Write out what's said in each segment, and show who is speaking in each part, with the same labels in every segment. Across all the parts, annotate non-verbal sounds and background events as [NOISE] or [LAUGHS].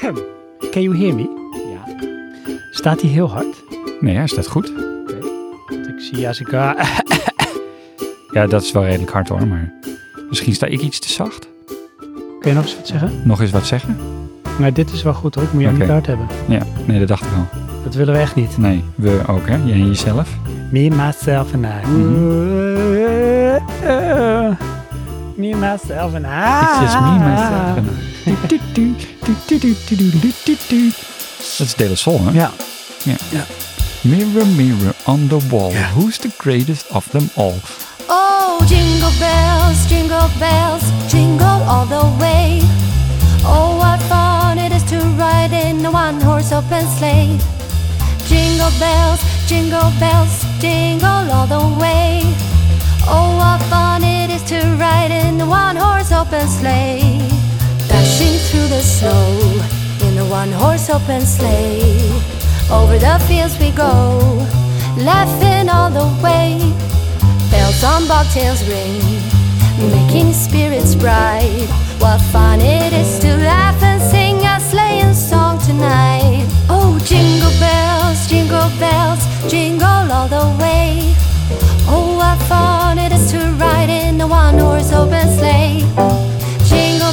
Speaker 1: hem.
Speaker 2: Can you hear me?
Speaker 1: Ja,
Speaker 2: Staat hij heel hard?
Speaker 3: Nee, hij staat goed.
Speaker 2: Want ik zie als ik... ah,
Speaker 3: Ja, dat is wel redelijk hard hoor, maar misschien sta ik iets te zacht.
Speaker 2: Kun je nog eens wat zeggen?
Speaker 3: Nog eens wat zeggen?
Speaker 2: Maar dit is wel goed hoor, ik moet je
Speaker 3: Oké.
Speaker 2: niet te hard hebben.
Speaker 3: Ja, nee, dat dacht ik al.
Speaker 2: Dat willen we echt niet.
Speaker 3: Nee, we ook hè, jij en jezelf.
Speaker 2: Me, myself en I. Me, myself en I.
Speaker 3: It's just Mhm. me, myself
Speaker 2: [LAUGHS]
Speaker 3: and I. Du-du-du, du-du-du-du-du, du-du-du. Dat is Dele Sol, hè?
Speaker 2: Ja,
Speaker 3: Mirror, mirror on the wall, who's the greatest of them all?
Speaker 4: Oh, jingle bells, jingle bells, jingle all the way. Oh, what fun it is to ride in a one horse open sleigh. Jingle bells, jingle bells, jingle all the way. Oh, what fun it is to ride in a one horse open sleigh. Dashing through the snow in a one horse open sleigh. Over the fields we go, laughing all the way. Bells on bobtails ring, making spirits bright. What fun it is to laugh and sing a sleighing song tonight. Oh, jingle bells, jingle bells, jingle all the way. Oh, what fun it is to ride in a one horse open sleigh. Jingle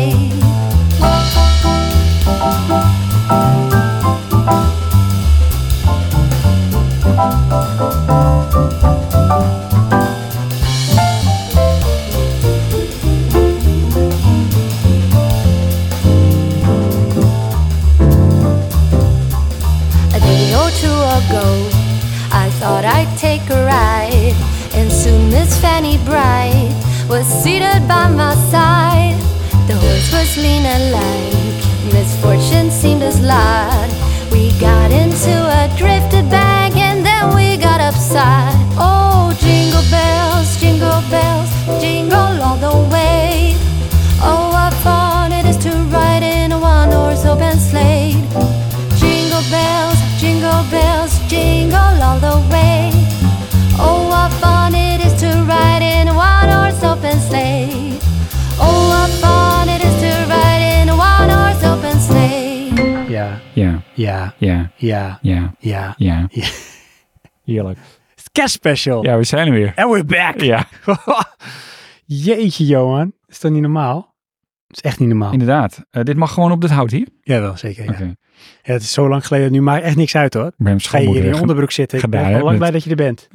Speaker 4: A day or two ago, I thought I'd take a ride, and soon Miss Fanny Bright was seated by my side. The horse was lean and lank, misfortune seemed his lot. We got into a drifted bag, and then we got upside. Oh, jingle bells, jingle bells, jingle all the way. Oh, what fun it is to ride in a one-horse open sleigh. Jingle bells, jingle bells, jingle all the way. Oh, what fun it is to ride in a one-horse open sleigh. Oh, what fun it is to ride in a one-horse open sleigh.
Speaker 2: ja,
Speaker 3: Ja,
Speaker 2: ja,
Speaker 3: ja,
Speaker 2: ja,
Speaker 3: ja,
Speaker 2: ja.
Speaker 3: ja.
Speaker 2: Ja.
Speaker 3: Heerlijk.
Speaker 2: Sketch special.
Speaker 3: Ja, we zijn er weer.
Speaker 2: And we're back. [LAUGHS]
Speaker 3: Ja,
Speaker 2: Jeetje, Johan. Is dat niet normaal? Dat is echt niet normaal.
Speaker 3: inderdaad. Eh, dit mag gewoon op dit hout hier?
Speaker 2: Jawel, zeker. Ja.
Speaker 3: Oké.
Speaker 2: Ja, het is zo lang geleden. Nu maakt echt niks uit hoor.
Speaker 3: Bram
Speaker 2: Ga je hier
Speaker 3: schoonmoeder.
Speaker 2: in je onderbroek zitten. Ik ben
Speaker 3: Gedaan,
Speaker 2: echt wel
Speaker 3: hè,
Speaker 2: lang
Speaker 3: met-
Speaker 2: blij dat je er bent.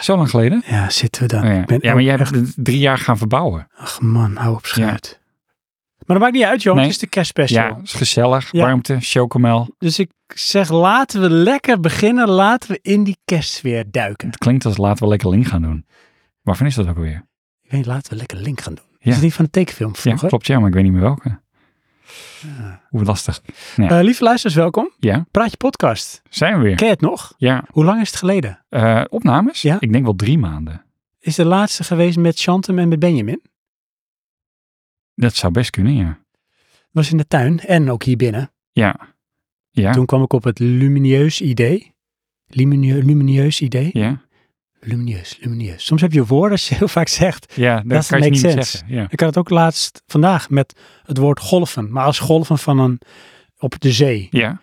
Speaker 3: Zo lang geleden?
Speaker 2: Ja, zitten we dan.
Speaker 3: Oh, ja.
Speaker 2: Ik ben
Speaker 3: ja,
Speaker 2: ook
Speaker 3: maar jij
Speaker 2: echt...
Speaker 3: hebt drie jaar gaan verbouwen.
Speaker 2: Ach man, hou op schuit. Maar dat maakt niet uit, Johan.
Speaker 3: Nee.
Speaker 2: Het is de kerstspecial.
Speaker 3: Ja, is gezellig.
Speaker 2: Ja.
Speaker 3: Warmte, chocomel.
Speaker 2: Dus ik zeg, laten we lekker beginnen. Laten we in die kerstsfeer duiken.
Speaker 3: Het klinkt als laten we lekker link gaan doen. Waarvan is dat ook alweer?
Speaker 2: Ik weet, laten we lekker Link gaan doen.
Speaker 3: Ja.
Speaker 2: Is dat niet van de tekenfilm
Speaker 3: Ja,
Speaker 2: vroeger? Ah.
Speaker 3: klopt ja, maar ik weet niet meer welke. Hoe lastig.
Speaker 2: Eh, lieve luisteraars, welkom.
Speaker 3: Ja,
Speaker 2: Praat je podcast.
Speaker 3: zijn we weer.
Speaker 2: Ken je het nog?
Speaker 3: Ja,
Speaker 2: Hoe lang is het geleden?
Speaker 3: eh, opnames?
Speaker 2: Ja.
Speaker 3: Ik denk wel drie maanden.
Speaker 2: Is de laatste geweest met Chantem en met Benjamin?
Speaker 3: Dat zou best kunnen, ja.
Speaker 2: was in de tuin en ook hier binnen.
Speaker 3: Ja. Ja.
Speaker 2: Toen kwam ik op het lumineus idee. Lumineus, lumineus idee?
Speaker 3: Ja.
Speaker 2: Lumineus, lumineus. Soms heb je woorden als je heel vaak zegt.
Speaker 3: Ja, dat,
Speaker 2: Doesn't
Speaker 3: kan je
Speaker 2: make
Speaker 3: niet meer
Speaker 2: sense.
Speaker 3: zeggen. Ja.
Speaker 2: Ik had het ook laatst vandaag met het woord golven. Maar als golven van een, op de zee.
Speaker 3: Ja.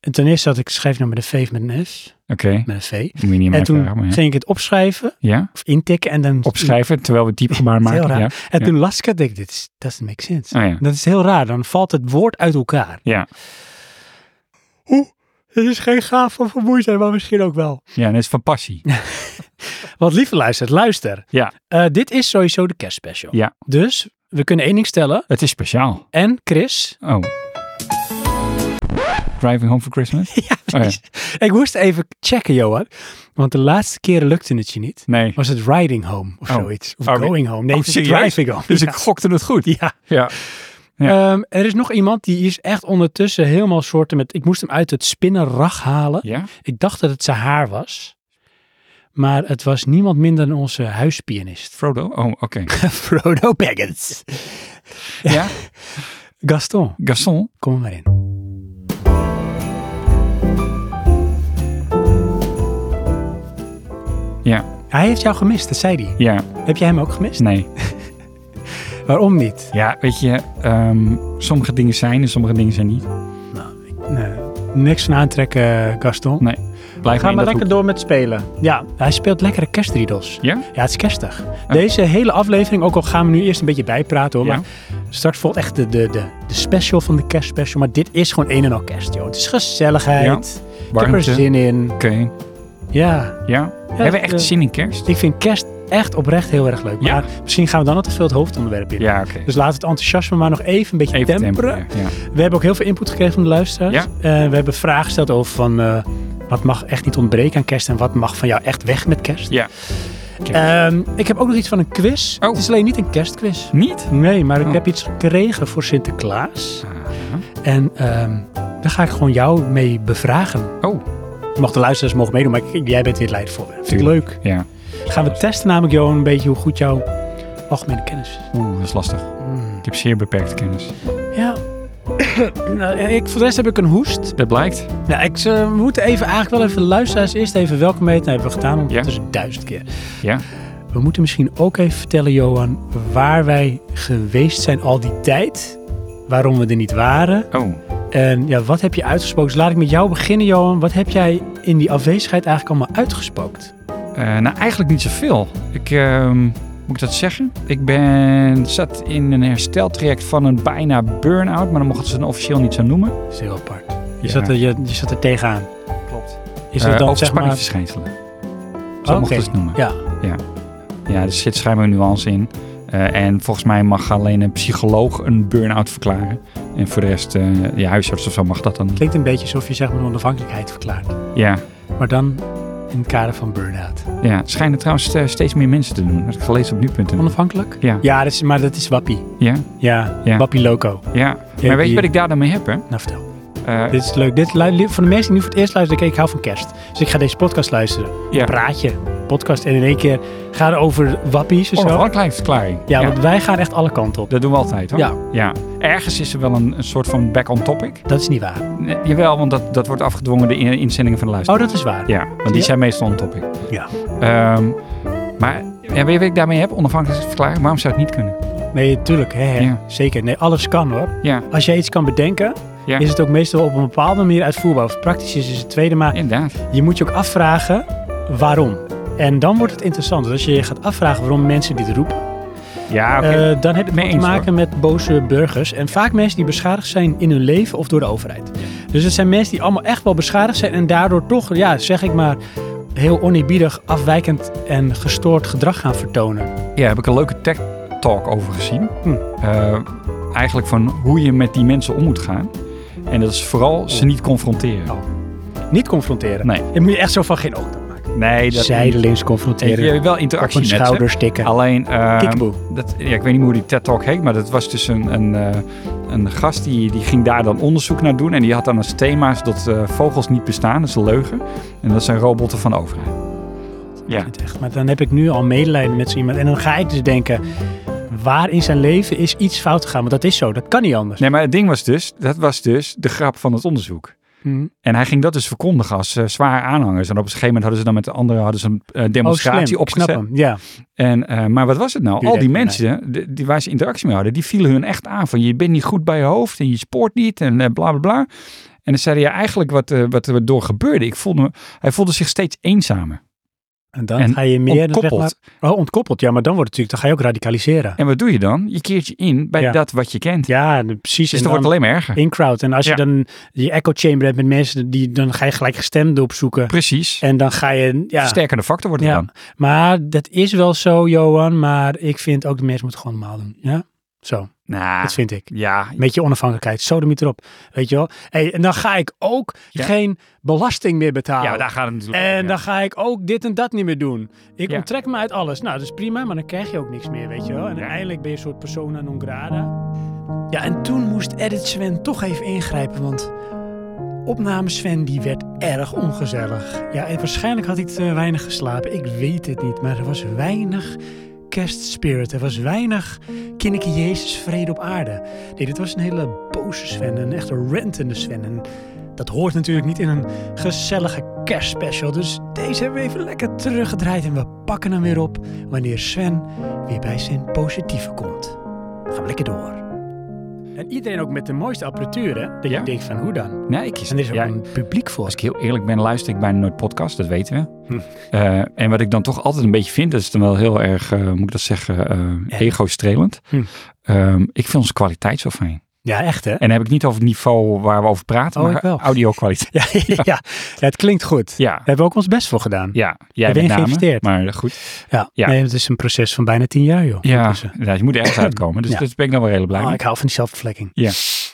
Speaker 2: En ten eerste had ik schreef nou met een V of met een S.
Speaker 3: Oké.
Speaker 2: Met een V.
Speaker 3: Moet je niet aan
Speaker 2: En
Speaker 3: mij
Speaker 2: toen
Speaker 3: vragen, maar ja.
Speaker 2: ging ik het opschrijven
Speaker 3: Ja.
Speaker 2: of intikken en dan...
Speaker 3: Opschrijven terwijl we het diepgebaar
Speaker 2: Het is [LAUGHS] heel
Speaker 3: maken. Ja.
Speaker 2: raar. En toen las ik het denk ik, dit is, doesn't make sense.
Speaker 3: Oh ja.
Speaker 2: Dat is heel raar, dan valt het woord uit elkaar.
Speaker 3: Ja.
Speaker 2: Het is geen gaaf van vermoeidheid, maar misschien ook wel.
Speaker 3: Ja, en dat is van
Speaker 2: [LAUGHS]
Speaker 3: passie.
Speaker 2: Wat lieve luistert, luister.
Speaker 3: Ja.
Speaker 2: Eh, dit is sowieso de kerstspecial.
Speaker 3: Ja.
Speaker 2: Dus we kunnen één ding stellen.
Speaker 3: Het is speciaal.
Speaker 2: En Chris,
Speaker 3: Oh. Driving home for Christmas? Oh ja,
Speaker 2: [LAUGHS] ik moest even checken, Johan. Want de laatste keren lukte het je niet.
Speaker 3: Nee.
Speaker 2: Was het riding home of
Speaker 3: Oh.
Speaker 2: zoiets? Of
Speaker 3: Oh, nee.
Speaker 2: going home? Nee,
Speaker 3: Oh,
Speaker 2: het is
Speaker 3: serieus?
Speaker 2: driving home.
Speaker 3: Dus
Speaker 2: Ja.
Speaker 3: ik gokte het goed.
Speaker 2: Ja.
Speaker 3: Ja.
Speaker 2: Ehm, er is nog iemand die is echt ondertussen helemaal soorten met... Ik moest hem uit het spinnenrag halen.
Speaker 3: Ja?
Speaker 2: Ik dacht dat het zijn haar was. Maar het was niemand minder dan onze
Speaker 3: [LAUGHS]
Speaker 2: huispianist.
Speaker 3: Frodo? Oh, oké.
Speaker 2: Frodo Baggins.
Speaker 3: ja?
Speaker 2: Gaston,
Speaker 3: Gaston?
Speaker 2: kom er maar in.
Speaker 3: Ja,
Speaker 2: Hij heeft jou gemist, dat zei hij.
Speaker 3: ja,
Speaker 2: Heb jij hem ook gemist?
Speaker 3: nee.
Speaker 2: Waarom niet?
Speaker 3: Ja, weet je, ehm, sommige dingen zijn en sommige dingen zijn niet.
Speaker 2: Nee, niks van aantrekken, Gaston.
Speaker 3: Nee. Blijf
Speaker 2: Ga
Speaker 3: in
Speaker 2: maar
Speaker 3: dat
Speaker 2: lekker
Speaker 3: hoekje.
Speaker 2: door met spelen. Ja, hij speelt lekkere kerstriedels.
Speaker 3: Ja?
Speaker 2: Ja, het is kerstig. Deze hele aflevering, ook al gaan we nu eerst een beetje bijpraten hoor.
Speaker 3: Ja.
Speaker 2: Maar straks volgt echt de, de, de, de special van de kerstspecial. Maar dit is gewoon een en al kerst, joh. Het is gezelligheid. Ik heb er
Speaker 3: Warmte.
Speaker 2: zin in.
Speaker 3: Oké,
Speaker 2: Ja,
Speaker 3: ja. Hebben we echt
Speaker 2: eh,
Speaker 3: zin in kerst?
Speaker 2: ik vind kerst echt oprecht heel erg leuk.
Speaker 3: Ja.
Speaker 2: Maar misschien gaan we dan altijd veel het hoofdonderwerp in.
Speaker 3: Ja, oké.
Speaker 2: Dus laten we het enthousiasme maar nog even een beetje
Speaker 3: Even
Speaker 2: temperen.
Speaker 3: temperen. Ja.
Speaker 2: We hebben ook heel veel input gekregen van de luisteraars.
Speaker 3: Ja.
Speaker 2: Eh, we hebben vragen gesteld over van, eh, wat mag echt niet ontbreken aan kerst en wat mag van jou echt weg met kerst.
Speaker 3: ja.
Speaker 2: Ehm, ik heb ook nog iets van een quiz.
Speaker 3: Oh.
Speaker 2: Het is alleen niet een kerstquiz.
Speaker 3: Niet?
Speaker 2: Nee, maar ik
Speaker 3: Oh.
Speaker 2: heb iets gekregen voor Sinterklaas.
Speaker 3: Ah.
Speaker 2: En ehm, daar ga ik gewoon jou mee bevragen.
Speaker 3: Oh,
Speaker 2: Je mag de luisteraars mogen meedoen, maar ik- jij bent weer het voor. Vind ik
Speaker 3: Tuurlijk.
Speaker 2: leuk.
Speaker 3: ja.
Speaker 2: Gaan we testen namelijk, Johan, een beetje hoe goed jouw algemene kennis is.
Speaker 3: Oeh, dat is lastig.
Speaker 2: Mm.
Speaker 3: Ik heb zeer beperkte kennis.
Speaker 2: Ja. [COUGHS] nou, ik, voor de rest heb ik een hoest.
Speaker 3: Dat blijkt.
Speaker 2: Nou, ik, eh, we moeten even, eigenlijk wel even de luisteraars eerst even welkom meten. Nou, hebben we gedaan ondertussen duizend keer.
Speaker 3: Ja.
Speaker 2: We moeten misschien ook even vertellen, Johan, waar wij geweest zijn al die tijd. Waarom we er niet waren.
Speaker 3: Oh,
Speaker 2: En ja, wat heb je uitgesproken? Dus laat ik met jou beginnen, Johan. Wat heb jij in die afwezigheid eigenlijk allemaal uitgespookt?
Speaker 3: eh, nou eigenlijk niet zoveel. Ik, ehm, moet ik dat zeggen? Ik ben, zat in een hersteltraject van een bijna burn-out, maar dan mochten ze het officieel niet zo noemen.
Speaker 2: Dat is heel apart. Je,
Speaker 3: Ja. Eh,
Speaker 2: zat, er, je, je zat er tegenaan.
Speaker 3: Klopt.
Speaker 2: Is dat dan zeg maar... Oh,
Speaker 3: spanningsverschijnselen. Zo
Speaker 2: Oké.
Speaker 3: mochten ze het noemen.
Speaker 2: Ja,
Speaker 3: Ja, er zit schijnbaar een nuance in. Eh, en volgens mij mag alleen een psycholoog een burn-out verklaren. En voor de rest, eh je huisarts of zo mag dat dan niet.
Speaker 2: klinkt een beetje alsof je zeg maar de onafhankelijkheid verklaart.
Speaker 3: Ja,
Speaker 2: Maar dan in het kader van burn-out.
Speaker 3: ja. Het schijnen trouwens eh, steeds meer mensen te doen. Dat heb ik gelezen op nu.nl.
Speaker 2: Onafhankelijk?
Speaker 3: Ja,
Speaker 2: Ja, dat is, maar dat is wappie.
Speaker 3: ja,
Speaker 2: Ja,
Speaker 3: Ja.
Speaker 2: wappie loco.
Speaker 3: ja.
Speaker 2: Ja,
Speaker 3: maar weet je
Speaker 2: die-
Speaker 3: wat ik daar dan mee heb, hè?
Speaker 2: Nou, vertel.
Speaker 3: Eh,
Speaker 2: Dit is leuk. Dit, lu- voor de mensen die nu voor het eerst luisteren, kijk, ik hou van kerst. Dus ik ga deze podcast luisteren.
Speaker 3: Ja.
Speaker 2: Praat je. Podcast. En in één keer gaan we over wappies en
Speaker 3: oh,
Speaker 2: zo.
Speaker 3: wat een kleine verklaring.
Speaker 2: ja, want wij gaan echt alle kanten op.
Speaker 3: Dat doen we altijd, hoor.
Speaker 2: Ja.
Speaker 3: ja. Ergens is er wel een, een soort van back on topic.
Speaker 2: Dat is niet waar.
Speaker 3: Nee, jawel, want dat, dat wordt afgedwongen de in- inzendingen van de luisteraar.
Speaker 2: Oh, dat is waar.
Speaker 3: Ja, want die
Speaker 2: Ja.
Speaker 3: zijn meestal on topic.
Speaker 2: Ja.
Speaker 3: Ehm, maar ja, weet je wat ik daarmee heb? Onafhankelijk verklaren. Waarom zou het niet kunnen?
Speaker 2: Nee, tuurlijk. Hè, hè.
Speaker 3: Ja.
Speaker 2: Zeker. Nee, alles kan hoor.
Speaker 3: Ja,
Speaker 2: Als jij iets kan bedenken,
Speaker 3: ja.
Speaker 2: is het ook meestal op een bepaalde manier uitvoerbaar. Of het praktisch is, is het tweede. Maar
Speaker 3: inderdaad.
Speaker 2: je moet je ook afvragen waarom. En dan wordt het interessant. Dus als je je gaat afvragen waarom mensen dit roepen,
Speaker 3: Ja, oké.
Speaker 2: Eh, dan heb je
Speaker 3: Mee
Speaker 2: het te
Speaker 3: eens,
Speaker 2: maken met boze burgers. En vaak mensen die beschadigd zijn in hun leven of door de overheid. Dus het zijn mensen die allemaal echt wel beschadigd zijn. En daardoor toch, ja, zeg ik maar, heel oneerbiedig, afwijkend en gestoord gedrag gaan vertonen.
Speaker 3: ja, heb ik een leuke tech talk over gezien.
Speaker 2: Hm.
Speaker 3: Eh, eigenlijk van hoe je met die mensen om moet gaan. En dat is vooral ze niet confronteren.
Speaker 2: Oh. Niet confronteren.
Speaker 3: Nee.
Speaker 2: Je moet je echt zo van geen oog dan maken.
Speaker 3: Nee, dat
Speaker 2: Zijdelings
Speaker 3: Weet
Speaker 2: confronteren.
Speaker 3: Je wel
Speaker 2: op
Speaker 3: interactie
Speaker 2: een
Speaker 3: met ze.
Speaker 2: schouder stikken.
Speaker 3: Alleen, ehm,
Speaker 2: Kiekeboe.
Speaker 3: dat, ja, ik weet niet hoe die TED-talk heet, maar dat was dus een, een, eh, een gast die, die ging daar dan onderzoek naar doen. En die had dan als thema's dat eh, vogels niet bestaan, dat is een leugen. En dat zijn robotten van de overheid. Ja,
Speaker 2: Niet echt. Maar dan heb ik nu al medelijden met zo iemand. En dan ga ik dus denken, waar in zijn leven is iets fout gegaan? Want dat is zo, dat kan niet anders.
Speaker 3: nee, maar het ding was dus, dat was dus de grap van het onderzoek.
Speaker 2: Hm.
Speaker 3: En hij ging dat dus verkondigen als eh, zwaar aanhangers. En op een gegeven moment hadden ze dan met de anderen hadden ze een eh,
Speaker 2: Oh,
Speaker 3: demonstratie
Speaker 2: slim. Ik snap
Speaker 3: opgezet.
Speaker 2: hem. Ja.
Speaker 3: En, eh, maar wat was het nou?
Speaker 2: Duurde
Speaker 3: Al die
Speaker 2: even,
Speaker 3: mensen de- die, waar ze interactie mee hadden, die vielen hun echt aan. Van je bent niet goed bij je hoofd en je spoort niet en eh, bla bla bla. En dan zei hij ja, eigenlijk wat, eh, wat er door gebeurde. Ik voelde, me- hij voelde zich steeds eenzamer.
Speaker 2: En dan
Speaker 3: En
Speaker 2: ga je meer dan zeg maar,
Speaker 3: ontkoppeld.
Speaker 2: Oh, ontkoppeld. Ja, maar dan wordt het natuurlijk, dan ga je ook radicaliseren.
Speaker 3: En wat doe je dan? Je keert je in bij
Speaker 2: Ja.
Speaker 3: dat wat je kent.
Speaker 2: Ja, de- precies.
Speaker 3: dus
Speaker 2: En
Speaker 3: dat wordt
Speaker 2: dan
Speaker 3: alleen maar erger.
Speaker 2: in crowd. En als
Speaker 3: Ja.
Speaker 2: je dan je echo chamber hebt met mensen, die, dan ga je gelijk gestemden opzoeken.
Speaker 3: Precies.
Speaker 2: En dan ga je, ja.
Speaker 3: Sterkende factor wordt het
Speaker 2: ja.
Speaker 3: dan.
Speaker 2: Maar dat is wel zo, Johan. Maar ik vind ook de mensen moeten gewoon normaal doen. Ja, zo.
Speaker 3: Nou,
Speaker 2: Dat vind ik.
Speaker 3: ja.
Speaker 2: Met je onafhankelijkheid. Sodemiet erop. Weet je wel. Hey, en dan ga ik ook
Speaker 3: Ja.
Speaker 2: geen belasting meer betalen.
Speaker 3: ja, daar gaat het natuurlijk om,
Speaker 2: En
Speaker 3: ja.
Speaker 2: dan ga ik ook dit en dat niet meer doen. Ik
Speaker 3: Ja.
Speaker 2: onttrek me uit alles. Nou, dat is prima, maar dan krijg je ook niks meer, weet je wel. En
Speaker 3: Ja.
Speaker 2: uiteindelijk ben je een soort persona non grata. Ja, en toen moest Edit Sven toch even ingrijpen, want opname Sven die werd erg ongezellig. Ja, en waarschijnlijk had ik te weinig geslapen. Ik weet het niet, maar er was weinig kerstspirit. Er was weinig kinnikke Jezus vrede op aarde. Nee, dit was een hele boze Sven, een echte rentende Sven. En dat hoort natuurlijk niet in een gezellige kerstspecial. Dus deze hebben we even lekker teruggedraaid en we pakken hem weer op wanneer Sven weer bij zijn positieve komt. Gaan we lekker door. En iedereen ook met de mooiste apparatuur, hè? Dat
Speaker 3: Ja.
Speaker 2: je denkt van, hoe dan?
Speaker 3: Nee, ik kies...
Speaker 2: En er is ook
Speaker 3: ja,
Speaker 2: een publiek voor.
Speaker 3: Als ik heel eerlijk ben, luister ik bijna nooit podcast, dat weten we.
Speaker 2: Hm.
Speaker 3: Eh, en wat ik dan toch altijd een beetje vind, dat is dan wel heel erg, eh, moet ik dat zeggen, eh
Speaker 2: Erg.
Speaker 3: ego-strelend.
Speaker 2: Hm.
Speaker 3: Ehm, ik vind onze kwaliteit zo fijn.
Speaker 2: Ja, echt hè?
Speaker 3: En dan heb ik niet over het niveau waar we over praten,
Speaker 2: Oh, ik
Speaker 3: maar
Speaker 2: wel.
Speaker 3: audio-kwaliteit.
Speaker 2: Ja, [LAUGHS] ja. ja, het klinkt goed.
Speaker 3: Ja,
Speaker 2: Daar hebben we ook ons best voor gedaan.
Speaker 3: ja. jij
Speaker 2: Heb
Speaker 3: bent
Speaker 2: je
Speaker 3: name,
Speaker 2: geïnvesteerd?
Speaker 3: maar eh, goed.
Speaker 2: Ja,
Speaker 3: Ja.
Speaker 2: Nee, het is een proces van bijna tien jaar, joh.
Speaker 3: Ja,
Speaker 2: Dus, eh,
Speaker 3: ja, je moet ergens uitkomen, dus
Speaker 2: Ja.
Speaker 3: dat ben ik dan wel redelijk blij
Speaker 2: oh,
Speaker 3: mee.
Speaker 2: ik hou van die zelfvervlekking.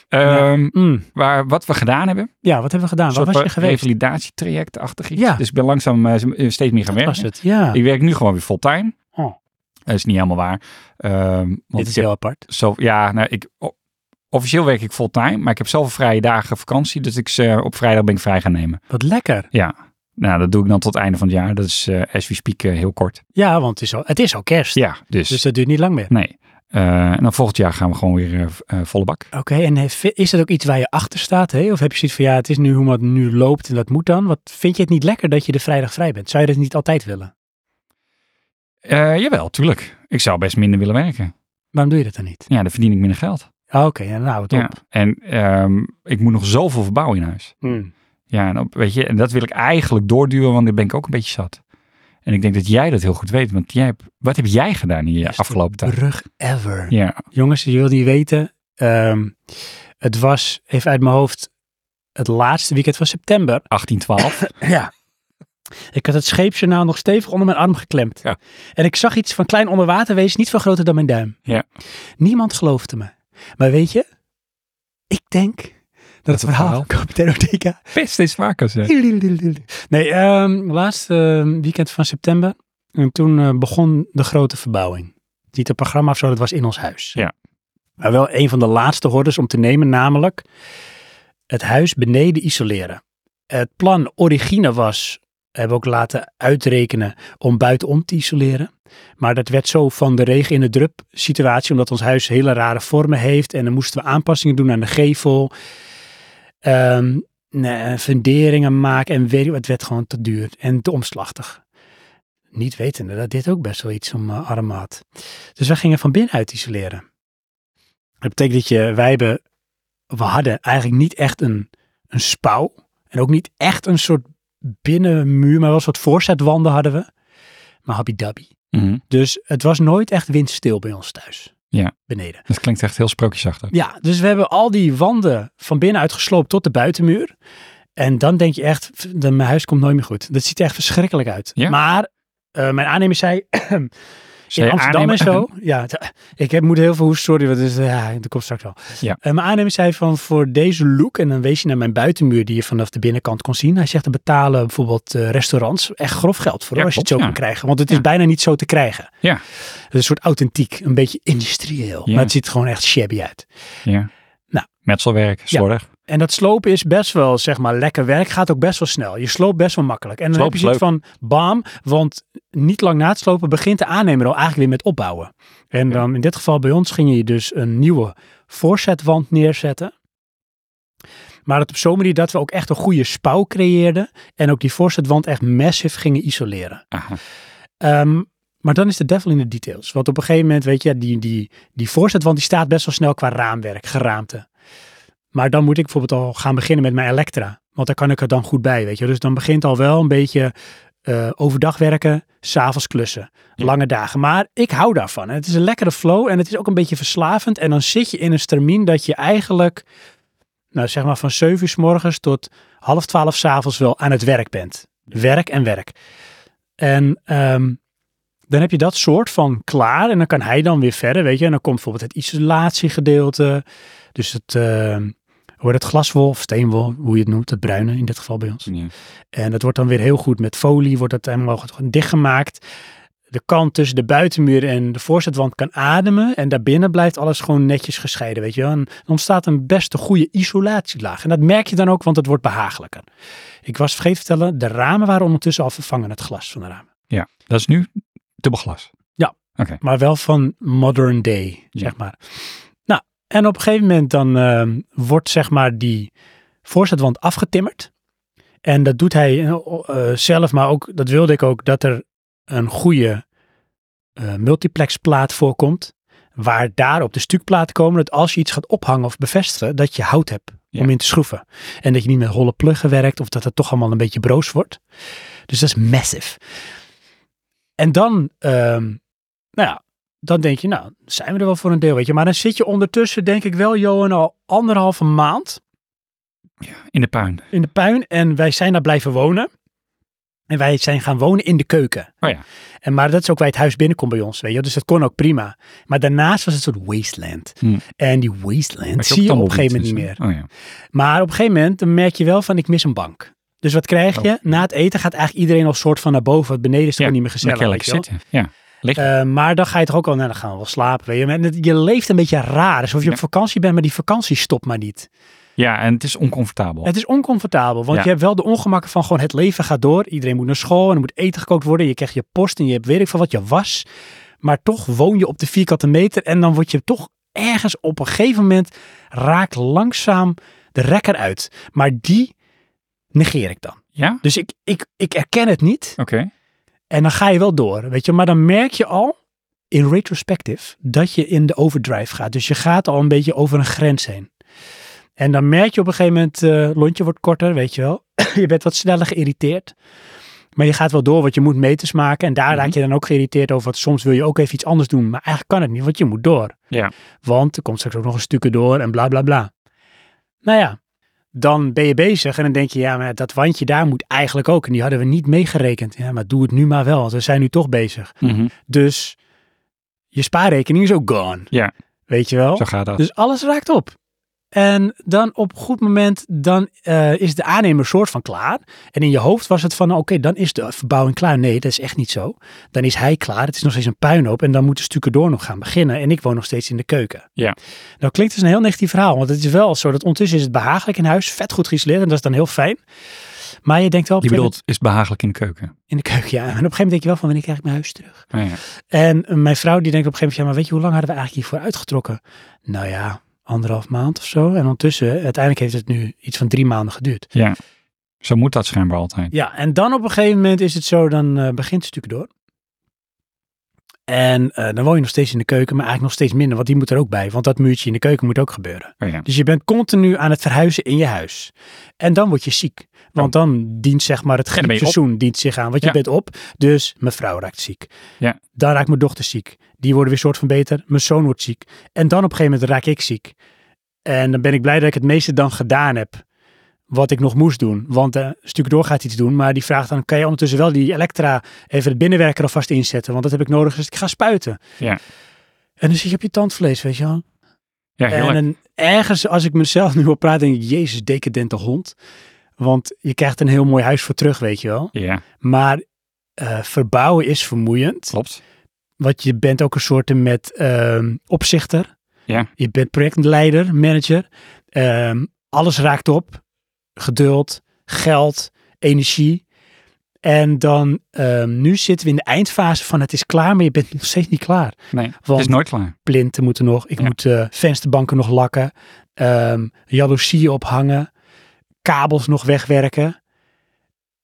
Speaker 3: Ehm,
Speaker 2: Mm.
Speaker 3: waar, wat we gedaan hebben,
Speaker 2: Ja, wat hebben we gedaan? Waar
Speaker 3: soort
Speaker 2: was je
Speaker 3: van
Speaker 2: geweest?
Speaker 3: revalidatietraject-achtig iets.
Speaker 2: Ja.
Speaker 3: Dus ik ben langzaam eh, steeds meer gaan
Speaker 2: Dat
Speaker 3: werken.
Speaker 2: was het, ja.
Speaker 3: Ik werk nu gewoon weer fulltime.
Speaker 2: Ah. Oh.
Speaker 3: Dat is niet helemaal waar. Ehm, want
Speaker 2: Dit
Speaker 3: ik
Speaker 2: is
Speaker 3: heb
Speaker 2: heel apart.
Speaker 3: zo, ja, nou, ik, o- officieel werk ik fulltime, maar ik heb zoveel vrije dagen vakantie, dus ik, ze- op vrijdag ben ik vrij gaan nemen.
Speaker 2: Wat lekker.
Speaker 3: Ja, nou, dat doe ik dan tot het einde van het jaar. Dat is eh as we speak eh, heel kort.
Speaker 2: Ja, want het is al, het is al kerst.
Speaker 3: Ja, dus,
Speaker 2: Dus dat duurt niet lang meer.
Speaker 3: nee. Eh, en dan volgend jaar gaan we gewoon weer eh, v- eh, volle bak.
Speaker 2: Oké, en heeft- is dat ook iets waar je achter staat? Hè? Of heb je zoiets van, ja, het is nu hoe het nu loopt en dat moet dan? Wat, vind je het niet lekker dat je de vrijdag vrij bent? Zou je dat niet altijd willen?
Speaker 3: Eh, jawel, tuurlijk. Ik zou best minder willen werken.
Speaker 2: Waarom doe je dat dan niet?
Speaker 3: Ja, dan verdien ik minder geld.
Speaker 2: Ah, Oké, ja, nou, het
Speaker 3: Ja.
Speaker 2: op.
Speaker 3: En ehm, ik moet nog zoveel verbouwen in huis.
Speaker 2: Mm.
Speaker 3: Ja, en op, weet je, en dat wil ik eigenlijk doorduwen, want daar ben ik ook een beetje zat. En ik denk dat jij dat heel goed weet, want jij hebt, wat heb jij gedaan in je
Speaker 2: Beste
Speaker 3: afgelopen tijd?
Speaker 2: Brug ever.
Speaker 3: Ja,
Speaker 2: Jongens, je wilt niet weten. ehm, het was, even uit mijn hoofd, het laatste weekend van september. [LAUGHS]
Speaker 3: 1812.
Speaker 2: Ja. Ik had het scheepsjournaal nog stevig onder mijn arm geklemd.
Speaker 3: Ja.
Speaker 2: En ik zag iets van klein onderwaterwezen, niet veel groter dan mijn duim.
Speaker 3: Ja.
Speaker 2: Niemand geloofde me. Maar weet je, ik denk dat, het
Speaker 3: het
Speaker 2: verhaal van kapitein Ortega...
Speaker 3: Best is vaker
Speaker 2: [LAUGHS]
Speaker 3: zeg.
Speaker 2: Nee, ehm laatste ehm, weekend van september. En toen eh, begon de grote verbouwing. Niet een programma of zo, dat was in ons huis.
Speaker 3: Ja.
Speaker 2: Maar wel een van de laatste hordes om te nemen, namelijk het huis beneden isoleren. Het plan origine was, hebben we ook laten uitrekenen, om buitenom te isoleren. Maar dat werd zo van de regen in de drup situatie, omdat ons huis hele rare vormen heeft. En dan moesten we aanpassingen doen aan de gevel. Ehm, nee, funderingen maken en weet ik wat. Het werd gewoon te duur en te omslachtig. Niet wetende dat dit ook best wel iets om eh, armen had. Dus wij gingen van binnenuit isoleren. Dat betekent dat je, wij hebben, we hadden eigenlijk niet echt een, een spouw. En ook niet echt een soort binnenmuur, maar wel een soort voorzetwanden hadden we. Maar habidabi.
Speaker 3: Mhm.
Speaker 2: Dus het was nooit echt windstil bij ons thuis.
Speaker 3: Ja.
Speaker 2: Beneden.
Speaker 3: Dat klinkt echt heel sprookjesachtig.
Speaker 2: Ja, dus we hebben al die wanden van binnenuit gesloopt tot de buitenmuur. En dan denk je echt, f- de- mijn huis komt nooit meer goed. Dat ziet er echt verschrikkelijk uit.
Speaker 3: Ja.
Speaker 2: Maar eh, mijn aannemer zei,
Speaker 3: Zij
Speaker 2: in Amsterdam
Speaker 3: aannemen-
Speaker 2: en zo. Ja, t- ik heb, moet heel veel hoesten, sorry. Want dus, ja, dat komt straks wel.
Speaker 3: Ja.
Speaker 2: Eh, mijn aannemer zei van voor deze look, en dan wees je naar mijn buitenmuur die je vanaf de binnenkant kon zien. Hij zegt, er betalen bijvoorbeeld eh, restaurants echt grof geld voor
Speaker 3: Ja,
Speaker 2: hoor, als je het zo
Speaker 3: klopt,
Speaker 2: kan
Speaker 3: ja.
Speaker 2: krijgen. Want het is
Speaker 3: Ja.
Speaker 2: bijna niet zo te krijgen.
Speaker 3: Ja.
Speaker 2: Het is een soort authentiek, een beetje industrieel.
Speaker 3: Ja.
Speaker 2: Maar het ziet er gewoon echt shabby uit.
Speaker 3: [LAUGHS] Ja.
Speaker 2: Nou.
Speaker 3: Metselwerk, slordig.
Speaker 2: En dat slopen is best wel, zeg maar, lekker werk. Gaat ook best wel snel. Je sloopt best wel makkelijk. En dan
Speaker 3: Slopen
Speaker 2: heb je
Speaker 3: is
Speaker 2: zoiets van, bam, want niet lang na het slopen begint de aannemer al eigenlijk weer met opbouwen. En
Speaker 3: Ja.
Speaker 2: dan in dit geval bij ons ging je dus een nieuwe voorzetwand neerzetten. Maar het op zo'n manier dat we ook echt een goede spouw creëerden. En ook die voorzetwand echt massive gingen isoleren.
Speaker 3: Aha.
Speaker 2: Ehm, maar dan is de devil in de details. Want op een gegeven moment, weet je, die, die, die voorzetwand die staat best wel snel qua raamwerk, geraamte. Maar dan moet ik bijvoorbeeld al gaan beginnen met mijn Elektra. Want daar kan ik er dan goed bij, weet je. Dus dan begint al wel een beetje eh, overdag werken, s'avonds klussen.
Speaker 3: Ja.
Speaker 2: Lange dagen. Maar ik hou daarvan. En het is een lekkere flow en het is ook een beetje verslavend. En dan zit je in een stramien dat je eigenlijk, nou zeg maar van 7 uur s morgens tot half 12 s avonds wel aan het werk bent. Werk en werk. En ehm, dan heb je dat soort van klaar. En dan kan hij dan weer verder, weet je. En dan komt bijvoorbeeld het isolatiegedeelte. Dus het, ehm, hoe heet het glaswol of steenwol, hoe je het noemt. Het bruine in dit geval bij ons.
Speaker 3: Ja.
Speaker 2: En dat wordt dan weer heel goed met folie, wordt dat helemaal goed- gewoon dichtgemaakt. De kant tussen de buitenmuur en de voorzetwand kan ademen. En daarbinnen blijft alles gewoon netjes gescheiden, weet je wel. En dan ontstaat een best een goede isolatielaag. En dat merk je dan ook, want het wordt behagelijker. Ik was vergeten te vertellen, de ramen waren ondertussen al vervangen, het glas van de ramen.
Speaker 3: ja, dat is nu dubbelglas.
Speaker 2: Maar wel van modern day,
Speaker 3: Ja.
Speaker 2: zeg maar. Nou, en op een gegeven moment dan ehm, wordt zeg maar die voorzetwand afgetimmerd. En dat doet hij eh, eh, zelf, maar ook, dat wilde ik ook, dat er een goede eh multiplexplaat voorkomt. Waar daar op de stukplaat komen, dat als je iets gaat ophangen of bevestigen, dat je hout hebt om
Speaker 3: Ja.
Speaker 2: in te schroeven. En dat je niet met holle pluggen werkt of dat het toch allemaal een beetje broos wordt. Dus dat is massive. En dan, ehm, nou ja, dan denk je, nou, zijn we er wel voor een deel, weet je. Maar dan zit je ondertussen, denk ik wel, Johan, al anderhalve maand
Speaker 3: in de puin.
Speaker 2: in de puin. En wij zijn daar blijven wonen. En wij zijn gaan wonen in de keuken.
Speaker 3: Oh ja.
Speaker 2: En, maar dat is ook waar het huis binnenkomt bij ons, weet je. wel. Dus dat kon ook prima. Maar daarnaast was het een soort wasteland.
Speaker 3: Hmm.
Speaker 2: En die wasteland
Speaker 3: Maar
Speaker 2: zie je op een gegeven
Speaker 3: tumbleweed
Speaker 2: moment niet meer.
Speaker 3: is, hè? Oh ja.
Speaker 2: Maar op een gegeven moment dan merk je wel van ik mis een bank. Dus wat krijg je? Na het eten gaat eigenlijk iedereen al soort van naar boven. Want beneden is toch
Speaker 3: Oh. Ja,
Speaker 2: niet
Speaker 3: Dan
Speaker 2: meer gezellig.
Speaker 3: kan je
Speaker 2: weet
Speaker 3: lekker
Speaker 2: je wel.
Speaker 3: zitten. Ja.
Speaker 2: Eh, maar dan ga je toch ook al, nou dan gaan we wel slapen. Weet je. En het- je leeft een beetje raar. Alsof je
Speaker 3: Ja.
Speaker 2: op vakantie bent, maar die vakantie stopt maar niet.
Speaker 3: ja, en het is oncomfortabel.
Speaker 2: Het is oncomfortabel, want
Speaker 3: Ja.
Speaker 2: je hebt wel de ongemakken van gewoon het leven gaat door. Iedereen moet naar school en er moet eten gekookt worden. Je krijgt je post en je hebt weet ik van wat je was. Maar toch woon je op de vierkante meter en dan word je toch ergens op een gegeven moment raakt langzaam de rekker uit. Maar die negeer ik dan.
Speaker 3: Ja?
Speaker 2: Dus ik, ik, ik erken het niet
Speaker 3: Oké.
Speaker 2: en dan ga je wel door, weet je. Maar dan merk je al in retrospective dat je in de overdrive gaat. Dus je gaat al een beetje over een grens heen. En dan merk je op een gegeven moment, eh lontje wordt korter, weet je wel. [CLEARS THROAT] je bent wat sneller geïrriteerd. Maar je gaat wel door, want je moet meters maken. En daar
Speaker 3: Mhm.
Speaker 2: raak je dan ook geïrriteerd over. Want soms wil je ook even iets anders doen. Maar eigenlijk kan het niet, want je moet door.
Speaker 3: Ja.
Speaker 2: Want er komt straks ook nog een stukje door en bla bla bla. Nou ja, dan ben je bezig en dan denk je, ja, maar dat wandje daar moet eigenlijk ook. En die hadden we niet meegerekend. Ja, maar doe het nu maar wel, want we zijn nu toch bezig.
Speaker 3: Mhm.
Speaker 2: Dus je spaarrekening is ook gone.
Speaker 3: Ja.
Speaker 2: Weet je wel?
Speaker 3: Zo gaat dat.
Speaker 2: Dus alles raakt op. En dan op een goed moment, dan eh, is de aannemer soort van klaar. En in je hoofd was het van, oké, dan is de verbouwing klaar. Nee, dat is echt niet zo. Dan is hij klaar, het is nog steeds een puinhoop. En dan moet de stukken door nog gaan beginnen. En ik woon nog steeds in de keuken.
Speaker 3: Ja.
Speaker 2: Nou klinkt dus een heel negatief verhaal. Want het is wel zo dat ondertussen is het behagelijk in huis. Vet goed geïsoleerd en dat is dan heel fijn. Maar je denkt wel op
Speaker 3: Je
Speaker 2: een gegeven
Speaker 3: bedoelt, is behagelijk in de keuken.
Speaker 2: moment- in de keuken, ja. En op een gegeven moment denk je wel van, wanneer krijg ik mijn huis terug?
Speaker 3: Oh ja.
Speaker 2: En eh, mijn vrouw die denkt op een gegeven moment, ja, maar weet je, hoe lang hadden we eigenlijk hiervoor uitgetrokken? Nou ja, anderhalf maand of zo. En ondertussen, eh, uiteindelijk heeft het nu iets van drie maanden geduurd.
Speaker 3: ja. Zo moet dat schijnbaar altijd.
Speaker 2: Ja, en dan op een gegeven moment is het zo, dan eh, begint het stuk door. En eh, dan woon je nog steeds in de keuken, maar eigenlijk nog steeds minder, want die moet er ook bij. Want dat muurtje in de keuken moet ook gebeuren.
Speaker 3: Oh ja.
Speaker 2: Dus je bent continu aan het verhuizen in je huis. En dan word je ziek. Want dan dient zeg maar het
Speaker 3: dan ben Oh. je
Speaker 2: griepseizoen dient zich aan. Want je
Speaker 3: Ja.
Speaker 2: bent op. Dus mijn vrouw raakt ziek.
Speaker 3: Ja.
Speaker 2: Dan raakt mijn dochter ziek. Die worden weer soort van beter. Mijn zoon wordt ziek. En dan op een gegeven moment raak ik ziek. En dan ben ik blij dat ik het meeste dan gedaan heb. Wat ik nog moest doen. Want eh, een stuk door gaat iets doen. Maar die vraagt dan, kan je ondertussen wel die elektra even het binnenwerker alvast inzetten? Want dat heb ik nodig als ik ga spuiten.
Speaker 3: Ja.
Speaker 2: En dan zit je op je tandvlees, weet je wel.
Speaker 3: Ja, heel
Speaker 2: En
Speaker 3: erg.
Speaker 2: een- ergens, als ik mezelf nu op praat, denk ik, jezus, decadente hond. Want je krijgt een heel mooi huis voor terug, weet je wel.
Speaker 3: Ja,
Speaker 2: Maar eh, verbouwen is vermoeiend.
Speaker 3: klopt.
Speaker 2: Want je bent ook een soort eh, met ehm, opzichter.
Speaker 3: Ja.
Speaker 2: Je bent projectleider, manager. Ehm, alles raakt op. Geduld, geld, energie. En dan, ehm, nu zitten we in de eindfase van het is klaar, maar je bent nog steeds niet klaar
Speaker 3: Nee, het
Speaker 2: Want-
Speaker 3: is nooit klaar.
Speaker 2: plinten moeten nog. Ik
Speaker 3: Ja.
Speaker 2: moet eh, vensterbanken nog lakken. ehm jaloezieën ophangen. Kabels nog wegwerken.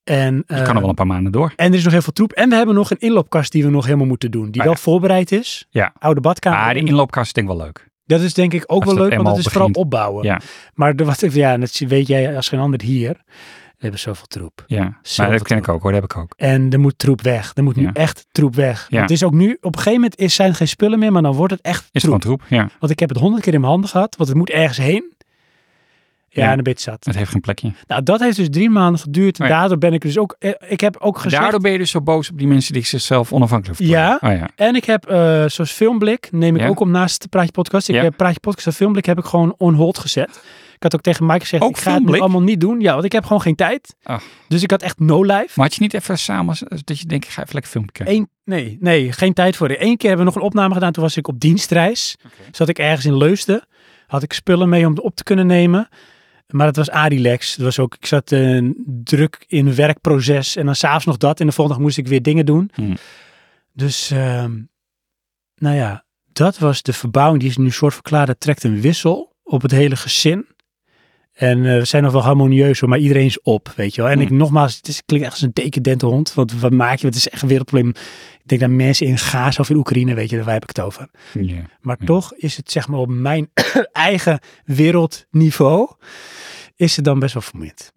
Speaker 2: En,
Speaker 3: Je
Speaker 2: eh,
Speaker 3: kan er wel een paar maanden door.
Speaker 2: en er is nog heel veel troep. En we hebben nog een inloopkast die we nog helemaal moeten doen. Die
Speaker 3: Ah,
Speaker 2: wel
Speaker 3: ja.
Speaker 2: voorbereid is.
Speaker 3: Ja.
Speaker 2: Oude badkamer.
Speaker 3: Maar de inloopkast is denk ik wel leuk.
Speaker 2: dat is denk ik ook
Speaker 3: Als
Speaker 2: wel
Speaker 3: dat
Speaker 2: leuk, want
Speaker 3: eenmaal
Speaker 2: dat is vooral
Speaker 3: begint.
Speaker 2: opbouwen.
Speaker 3: Ja.
Speaker 2: Maar de, wat, ik- ja, dat weet jij als geen ander hier. We hebben zoveel troep.
Speaker 3: Ja, maar dat
Speaker 2: Zelfde
Speaker 3: ken ik
Speaker 2: troep.
Speaker 3: ook hoor, dat heb ik ook.
Speaker 2: En er moet troep weg. Er moet nu
Speaker 3: Ja.
Speaker 2: echt troep weg.
Speaker 3: Ja.
Speaker 2: Want het is ook nu, op een gegeven moment is, zijn er geen spullen meer, maar dan wordt het echt
Speaker 3: Is
Speaker 2: troep.
Speaker 3: gewoon troep, ja.
Speaker 2: Want ik heb het honderd keer in mijn handen gehad, want het moet ergens heen. Ja,
Speaker 3: Ja.
Speaker 2: en een beetje zat.
Speaker 3: Het heeft geen plekje.
Speaker 2: Nou, dat heeft dus drie maanden geduurd. En
Speaker 3: Oh ja.
Speaker 2: daardoor ben ik dus ook... eh, Ik heb ook gezegd...
Speaker 3: Daardoor ben je dus zo boos op die mensen die zichzelf onafhankelijk
Speaker 2: Ja.
Speaker 3: verklaren. Oh ja.
Speaker 2: En ik heb, eh, zoals Filmblik, neem ik
Speaker 3: Ja.
Speaker 2: ook om naast de Praatje Podcast. Ik
Speaker 3: Ja.
Speaker 2: heb Praatje Podcast en Filmblik heb ik gewoon on hold gezet. Ik had ook tegen Mike gezegd,
Speaker 3: Ook
Speaker 2: ik ga het
Speaker 3: Filmblik? Ah.
Speaker 2: nu allemaal niet doen. Ja, want ik heb gewoon geen tijd.
Speaker 3: Ach.
Speaker 2: Dus ik had echt no life.
Speaker 3: Maar had je niet even samen, eh, dat je denkt, ik ga even lekker filmpje kijken?
Speaker 2: Eén, nee, nee, geen tijd voor. Eén keer hebben we nog een opname gedaan. Toen was ik op dienstreis.
Speaker 3: Oké.
Speaker 2: Zat ik ergens in Leusden. Had ik spullen mee om op te kunnen nemen. Maar dat was Adilex. Dat was ook, ik zat eh, druk in werkproces. En dan s'avonds nog dat. En de volgende dag moest ik weer dingen doen.
Speaker 3: Hmm.
Speaker 2: Dus, ehm, nou ja, dat was de verbouwing. Die is nu soort van klaar. Dat trekt een wissel op het hele gezin. En eh, we zijn nog wel harmonieus, hoor, maar iedereen is op, weet je wel. En
Speaker 3: Hmm.
Speaker 2: ik nogmaals, het is, klinkt echt als een decadente hond. Want wat maak je? Het is echt weer een probleem. Ik denk dat mensen in Gaza of in Oekraïne, weet je, daar heb ik het over.
Speaker 3: Ja.
Speaker 2: Maar toch is het zeg maar op mijn [CLEARS THROAT] eigen wereldniveau, is het dan best wel vermoeiend.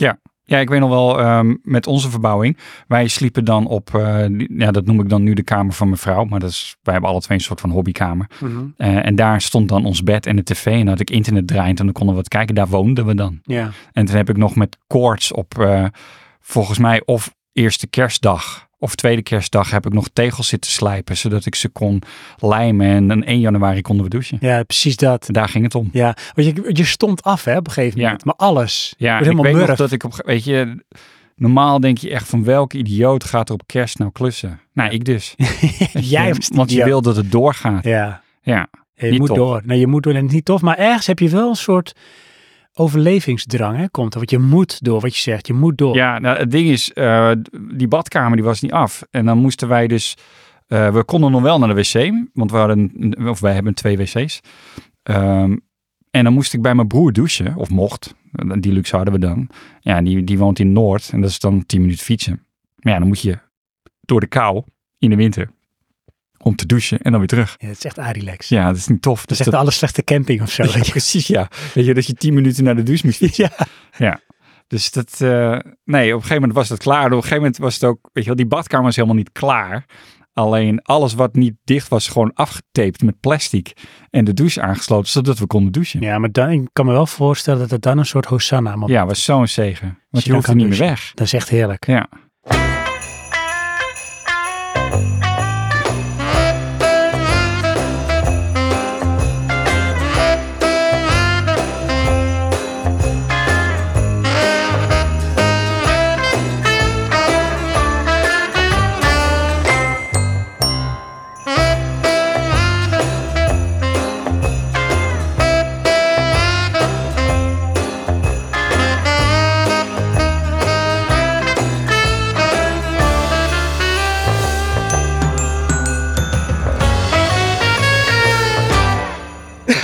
Speaker 3: Ja, ik weet nog wel, ehm, met onze verbouwing, wij sliepen dan op, eh, die- ja, dat noem ik dan nu de kamer van mijn vrouw, maar dat is, wij hebben alle twee een soort van hobbykamer. Eh, en daar stond dan ons bed en de tv en dan had ik internet draaiend en dan konden we wat kijken, daar woonden we dan.
Speaker 2: Ja.
Speaker 3: En toen heb ik nog met koorts op, eh, volgens mij, of eerste kerstdag of tweede kerstdag heb ik nog tegels zitten slijpen, zodat ik ze kon lijmen en dan 1 januari konden we douchen.
Speaker 2: Ja, precies dat.
Speaker 3: Daar ging het om.
Speaker 2: Ja, want je, je stond af hè, op een gegeven
Speaker 3: Ja.
Speaker 2: moment. Maar alles.
Speaker 3: Ja,
Speaker 2: Je werd
Speaker 3: ik
Speaker 2: helemaal
Speaker 3: weet nog
Speaker 2: murf.
Speaker 3: dat ik op, ge- weet je, normaal denk je echt van welke idioot gaat er op kerst nou klussen? Nou, ik dus. Weet
Speaker 2: [LAUGHS] [LAUGHS] Jij
Speaker 3: je,
Speaker 2: was die
Speaker 3: Want je
Speaker 2: idioot.
Speaker 3: wil dat het doorgaat.
Speaker 2: Ja.
Speaker 3: Ja.
Speaker 2: Ja, je
Speaker 3: Niet
Speaker 2: moet
Speaker 3: tof.
Speaker 2: door. Nee, je moet door. En het is niet tof. Maar ergens heb je wel een soort overlevingsdrang. Hè, komt er. Want je moet door wat je zegt. Je moet door.
Speaker 3: Ja, nou, het ding is, eh, die badkamer die was niet af. En dan moesten wij dus, eh, we konden nog wel naar de wc, want we hadden, een- of wij hebben twee wc's. Ehm, en dan moest ik bij mijn broer douchen, of mocht. Die luxe hadden we dan. Ja, die, die woont in Noord en dat is dan 10 minuten fietsen. Maar ja, dan moet je door de kou in de winter om te douchen en dan weer terug.
Speaker 2: Ja, het is echt Arilex.
Speaker 3: Ja, dat is niet tof.
Speaker 2: Dat
Speaker 3: Dus
Speaker 2: is echt de allerslechtste camping of zo.
Speaker 3: ja,
Speaker 2: weet je.
Speaker 3: precies, ja. Weet je, dat je tien minuten naar de douche moest fietsen.
Speaker 2: [LAUGHS] Ja.
Speaker 3: ja. Dus dat, eh, nee, op een gegeven moment was dat klaar. Op een gegeven moment was het ook, weet je wel, die badkamer was helemaal niet klaar. Alleen alles wat niet dicht was, gewoon afgetaped met plastic. En de douche aangesloten, zodat we konden douchen. Ja,
Speaker 2: Ja, maar dan, ik kan me wel voorstellen dat het dan een soort hosanna moment
Speaker 3: was zo'n zegen. Want
Speaker 2: je
Speaker 3: je,
Speaker 2: dan
Speaker 3: hoefde
Speaker 2: kan
Speaker 3: niet meer
Speaker 2: douchen.
Speaker 3: weg.
Speaker 2: Dat is echt
Speaker 3: [LAUGHS]
Speaker 2: heerlijk.
Speaker 3: Ja.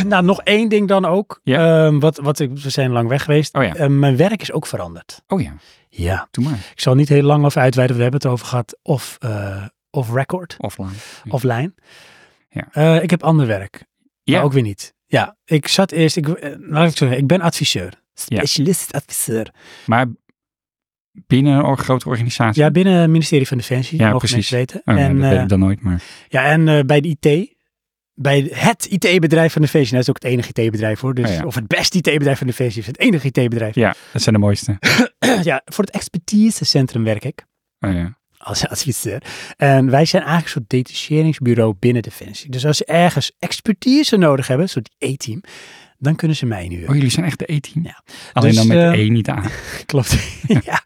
Speaker 2: Nou, nog één ding dan ook.
Speaker 3: Ja.
Speaker 2: Ehm, wat, wat ik, we zijn lang weg geweest.
Speaker 3: Oh ja.
Speaker 2: Ehm, mijn werk is ook veranderd.
Speaker 3: Oh ja,
Speaker 2: Ja.
Speaker 3: doe maar.
Speaker 2: Ik zal niet heel lang over uitweiden. We hebben het over gehad of, eh of record,
Speaker 3: Offline.
Speaker 2: offline.
Speaker 3: Ja.
Speaker 2: Eh, ik heb ander werk.
Speaker 3: Ja.
Speaker 2: Maar ook weer niet. Ja, ik zat eerst, ik, eh, laat ik het zo zeggen, ik ben adviseur.
Speaker 3: Ja.
Speaker 2: Specialist adviseur.
Speaker 3: Maar binnen een or- grote organisatie.
Speaker 2: Ja, binnen het ministerie van Defensie.
Speaker 3: Ja,
Speaker 2: mogen
Speaker 3: precies.
Speaker 2: Mensen weten.
Speaker 3: Oh, ja,
Speaker 2: en,
Speaker 3: dat weet
Speaker 2: eh,
Speaker 3: ik dan nooit, maar
Speaker 2: Ja, en eh, bij de IT, bij het IT-bedrijf van de VC, dat is ook het enige IT-bedrijf hoor, dus,
Speaker 3: Oh ja.
Speaker 2: of het beste IT-bedrijf van de VC, is het enige IT-bedrijf.
Speaker 3: ja, dat zijn de mooiste.
Speaker 2: Ja. voor het expertisecentrum werk ik
Speaker 3: Oh, ja.
Speaker 2: als [LAUGHS] adviseur. En wij zijn eigenlijk een soort detacheringsbureau binnen Defensie. Dus als ze ergens expertise nodig hebben, een soort E-team, dan kunnen ze mij nu.
Speaker 3: oh, jullie zijn echt de E-team.
Speaker 2: Ja.
Speaker 3: Alleen
Speaker 2: Dus,
Speaker 3: dan met
Speaker 2: eh,
Speaker 3: E niet aan.
Speaker 2: [LAUGHS] Klopt. [LAUGHS] ja.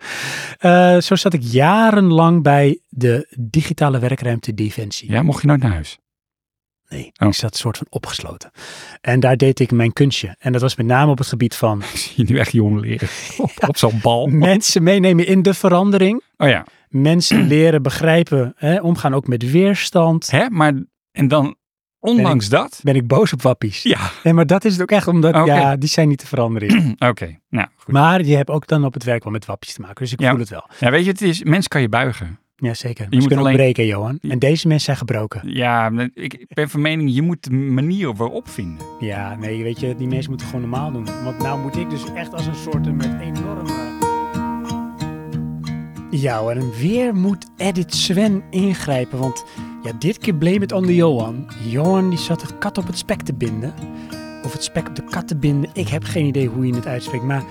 Speaker 2: Eh, zo zat ik jarenlang bij de digitale werkruimte Defensie.
Speaker 3: Ja, mocht je nooit naar huis?
Speaker 2: Nee,
Speaker 3: Oh.
Speaker 2: ik zat soort van opgesloten. En daar deed ik mijn kunstje. En dat was met name op het gebied van
Speaker 3: Ik zie nu echt jong
Speaker 2: [LAUGHS]
Speaker 3: leren. Op, op zo'n bal.
Speaker 2: mensen meenemen in de verandering.
Speaker 3: Oh ja.
Speaker 2: Mensen [CLEARS THROAT] leren begrijpen, hè, omgaan ook met weerstand.
Speaker 3: Hè? Maar, en dan, ondanks dat?
Speaker 2: Ben ik boos op wappies?
Speaker 3: Ja.
Speaker 2: Nee, maar dat is het ook echt, omdat
Speaker 3: Oké.
Speaker 2: ja, die zijn niet te veranderen.
Speaker 3: [CLEARS THROAT] Oké, nou goed.
Speaker 2: Maar je hebt ook dan op het werk wel met wappies te maken. Dus ik
Speaker 3: Ja.
Speaker 2: voel het wel.
Speaker 3: Ja, weet je, het is, mens kan je buigen.
Speaker 2: Jazeker.
Speaker 3: moet
Speaker 2: Ze kunnen ook
Speaker 3: alleen-
Speaker 2: breken, Johan. En deze mensen zijn gebroken.
Speaker 3: Ja, ik ik ben van mening, je moet de manier waarop vinden.
Speaker 2: Ja, nee, weet je, die mensen moeten gewoon normaal doen. Want nou moet ik dus echt als een soort eh, met enorme... Ja hoor, en weer moet Edit Sven ingrijpen, want ja, dit keer bleef het aan de Johan. Johan die zat de kat op het spek te binden. Of het spek op de kat te binden. Ik heb geen idee hoe je het uitspreekt, maar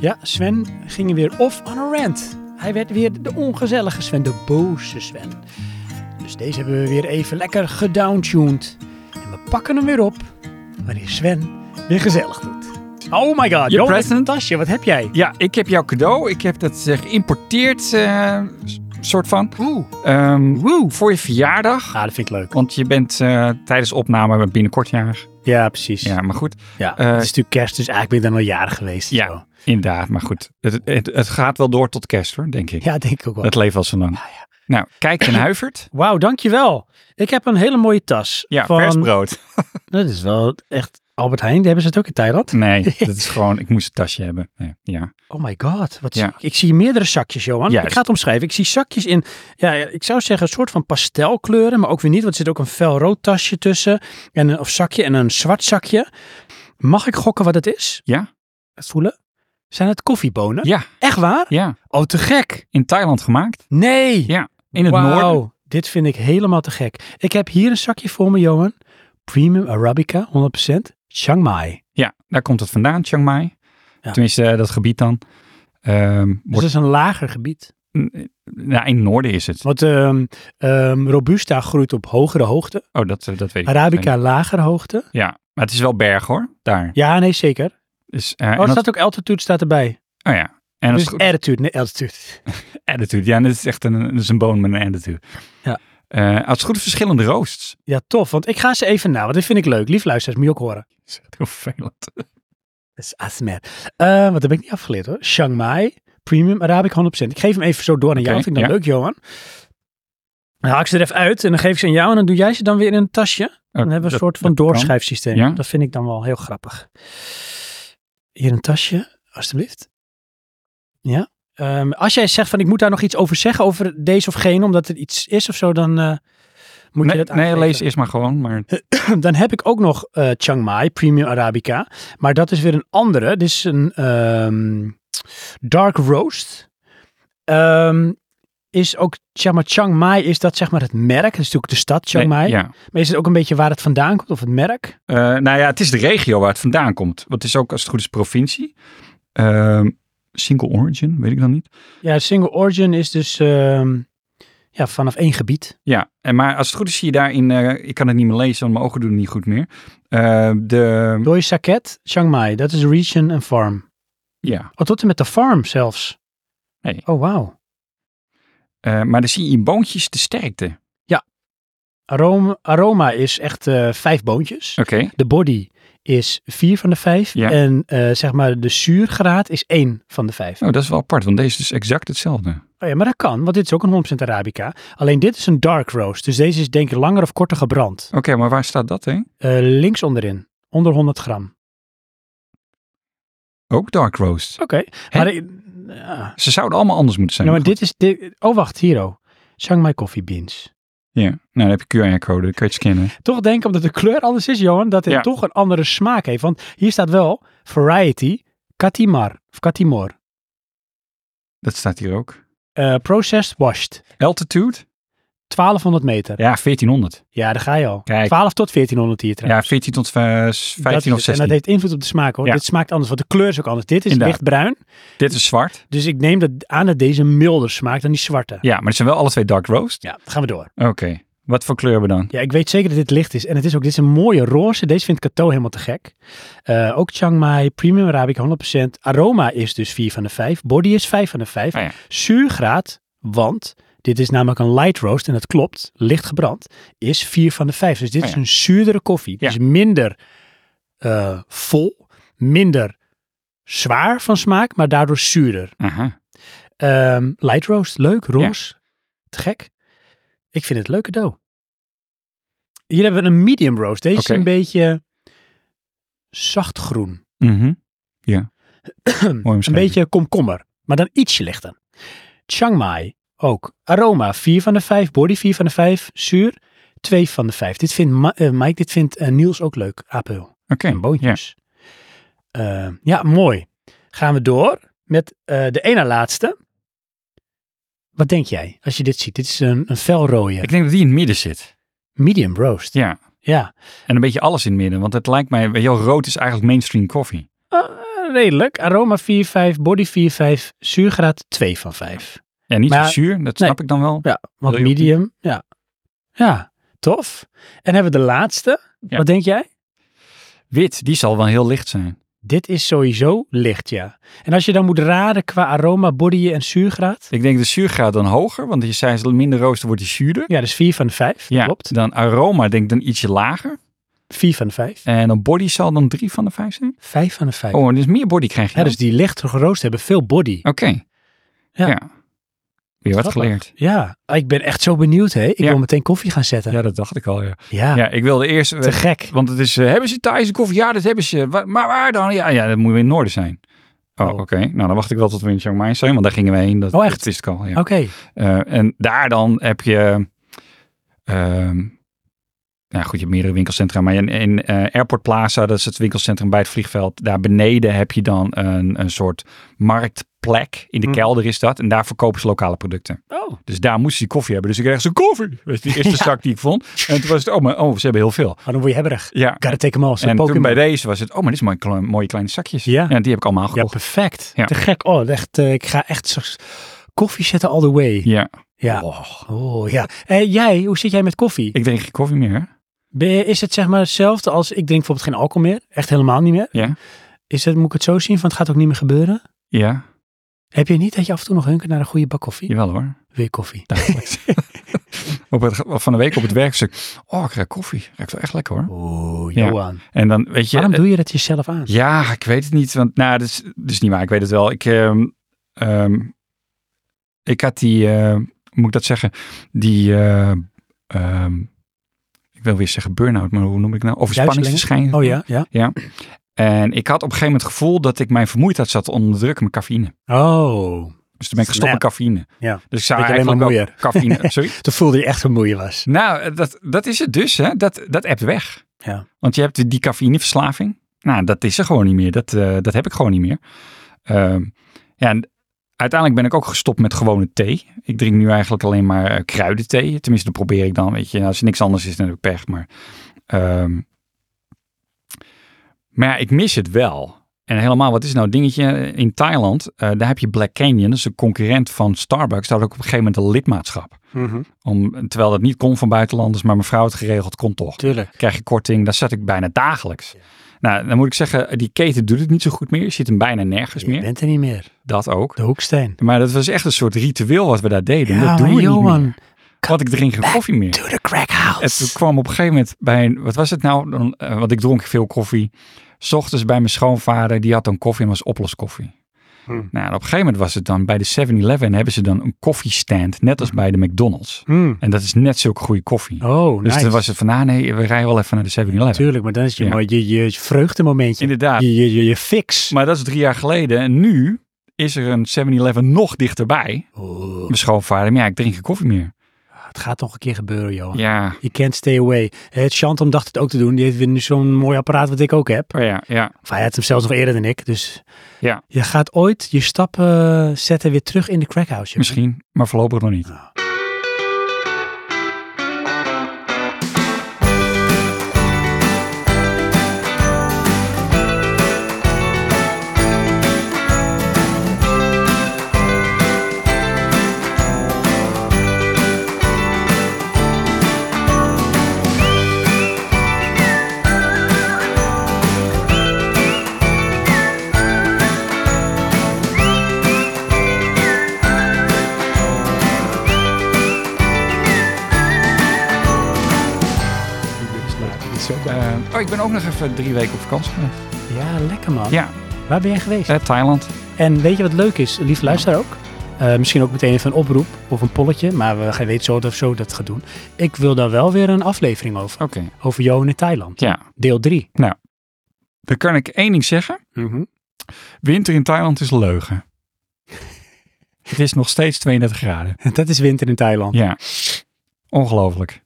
Speaker 2: ja, Sven ging er weer off on a rant. Hij werd weer de ongezellige Sven, de boze Sven. Dus deze hebben we weer even lekker gedowntuned. En we pakken hem weer op wanneer Sven weer gezellig doet. Oh my god, Johan,
Speaker 3: present?
Speaker 2: tasje, wat heb jij?
Speaker 3: Ja, ik heb jouw cadeau. Ik heb dat eh, geïmporteerd, eh, s- soort van.
Speaker 2: Oeh.
Speaker 3: Ehm, Voor je verjaardag.
Speaker 2: Ah, dat vind ik leuk.
Speaker 3: Want je bent eh, tijdens opname binnenkort jarig.
Speaker 2: Ja, precies.
Speaker 3: Ja, maar goed.
Speaker 2: Ja,
Speaker 3: Eh,
Speaker 2: het is natuurlijk kerst, dus eigenlijk ben ik dan al jaren geweest.
Speaker 3: Ja.
Speaker 2: Zo.
Speaker 3: Inderdaad, maar goed. Het, het, het gaat wel door tot kerst hoor, denk ik.
Speaker 2: ja, denk ik ook wel.
Speaker 3: Het leeft al zo lang.
Speaker 2: ja.
Speaker 3: Nou, kijk
Speaker 2: [CLEARS THROAT]
Speaker 3: en huivert.
Speaker 2: Wauw, dankjewel. Ik heb een hele mooie tas.
Speaker 3: Ja,
Speaker 2: van...
Speaker 3: persbrood.
Speaker 2: Dat is wel echt Albert Heijn, hebben ze het ook in Thailand? [LAUGHS]
Speaker 3: Nee, dat is gewoon, ik moest een tasje hebben. Nee, ja.
Speaker 2: Oh my god. Wat
Speaker 3: Ja.
Speaker 2: ik zie meerdere zakjes, Johan.
Speaker 3: Juist.
Speaker 2: Ik ga het omschrijven. Ik zie zakjes in, ja, ja, ik zou zeggen een soort van pastelkleuren, maar ook weer niet, want er zit ook een felrood tasje tussen. En een, of zakje en een zwart zakje. Mag ik gokken wat het is?
Speaker 3: Ja?
Speaker 2: Het voelen? Zijn het koffiebonen?
Speaker 3: Ja,
Speaker 2: Echt waar?
Speaker 3: ja.
Speaker 2: Oh, te gek.
Speaker 3: In Thailand gemaakt.
Speaker 2: Nee.
Speaker 3: Ja, in het
Speaker 2: Wauw,
Speaker 3: noorden.
Speaker 2: dit vind ik helemaal te gek. Ik heb hier een zakje voor me, Johan. Premium Arabica, 100%. Chiang Mai.
Speaker 3: Ja, daar komt het vandaan, Chiang Mai.
Speaker 2: Ja.
Speaker 3: Tenminste, eh, dat gebied dan. Ehm
Speaker 2: Dus dat
Speaker 3: wordt,
Speaker 2: is een lager gebied.
Speaker 3: nou, in het noorden is het.
Speaker 2: Want ehm, ehm, Robusta groeit op hogere hoogte.
Speaker 3: Oh, dat, eh, dat weet ik
Speaker 2: Arabica lagere hoogte.
Speaker 3: Ja, maar het is wel berg hoor, daar.
Speaker 2: Ja, nee, zeker.
Speaker 3: Dus, eh, en
Speaker 2: Oh, er
Speaker 3: dat-
Speaker 2: staat ook altitude staat erbij.
Speaker 3: oh ja. En dat
Speaker 2: Dus
Speaker 3: is goed.
Speaker 2: altitude, nee, altitude.
Speaker 3: attitude. Ja, dit is echt een, dat is een boon met een attitude.
Speaker 2: Ja.
Speaker 3: Eh, als het goed is, verschillende roasts.
Speaker 2: Ja, tof. Want ik ga ze even na, want dit vind ik leuk. Lief luisteraars, moet je ook horen.
Speaker 3: Dat is echt [LAUGHS] heel vervelend.
Speaker 2: Dat is Asmer. Eh, want dat heb ik niet afgeleerd hoor. Chiang Mai, Premium Arabic 100%. Ik geef hem even zo door aan jou.
Speaker 3: Oké,
Speaker 2: vind ik dat
Speaker 3: ja.
Speaker 2: leuk, Johan. Dan haak ik ze er even uit en dan geef ik ze aan jou en dan doe jij ze dan weer in een tasje. Dan hebben we een soort van doorschrijfsysteem.
Speaker 3: Ja.
Speaker 2: Dat vind ik dan wel heel grappig. Hier een tasje, alstublieft. Ja. Ehm, als jij zegt van ik moet daar nog iets over zeggen, over deze of gene, omdat er iets is of zo, dan eh, moet
Speaker 3: Nee,
Speaker 2: je dat
Speaker 3: nee,
Speaker 2: aangeven.
Speaker 3: lees eerst maar gewoon. Maar
Speaker 2: Dan heb ik ook nog eh Chiang Mai, Premium Arabica. Maar dat is weer een andere. Dit is een ehm, Dark Roast. Ehm, is ook, zeg maar, Chiang Mai is dat zeg maar het merk. Dat is natuurlijk de stad Chiang
Speaker 3: Nee,
Speaker 2: Mai.
Speaker 3: Ja.
Speaker 2: Maar is het ook een beetje waar het vandaan komt of het merk?
Speaker 3: Eh, nou ja, het is de regio waar het vandaan komt. Want het is ook, als het goed is, provincie. Ehm, single origin, weet ik dan niet.
Speaker 2: Ja, single origin is dus ehm, ja, vanaf één gebied.
Speaker 3: Ja, en maar als het goed is, zie je daarin. eh, ik kan het niet meer lezen, want mijn ogen doen het niet goed meer. Eh, de,
Speaker 2: Doi Saket, Chiang Mai, dat is region en farm.
Speaker 3: ja,
Speaker 2: Oh, tot en met de farm zelfs.
Speaker 3: Nee.
Speaker 2: Oh, wauw.
Speaker 3: eh, maar dan zie je in boontjes de sterkte. Oké.
Speaker 2: Aroma, aroma is echt eh, vijf boontjes. De body is vier van de vijf.
Speaker 3: Ja.
Speaker 2: En eh, zeg maar de zuurgraad is één van de vijf.
Speaker 3: Nou, dat is wel apart, want deze is dus exact hetzelfde.
Speaker 2: Oh ja, maar dat kan, want dit is ook een 100% Arabica. Alleen dit is een dark roast. Dus deze is denk ik langer of korter gebrand.
Speaker 3: Oké, maar waar staat dat heen?
Speaker 2: Eh, links onderin, onder 100 gram.
Speaker 3: Ook dark roast.
Speaker 2: Oké. Maar ik- ja.
Speaker 3: Ze zouden allemaal anders moeten zijn.
Speaker 2: Nou, maar dit is... Dit, oh, wacht, hier oh. Chiang Mai Coffee Beans.
Speaker 3: Ja, nou dan heb je QR-code, dan kun je het scannen.
Speaker 2: Toch denk ik, omdat de kleur anders is, Johan, dat het
Speaker 3: Ja.
Speaker 2: toch een andere smaak heeft. Want hier staat wel Variety Katimar. Of Katimor.
Speaker 3: Dat staat hier ook.
Speaker 2: Eh, processed washed.
Speaker 3: Altitude?
Speaker 2: 1200 meter. Ja,
Speaker 3: Ja, 1400.
Speaker 2: daar ga je al.
Speaker 3: Kijk.
Speaker 2: 12 tot 1400 hier
Speaker 3: Ja,
Speaker 2: trouwens.
Speaker 3: 14 tot eh, 15
Speaker 2: Dat
Speaker 3: of
Speaker 2: is het. En
Speaker 3: 16.
Speaker 2: dat heeft invloed op de smaak hoor.
Speaker 3: Ja.
Speaker 2: Dit smaakt anders, want de kleur is ook anders. Dit is
Speaker 3: Inderdaad.
Speaker 2: lichtbruin.
Speaker 3: Dit is zwart.
Speaker 2: Dus ik neem dat aan dat deze milder smaakt dan die zwarte.
Speaker 3: Ja, maar het zijn wel alle twee dark roast.
Speaker 2: Ja, gaan we door.
Speaker 3: Oké. Wat voor kleur hebben we dan?
Speaker 2: Ja, ik weet zeker dat dit licht is. En het is ook, dit is een mooie roze. Deze vindt Cato helemaal te gek. Eh, ook Chiang Mai, Premium Arabic 100%. Aroma is dus 4 van de 5. Body is 5 van de 5.
Speaker 3: Ah ja.
Speaker 2: Zuurgraad, want dit is namelijk een light roast. En dat klopt, licht gebrand, is 4 van de 5. Dus dit
Speaker 3: Ah
Speaker 2: is
Speaker 3: ja.
Speaker 2: een zuurdere koffie.
Speaker 3: Ja.
Speaker 2: Dus minder eh, vol, minder zwaar van smaak, maar daardoor zuurder.
Speaker 3: Aha.
Speaker 2: Ehm, light roast, leuk, roze. Te gek. Ik vind het een leuk cadeau. Hier hebben we een medium roast. Deze
Speaker 3: Oké.
Speaker 2: is een beetje zacht groen.
Speaker 3: Mhm. Ja. Mooi
Speaker 2: een
Speaker 3: omschreven.
Speaker 2: beetje komkommer, maar dan ietsje lichter. Chiang Mai ook. Aroma 4 van de 5, body 4 van de 5, zuur 2 van de 5. Dit vindt Ma- eh, Mike, dit vindt eh, Niels ook leuk. Apel.
Speaker 3: Oké.
Speaker 2: en boontjes. Eh, ja, mooi. Gaan we door met eh, de ene laatste. Wat denk jij als je dit ziet? Dit is een, een felrode
Speaker 3: Ik denk dat die in het midden zit.
Speaker 2: medium roast.
Speaker 3: Ja.
Speaker 2: Ja,
Speaker 3: En een beetje alles in het midden. Want het lijkt mij, weet je wel, rood is eigenlijk mainstream koffie.
Speaker 2: Eh, redelijk. Aroma 4,5, body 4,5, zuurgraad 2 van 5.
Speaker 3: Ja, niet
Speaker 2: Maar-
Speaker 3: zo zuur. Dat
Speaker 2: nee.
Speaker 3: snap ik dan wel.
Speaker 2: Ja, want
Speaker 3: Wil je ook
Speaker 2: medium, ja. Ja, tof. En hebben we de laatste.
Speaker 3: Ja.
Speaker 2: Wat denk jij?
Speaker 3: Wit, die zal wel heel licht zijn.
Speaker 2: Dit is sowieso licht, ja. En als je dan moet raden qua aroma, body en zuurgraad.
Speaker 3: Ik denk de zuurgraad dan hoger. Want je zei, als er minder rooster wordt die zuurder.
Speaker 2: Ja, dus 4 van de 5.
Speaker 3: Ja,
Speaker 2: Klopt.
Speaker 3: dan aroma denk ik dan ietsje lager.
Speaker 2: 4 van de 5.
Speaker 3: En dan body zal dan drie van de vijf zijn.
Speaker 2: 5 van de 5.
Speaker 3: Oh, dus meer body krijg je
Speaker 2: Ja,
Speaker 3: dan.
Speaker 2: dus die lichter geroost hebben veel body.
Speaker 3: Oké.
Speaker 2: Ja.
Speaker 3: Ja. Weer wat
Speaker 2: Grappig.
Speaker 3: geleerd.
Speaker 2: Ja, ik ben echt zo benieuwd, hè. Ik
Speaker 3: Ja.
Speaker 2: wil meteen koffie gaan zetten. Ja,
Speaker 3: Ja, dat dacht ik al. Ja, ja ik wilde eerst.
Speaker 2: te gek.
Speaker 3: Want het is, eh, hebben ze Thaise koffie? Ja, dat hebben ze. Wa- Maar waar dan? Ja, ja dat moet weer in het noorden zijn. Oh,
Speaker 2: Oh.
Speaker 3: oké. Nou, dan wacht ik wel tot we in Chiang Mai zijn, want daar gingen we heen. Dat,
Speaker 2: Oh, echt?
Speaker 3: Dat wist ik al, ja.
Speaker 2: Oké.
Speaker 3: Eh, en daar dan heb je... ehm nou goed, je hebt meerdere winkelcentra. Maar in, in eh, Airport Plaza, dat is het winkelcentrum bij het vliegveld. Daar beneden heb je dan een, een soort marktplek. In de
Speaker 2: Hm.
Speaker 3: kelder is dat. En daar verkopen ze lokale producten.
Speaker 2: Oh,
Speaker 3: Dus daar moest ze die koffie hebben. Dus ik kreeg zo'n koffie. Dat was die
Speaker 2: [LAUGHS]
Speaker 3: eerste zak die ik vond. En toen was het, oh, maar, oh ze hebben heel veel.
Speaker 2: maar dan word je hebberig.
Speaker 3: Ja.
Speaker 2: Gotta take them all. Zo'n
Speaker 3: En toen
Speaker 2: Pokémon.
Speaker 3: bij deze was het, oh, maar dit is mooi, kle- mooie kleine zakjes.
Speaker 2: Ja.
Speaker 3: die heb ik allemaal
Speaker 2: Ja,
Speaker 3: gekocht.
Speaker 2: perfect.
Speaker 3: Ja.
Speaker 2: Te gek. Oh, echt, eh, ik ga echt straks koffie zetten all the way.
Speaker 3: Ja.
Speaker 2: Ja.
Speaker 3: Oh,
Speaker 2: Oh, ja. En jij, hoe zit jij met koffie?
Speaker 3: ik drink geen koffie meer. hè?
Speaker 2: Ben je- is het zeg maar hetzelfde als, ik drink bijvoorbeeld geen alcohol meer. Echt helemaal niet meer.
Speaker 3: Ja.
Speaker 2: Is het, moet ik het zo zien, van het gaat ook niet meer gebeuren?
Speaker 3: Ja,
Speaker 2: Heb je niet dat je af en toe nog hunkert naar een goede bak koffie?
Speaker 3: jawel hoor.
Speaker 2: Weer koffie.
Speaker 3: Dagelijks. op het, van de week op het werkstuk. Oh, ik ruik koffie. Ruikt wel echt lekker hoor.
Speaker 2: Oeh,
Speaker 3: Ja.
Speaker 2: Oh, Johan.
Speaker 3: En dan, weet je...
Speaker 2: Waarom
Speaker 3: eh,
Speaker 2: doe je dat jezelf aan?
Speaker 3: Ja, ik weet het niet. Want, nou, dat is, dat is niet waar. Ik weet het wel. Ik, ehm, ehm, ik had die, eh, hoe moet ik dat zeggen? Die, eh, ehm, ik wil weer zeggen burn-out, maar hoe noem ik nou? Overspanningsverschijnsel.
Speaker 2: Oh ja, ja.
Speaker 3: En ik had op een gegeven moment het gevoel dat ik mijn vermoeidheid zat te onderdrukken met cafeïne.
Speaker 2: Oh.
Speaker 3: Dus toen ben ik gestopt
Speaker 2: Snap.
Speaker 3: met cafeïne.
Speaker 2: Ja.
Speaker 3: Dus ik zou
Speaker 2: Dat je alleen
Speaker 3: eigenlijk
Speaker 2: maar
Speaker 3: wel cafeïne...
Speaker 2: [LAUGHS]
Speaker 3: Sorry?
Speaker 2: Toen voelde je echt hoe moe je was.
Speaker 3: Nou, dat, dat is het dus. Hè. Dat, dat appt weg.
Speaker 2: Ja.
Speaker 3: Want je hebt die cafeïneverslaving. Nou, dat is er gewoon niet meer. Dat, eh, dat heb ik gewoon niet meer. Ehm, ja, en uiteindelijk ben ik ook gestopt met gewone thee. Ik drink nu eigenlijk alleen maar eh, kruidenthee. Tenminste, dat probeer ik dan. Weet je, als er niks anders is, dan heb ik pech. Maar, ehm, maar ja, ik mis het wel. En helemaal, wat is nou het dingetje in Thailand? eh, daar heb je Black Canyon, dat is een concurrent van Starbucks. Daar had ik op een gegeven moment een lidmaatschap.
Speaker 2: Mhm.
Speaker 3: Om, terwijl dat niet kon van buitenlanders, maar mevrouw het geregeld kon toch.
Speaker 2: Tuurlijk.
Speaker 3: Krijg je korting, daar zat ik bijna dagelijks. Nou, dan moet ik zeggen, die keten doet het niet zo goed meer. Je zit hem bijna nergens
Speaker 2: Je
Speaker 3: meer.
Speaker 2: bent er niet meer.
Speaker 3: Dat ook.
Speaker 2: De hoeksteen.
Speaker 3: Maar dat was echt een soort ritueel wat we daar deden. dat doen
Speaker 2: maar
Speaker 3: we niet
Speaker 2: Johan,
Speaker 3: meer. Want ik drink geen koffie meer.
Speaker 2: to the crack
Speaker 3: En toen
Speaker 2: house.
Speaker 3: kwam op een gegeven moment bij een, wat was het nou? Dan, eh, want ik dronk veel koffie. 's ochtends bij mijn schoonvader, die had dan koffie en was oploskoffie.
Speaker 2: Hmm.
Speaker 3: Nou, en op een gegeven moment was het dan bij de 7-Eleven hebben ze dan een koffiestand, net
Speaker 2: Hm.
Speaker 3: als bij de McDonald's.
Speaker 2: Mm.
Speaker 3: En dat is net zulke goede koffie.
Speaker 2: Oh,
Speaker 3: dus
Speaker 2: nice.
Speaker 3: toen was het van, ah nee, we rijden wel even naar de 7-Eleven.
Speaker 2: Tuurlijk, maar dan is je,
Speaker 3: Ja.
Speaker 2: mooi je, je vreugdemomentje.
Speaker 3: Inderdaad.
Speaker 2: Je, je, je, je fix.
Speaker 3: Maar dat is drie jaar geleden. En nu is er een 7-Eleven nog dichterbij.
Speaker 2: Oh. Oeh,
Speaker 3: Mijn schoonvader, maar ja, ik drink geen koffie meer.
Speaker 2: het gaat nog een keer gebeuren, Johan.
Speaker 3: Ja,
Speaker 2: You can't stay away. Het Chantam dacht het ook te doen. Die heeft weer nu zo'n mooi apparaat wat ik ook heb.
Speaker 3: oh ja, ja.
Speaker 2: Of hij had hem zelfs nog eerder dan ik. Dus
Speaker 3: Ja.
Speaker 2: je gaat ooit je stappen zetten weer terug in de crackhouse. Johan.
Speaker 3: Misschien, maar voorlopig nog niet.
Speaker 2: Oh.
Speaker 3: Eh, oh, ik ben ook nog even drie weken op vakantie geweest.
Speaker 2: Ja, lekker man.
Speaker 3: Ja,
Speaker 2: Waar ben je geweest?
Speaker 3: eh, Thailand.
Speaker 2: En weet je wat leuk is, lief luisteraar ook? Eh, misschien ook meteen even een oproep of een polletje, maar we gaan weten zo of zo dat gaat doen. Ik wil daar wel weer een aflevering over.
Speaker 3: Oké,
Speaker 2: Over Johan in Thailand.
Speaker 3: ja.
Speaker 2: Deel 3.
Speaker 3: Dan kan ik één ding zeggen. Winter in Thailand is leugen. Het is nog steeds 32 graden.
Speaker 2: [LAUGHS] Dat is winter in Thailand.
Speaker 3: Ja, ongelooflijk.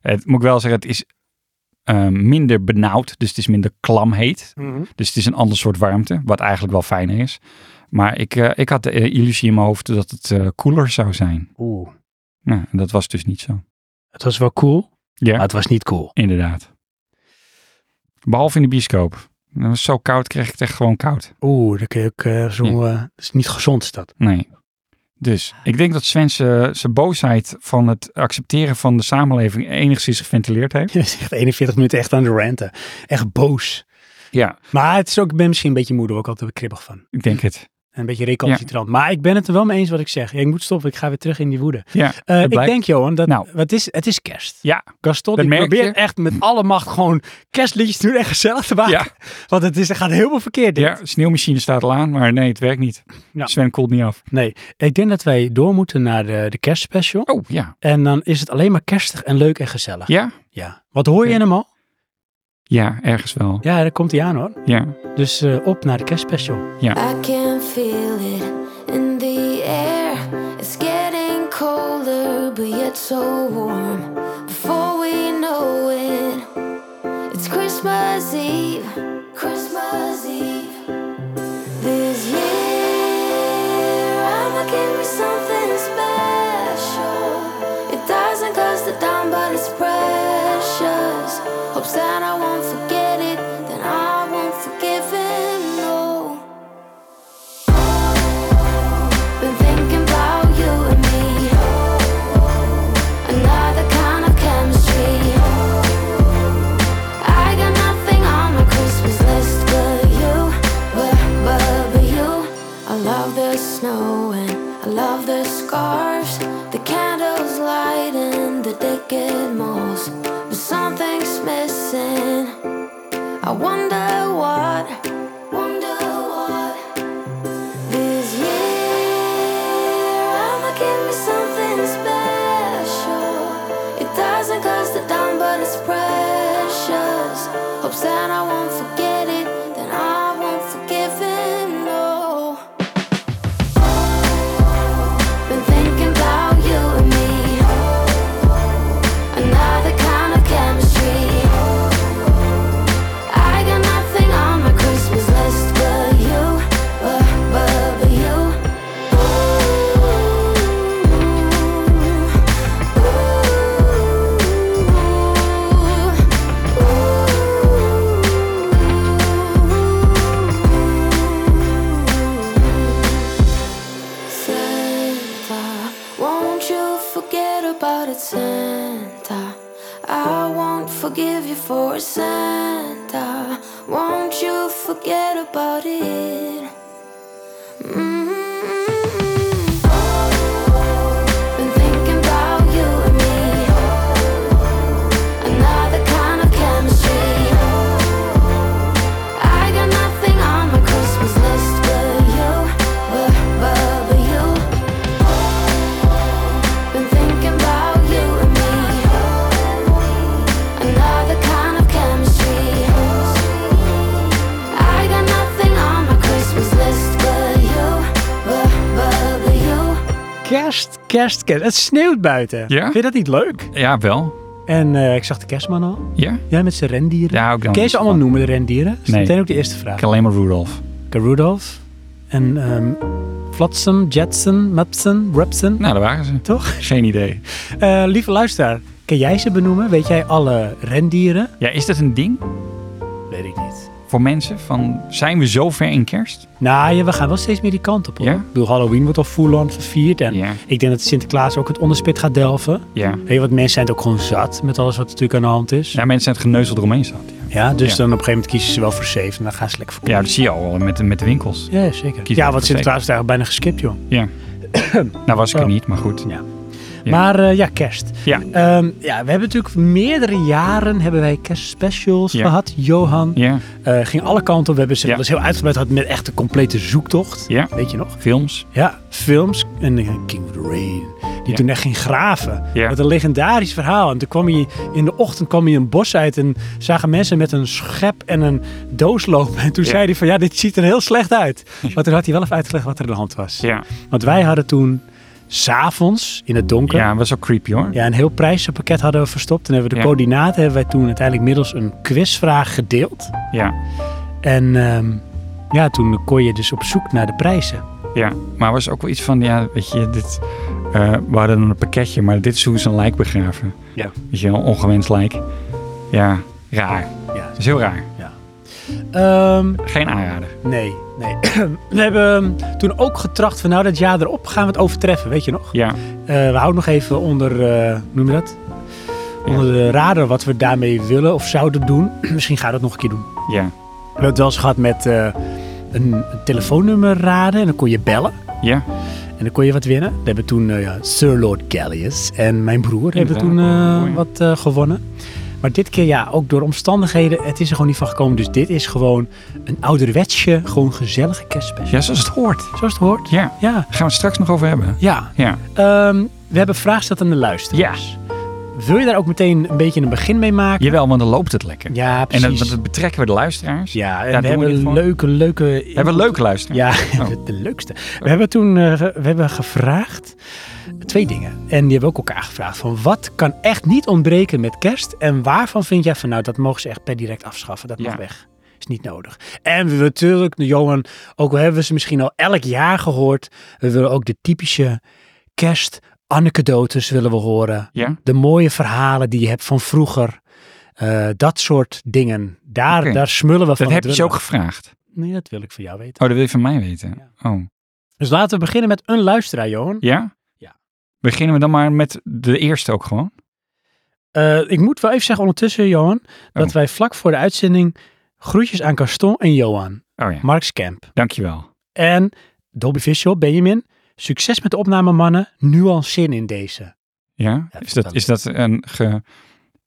Speaker 3: Het moet ik wel zeggen, het is eh, minder benauwd, dus het is minder klam heet. Dus het is een ander soort warmte, wat eigenlijk wel fijner is. Maar ik, eh, ik had de eh, illusie in mijn hoofd dat het eh, koeler zou zijn.
Speaker 2: Oeh.
Speaker 3: Nou, en dat was dus niet zo.
Speaker 2: Het was wel cool,
Speaker 3: Ja,
Speaker 2: maar het was niet cool.
Speaker 3: inderdaad. Behalve in de bioscoop. Het was zo koud, kreeg ik het echt gewoon koud.
Speaker 2: Oeh, dat kun je ook eh, zo. eh, dat is niet gezond, is dat. [LAUGHS]
Speaker 3: Nee. Dus ik denk dat Sven zijn zijn boosheid van het accepteren van de samenleving enigszins geventileerd heeft.
Speaker 2: Je zegt 41 minuten echt aan de ranten. Echt boos.
Speaker 3: Ja,
Speaker 2: Maar het is ook, ik ben misschien een beetje moeder ook altijd kribbig van.
Speaker 3: ik denk het.
Speaker 2: En een beetje recalcitrant. Maar ik ben het er wel mee eens wat ik zeg. Ja, ik moet stoppen, ik ga weer terug in die woede.
Speaker 3: Ja,
Speaker 2: Eh,
Speaker 3: dat
Speaker 2: ik
Speaker 3: blijkt.
Speaker 2: denk, Johan, dat
Speaker 3: Nou.
Speaker 2: wat is, het is kerst.
Speaker 3: Ja,
Speaker 2: Gaston
Speaker 3: Dat
Speaker 2: die
Speaker 3: merk
Speaker 2: probeert
Speaker 3: je.
Speaker 2: echt met alle macht gewoon kerstliedjes te doen en gezellig te maken.
Speaker 3: Ja.
Speaker 2: Want het is, er gaat heel veel verkeerd in.
Speaker 3: ja, sneeuwmachine staat al aan, maar nee, het werkt niet.
Speaker 2: Ja.
Speaker 3: Sven koelt niet af.
Speaker 2: Nee, ik denk dat wij door moeten naar de, de kerstspecial.
Speaker 3: Oh, ja.
Speaker 2: En dan is het alleen maar kerstig en leuk en gezellig.
Speaker 3: Ja?
Speaker 2: Ja. Wat hoor je
Speaker 3: Ja.
Speaker 2: in hem al?
Speaker 3: Ja, ergens wel.
Speaker 2: Ja, daar komt hij aan hoor.
Speaker 3: Ja.
Speaker 2: Dus eh, op naar de kerstspecial.
Speaker 5: I can feel it in the air. It's getting colder, but yet so warm. Before we know it, it's Christmas Eve. Christmas Eve. This year, I'ma give me something special. It doesn't cost a dime, but it's precious. Hopes that I won't forget it, then I won't forgive him. No. Been thinking about you and me. Another kind of chemistry. I got nothing on my Christmas list but you, but but but you. I love the snow and I love the scarves, the candles light and the decade malls. But something's missing. I wonder what. Wonder what. This year, I'ma give me something special. It doesn't cost a dime, but it's precious. Hopes that I won't forget it, then I won't forgive him. No. Been thinking about you and me. Another kind of chemistry. I got nothing on my Christmas list but you, but, but, but you. Santa, won't you forget about it, Santa? I won't forgive you for it, Santa. Won't you forget about it? Mm-hmm. Been thinking about you and me. Another kind of chemistry. I got nothing on my Christmas list but you, but, but, but you. Been thinking about you and me. Another kind of chemistry. I got nothing on my Christmas list but you, but, but, but you.
Speaker 2: Kerst, kerst, kerst. Het sneeuwt buiten.
Speaker 3: Ja?
Speaker 2: Vind je dat niet leuk?
Speaker 3: Ja, wel.
Speaker 2: En eh, ik zag de kerstman al.
Speaker 3: Ja?
Speaker 2: Ja, met zijn rendieren.
Speaker 3: Ja, ook dan.
Speaker 2: Kun je ze allemaal noemen, de rendieren? Dat is
Speaker 3: Nee.
Speaker 2: meteen ook de eerste vraag.
Speaker 3: Ik alleen maar Rudolph.
Speaker 2: Rudolph en ehm Flotsam, Jetsam, Mupsen, Repsen.
Speaker 3: Nou, daar waren ze.
Speaker 2: Toch?
Speaker 3: Geen idee.
Speaker 2: Eh, lieve luisteraar, kan jij ze benoemen? Weet jij alle rendieren?
Speaker 3: Ja, is dat een ding
Speaker 2: Weet ik niet.
Speaker 3: voor mensen? Van, zijn we zo ver in kerst?
Speaker 2: Nou ja, we gaan wel steeds meer die kant op hoor.
Speaker 3: Ja?
Speaker 2: Ik bedoel, Halloween wordt al full-on gevierd. En
Speaker 3: Ja.
Speaker 2: ik denk dat Sinterklaas ook het onderspit gaat delven.
Speaker 3: Ja.
Speaker 2: Heel wat mensen zijn het ook gewoon zat met alles wat natuurlijk aan de hand is.
Speaker 3: Ja, mensen zijn het geneuzel eromheen staat. Ja,
Speaker 2: Ja, dus
Speaker 3: Ja.
Speaker 2: dan op een gegeven moment kiezen ze wel voor safe en dan gaan ze lekker voor
Speaker 3: ja dat zie je al met, de- met de winkels.
Speaker 2: Ja, zeker.
Speaker 3: Kies
Speaker 2: ja,
Speaker 3: maar
Speaker 2: want
Speaker 3: voor
Speaker 2: Sinterklaas is eigenlijk bijna geskipt, joh.
Speaker 3: [COUGHS] Ja. nou was ik er
Speaker 2: Oh.
Speaker 3: niet, maar goed.
Speaker 2: Ja.
Speaker 3: Ja.
Speaker 2: Maar eh, ja, kerst.
Speaker 3: Ja.
Speaker 2: Ehm, ja, we hebben natuurlijk meerdere jaren hebben wij kerstspecials
Speaker 3: Ja.
Speaker 2: gehad. Johan
Speaker 3: Ja.
Speaker 2: eh, ging alle kanten op. We hebben ze
Speaker 3: Ja.
Speaker 2: wel eens heel uitgebreid gehad met echt een complete zoektocht.
Speaker 3: Ja.
Speaker 2: Weet je nog?
Speaker 3: Films.
Speaker 2: Ja, films. En eh, King of the Rain. Die
Speaker 3: Ja.
Speaker 2: toen echt ging graven.
Speaker 3: Ja.
Speaker 2: Met een legendarisch verhaal. En toen kwam hij in de ochtend kwam hij een bos uit. En zagen mensen met een schep en een doos lopen. En toen
Speaker 3: Ja.
Speaker 2: zei hij van ja, dit ziet er heel slecht
Speaker 3: [LAUGHS]
Speaker 2: uit. Maar toen had hij wel even uitgelegd wat er aan de hand was.
Speaker 3: Ja.
Speaker 2: Want wij hadden toen s'avonds in het donker.
Speaker 3: Ja, was ook creepy hoor.
Speaker 2: Ja, een heel prijzenpakket hadden we verstopt. En hebben we de
Speaker 3: Ja.
Speaker 2: coördinaten hebben wij toen uiteindelijk middels een quizvraag gedeeld.
Speaker 3: Ja.
Speaker 2: En ehm, ja, toen kon je dus op zoek naar de prijzen.
Speaker 3: Ja. Maar was ook wel iets van, ja, weet je, dit... eh, we hadden een pakketje, maar dit is hoe ze een lijk begraven.
Speaker 2: Ja.
Speaker 3: Weet je wel, ongewenst lijk. Ja, raar.
Speaker 2: ja.
Speaker 3: Dat is heel raar.
Speaker 2: Ehm,
Speaker 3: Geen aanrader.
Speaker 2: nee, nee. [CLEARS THROAT] we hebben ehm, toen ook getracht van nou dat jaar erop gaan we het overtreffen, weet je nog?
Speaker 3: Ja.
Speaker 2: Eh, we houden nog even onder, eh, hoe noem je dat? Onder de radar wat we [CLEARS THROAT] daarmee willen of zouden doen. Misschien gaan we dat nog een keer doen.
Speaker 3: Ja.
Speaker 2: We hebben het wel eens gehad met eh, een, een telefoonnummer raden en dan kon je bellen.
Speaker 3: Ja.
Speaker 2: En dan kon je wat winnen. Dat hebben toen eh, ja, Sir Lord Gallius en mijn broer hebben
Speaker 3: Inderdaad,
Speaker 2: toen eh,
Speaker 3: mooi.
Speaker 2: wat eh, gewonnen. Maar dit keer ja, ook door omstandigheden, het is er gewoon niet van gekomen. Dus dit is gewoon een ouderwetsje, gewoon gezellige kerstspecial.
Speaker 3: ja, zoals het hoort.
Speaker 2: Zoals het hoort.
Speaker 3: Ja,
Speaker 2: Ja,
Speaker 3: daar gaan we het straks nog over hebben.
Speaker 2: ja.
Speaker 3: Ja,
Speaker 2: Ehm, we hebben vraag staat aan de luisteraars. Wil je daar ook meteen een beetje een begin mee maken?
Speaker 3: jawel, want dan loopt het lekker.
Speaker 2: Ja,
Speaker 3: en
Speaker 2: precies.
Speaker 3: dan, want dan betrekken we de luisteraars.
Speaker 2: ja, en
Speaker 3: daar
Speaker 2: we
Speaker 3: doen we dit
Speaker 2: hebben
Speaker 3: voor.
Speaker 2: leuke, leuke...
Speaker 3: We hebben leuke luisteraars.
Speaker 2: [LAUGHS] Ja,
Speaker 3: Oh.
Speaker 2: de, de leukste. We hebben toen eh, ge- we hebben gevraagd twee dingen. En die hebben we ook elkaar gevraagd. Van wat kan echt niet ontbreken met kerst? En waarvan vind jij van nou, dat mogen ze echt per direct afschaffen. Dat mag
Speaker 3: Ja.
Speaker 2: weg. Is niet nodig. En we willen natuurlijk, nou, Johan, ook al hebben we ze misschien al elk jaar gehoord. We willen ook de typische kerst-anekdotes willen we horen.
Speaker 3: Ja?
Speaker 2: De mooie verhalen die je hebt van vroeger. Eh, dat soort dingen. Daar,
Speaker 3: Oké.
Speaker 2: daar smullen we van.
Speaker 3: Dat heb
Speaker 2: het
Speaker 3: je ze ook
Speaker 2: willen.
Speaker 3: gevraagd. Oh,
Speaker 2: Nee, dat wil ik van jou weten.
Speaker 3: dat wil je van mij weten. Oh.
Speaker 2: Dus laten we beginnen met een luisteraar, Johan.
Speaker 3: Ja?
Speaker 2: Ja.
Speaker 3: Beginnen we dan maar met de eerste ook gewoon?
Speaker 2: Eh, ik moet wel even zeggen ondertussen, Johan, dat
Speaker 3: Oh.
Speaker 2: wij vlak voor de uitzending groetjes aan Gaston en Johan,
Speaker 3: Oh ja,
Speaker 2: Mark Skamp
Speaker 3: dankjewel.
Speaker 2: en Dobby Visual, Benjamin. Succes met de opname, mannen. Nu al zin in deze. [LAUGHS]
Speaker 3: Ja?
Speaker 2: Ja,
Speaker 3: Is dat,
Speaker 2: vertel.
Speaker 3: is dat een, ge,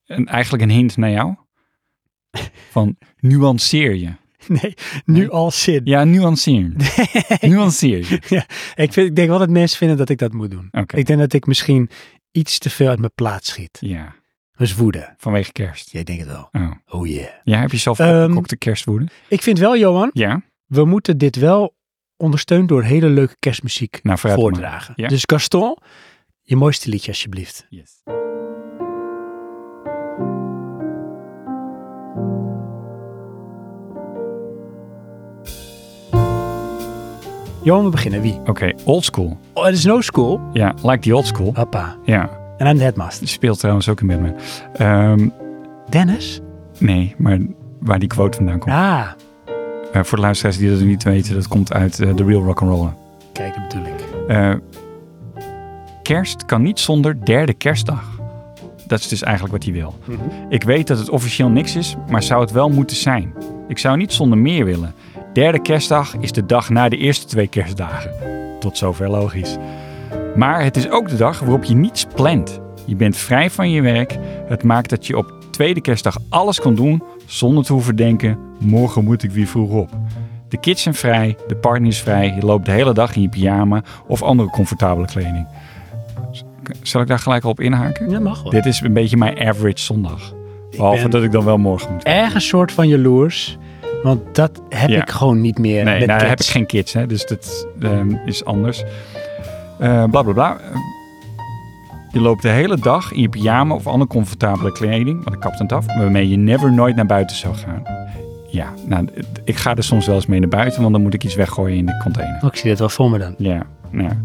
Speaker 3: een, eigenlijk een hint naar
Speaker 2: [LAUGHS]
Speaker 3: jou? Van nuanceer je.
Speaker 2: Nee, nu
Speaker 3: Nee.
Speaker 2: al zin.
Speaker 3: Ja, nuanceer. Nuanceer je.
Speaker 2: [LAUGHS] Ik, vind, ik denk wel dat mensen vinden dat ik dat moet doen.
Speaker 3: Oké.
Speaker 2: Ik denk dat ik misschien iets te veel uit mijn plaats schiet.
Speaker 3: Ja,
Speaker 2: Dus woede.
Speaker 3: vanwege kerst.
Speaker 2: Jij denkt het wel.
Speaker 3: Oh.
Speaker 2: Oh yeah.
Speaker 3: Ja, heb je zelf
Speaker 2: Ehm,
Speaker 3: opgekokt de kerstwoede?
Speaker 2: Ik vind wel, Johan,
Speaker 3: Ja?
Speaker 2: we moeten dit wel ondersteund door hele leuke kerstmuziek
Speaker 3: Nou, vooruit maar.
Speaker 2: voordragen.
Speaker 3: Ja.
Speaker 2: Dus Gaston, je mooiste liedje alsjeblieft.
Speaker 3: Yes.
Speaker 2: Johan, we beginnen. Wie?
Speaker 3: Oké, old school.
Speaker 2: Oh, het is no school.
Speaker 3: Ja, like the old school.
Speaker 2: Papa.
Speaker 3: Ja,
Speaker 2: En I'm the headmaster.
Speaker 3: die speelt trouwens ook in Batman. Ehm,
Speaker 2: Dennis?
Speaker 3: nee, maar waar die quote vandaan komt.
Speaker 2: Ah,
Speaker 3: Eh, voor de luisteraars die dat niet weten, dat komt uit eh, The Real Rock'n'Roller.
Speaker 2: kijk, dat bedoel ik.
Speaker 3: Eh kerst kan niet zonder derde kerstdag. Dat is dus eigenlijk wat hij wil. Ik weet dat het officieel niks is, maar zou het wel moeten zijn. Ik zou niet zonder meer willen. Derde kerstdag is de dag na de eerste twee kerstdagen. Tot zover logisch. Maar het is ook de dag waarop je niets plant. Je bent vrij van je werk. Het maakt dat je op tweede kerstdag alles kan doen zonder te hoeven denken: morgen moet ik weer vroeg op. De kids zijn vrij, de partner is vrij, je loopt de hele dag in je pyjama of andere comfortabele kleding. Zal ik daar gelijk al op inhaken?
Speaker 2: Dat mag wel.
Speaker 3: Dit is een beetje mijn average zondag. Behalve
Speaker 2: ben-
Speaker 3: dat ik dan wel morgen moet.
Speaker 2: Ergens soort van jaloers, want dat heb
Speaker 3: Ja.
Speaker 2: ik gewoon niet meer.
Speaker 3: Nee,
Speaker 2: met
Speaker 3: nou
Speaker 2: kids.
Speaker 3: heb ik geen kids, hè, dus dat ehm, is anders. Eh bla bla bla. Eh, Je loopt de hele dag in je pyjama of andere comfortabele kleding, want ik kap het af, waarmee je never nooit naar buiten zou gaan. Ja, nou, d- ik ga er soms wel eens mee naar buiten, want dan moet ik iets weggooien in de container.
Speaker 2: Oh, ik zie dit wel voor me dan.
Speaker 3: Ja, nou. ja.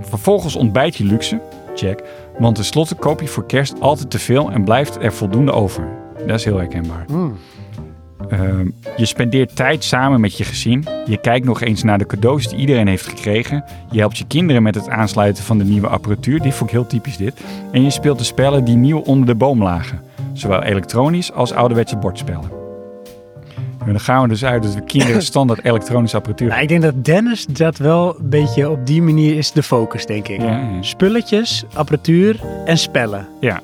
Speaker 3: Vervolgens ontbijt je luxe, check. Want tenslotte koop je voor kerst altijd te veel en blijft er voldoende over. Dat is heel herkenbaar.
Speaker 2: Mm.
Speaker 3: Ehm, je spendeert tijd samen met je gezin. Je kijkt nog eens naar de cadeaus die iedereen heeft gekregen. Je helpt je kinderen met het aansluiten van de nieuwe apparatuur. Dit vond ik heel typisch dit. En je speelt de spellen die nieuw onder de boom lagen. Zowel elektronisch als ouderwetse bordspellen. En dan gaan we dus uit dat we kinderen standaard elektronische apparatuur
Speaker 2: Nou, ik denk dat Dennis dat wel een beetje op die manier is de focus, denk ik.
Speaker 3: Ja, ja.
Speaker 2: Spulletjes, apparatuur en spellen.
Speaker 3: Ja.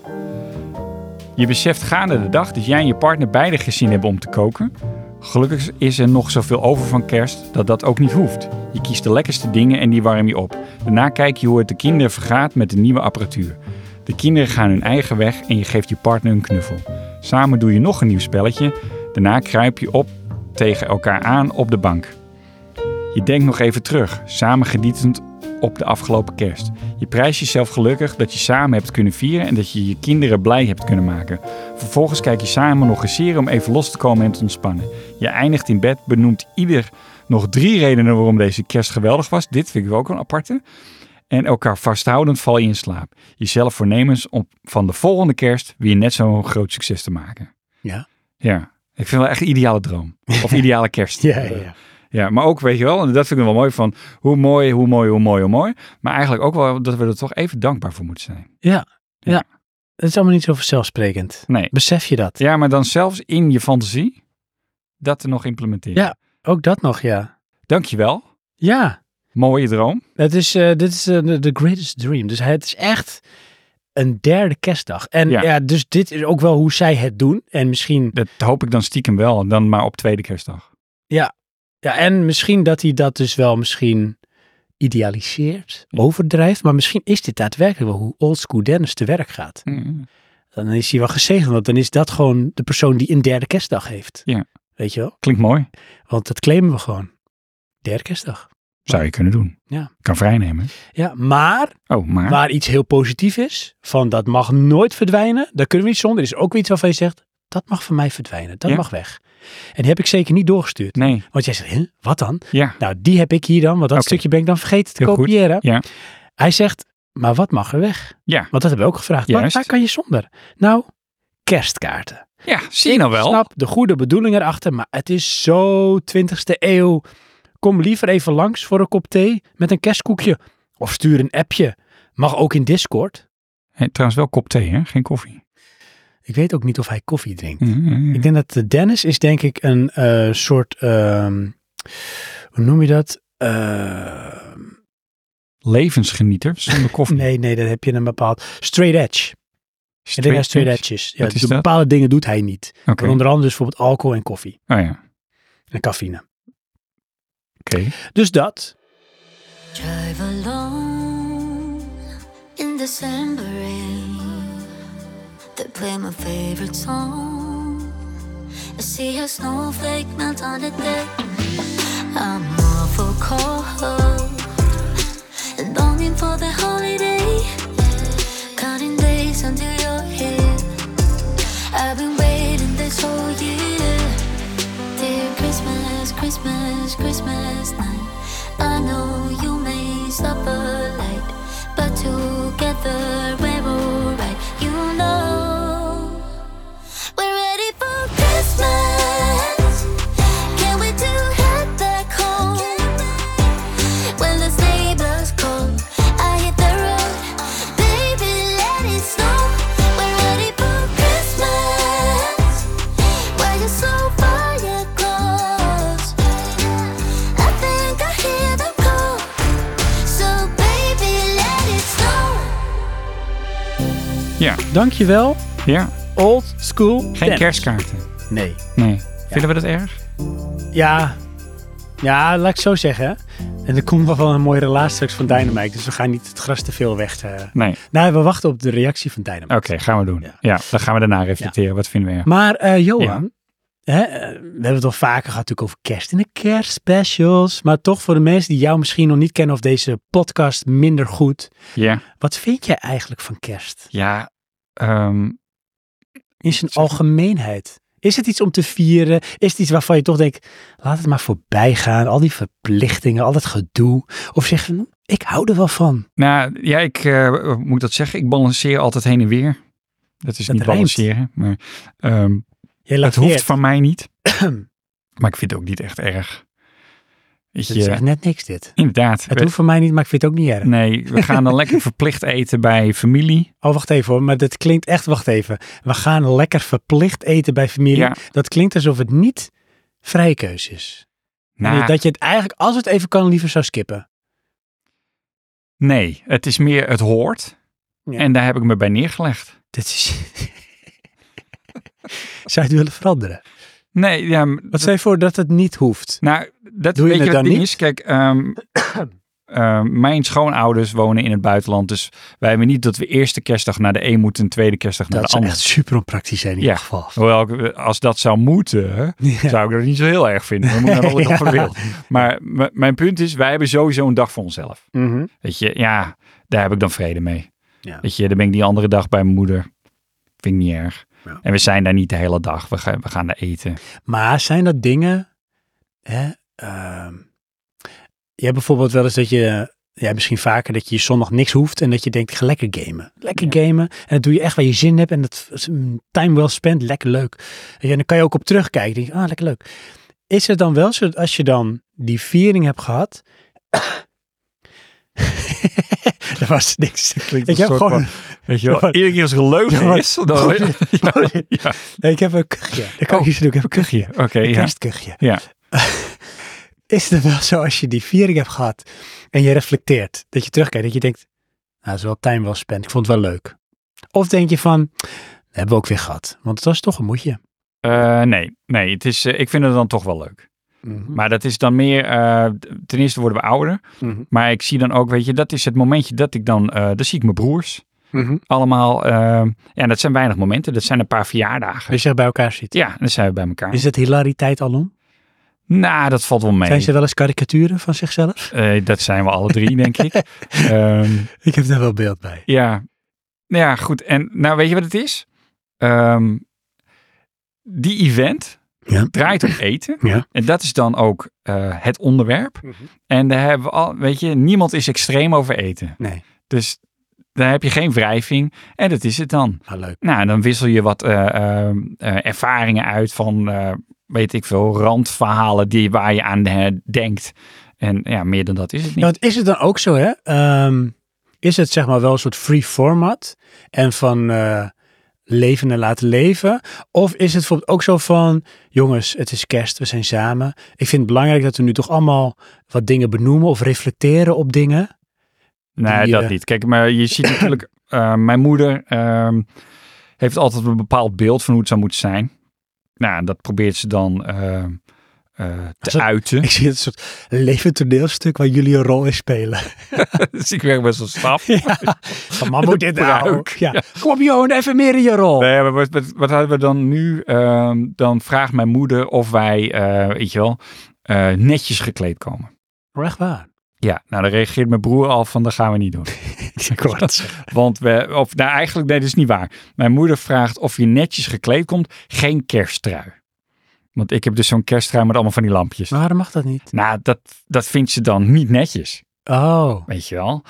Speaker 3: Je beseft gaande de dag dat jij en je partner beide gezin hebben om te koken. Gelukkig is er nog zoveel over van kerst dat dat ook niet hoeft. Je kiest de lekkerste dingen en die warm je op. Daarna kijk je hoe het de kinderen vergaat met de nieuwe apparatuur. De kinderen gaan hun eigen weg en je geeft je partner een knuffel. Samen doe je nog een nieuw spelletje. Daarna kruip je op tegen elkaar aan op de bank. Je denkt nog even terug, samen genietend op de afgelopen kerst. Je prijst jezelf gelukkig dat je samen hebt kunnen vieren en dat je je kinderen blij hebt kunnen maken. Vervolgens kijk je samen nog een serie om even los te komen en te ontspannen. Je eindigt in bed, benoemt ieder nog drie redenen waarom deze kerst geweldig was. Dit vind ik ook een aparte. En elkaar vasthoudend val je in slaap. Jezelf voornemens om van de volgende kerst weer net zo'n groot succes te maken.
Speaker 2: Ja.
Speaker 3: Ja, ik vind het wel echt een ideale droom. Of ideale kerst.
Speaker 2: [LAUGHS] Ja, ja, ja.
Speaker 3: Ja, maar ook, weet je wel, en dat vind ik wel mooi van hoe mooi, hoe mooi, hoe mooi, hoe mooi. Maar eigenlijk ook wel dat we er toch even dankbaar voor moeten zijn.
Speaker 2: Ja,
Speaker 3: Ja.
Speaker 2: ja. Dat is allemaal niet zo vanzelfsprekend.
Speaker 3: Nee.
Speaker 2: Besef je dat?
Speaker 3: Ja, maar dan zelfs in je fantasie dat er nog implementeren.
Speaker 2: Ja. Ook dat nog, ja.
Speaker 3: Dankjewel.
Speaker 2: Ja,
Speaker 3: Mooie droom.
Speaker 2: het is, eh, dit is eh, de the greatest dream. Dus het is echt een derde kerstdag. En
Speaker 3: Ja.
Speaker 2: ja. dus dit is ook wel hoe zij het doen. En misschien,
Speaker 3: Dat hoop ik dan stiekem wel. en Dan maar op tweede kerstdag.
Speaker 2: ja, en misschien dat hij dat dus wel misschien idealiseert, overdrijft. Maar misschien is dit daadwerkelijk wel hoe old school Dennis te werk gaat.
Speaker 3: Mm.
Speaker 2: Dan is hij wel gezegend, want dan is dat gewoon de persoon die een derde kerstdag heeft.
Speaker 3: Ja.
Speaker 2: Weet je wel?
Speaker 3: Klinkt mooi.
Speaker 2: Want dat claimen we gewoon. Derde kerstdag.
Speaker 3: Zou je kunnen doen.
Speaker 2: Ja.
Speaker 3: Kan vrijnemen.
Speaker 2: Ja, maar
Speaker 3: Oh, maar.
Speaker 2: waar iets heel positief is, van dat mag nooit verdwijnen, daar kunnen we niet zonder. Er is ook weer iets waarvan je zegt, dat mag van mij verdwijnen, dat
Speaker 3: Ja.
Speaker 2: mag weg. En die heb ik zeker niet doorgestuurd.
Speaker 3: Nee.
Speaker 2: Want jij zegt, hè, wat dan?
Speaker 3: Ja.
Speaker 2: Nou, die heb ik hier dan, want dat
Speaker 3: Oké.
Speaker 2: stukje ben ik dan vergeten te
Speaker 3: Heel goed,
Speaker 2: kopiëren.
Speaker 3: ja.
Speaker 2: Hij zegt, maar wat mag er weg?
Speaker 3: Ja.
Speaker 2: Want dat hebben we ook gevraagd. Waar,
Speaker 3: Juist.
Speaker 2: waar kan je zonder? Nou, kerstkaarten.
Speaker 3: Ja, zie je nou wel.
Speaker 2: Ik snap de goede bedoeling erachter, maar het is zo 20ste eeuw. Kom liever even langs voor een kop thee met een kerstkoekje. Of stuur een appje. Mag ook in Discord.
Speaker 3: Hey, trouwens wel kop thee, hè? Geen koffie.
Speaker 2: Ik weet ook niet of hij koffie drinkt.
Speaker 3: Mm.
Speaker 2: Ik denk dat eh, Dennis is denk ik een eh, soort, ehm, hoe noem je dat? Ehm,
Speaker 3: Levensgenieter zonder koffie.
Speaker 2: nee, nee, dat heb je een bepaald straight edge. Ik denk dat hij straight edge is. Ja,
Speaker 3: Wat is
Speaker 2: dus
Speaker 3: dat?
Speaker 2: bepaalde dingen doet hij niet.
Speaker 3: Oké.
Speaker 2: Maar Onder andere dus bijvoorbeeld alcohol en koffie
Speaker 3: Oh ja. Oké.
Speaker 2: en cafeïne. Dus dat.
Speaker 5: Drive alone in December rain. They play my favorite song. I see a snowflake melt on the deck. I'm awful cold and longing for the holiday. Counting days until you're here. I've been waiting this whole year. Dear Christmas, Christmas, Christmas night. I know you may suffer light, but together we're alright. You know we're ready for Christmas. Can't wait to head back home. When the neighbors call, I hit the road. Baby, let it snow. We're ready for Christmas. Why you so far across? I think I hear them call. So baby, let it snow.
Speaker 3: Ja.
Speaker 2: Dankjewel.
Speaker 3: Ja.
Speaker 2: Old school
Speaker 3: Geen
Speaker 2: Dennis.
Speaker 3: kerstkaarten.
Speaker 2: Nee.
Speaker 3: Nee. Vinden we dat erg?
Speaker 2: Ja. Ja, laat ik zo zeggen. En er komt nog wel een mooie relatie straks van Dynamite. Dus we gaan niet het gras te veel weg. eh.
Speaker 3: Nee.
Speaker 2: Nou, we wachten op de reactie van Dynamite.
Speaker 3: Oké, gaan we doen. Ja.
Speaker 2: Ja.
Speaker 3: dan gaan we daarna reflecteren. Wat vinden we erg?
Speaker 2: Maar eh, Johan, hè, eh, we hebben het al vaker gehad natuurlijk over kerst in de kerstspecials. Maar toch voor de mensen die jou misschien nog niet kennen of deze podcast minder goed.
Speaker 3: Ja.
Speaker 2: Wat vind jij eigenlijk van kerst?
Speaker 3: Ja. ehm,
Speaker 2: In zijn algemeenheid. Is het iets om te vieren? Is het iets waarvan je toch denkt, laat het maar voorbij gaan. Al die verplichtingen, al dat gedoe. Of zeg je, ik hou er wel van.
Speaker 3: nou, ja, ik eh, moet dat zeggen. Ik balanceer altijd heen en weer. Dat is
Speaker 2: Dat
Speaker 3: niet
Speaker 2: rijmt.
Speaker 3: balanceren, maar ehm,
Speaker 2: Jij
Speaker 3: het
Speaker 2: laat
Speaker 3: hoeft van mij
Speaker 2: [CLEARS THROAT]
Speaker 3: niet. maar ik vind het ook niet echt erg. Weet
Speaker 2: Het is
Speaker 3: je,
Speaker 2: echt net niks dit.
Speaker 3: inderdaad.
Speaker 2: Het
Speaker 3: we-
Speaker 2: hoeft voor mij niet, maar ik vind het ook niet erg.
Speaker 3: Nee, we gaan dan
Speaker 2: [LAUGHS]
Speaker 3: lekker verplicht eten bij familie.
Speaker 2: Oh, wacht even hoor, maar dat klinkt echt, wacht even. We gaan lekker verplicht eten bij familie.
Speaker 3: Ja.
Speaker 2: Dat klinkt alsof het niet vrije keus is. En
Speaker 3: Nou,
Speaker 2: Dat je het eigenlijk, als het even kan, liever zou skippen.
Speaker 3: Nee, het is meer het hoort.
Speaker 2: Ja.
Speaker 3: En daar heb ik me bij neergelegd.
Speaker 2: Dit is... zou je het willen veranderen?
Speaker 3: Nee, ja, m-
Speaker 2: Wat stel je voor dat het niet hoeft?
Speaker 3: nou, dat
Speaker 2: Doe je
Speaker 3: weet
Speaker 2: het
Speaker 3: wat
Speaker 2: dan
Speaker 3: ding
Speaker 2: niet?
Speaker 3: is. Kijk,
Speaker 2: [COUGHS]
Speaker 3: ehm, ehm, mijn schoonouders wonen in het buitenland. Dus wij hebben niet dat we eerste kerstdag naar de een moeten en tweede kerstdag naar
Speaker 2: Dat
Speaker 3: de
Speaker 2: zou
Speaker 3: ander.
Speaker 2: echt super onpraktisch zijn in
Speaker 3: Ja.
Speaker 2: ieder geval. [LAUGHS]
Speaker 3: Hoewel, ik- eh, als dat zou moeten,
Speaker 2: Ja.
Speaker 3: zou ik dat niet zo heel erg vinden. We moeten
Speaker 2: [LAUGHS]
Speaker 3: wel
Speaker 2: Ja.
Speaker 3: wat wil. Maar m- mijn punt is, wij hebben sowieso een dag voor onszelf.
Speaker 2: Mhm.
Speaker 3: Weet je, ja, daar heb ik dan vrede mee.
Speaker 2: Ja.
Speaker 3: Weet je, dan ben ik die andere dag bij mijn moeder. Vind ik niet erg.
Speaker 2: Ja.
Speaker 3: En we zijn daar niet de hele dag. We gaan, we gaan daar eten.
Speaker 2: Maar zijn dat dingen... Hè, ehm, je hebt bijvoorbeeld wel eens dat je... Ja, misschien vaker dat je zondag niks hoeft en dat je denkt, ik ga lekker gamen. Lekker gamen. En dat doe je echt waar je zin in hebt en dat is een time well spent, lekker leuk. Weet je, En dan kan je ook op terugkijken. Denk je, ah, lekker leuk. Is het dan wel zo dat als je dan die viering hebt gehad... [COUGHS] er was niks.
Speaker 3: [LAUGHS] Klinkt
Speaker 2: Ik heb gewoon...
Speaker 3: weet je
Speaker 2: wel,
Speaker 3: wel, iedere keer als geleugen is. Dan, [LAUGHS] ja,
Speaker 2: Oh, Nee, ik heb een kuchje. Dat kan
Speaker 3: Oh.
Speaker 2: ik niet zo doen. Ik heb een kuchje.
Speaker 3: Kuchje, oké.
Speaker 2: Een
Speaker 3: ja.
Speaker 2: kerstkuchje.
Speaker 3: Ja.
Speaker 2: [LAUGHS] is het wel zo als je die viering hebt gehad en je reflecteert, dat je terugkijkt, dat je denkt, nou, dat is wel time wel spent, ik vond het wel leuk. Of denk je van, dat hebben we ook weer gehad, want het was toch een moedje.
Speaker 3: Eh, nee, nee het is, eh, ik vind het dan toch wel leuk. Mhm. Maar dat is dan meer, eh, ten eerste worden we ouder.
Speaker 2: Mhm.
Speaker 3: Maar ik zie dan ook, weet je, dat is het momentje dat ik dan, eh dan zie ik mijn broers
Speaker 2: Mhm.
Speaker 3: allemaal. eh, ja, dat zijn weinig momenten, dat zijn een paar verjaardagen.
Speaker 2: Als je bij elkaar zit.
Speaker 3: Ja, dan zijn we bij elkaar.
Speaker 2: Is het hilariteit alom?
Speaker 3: Nou, dat valt wel mee.
Speaker 2: Zijn ze wel eens karikaturen van zichzelf? [LAUGHS]
Speaker 3: Eh, dat zijn we alle drie, denk ik. [LAUGHS] Ehm,
Speaker 2: Ik heb daar wel beeld bij.
Speaker 3: ja. Nou ja, goed. En nou, weet je wat het is? Ehm, die event
Speaker 2: Ja.
Speaker 3: draait om eten.
Speaker 2: Ja.
Speaker 3: En dat is dan ook eh, het onderwerp. En daar hebben we al, weet je, niemand is extreem over eten.
Speaker 2: Nee,
Speaker 3: Dus daar heb je geen wrijving. En dat is het dan.
Speaker 2: maar leuk.
Speaker 3: Nou, en dan wissel je wat eh, eh, eh, ervaringen uit van, eh, weet ik veel, randverhalen die, waar je aan eh, denkt. En ja, meer dan dat is het
Speaker 2: Ja,
Speaker 3: niet.
Speaker 2: want is het dan ook zo, hè? ehm, is het zeg maar wel een soort free format en van eh, leven en laten leven? Of is het bijvoorbeeld ook zo van, jongens, het is kerst, we zijn samen. Ik vind het belangrijk dat we nu toch allemaal wat dingen benoemen of reflecteren op dingen. [LAUGHS]
Speaker 3: Nee,
Speaker 2: Die,
Speaker 3: dat
Speaker 2: eh,
Speaker 3: niet. Kijk, maar je ziet [CLEARS THROAT] natuurlijk, eh, mijn moeder ehm, heeft altijd een bepaald beeld van hoe het zou moeten zijn. Nou, dat probeert ze dan eh, eh, te
Speaker 2: Zo-
Speaker 3: uiten. [LAUGHS]
Speaker 2: Ik zie het een soort levend toneelstuk waar jullie een rol in spelen.
Speaker 3: dus ik werk best wel snap.
Speaker 2: ja, van, maar moet dit nou
Speaker 3: Pruik,
Speaker 2: ook? [LAUGHS] Ja. Kom op Johan, even meer in je rol.
Speaker 3: Nee, maar wat, wat, wat hadden we dan nu? Ehm, dan vraagt mijn moeder of wij, eh, weet je wel, eh, netjes gekleed komen.
Speaker 2: Maar Echt waar.
Speaker 3: Ja, nou dan reageert mijn broer al van, dat gaan we niet doen.
Speaker 2: [LAUGHS] Ik hoor het zeggen.
Speaker 3: Want we, of nou eigenlijk, nee, dat is niet waar. Mijn moeder vraagt of je netjes gekleed komt, geen kersttrui. Want ik heb dus zo'n kersttrui met allemaal van die lampjes.
Speaker 2: [LAUGHS] Maar waarom mag dat niet?
Speaker 3: Nou, dat, dat vindt ze dan niet netjes,
Speaker 2: Oh,
Speaker 3: weet je wel.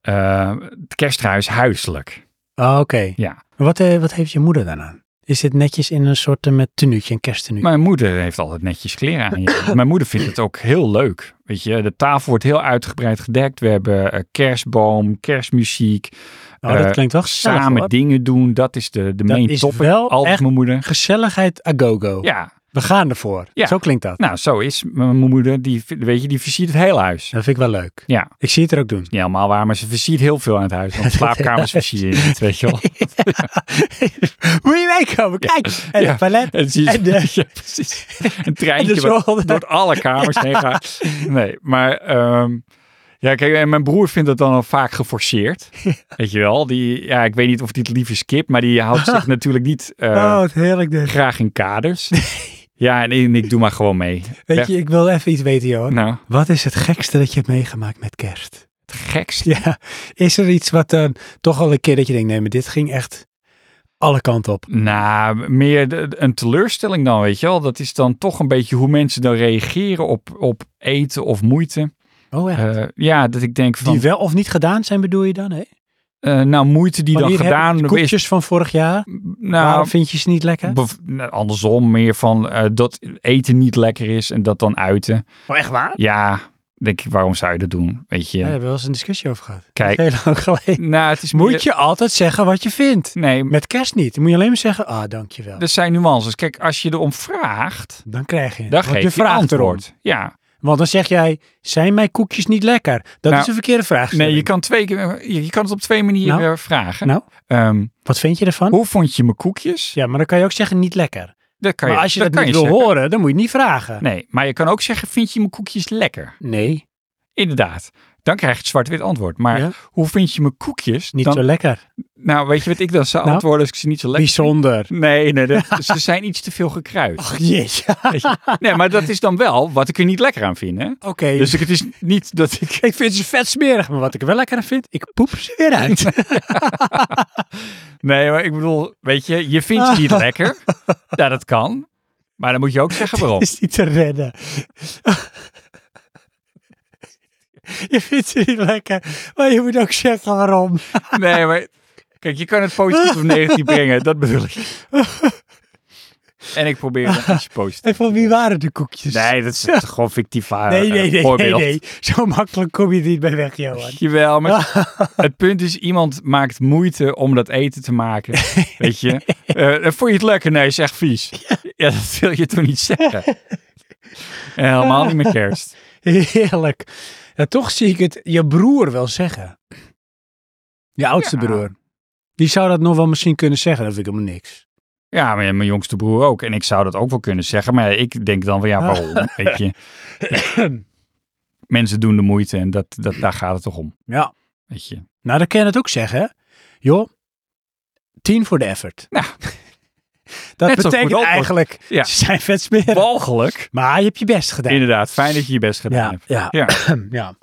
Speaker 3: Eh, het kersttrui is huiselijk.
Speaker 2: oh, oké.
Speaker 3: Ja.
Speaker 2: Maar Wat, eh, wat heeft je moeder dan aan? Is dit netjes in een soort eh, met tenuutje, een kersttenuutje?
Speaker 3: Mijn moeder heeft altijd netjes kleren aan.
Speaker 2: [COUGHS]
Speaker 3: ja. Mijn moeder vindt het ook heel leuk. Weet je, de tafel wordt heel uitgebreid gedekt. We hebben eh, kerstboom, kerstmuziek.
Speaker 2: oh, dat
Speaker 3: eh,
Speaker 2: klinkt wel gezellig,
Speaker 3: Samen
Speaker 2: hoor.
Speaker 3: dingen doen, dat is de, de
Speaker 2: Dat
Speaker 3: main
Speaker 2: is
Speaker 3: topic.
Speaker 2: wel
Speaker 3: Altijd
Speaker 2: echt-
Speaker 3: mijn moeder.
Speaker 2: Gezelligheid a go-go.
Speaker 3: Ja,
Speaker 2: We gaan ervoor.
Speaker 3: Ja.
Speaker 2: Zo klinkt dat.
Speaker 3: nou zo is mijn moeder. Die, weet je, die versiert het hele huis.
Speaker 2: Dat vind ik wel leuk.
Speaker 3: Ja.
Speaker 2: Ik zie het er ook
Speaker 3: [LAUGHS]
Speaker 2: doen.
Speaker 3: Niet helemaal waar, maar ze versiert heel veel aan het huis.
Speaker 2: [LAUGHS]
Speaker 3: Want slaapkamers versier je niet, weet je wel.
Speaker 2: Moet je meekomen? Kijk. En
Speaker 3: Ja.
Speaker 2: het palet.
Speaker 3: En zie je-
Speaker 2: En de-
Speaker 3: [LAUGHS] ja, precies. Een
Speaker 2: En de
Speaker 3: treintje wat
Speaker 2: zolder.
Speaker 3: door alle
Speaker 2: [LAUGHS]
Speaker 3: kamers heen gaat. Nee, maar ehm, ja, kijk, en mijn broer vindt het dan al vaak
Speaker 2: [LAUGHS]
Speaker 3: geforceerd. Weet je wel, die, ja, ik weet niet of die het lief is kip, maar die
Speaker 2: [LAUGHS]
Speaker 3: houdt zich natuurlijk niet eh,
Speaker 2: Oh, wat heerlijk dit.
Speaker 3: graag in
Speaker 2: [LAUGHS]
Speaker 3: kaders. Ja, en ik, ik doe maar gewoon mee.
Speaker 2: Weet je, ik wil even iets weten, Johan.
Speaker 3: Nou,
Speaker 2: Wat is het gekste dat je hebt meegemaakt met kerst? [LAUGHS]
Speaker 3: het gekste.
Speaker 2: Ja, is er iets wat dan toch al een keer dat je denkt, nee, maar dit ging echt alle kanten op.
Speaker 3: Nou, meer de- een teleurstelling dan, weet je wel. Dat is dan toch een beetje hoe mensen dan reageren op, op eten of moeite.
Speaker 2: Oh echt?
Speaker 3: Eh, ja, dat ik denk van...
Speaker 2: die wel of niet gedaan zijn bedoel je dan, hè?
Speaker 3: Eh, nou, moeite die
Speaker 2: Van
Speaker 3: dan
Speaker 2: hier heb ik
Speaker 3: gedaan
Speaker 2: de
Speaker 3: is.
Speaker 2: koekjes van vorig jaar, waarom
Speaker 3: Nou,
Speaker 2: vind je ze niet lekker?
Speaker 3: bev- nou, andersom, meer van eh, dat eten niet lekker is en dat dan uiten.
Speaker 2: echt waar?
Speaker 3: Ja, denk ik, waarom zou je dat doen? Weet je.
Speaker 2: Ja, daar hebben we wel eens een discussie over gehad.
Speaker 3: Kijk.
Speaker 2: Heel lang geleden.
Speaker 3: nou, het is meer-
Speaker 2: Moet je altijd zeggen wat je vindt?
Speaker 3: Nee,
Speaker 2: Met kerst niet. Dan moet je alleen maar zeggen, ah, dankjewel.
Speaker 3: er zijn nuances. Kijk, als je erom vraagt,
Speaker 2: dan krijg je het.
Speaker 3: dan
Speaker 2: Want
Speaker 3: geef
Speaker 2: je
Speaker 3: je,
Speaker 2: vraagt
Speaker 3: antwoord. Ja.
Speaker 2: erom. Want dan zeg jij, zijn mijn koekjes niet lekker? Dat
Speaker 3: Nou,
Speaker 2: is een verkeerde vraag.
Speaker 3: Nee, je kan, twee, keer- je je kan het op twee manieren
Speaker 2: Nou.
Speaker 3: eh, vragen.
Speaker 2: Nou,
Speaker 3: Ehm,
Speaker 2: wat vind je ervan?
Speaker 3: hoe vond je mijn koekjes?
Speaker 2: Ja, maar dan kan je ook zeggen niet lekker.
Speaker 3: Dat kan
Speaker 2: maar
Speaker 3: je,
Speaker 2: als je
Speaker 3: dat
Speaker 2: dat,
Speaker 3: kan
Speaker 2: niet
Speaker 3: je
Speaker 2: wil
Speaker 3: zeggen.
Speaker 2: horen, dan moet je het niet vragen.
Speaker 3: Nee, maar je kan ook zeggen, vind je mijn koekjes lekker?
Speaker 2: Nee,
Speaker 3: Inderdaad. Dan krijg je het zwart-wit antwoord. Maar
Speaker 2: Ja.
Speaker 3: hoe vind je mijn koekjes?
Speaker 2: niet
Speaker 3: dan,
Speaker 2: zo lekker.
Speaker 3: Nou, weet je wat ik dan zou
Speaker 2: Nou?
Speaker 3: antwoorden als ik ze niet zo lekker...
Speaker 2: Bijzonder.
Speaker 3: Nee, nee,
Speaker 2: [LAUGHS]
Speaker 3: dat- ze zijn iets te veel gekruid.
Speaker 2: Ach jeetje.
Speaker 3: [LAUGHS] weet je. Nee, maar dat is dan wel wat ik er niet lekker aan vind, hè?
Speaker 2: [LAUGHS] Oké.
Speaker 3: Dus ik- het is niet dat ik...
Speaker 2: [LAUGHS] ik vind ze vet smerig, maar wat ik er wel lekker aan vind, ik poep ze weer uit.
Speaker 3: Nee, maar ik bedoel, weet je, je vindt
Speaker 2: [LAUGHS]
Speaker 3: ze niet lekker. Ja, dat kan. Maar dan moet je ook zeggen waarom.
Speaker 2: [LAUGHS] is niet te redden. je vindt ze niet lekker, maar je moet ook zeggen waarom.
Speaker 3: [LAUGHS] Nee, maar kijk, je kan het positief of negatief brengen. Dat bedoel ik. En ik probeer het iets positiefs.
Speaker 2: [LAUGHS] En van wie waren de koekjes?
Speaker 3: Nee, dat is gewoon fictief eh,
Speaker 2: nee, nee, nee, nee,
Speaker 3: voorbeeld.
Speaker 2: nee. Zo makkelijk kom je er niet bij weg, Johan.
Speaker 3: Jawel,
Speaker 2: [LAUGHS]
Speaker 3: maar het punt is, iemand maakt moeite om dat eten te maken.
Speaker 2: [LAUGHS]
Speaker 3: Weet je? Eh, vond je het lekker? Nee,
Speaker 2: [LAUGHS]
Speaker 3: is echt vies. Ja, dat wil je toch niet zeggen? En helemaal niet met kerst.
Speaker 2: Heerlijk. Ja, toch zie ik het je broer wel zeggen. Je oudste
Speaker 3: Ja.
Speaker 2: broer. Die zou dat nog wel misschien kunnen zeggen. Dat vind ik helemaal niks.
Speaker 3: Ja, maar ja, mijn jongste broer ook. En ik zou dat ook wel kunnen zeggen. Maar ik denk dan van ja, [LAUGHS] waarom? Weet je. Mensen doen de moeite en dat, dat, daar gaat het toch om.
Speaker 2: Ja.
Speaker 3: Weet je.
Speaker 2: Nou, dan kan je het ook zeggen. hè. Joh, tien voor de effort.
Speaker 3: Nou.
Speaker 2: [LAUGHS]
Speaker 3: Net zo'n
Speaker 2: dat
Speaker 3: goed
Speaker 2: betekent
Speaker 3: antwoord.
Speaker 2: eigenlijk,
Speaker 3: Ja.
Speaker 2: ze zijn vet smeren.
Speaker 3: [LAUGHS] Walgelijk.
Speaker 2: Maar je hebt je best gedaan.
Speaker 3: Inderdaad, fijn dat je je best gedaan
Speaker 2: ja,
Speaker 3: hebt.
Speaker 2: ja,
Speaker 3: [LAUGHS] Ja.
Speaker 2: [CLEARS THROAT] ja.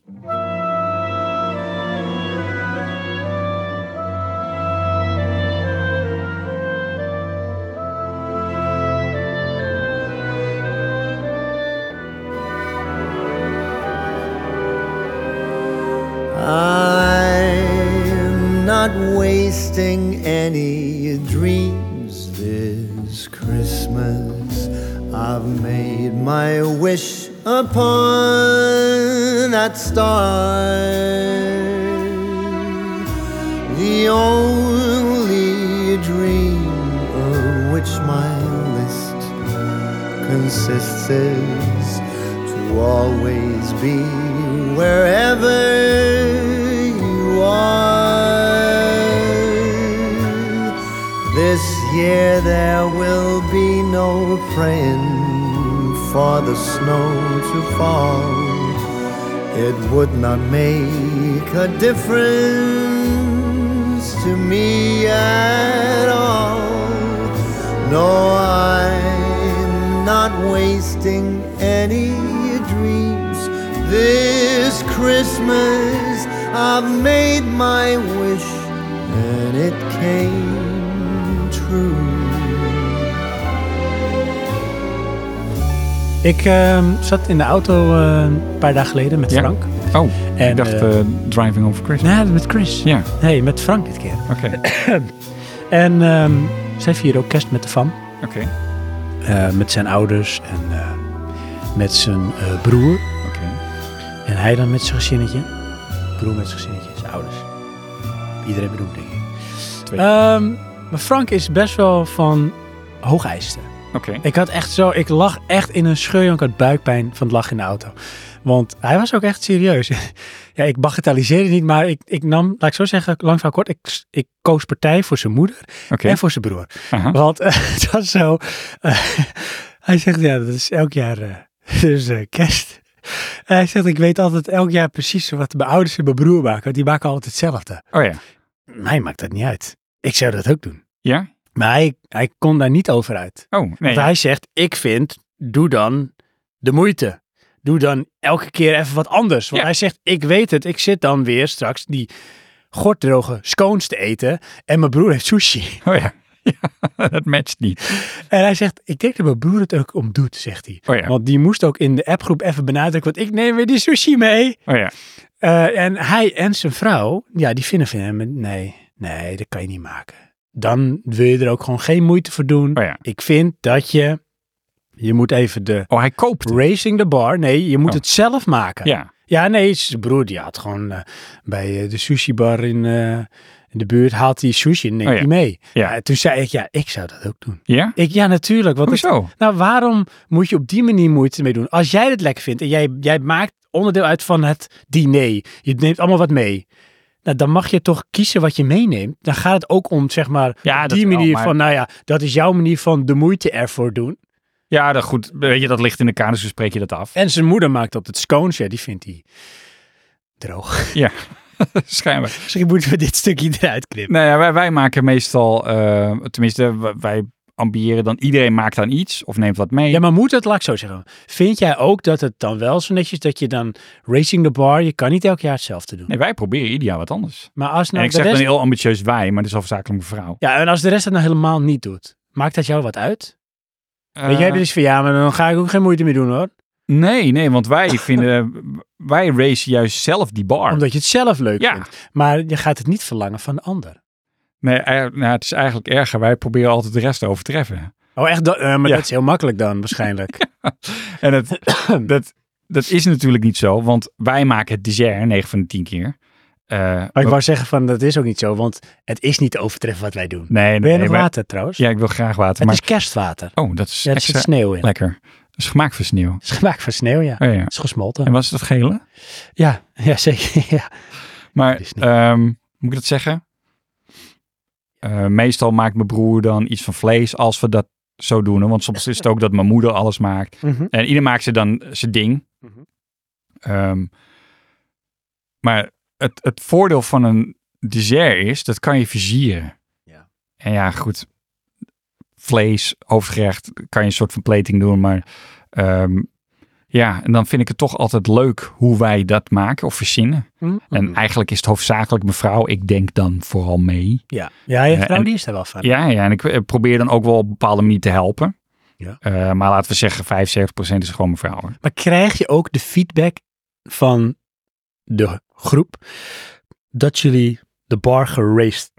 Speaker 6: I'm not wasting any dreams this Christmas. I've made my wish upon that star. The only dream of which my list consists is to always be wherever you are. This year there will be no praying for the snow to fall it would not make a difference to me at all. No, I'm not wasting any dreams. This Christmas I've made my wish and it came true.
Speaker 2: Ik ehm, zat in de auto eh, een paar dagen geleden met
Speaker 3: Ja.
Speaker 2: Frank.
Speaker 3: Oh,
Speaker 2: En,
Speaker 3: ik dacht
Speaker 2: eh,
Speaker 3: eh, Driving Home for Christmas.
Speaker 2: Nee, met Chris.
Speaker 3: Ja,
Speaker 2: Nee, met Frank dit keer.
Speaker 3: oké.
Speaker 2: En ehm, zij vieren ook kerst met de fam.
Speaker 3: Oké,
Speaker 2: Eh, met zijn ouders en eh, met zijn eh, broer.
Speaker 3: oké.
Speaker 2: En hij dan met zijn gezinnetje. Broer met zijn gezinnetje, zijn ouders. Iedereen bedoelt, denk ik.
Speaker 3: Twee.
Speaker 2: Ehm, maar Frank is best wel van hoog eisen.
Speaker 3: Oké.
Speaker 2: Ik had echt zo, ik lag echt in een scheurjank uit buikpijn van het lachen in de auto. Want hij was ook echt serieus. [LAUGHS] ja, ik bagatelliseerde niet, maar ik, ik nam, laat ik zo zeggen, lang van kort, ik, ik koos partij voor zijn moeder
Speaker 3: Oké.
Speaker 2: en voor zijn broer.
Speaker 3: Aha.
Speaker 2: [LAUGHS] Want eh, het was zo, eh, [LAUGHS] hij zegt, ja, dat is elk jaar eh, [LAUGHS] dus eh, kerst. En hij zegt, ik weet altijd elk jaar precies wat mijn ouders en mijn broer maken. Want die maken altijd hetzelfde.
Speaker 3: Oh ja.
Speaker 2: Mij maakt dat niet uit. Ik zou dat ook doen.
Speaker 3: Ja?
Speaker 2: Maar hij, hij kon daar niet over uit.
Speaker 3: Oh, nee.
Speaker 2: Want hij zegt, ik vind, doe dan de moeite. Doe dan elke keer even wat anders. Want
Speaker 3: Ja.
Speaker 2: hij zegt, ik weet het, ik zit dan weer straks die gortdroge scones te eten. En mijn broer heeft sushi.
Speaker 3: Oh ja. [LAUGHS] ja. Dat matcht niet.
Speaker 2: En hij zegt, ik denk dat mijn broer het ook om doet, zegt hij.
Speaker 3: Oh ja.
Speaker 2: Want die moest ook in de appgroep even benadrukken, want ik neem weer die sushi mee.
Speaker 3: Oh ja.
Speaker 2: Eh, en hij en zijn vrouw, ja, die vinden van hem, nee, nee, dat kan je niet maken. Dan wil je er ook gewoon geen moeite voor doen.
Speaker 3: Oh ja.
Speaker 2: Ik vind dat je, je moet even de
Speaker 3: Oh, hij koopt. het.
Speaker 2: Racing the Bar. Nee, je moet
Speaker 3: Oh.
Speaker 2: het zelf maken.
Speaker 3: Ja.
Speaker 2: Ja, nee, zijn broer die had gewoon eh, bij eh, de sushi bar in, eh, in de buurt haalt hij sushi en neemt
Speaker 3: Oh ja.
Speaker 2: die mee.
Speaker 3: Ja.
Speaker 2: Eh, toen zei ik, ja, ik zou dat ook doen.
Speaker 3: Ja?
Speaker 2: Ik, ja, natuurlijk. Want het-
Speaker 3: Hoezo?
Speaker 2: nou, waarom moet je op die manier moeite mee doen? Als jij het lekker vindt en jij, jij maakt onderdeel uit van het diner. Je neemt allemaal wat mee. Nou, dan mag je toch kiezen wat je meeneemt. Dan gaat het ook om, zeg maar,
Speaker 3: Ja,
Speaker 2: op
Speaker 3: dat
Speaker 2: die
Speaker 3: wel,
Speaker 2: manier
Speaker 3: maar-
Speaker 2: van, nou ja, dat is jouw manier van de moeite ervoor doen.
Speaker 3: Ja, dat goed. Weet je, dat ligt in de kaders, dus spreek je dat af.
Speaker 2: En zijn moeder maakt op het scones, ja, die vindt hij droog. [LAUGHS] Dus
Speaker 3: Ja, schijnbaar.
Speaker 2: Misschien moeten we dit stukje eruit knippen.
Speaker 3: Nou ja, wij, wij maken meestal, eh, tenminste, w- wij ambiëren dan, iedereen maakt dan iets of neemt wat mee.
Speaker 2: Ja, maar moet het, laat ik zo zeggen. Vind jij ook dat het dan wel zo netjes dat je dan racing the bar, je kan niet elk jaar hetzelfde doen.
Speaker 3: Nee, wij proberen ieder jaar wat anders.
Speaker 2: Maar als
Speaker 3: en
Speaker 2: nou
Speaker 3: ik
Speaker 2: de
Speaker 3: zeg
Speaker 2: rest,
Speaker 3: dan heel ambitieus wij, maar dat is hoofdzakelijk mijn vrouw.
Speaker 2: ja, en als de rest dat nou helemaal niet doet, maakt dat jou wat uit? Weet jij
Speaker 3: Eh,
Speaker 2: hebt dus van ja, maar dan ga ik ook geen moeite meer doen hoor,
Speaker 3: Nee, nee, want
Speaker 2: [LAUGHS]
Speaker 3: wij vinden, wij racen juist zelf die bar.
Speaker 2: omdat je het zelf leuk
Speaker 3: Ja.
Speaker 2: vindt. Maar je gaat het niet verlangen van de ander.
Speaker 3: Nee, eh, nou, het is eigenlijk erger. Wij proberen altijd de rest te overtreffen.
Speaker 2: Oh, echt? Dat, eh, maar
Speaker 3: Ja.
Speaker 2: dat is heel makkelijk
Speaker 3: [LAUGHS]
Speaker 2: dan waarschijnlijk.
Speaker 3: En
Speaker 2: [COUGHS]
Speaker 3: het, dat, dat is natuurlijk niet zo, want wij maken het dessert 9 van de 10 keer. Eh,
Speaker 2: Maar ik wou zeggen van dat is ook niet zo, want het is niet te overtreffen wat wij doen.
Speaker 3: nee,
Speaker 2: Ben
Speaker 3: nee,
Speaker 2: je nog
Speaker 3: wij-
Speaker 2: water trouwens?
Speaker 3: Ja, ik wil graag water.
Speaker 2: Het
Speaker 3: maar,
Speaker 2: is kerstwater.
Speaker 3: Oh, dat is
Speaker 2: Ja, er
Speaker 3: extra
Speaker 2: zit sneeuw in.
Speaker 3: lekker. is gemaakt van sneeuw.
Speaker 2: is gemaakt van sneeuw, ja.
Speaker 3: Oh ja.
Speaker 2: Het is gesmolten.
Speaker 3: En was het dat gele?
Speaker 2: Ja, [LAUGHS] ja zeker. Ja.
Speaker 3: Maar
Speaker 2: Is niet.
Speaker 3: ehm, moet ik dat zeggen? Eh, meestal maakt mijn broer dan iets van vlees als we dat zo doen. hè, Want soms is het ook dat mijn moeder alles maakt.
Speaker 2: Mhm.
Speaker 3: En ieder maakt ze dan zijn ding.
Speaker 2: Mhm.
Speaker 3: Ehm, maar het, het voordeel van een dessert is, dat kan je versieren.
Speaker 7: Ja.
Speaker 3: En ja, goed. Vlees, hoofdgerecht, kan je een soort van plating doen. Maar ehm, ja, en dan vind ik het toch altijd leuk hoe wij dat maken of verzinnen.
Speaker 2: Mhm.
Speaker 3: En eigenlijk is het hoofdzakelijk mevrouw. Ik denk dan vooral mee.
Speaker 2: Ja, ja je
Speaker 3: Ja,
Speaker 2: vrouw
Speaker 3: en-
Speaker 2: die is daar wel van.
Speaker 3: Ja, ja en ik eh, probeer dan ook wel op een bepaalde manier te helpen.
Speaker 2: Ja.
Speaker 3: Eh, maar laten we zeggen, 75% is gewoon mevrouw. hoor.
Speaker 2: Maar krijg je ook de feedback van de groep dat jullie de bar geraced,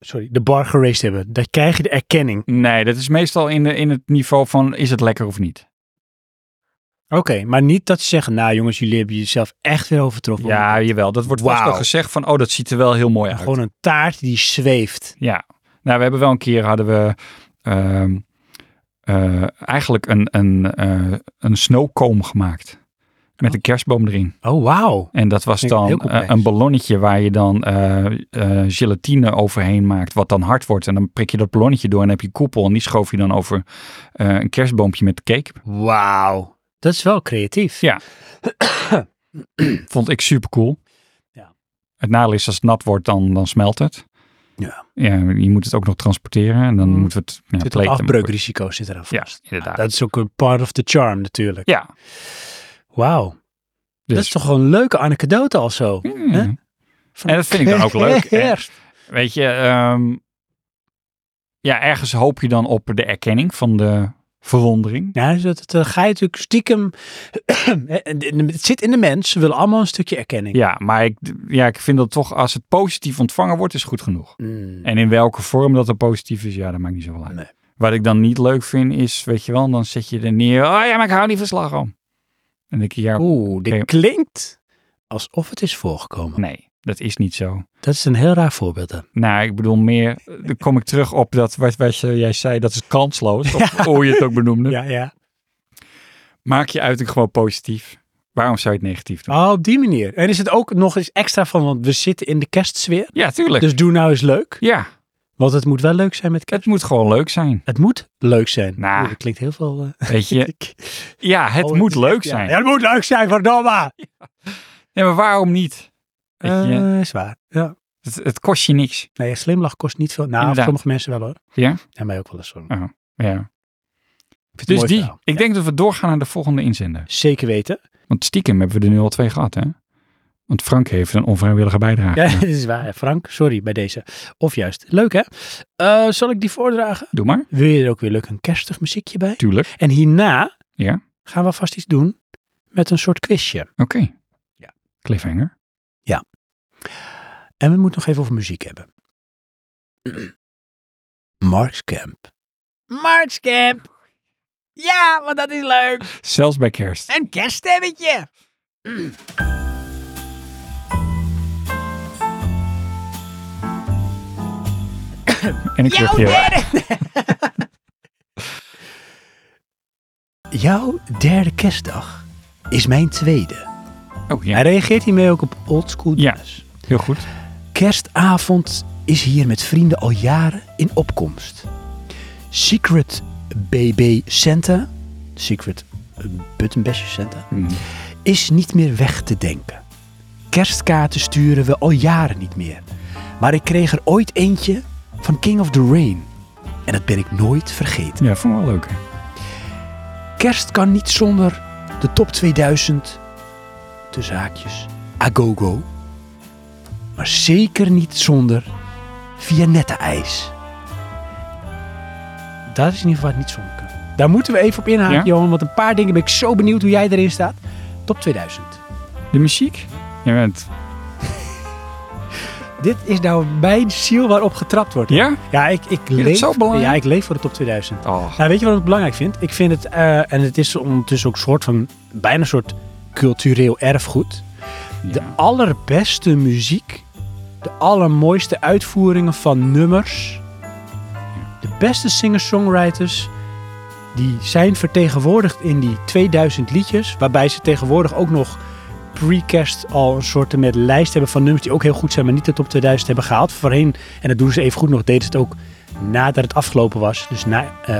Speaker 2: sorry, de bar geraced hebben? Daar krijg je de erkenning.
Speaker 3: Nee, dat is meestal in, de, in het niveau van is het lekker of niet.
Speaker 2: Oké, maar niet dat ze zeggen, nou jongens, jullie hebben jezelf echt weer overtroffen.
Speaker 3: Ja, jawel. Dat wordt vast
Speaker 2: Wauw.
Speaker 3: wel gezegd van, oh, dat ziet er wel heel mooi uit.
Speaker 2: Gewoon een taart die zweeft.
Speaker 3: Ja. Nou, we hebben wel een keer, hadden we ehm, eh, eigenlijk een, een, eh een snowkoom gemaakt. Met een kerstboom erin.
Speaker 2: Oh, wauw.
Speaker 3: En dat was
Speaker 2: Klinkt heel
Speaker 3: dan
Speaker 2: complex.
Speaker 3: eh, een ballonnetje waar je dan eh, eh, gelatine overheen maakt, wat dan hard wordt. En dan prik je dat ballonnetje door en dan heb je koepel. En die schoof je dan over eh, een kerstboompje met cake.
Speaker 2: Wauw. Dat is wel creatief.
Speaker 3: Ja. Vond ik super cool.
Speaker 2: Ja.
Speaker 3: Het nadeel is als het nat wordt, dan, dan smelt het.
Speaker 2: Ja.
Speaker 3: ja. Je moet het ook nog transporteren en dan
Speaker 2: Mm.
Speaker 3: moeten we het ja,
Speaker 2: Er Zit een
Speaker 3: pleten.
Speaker 2: afbreukrisico zit eraf.
Speaker 3: Ja, inderdaad.
Speaker 2: Dat is ook een part of the charm natuurlijk.
Speaker 3: Ja,
Speaker 2: Wauw.
Speaker 3: dus.
Speaker 2: Dat is toch gewoon een leuke anekdote al zo.
Speaker 3: Mm.
Speaker 2: hè?
Speaker 3: En dat vind ik dan ook leuk. En-
Speaker 2: Kerst.
Speaker 3: Weet je, ehm, ja, ergens hoop je dan op de erkenning van de verwondering.
Speaker 2: Ja, dus dat, dat ga je natuurlijk stiekem... [CLEARS THROAT] het zit in de mens. Ze willen allemaal een stukje erkenning.
Speaker 3: Ja, maar ik, ja, ik vind dat toch als het positief ontvangen wordt, is goed genoeg.
Speaker 2: Mm.
Speaker 3: En in welke vorm dat er positief is, ja, dat maakt niet zoveel uit.
Speaker 2: Nee.
Speaker 3: Wat ik dan niet leuk vind is, weet je wel, dan zet je er neer. Oh ja, maar ik hou niet van slagroom. En ik, ja,
Speaker 2: Oeh, dit
Speaker 3: Oké.
Speaker 2: klinkt alsof het is voorgekomen.
Speaker 3: nee, dat is niet zo.
Speaker 2: Dat is een heel raar voorbeeld dan.
Speaker 3: Nou, ik bedoel meer, eh, dan kom ik terug op dat wat, wat je- jij zei, dat is kansloos.
Speaker 2: [LAUGHS]
Speaker 3: Of hoe je het ook benoemde.
Speaker 2: ja.
Speaker 3: Maak je uiting gewoon positief. Waarom zou je het negatief doen?
Speaker 2: Oh, op die manier. En is het ook nog eens extra van, want we zitten in de kerstsfeer.
Speaker 3: Ja, tuurlijk.
Speaker 2: Dus doe nou eens leuk.
Speaker 3: ja,
Speaker 2: Want het moet wel leuk zijn met kerst.
Speaker 3: het moet gewoon leuk zijn.
Speaker 2: Het moet leuk zijn.
Speaker 3: Nou.
Speaker 2: Oeh, dat klinkt heel veel... eh,
Speaker 3: Weet
Speaker 2: [LAUGHS]
Speaker 3: je, ja, het
Speaker 2: Oh,
Speaker 3: moet
Speaker 2: is
Speaker 3: leuk
Speaker 2: echt, ja.
Speaker 3: zijn.
Speaker 2: Ja, het moet leuk
Speaker 3: [LAUGHS]
Speaker 2: zijn, verdomme.
Speaker 3: Nee, maar waarom niet? Weet je,
Speaker 2: Eh is waar. Ja.
Speaker 3: Het, het kost je niks.
Speaker 2: Nee, glimlach kost niet veel. Nou, voor
Speaker 3: Inderdaad.
Speaker 2: sommige mensen wel hoor.
Speaker 3: Ja?
Speaker 2: En mij ook wel eens hoor. Ik
Speaker 3: Ja.
Speaker 2: vind het een
Speaker 3: Dus
Speaker 2: mooi
Speaker 3: die.
Speaker 2: verhaal.
Speaker 3: Ik denk dat we doorgaan naar de volgende inzender.
Speaker 2: Zeker weten. [LAUGHS]
Speaker 3: Want stiekem hebben we er nu al twee gehad, hè? Want Frank heeft een onvrijwillige bijdrage.
Speaker 2: Ja, dat is waar. Frank, sorry bij deze. Of juist. Leuk hè? Eh, zal ik die voordragen?
Speaker 3: Doe maar.
Speaker 2: Wil je er ook weer leuk een kerstig muziekje bij?
Speaker 3: Tuurlijk.
Speaker 2: En hierna
Speaker 3: Ja.
Speaker 2: gaan we vast iets doen met een soort quizje.
Speaker 3: Oké.
Speaker 2: Ja.
Speaker 3: Cliffhanger.
Speaker 2: En we moeten nog even over muziek hebben. [CLEARS THROAT] Marks Camp. Marks Camp. Ja, want dat is leuk.
Speaker 3: Zelfs bij kerst.
Speaker 2: Een kerststemmetje.
Speaker 3: En ik zeg je.
Speaker 2: [LAUGHS] Jouw derde kerstdag is mijn tweede.
Speaker 3: Oh
Speaker 2: Hij
Speaker 3: ja,
Speaker 2: reageert hiermee ook op oldschool
Speaker 3: Ja.
Speaker 2: jazz.
Speaker 3: heel goed.
Speaker 2: Kerstavond is hier met vrienden al jaren in opkomst. Secret BB Santa, Secret eh, Buttonbasher Santa,
Speaker 3: Mm.
Speaker 2: is niet meer weg te denken. Kerstkaarten sturen we al jaren niet meer. Maar ik kreeg er ooit eentje van King of the Rain. En dat ben ik nooit vergeten.
Speaker 3: Ja, vond ik wel leuk. hè?
Speaker 2: Kerst kan niet zonder de top 2000, tussen haakjes, Agogo. Maar zeker niet zonder Vianetta-ijs. Dat is in ieder geval wat niet zonder kan. Daar moeten we even op inhaken,
Speaker 3: Ja?
Speaker 2: Johan. Want een paar dingen ben ik zo benieuwd hoe jij erin staat. Top 2000.
Speaker 3: De muziek? Je bent...
Speaker 2: Dit is nou mijn ziel waarop getrapt wordt.
Speaker 3: Ja?
Speaker 2: Ja, ik, ik,
Speaker 3: het
Speaker 2: leef,
Speaker 3: zo belangrijk?
Speaker 2: ja, ik leef voor de top 2000.
Speaker 3: Oh.
Speaker 2: Nou, weet je wat ik belangrijk vind? Ik vind het, eh, en het is ondertussen ook een soort van, bijna een soort cultureel erfgoed. De
Speaker 3: Ja.
Speaker 2: allerbeste muziek, de allermooiste uitvoeringen van nummers, de beste singer-songwriters, die zijn vertegenwoordigd in die 2000 liedjes. Waarbij ze tegenwoordig ook nog precast al een soort met lijst hebben van nummers die ook heel goed zijn, maar niet de top 2000 hebben gehaald. Voorheen, en dat doen ze even goed nog, deden ze het ook nadat het afgelopen was. Dus na eh,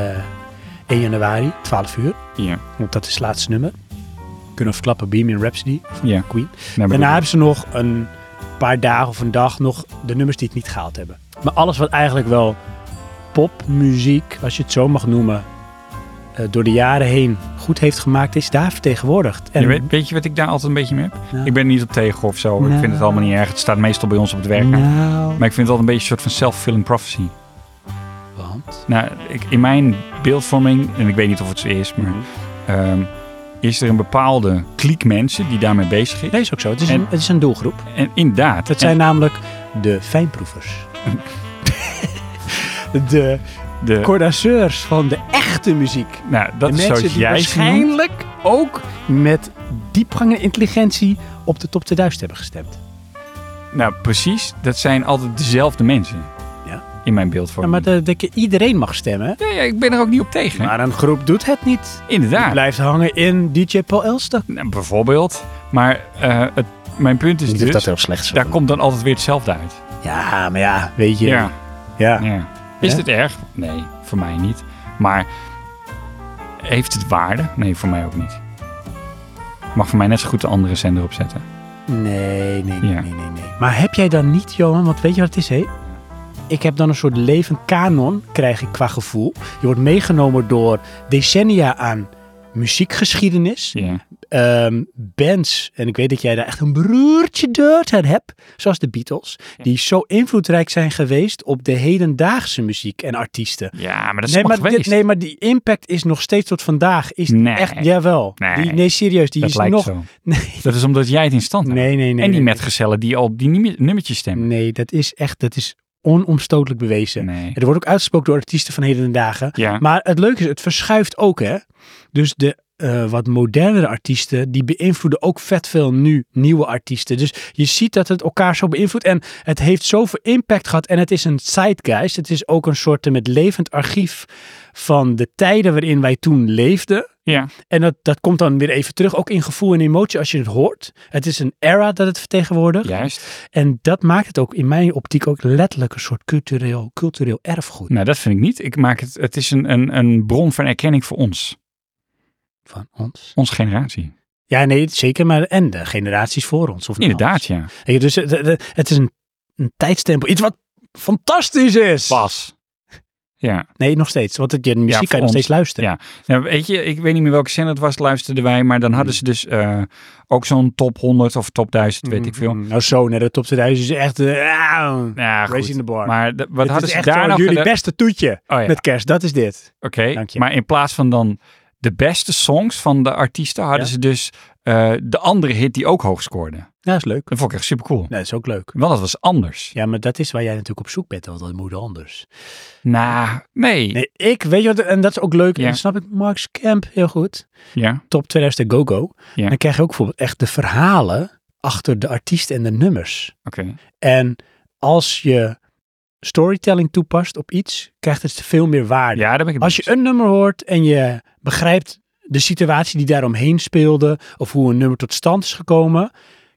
Speaker 2: 1 januari, 12 uur.
Speaker 3: Ja.
Speaker 2: Want dat is het laatste nummer. Kunnen we verklappen, Beam in Rhapsody van
Speaker 3: Ja.
Speaker 2: Queen.
Speaker 3: Nou,
Speaker 2: Daarna
Speaker 3: bedoel-
Speaker 2: hebben ze nog een paar dagen of een dag nog de nummers die het niet gehaald hebben. Maar alles wat eigenlijk wel popmuziek, als je het zo mag noemen, eh, door de jaren heen goed heeft gemaakt, is daar vertegenwoordigd. En
Speaker 3: Ja, weet, weet je wat ik daar altijd een beetje mee heb?
Speaker 2: Nou.
Speaker 3: Ik ben er niet op tegen of zo. Ik
Speaker 2: Nou.
Speaker 3: vind het allemaal niet erg. Het staat meestal bij ons op het werk. aan.
Speaker 2: nou,
Speaker 3: Maar ik vind het altijd een beetje een soort van self-fulfilling prophecy.
Speaker 2: want
Speaker 3: Nou, ik, in mijn beeldvorming, en ik weet niet of het zo is, maar
Speaker 2: Mhm.
Speaker 3: ehm, is er een bepaalde kliek mensen die daarmee bezig is.
Speaker 2: nee, is ook zo. Het is,
Speaker 3: En-
Speaker 2: een, het is een doelgroep.
Speaker 3: En inderdaad.
Speaker 2: Het zijn namelijk de
Speaker 3: [LAUGHS]
Speaker 2: fijnproevers. de
Speaker 3: en de,
Speaker 2: connoisseurs van de echte muziek.
Speaker 3: nou, dat
Speaker 2: de
Speaker 3: is
Speaker 2: mensen
Speaker 3: zoals
Speaker 2: die
Speaker 3: jij ze noemt.
Speaker 2: waarschijnlijk ook met diepgang en intelligentie op de top 2000 hebben gestemd.
Speaker 3: Nou, precies. Dat zijn altijd dezelfde mensen.
Speaker 2: Ja.
Speaker 3: In mijn
Speaker 2: Ja,
Speaker 3: beeldvorming.
Speaker 2: maar dat, dat je iedereen mag stemmen.
Speaker 3: Ja, ja, ik ben er ook niet op tegen.
Speaker 2: Maar een groep doet het niet.
Speaker 3: inderdaad.
Speaker 2: Blijft hangen in DJ Paul Elstak.
Speaker 3: Nou, bijvoorbeeld. Maar eh, het, mijn punt is dus,
Speaker 2: heel slecht zo.
Speaker 3: daar komt dan altijd weer hetzelfde uit.
Speaker 2: Ja, maar ja, weet je.
Speaker 3: Ja.
Speaker 2: ja.
Speaker 3: ja. Is
Speaker 2: Ja?
Speaker 3: het erg? Nee, voor mij niet. Maar heeft het waarde? Nee, voor mij ook niet. Mag voor mij net zo goed de andere zender opzetten.
Speaker 2: Nee, nee, nee,
Speaker 3: Ja.
Speaker 2: nee, nee, nee. Maar heb jij dan niet, Johan, want weet je wat het is, hé? Ik heb dan een soort levend kanon, krijg ik qua gevoel. Je wordt meegenomen door decennia aan muziekgeschiedenis,
Speaker 3: Ja.
Speaker 2: ehm, bands. En ik weet dat jij daar echt een broertje dood aan hebt, zoals de Beatles. Die zo invloedrijk zijn geweest op de hedendaagse muziek en artiesten.
Speaker 3: ja, maar dat is
Speaker 2: Nee
Speaker 3: allemaal
Speaker 2: maar, dit-
Speaker 3: geweest.
Speaker 2: nee, maar die impact is nog steeds tot vandaag. Is
Speaker 3: Nee.
Speaker 2: echt, jawel.
Speaker 3: Nee.
Speaker 2: Die, nee, serieus, die
Speaker 3: dat
Speaker 2: is
Speaker 3: lijkt
Speaker 2: nog...
Speaker 3: zo.
Speaker 2: [LAUGHS] Nee,
Speaker 3: Dat is omdat jij het in stand houdt.
Speaker 2: nee, nee, nee.
Speaker 3: en die
Speaker 2: nee.
Speaker 3: metgezellen die al die nummer- nummertjes stemmen.
Speaker 2: Nee, dat is echt, dat is onomstotelijk bewezen.
Speaker 3: Nee.
Speaker 2: Er wordt ook uitgesproken door artiesten van heden en dagen.
Speaker 3: Ja.
Speaker 2: Maar het leuke is, het verschuift ook, hè. Dus de eh, wat modernere artiesten, die beïnvloeden ook vet veel nu nieuwe artiesten. Dus je ziet dat het elkaar zo beïnvloedt. En het heeft zoveel impact gehad. En het is een zeitgeist. Het is ook een soort eh, met levend archief van de tijden waarin wij toen leefden.
Speaker 3: ja.
Speaker 2: En dat, dat komt dan weer even terug, ook in gevoel en emotie als je het hoort. Het is een era dat het vertegenwoordigt.
Speaker 3: Juist.
Speaker 2: En dat maakt het ook in mijn optiek ook letterlijk een soort cultureel, cultureel erfgoed
Speaker 3: Nou, dat vind ik niet. Ik maak het, het is een, een, een bron van erkenning voor ons.
Speaker 2: van ons.
Speaker 3: Onze generatie.
Speaker 2: Ja, nee, zeker. Maar en de generaties voor ons. Of na
Speaker 3: Inderdaad,
Speaker 2: ons.
Speaker 3: ja.
Speaker 2: Weet je, Dus het, het- het is een, een tijdstempel. Iets wat fantastisch is.
Speaker 3: Pas. Ja.
Speaker 2: Nee, nog steeds. Want het, je muziek
Speaker 3: Ja,
Speaker 2: kan je
Speaker 3: voor
Speaker 2: nog
Speaker 3: ons.
Speaker 2: steeds luisteren.
Speaker 3: Ja. Nou, weet je, ik weet niet meer welke zender het was, luisterden wij, maar dan hadden ze dus
Speaker 2: Mm.
Speaker 3: eh, ook zo'n top 100 of top 1000, weet ik veel.
Speaker 2: Nou, zo naar de top 2000 is echt... eh, ah,
Speaker 3: Ja, goed.
Speaker 2: Raising the bar.
Speaker 3: Maar de- wat
Speaker 2: het
Speaker 3: hadden
Speaker 2: is
Speaker 3: ze
Speaker 2: echt
Speaker 3: daar
Speaker 2: zo
Speaker 3: nou
Speaker 2: jullie
Speaker 3: gedaan?
Speaker 2: beste toetje
Speaker 3: Oh ja,
Speaker 2: met kerst. Dat is dit.
Speaker 3: oké.
Speaker 2: Dank je.
Speaker 3: Maar in plaats van dan de beste songs van de artiesten, hadden
Speaker 2: Ja.
Speaker 3: ze dus eh, de andere hit die ook hoog scoorde.
Speaker 2: Ja, is leuk.
Speaker 3: Dat vond ik echt super cool.
Speaker 2: Nou, dat is ook leuk.
Speaker 3: Want dat was anders.
Speaker 2: Ja, maar dat is waar jij natuurlijk op zoek bent. Want dat moet anders.
Speaker 3: Nou, nee.
Speaker 2: Nee, ik weet je wat, en dat is ook leuk.
Speaker 3: Ja.
Speaker 2: En dat snap ik Marks Camp heel goed.
Speaker 3: Ja.
Speaker 2: Top 2000 Go-Go.
Speaker 3: Ja.
Speaker 2: Dan krijg je ook bijvoorbeeld echt de verhalen achter de artiest en de nummers.
Speaker 3: Oké.
Speaker 2: En als je storytelling toepast op iets, krijgt het veel meer waarde.
Speaker 3: Ja, daar ben ik het
Speaker 2: Als
Speaker 3: mee
Speaker 2: je een nummer hoort en je begrijpt de situatie die daaromheen speelde, of hoe een nummer tot stand is gekomen,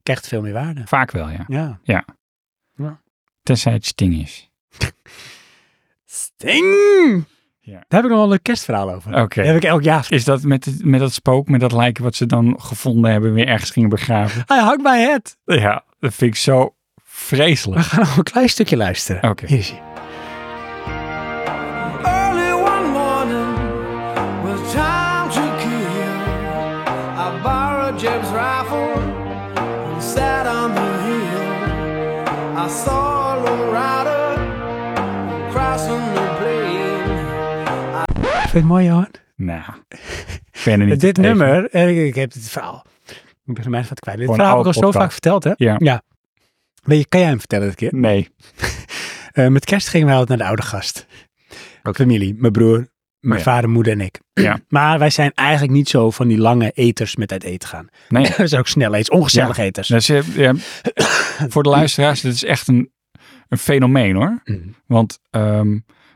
Speaker 2: krijgt het veel meer waarde.
Speaker 3: eens. Vaak wel, ja.
Speaker 2: Ja.
Speaker 3: Tenzij het sting is.
Speaker 2: Sting!
Speaker 3: Ja.
Speaker 2: Daar heb ik nog wel een leuk kerstverhaal over.
Speaker 3: Oké.
Speaker 2: Daar heb ik elk jaar.
Speaker 3: Is dat met, het- met dat spook, met dat lijken wat ze dan gevonden hebben, weer ergens gingen begraven?
Speaker 2: Hij hangt bij het.
Speaker 3: Ja, dat vind ik zo
Speaker 2: We
Speaker 3: vreselijk.
Speaker 2: gaan nog een klein stukje luisteren.
Speaker 3: Oké.
Speaker 2: Hier is hij.
Speaker 7: Early one morning, with time to kill, I borrowed Jim's rifle and sat on the hill. I saw a lone rider crossing the plain.
Speaker 2: Vind je het mooi, Johan?
Speaker 3: Nou, ik ben er niet
Speaker 2: Dit
Speaker 3: tegen.
Speaker 2: nummer, eh, ik heb het verhaal. Ik ben er mij wat kwijt. Dit
Speaker 3: Voor een
Speaker 2: verhaal heb
Speaker 3: oude
Speaker 2: ik al zo
Speaker 3: podcast.
Speaker 2: vaak verteld, hè?
Speaker 3: Ja.
Speaker 2: Weet je, kan jij hem vertellen dit keer?
Speaker 3: Nee.
Speaker 2: Eh, met kerst gingen wij altijd naar de oude gast. Familie, mijn broer, mijn
Speaker 3: Oh ja.
Speaker 2: vader, moeder en ik.
Speaker 3: Ja.
Speaker 2: [CLEARS THROAT] Maar wij zijn eigenlijk niet zo van die lange eters met uit eten gaan. [LAUGHS]
Speaker 3: Nee.
Speaker 2: we zijn ook snel eens, ongezellig
Speaker 3: Ja.
Speaker 2: eters.
Speaker 3: Dus, eh,
Speaker 2: [COUGHS]
Speaker 3: ja, voor de luisteraars, dit is echt een, een fenomeen hoor.
Speaker 2: Mm.
Speaker 3: Want ehm,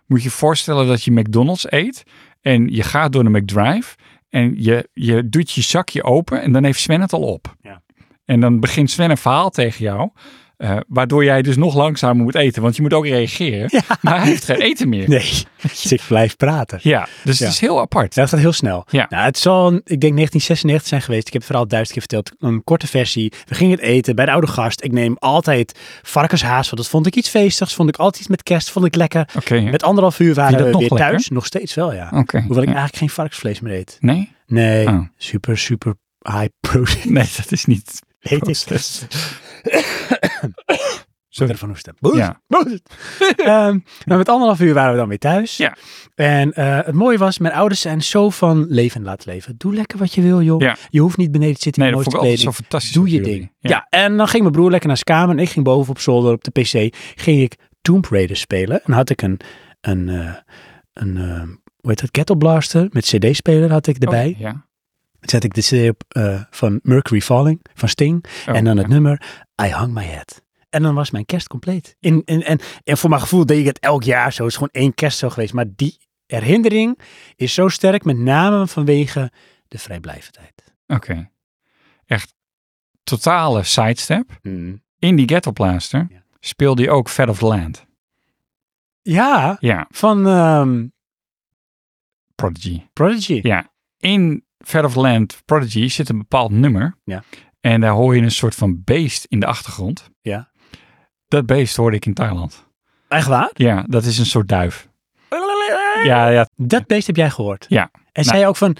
Speaker 3: moet je je voorstellen dat je McDonald's eet En je gaat door de McDrive. En je, je doet je zakje open. En dan heeft Sven het al op.
Speaker 2: Ja.
Speaker 3: En dan begint Sven een verhaal tegen jou. eh, waardoor jij dus nog langzamer moet eten. Want je moet ook reageren. [LAUGHS] Maar hij heeft geen eten meer.
Speaker 2: Nee,
Speaker 3: [LAUGHS]
Speaker 2: dus ik blijf praten.
Speaker 3: Ja, dus
Speaker 2: Ja.
Speaker 3: het is heel apart.
Speaker 2: Ja, dat gaat heel snel.
Speaker 3: Ja.
Speaker 2: Nou, het zal, ik denk, 1996 zijn geweest. Ik heb het verhaal duizend keer verteld. Een korte versie. We gingen het eten bij de oude gast. Ik neem altijd varkenshaas, want dat vond ik iets feestigs. Vond ik altijd iets met kerst, vond ik lekker.
Speaker 3: Oké. ja.
Speaker 2: Met anderhalf uur waren
Speaker 3: Vind
Speaker 2: we
Speaker 3: je
Speaker 2: weer
Speaker 3: dat nog lekker?
Speaker 2: thuis. Nog steeds wel, ja.
Speaker 3: Oké,
Speaker 2: Hoewel ik
Speaker 3: ja.
Speaker 2: eigenlijk geen varkensvlees meer eet.
Speaker 3: Nee?
Speaker 2: Nee,
Speaker 3: Oh.
Speaker 2: super, super high protein
Speaker 3: Nee, dat is niet.
Speaker 2: eet ik.
Speaker 3: proces.
Speaker 2: Sorry.
Speaker 3: [COUGHS] Sorry.
Speaker 2: Van Oestem. Boos,
Speaker 3: Ja. [LAUGHS]
Speaker 2: boos. Ehm, maar met anderhalf uur waren we dan weer thuis.
Speaker 3: Ja.
Speaker 2: En eh, het mooie was, mijn ouders zijn zo van leven en laten leven. Doe lekker wat je wil, joh.
Speaker 3: Ja.
Speaker 2: Je hoeft niet beneden te zitten
Speaker 3: Nee,
Speaker 2: in
Speaker 3: dat
Speaker 2: de
Speaker 3: vond ik
Speaker 2: kleding.
Speaker 3: altijd zo fantastisch.
Speaker 2: Doe
Speaker 3: op
Speaker 2: je
Speaker 3: jullie.
Speaker 2: ding. Ja.
Speaker 3: Ja.
Speaker 2: en dan ging mijn broer lekker naar zijn kamer en ik ging boven op zolder op de pc, ging ik Tomb Raider spelen. En dan had ik een, een, eh, een eh, hoe heet dat, kettle blaster met cd-speler had ik erbij.
Speaker 3: Oh, ja.
Speaker 2: Dan zet ik de cd op eh, van Mercury Falling, van Sting.
Speaker 3: Oh,
Speaker 2: en dan
Speaker 3: ja.
Speaker 2: het nummer I Hung My Head. En dan was mijn kerst compleet. In, in, en, en voor mijn gevoel deed ik het elk jaar zo. Het is gewoon één kerst zo geweest. Maar die herinnering is zo sterk, met name vanwege de vrijblijvendheid.
Speaker 3: Oké. Echt totale sidestep. In die ghettoplaster
Speaker 2: Ja.
Speaker 3: speelde hij ook Fat of the Land.
Speaker 2: Ja,
Speaker 3: Ja,
Speaker 2: van ehm,
Speaker 3: Prodigy.
Speaker 2: Prodigy.
Speaker 3: Ja. In Fat of the Land Prodigy zit een bepaald nummer.
Speaker 2: Ja.
Speaker 3: En daar hoor je een soort van beest in de achtergrond.
Speaker 2: Ja.
Speaker 3: Dat beest hoorde ik in Thailand.
Speaker 2: Echt waar?
Speaker 3: Ja, dat is een soort duif. Ja, ja
Speaker 2: Dat beest heb jij gehoord.
Speaker 3: Ja.
Speaker 2: En zei je ook van,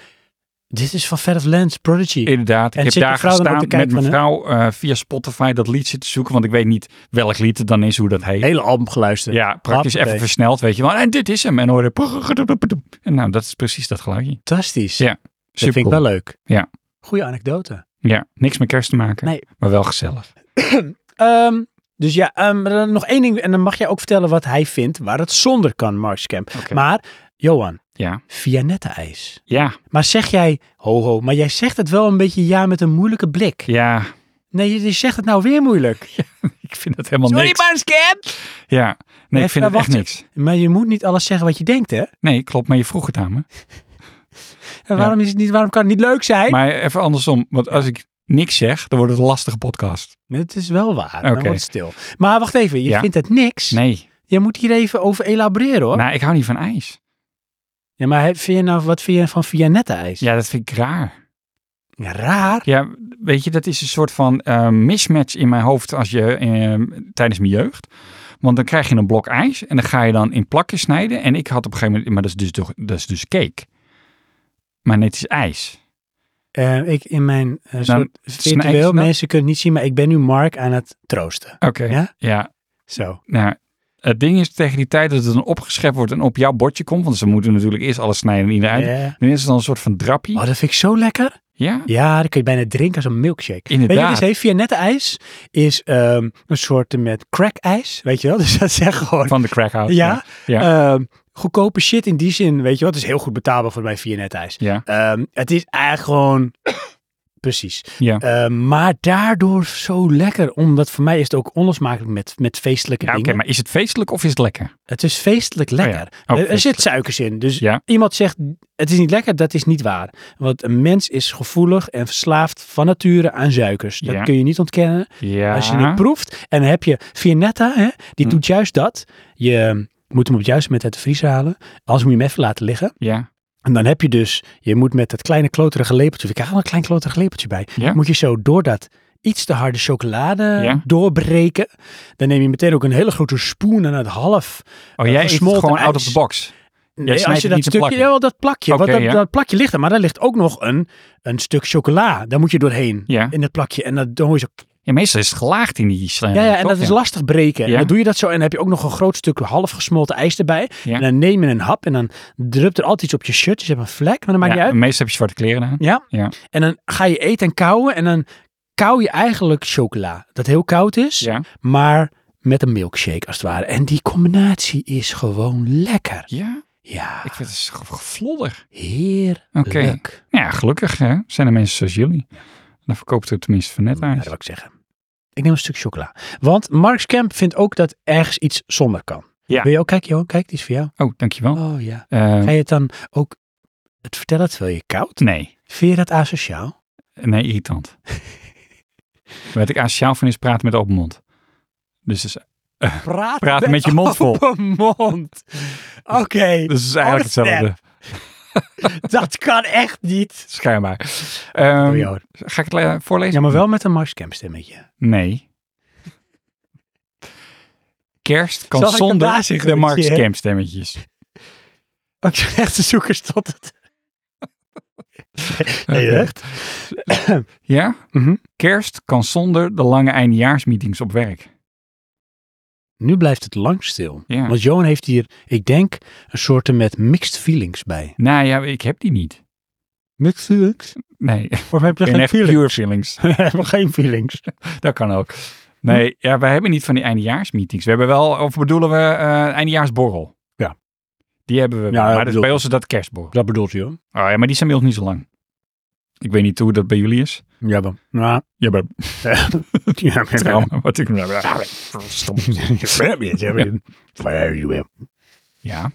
Speaker 2: dit is van Fat of Lands, Prodigy.
Speaker 3: Inderdaad, ik
Speaker 2: En
Speaker 3: heb
Speaker 2: zit je
Speaker 3: daar
Speaker 2: vrouw dan ook
Speaker 3: gestaan
Speaker 2: te
Speaker 3: met
Speaker 2: kijken
Speaker 3: mijn
Speaker 2: van,
Speaker 3: vrouw eh, via Spotify dat lied zitten zoeken. Want ik weet niet welk lied het dan is, hoe dat heet.
Speaker 2: Hele album geluisterd.
Speaker 3: ja, praktisch
Speaker 2: Hoppatee.
Speaker 3: even versneld, weet je wel. En dit is hem. En hoorde... En nou, dat is precies dat geluidje.
Speaker 2: Fantastisch.
Speaker 3: Ja,
Speaker 2: dat vind ik wel leuk.
Speaker 3: Ja.
Speaker 2: Goeie anekdote.
Speaker 3: Ja, niks met kerst te maken,
Speaker 2: Nee.
Speaker 3: maar wel gezellig.
Speaker 2: Ehm, dus ja, ehm, maar dan nog één ding. En dan mag jij ook vertellen wat hij vindt waar het zonder kan, Mars Camp.
Speaker 3: Oké.
Speaker 2: Maar, Johan,
Speaker 3: Ja.
Speaker 2: Vianetta-ijs.
Speaker 3: Ja,
Speaker 2: Maar zeg jij, ho ho, maar jij zegt het wel een beetje ja met een moeilijke blik.
Speaker 3: ja,
Speaker 2: Nee, je, je zegt het nou weer moeilijk.
Speaker 3: ik vind het helemaal niks.
Speaker 2: Mars Camp.
Speaker 3: Ja, nee, ik vind
Speaker 2: maar
Speaker 3: het echt
Speaker 2: wacht
Speaker 3: niks.
Speaker 2: Maar je moet niet alles zeggen wat je denkt, hè?
Speaker 3: Nee, klopt, maar je vroeg het aan me.
Speaker 2: En waarom, is het niet, waarom kan het niet leuk zijn?
Speaker 3: Maar even andersom, want als ik niks zeg, dan wordt het een lastige podcast.
Speaker 2: Het is wel waar.
Speaker 3: Oké.
Speaker 2: Dan wordt het stil. Maar wacht even, je
Speaker 3: Ja.
Speaker 2: vindt het niks.
Speaker 3: Nee,
Speaker 2: Je moet hier even over elaboreren, hoor.
Speaker 3: nou, ik hou niet van ijs.
Speaker 2: Ja, maar heb- vind je nou, wat vind je van Vianetta-ijs?
Speaker 3: Ja, dat vind ik raar.
Speaker 2: Ja, raar.
Speaker 3: Ja, weet je, dat is een soort van eh, mismatch in mijn hoofd als je, eh, tijdens mijn jeugd. Want dan krijg je een blok ijs en dan ga je dan in plakjes snijden. En ik had op een gegeven moment, maar dat is dus, toch- dat is dus cake. Maar net is ijs.
Speaker 2: Eh, ik in mijn eh,
Speaker 3: Nou,
Speaker 2: soort
Speaker 3: snij-
Speaker 2: virtueel,
Speaker 3: snij-
Speaker 2: mensen kunnen het niet zien, maar ik ben nu Mark aan het troosten.
Speaker 3: Oké.
Speaker 2: Ja?
Speaker 3: Ja?
Speaker 2: Zo.
Speaker 3: nou, het ding is tegen die tijd dat het dan opgeschept wordt en op jouw bordje komt. Want ze moeten natuurlijk eerst alles snijden en iedereen.
Speaker 2: Ja.
Speaker 3: Dan is het dan een soort van drapje.
Speaker 2: Eh, Oh, dat vind ik zo lekker.
Speaker 3: Ja?
Speaker 2: Ja, dat kun je bijna drinken als een milkshake. Weet je wat
Speaker 3: Inderdaad.
Speaker 2: het is? Via nette ijs is ehm, een soort met crack ijs, weet je wel? [LAUGHS] Dus dat zeg gewoon.
Speaker 3: Van de crackhouse.
Speaker 2: ja.
Speaker 3: Ja.
Speaker 2: ehm, goedkope shit in die zin, weet je wel? Het is heel goed betaalbaar voor mij via net ijs.
Speaker 3: Ja.
Speaker 2: Ehm, het is eigenlijk gewoon... [COUGHS] Precies.
Speaker 3: Ja.
Speaker 2: Ehm, maar daardoor zo lekker. Omdat voor mij is het ook onlosmakelijk met, met feestelijke
Speaker 3: Ja, Oké,
Speaker 2: dingen.
Speaker 3: maar is het feestelijk of is het lekker?
Speaker 2: Het is feestelijk
Speaker 3: ja.
Speaker 2: lekker.
Speaker 3: Oh,
Speaker 2: Er- er zit
Speaker 3: feestelijk.
Speaker 2: suikers in. Dus
Speaker 3: Ja.
Speaker 2: iemand zegt, het is niet lekker, dat is niet waar. Want een mens is gevoelig en verslaafd van nature aan suikers. Dat
Speaker 3: Ja.
Speaker 2: kun je niet ontkennen
Speaker 3: Ja.
Speaker 2: als je het proeft. En dan heb je Vianetta, hè, die
Speaker 3: Hm.
Speaker 2: doet juist dat. Je moet hem op het juiste moment uit de vriezer halen. Anders moet je hem even laten liggen.
Speaker 3: Ja.
Speaker 2: En dan heb je dus, je moet met dat kleine kloterige lepeltje, ik haal een klein kloterige lepeltje bij,
Speaker 3: Ja.
Speaker 2: moet je zo door dat iets te harde chocolade
Speaker 3: Ja.
Speaker 2: doorbreken. Dan neem je meteen ook een hele grote spoen en het half.
Speaker 3: Oh,
Speaker 2: eh,
Speaker 3: jij eet het
Speaker 2: gesmolten
Speaker 3: gewoon out of
Speaker 2: ijs.
Speaker 3: the box.
Speaker 2: Nee,
Speaker 3: snijdt
Speaker 2: als
Speaker 3: het
Speaker 2: je dat
Speaker 3: niet in
Speaker 2: stukje,
Speaker 3: plakken.
Speaker 2: ja, wel dat plakje,
Speaker 3: Oké,
Speaker 2: want dat,
Speaker 3: ja.
Speaker 2: dat plakje ligt er, maar daar ligt ook nog een, een stuk chocola. Daar moet je doorheen
Speaker 3: Ja.
Speaker 2: in dat plakje. En dat, dan hoor je zo,
Speaker 3: Ja, meestal is het gelaagd in die slender.
Speaker 2: ja, ja, en
Speaker 3: toch?
Speaker 2: dat is lastig breken. En
Speaker 3: Ja.
Speaker 2: dan doe je dat zo en dan heb je ook nog een groot stuk half gesmolten ijs erbij.
Speaker 3: Ja.
Speaker 2: En dan neem je een hap en dan drupt er altijd iets op je shirt. Dus je hebt een vlek, maar dat
Speaker 3: Ja,
Speaker 2: maakt
Speaker 3: mm.
Speaker 2: niet uit.
Speaker 3: en Meestal heb je zwarte kleren aan.
Speaker 2: Ja.
Speaker 3: Ja.
Speaker 2: En dan ga je eten en kauwen en dan kauw je eigenlijk chocola. Dat heel koud is,
Speaker 3: Ja.
Speaker 2: maar met een milkshake als het ware. En die combinatie is gewoon lekker.
Speaker 3: Ja,
Speaker 2: Ja,
Speaker 3: ik vind het is ge- gevlodder.
Speaker 2: heerlijk. Nou,
Speaker 3: Oké. Ja, gelukkig hè, zijn er mensen zoals jullie. Dan verkoopt het tenminste van net
Speaker 2: Nou, dat
Speaker 3: uit.
Speaker 2: wil ik zeggen. Ik neem een stuk chocola. Want Marks Kemp vindt ook dat ergens iets zonder kan.
Speaker 3: Ja.
Speaker 2: Wil je ook kijken, Johan? Kijk, die is voor jou.
Speaker 3: Oh, dankjewel.
Speaker 2: Oh ja.
Speaker 3: Eh,
Speaker 2: Ga je het dan ook Het vertellen terwijl je koud?
Speaker 3: Nee.
Speaker 2: Vind je dat asociaal?
Speaker 3: Nee, [LAUGHS] irritant. Weet ik, asociaal van is praten met open mond. Dus het is,
Speaker 2: Praat,
Speaker 3: praten met je
Speaker 2: [LAUGHS]
Speaker 3: mond vol.
Speaker 2: open mond. Oké,
Speaker 3: dus het is eigenlijk
Speaker 2: Oh, snap.
Speaker 3: hetzelfde,
Speaker 2: dat kan echt niet.
Speaker 3: schijnbaar. Ehm,
Speaker 2: Doe je hoor.
Speaker 3: ga ik het le- voorlezen?
Speaker 2: Ja, maar wel met een Marscamp [LAUGHS] stemmetje.
Speaker 3: Nee. Kerst kan
Speaker 2: Zal ik hem daar
Speaker 3: zonder
Speaker 2: zeggen,
Speaker 3: de
Speaker 2: weet
Speaker 3: Mark
Speaker 2: je, hè?
Speaker 3: Scam stemmetjes.
Speaker 2: Ook zo'n echte zoekers tot [LAUGHS] het. Nee,
Speaker 3: Oké.
Speaker 2: echt?
Speaker 3: Ja?
Speaker 2: Mhm.
Speaker 3: Kerst kan zonder de lange eindejaarsmeetings op werk.
Speaker 2: Nu blijft het lang stil.
Speaker 3: Ja.
Speaker 2: Want Johan heeft hier, ik denk, een soort met mixed feelings bij.
Speaker 3: Nou ja, ik heb die niet.
Speaker 2: Mixed feelings?
Speaker 3: Nee, [LAUGHS]
Speaker 2: Of heb je
Speaker 3: en
Speaker 2: geen
Speaker 3: echt
Speaker 2: feelings?
Speaker 3: pure feelings.
Speaker 2: [LAUGHS] We hebben geen feelings.
Speaker 3: Dat kan ook. Nee,
Speaker 2: Mhm.
Speaker 3: ja, wij hebben niet van die eindejaarsmeetings. We hebben wel, of bedoelen we eh, eindejaarsborrel?
Speaker 2: Ja.
Speaker 3: Die hebben we.
Speaker 2: Ja,
Speaker 3: maar
Speaker 2: dat
Speaker 3: dat is
Speaker 2: bedoel
Speaker 3: bij
Speaker 2: ik.
Speaker 3: ons is dat kerstborrel.
Speaker 2: Dat bedoelt je hoor.
Speaker 3: Oh ja, maar die zijn bij ons niet zo lang. Ik weet niet hoe dat bij jullie is.
Speaker 2: Ja, dan. Nou, [LAUGHS]
Speaker 3: Ja, [LAUGHS] bij
Speaker 2: eh, ja, maar- [LAUGHS]
Speaker 3: trauma. Wat ik... Ja.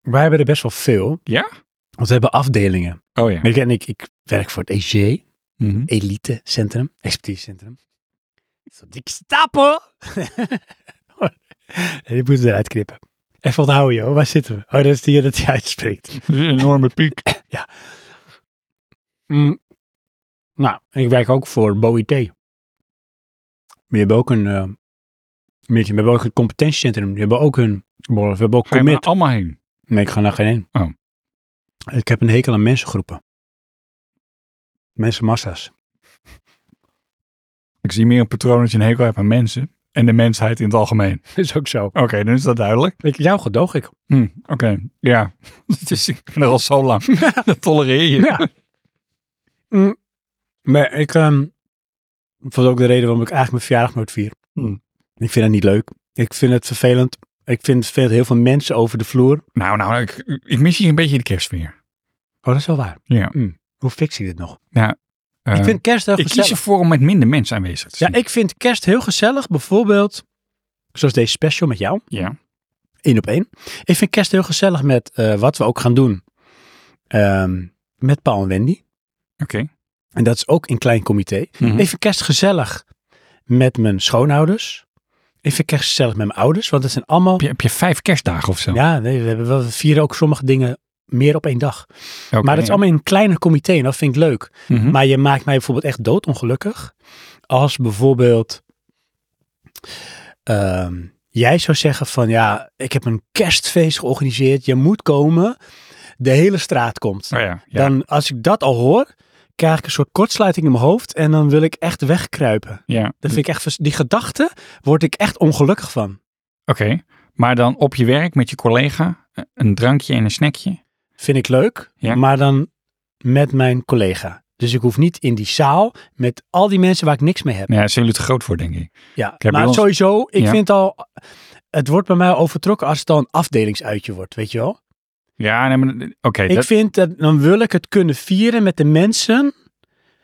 Speaker 2: Wij hebben er best wel veel.
Speaker 3: Ja?
Speaker 2: Want we hebben afdelingen.
Speaker 3: Oh ja.
Speaker 2: Ik, en ik, ik werk voor het E EG,
Speaker 3: Mhm.
Speaker 2: Elite Centrum, Expertise Centrum. Zo dik stapel! [LAUGHS] en die moeten we eruit knippen. Even onthouden, joh. Waar zitten we? Oh, dat is die dat hij uitspreekt.
Speaker 3: Dat is Een enorme piek.
Speaker 2: Mm. Nou, en ik werk ook voor BOIT. We hebben ook een... eh, Meertje, we hebben ook een competentiecentrum. We hebben ook een... We hebben ook
Speaker 3: Ga je maar
Speaker 2: commit.
Speaker 3: allemaal heen?
Speaker 2: Nee, ik ga naar geen één.
Speaker 3: Oh.
Speaker 2: Ik heb een hekel aan mensengroepen. Mensenmassa's.
Speaker 3: Ik zie meer een patroon dat je een hekel hebt aan mensen. En de mensheid in het algemeen.
Speaker 2: [LAUGHS] Dat is ook zo.
Speaker 3: Oké, dan is dat duidelijk.
Speaker 2: Ik, jou gedoog ik.
Speaker 3: Hm, Oké, ja. [LAUGHS] Dus ik ben er al zo [LAUGHS] lang. dat tolereer je.
Speaker 2: Ja. Mm. Maar ik ehm vond ook de reden waarom ik eigenlijk mijn verjaardag nooit vier.
Speaker 3: Hmm.
Speaker 2: Ik vind het niet leuk. Ik vind het vervelend. Ik vind het vervelend heel veel mensen over de vloer.
Speaker 3: Nou, nou, ik, ik mis hier een beetje de kerstsfeer.
Speaker 2: Oh, dat is wel waar.
Speaker 3: Ja.
Speaker 2: Mm. Hoe fix ik dit nog?
Speaker 3: Eh,
Speaker 2: ik vind kerst heel
Speaker 3: ik
Speaker 2: gezellig.
Speaker 3: kies ervoor om met minder mensen aanwezig te
Speaker 2: Ja,
Speaker 3: zijn.
Speaker 2: ik vind kerst heel gezellig. Bijvoorbeeld, zoals deze special met jou.
Speaker 3: Ja.
Speaker 2: één op één. Ik vind kerst heel gezellig met eh, wat we ook gaan doen. Ehm, met Paul en Wendy.
Speaker 3: Oké.
Speaker 2: En dat is ook in klein comité.
Speaker 3: Mhm.
Speaker 2: Ik vind kerst gezellig met mijn schoonouders. Ik vind kerst gezellig met mijn ouders. Want dat zijn allemaal...
Speaker 3: Heb, je, heb je vijf kerstdagen of zo?
Speaker 2: Ja, nee, we, hebben wel, we vieren ook sommige dingen meer op één dag.
Speaker 3: Oké,
Speaker 2: maar dat is
Speaker 3: ja.
Speaker 2: allemaal in een kleiner comité. En dat vind ik leuk.
Speaker 3: Mhm.
Speaker 2: Maar je maakt mij bijvoorbeeld echt doodongelukkig. Als bijvoorbeeld ehm, jij zou zeggen van ja, ik heb een kerstfeest georganiseerd. Je moet komen. De hele straat komt.
Speaker 3: Oh ja, ja.
Speaker 2: Dan als ik dat al hoor, krijg ik een soort kortsluiting in mijn hoofd. En dan wil ik echt wegkruipen.
Speaker 3: ja.
Speaker 2: Dat vind ik echt, vers- die gedachte word ik echt ongelukkig van.
Speaker 3: Oké. Maar dan op je werk met je collega een drankje en een snackje. Nou
Speaker 2: Vind ik leuk,
Speaker 3: Ja.
Speaker 2: maar dan met mijn collega. Dus ik hoef niet in die zaal met al die mensen waar ik niks mee heb.
Speaker 3: Nou, ja, daar zijn jullie te groot voor, denk ik.
Speaker 2: Ja,
Speaker 3: heb
Speaker 2: maar
Speaker 3: bij ons-
Speaker 2: sowieso, ik
Speaker 3: Ja.
Speaker 2: vind al, het wordt bij mij overtrokken als het al een afdelingsuitje wordt, weet je wel.
Speaker 3: Ja, nee, maar oké.
Speaker 2: Ik
Speaker 3: dat-
Speaker 2: vind dat, dan wil ik het kunnen vieren met de mensen.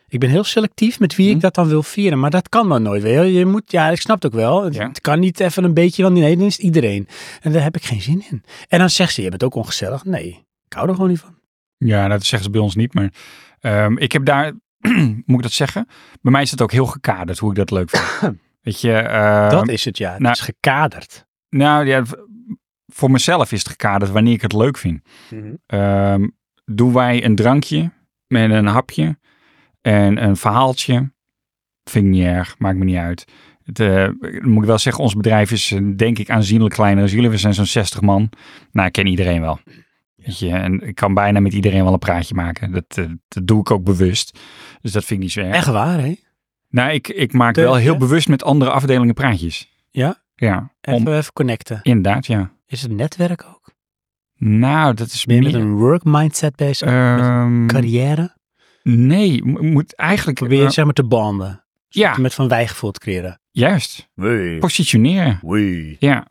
Speaker 2: Ik ben heel selectief met wie
Speaker 3: Hm.
Speaker 2: ik dat dan wil vieren, maar dat kan dan nooit. Weet je, wel. je moet, ja, ik snap het ook wel. Het,
Speaker 3: Ja.
Speaker 2: het kan niet even een beetje, want nee, dan is het iedereen. En daar heb ik geen zin in. En dan zegt ze, je bent ook ongezellig. Nee, ik hou er gewoon niet van.
Speaker 3: Ja, dat zeggen ze bij ons niet, maar ehm, ik heb daar, [CLEARS THROAT] moet ik dat zeggen? Bij mij is het ook heel gekaderd hoe ik dat leuk
Speaker 2: [COUGHS]
Speaker 3: vind. Weet je, ehm,
Speaker 2: dat is het, ja. Het
Speaker 3: nou-
Speaker 2: is gekaderd.
Speaker 3: nou ja, v- voor mezelf is het gekaderd wanneer ik het leuk vind.
Speaker 2: Mhm.
Speaker 3: Ehm, doen wij een drankje met een hapje en een verhaaltje? Vind ik niet erg, maakt me niet uit. Het, eh, moet ik wel zeggen, ons bedrijf is eh, denk ik aanzienlijk kleiner dan jullie. We zijn zo'n 60 man. Nou, ik ken iedereen wel. Weet je, en ik kan bijna met iedereen wel een praatje maken. Dat, eh, dat doe ik ook bewust. Dus dat vind ik niet zo erg.
Speaker 2: Echt waar, hè?
Speaker 3: Nou, ik, ik maak
Speaker 2: Teug,
Speaker 3: wel heel
Speaker 2: hè?
Speaker 3: bewust met andere afdelingen praatjes.
Speaker 2: Ja?
Speaker 3: Ja, om-
Speaker 2: Even, even connecten.
Speaker 3: inderdaad, ja.
Speaker 2: Is het netwerk ook?
Speaker 3: Nou, dat is
Speaker 2: Ben je
Speaker 3: meer...
Speaker 2: met een work mindset bezig?
Speaker 3: Ehm,
Speaker 2: carrière?
Speaker 3: nee, mo- moet eigenlijk...
Speaker 2: Probeer je
Speaker 3: eh,
Speaker 2: zeg maar te banden.
Speaker 3: ja,
Speaker 2: Met van wijgevoel te creëren.
Speaker 3: juist. Positioneren. Ja.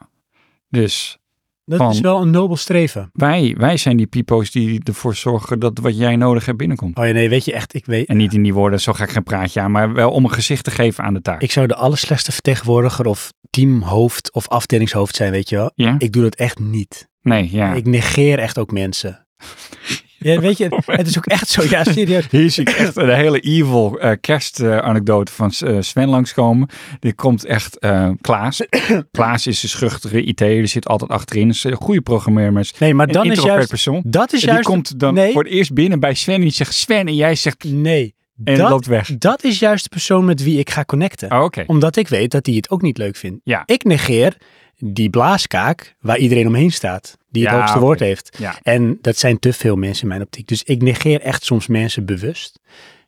Speaker 3: Dus
Speaker 2: Dat
Speaker 3: Van-
Speaker 2: is wel een nobel streven.
Speaker 3: wij, wij zijn die people's die ervoor zorgen dat wat jij nodig hebt binnenkomt.
Speaker 2: Oh ja, nee, weet je echt, ik weet...
Speaker 3: En niet in die woorden, zo ga ik geen praatje aan, maar wel om een gezicht te geven aan de taak.
Speaker 2: Ik zou de allerslechtste vertegenwoordiger of teamhoofd of afdelingshoofd zijn, weet je wel.
Speaker 3: ja?
Speaker 2: Ik doe dat echt niet.
Speaker 3: nee, ja. [LAUGHS]
Speaker 2: Ik negeer echt ook mensen. Ja, weet je, het- het is ook echt zo. Ja, serieus.
Speaker 3: Hier zie ik echt een hele evil eh kerstanekdote van S- eh, Sven langskomen. Er komt echt eh, Klaas. Klaas is een schuchtere IT'er, zit altijd achterin. Is een goede programmeer, maar is
Speaker 2: Nee, maar
Speaker 3: een
Speaker 2: dan is
Speaker 3: introvert
Speaker 2: juist...
Speaker 3: persoon.
Speaker 2: Dat is
Speaker 3: En die
Speaker 2: juist...
Speaker 3: komt dan
Speaker 2: nee.
Speaker 3: voor het eerst binnen bij Sven en die zegt Sven en jij zegt
Speaker 2: Nee.
Speaker 3: en
Speaker 2: dat,
Speaker 3: loopt weg.
Speaker 2: dat is juist de persoon met wie ik ga connecten.
Speaker 3: Oh, Oké,
Speaker 2: Omdat ik weet dat die het ook niet leuk vindt.
Speaker 3: ja.
Speaker 2: Ik negeer die blaaskaak waar iedereen omheen staat. Die het
Speaker 3: Ja,
Speaker 2: hoogste
Speaker 3: oké.
Speaker 2: woord heeft.
Speaker 3: ja.
Speaker 2: En dat zijn te veel mensen in mijn optiek. Dus ik negeer echt soms mensen bewust.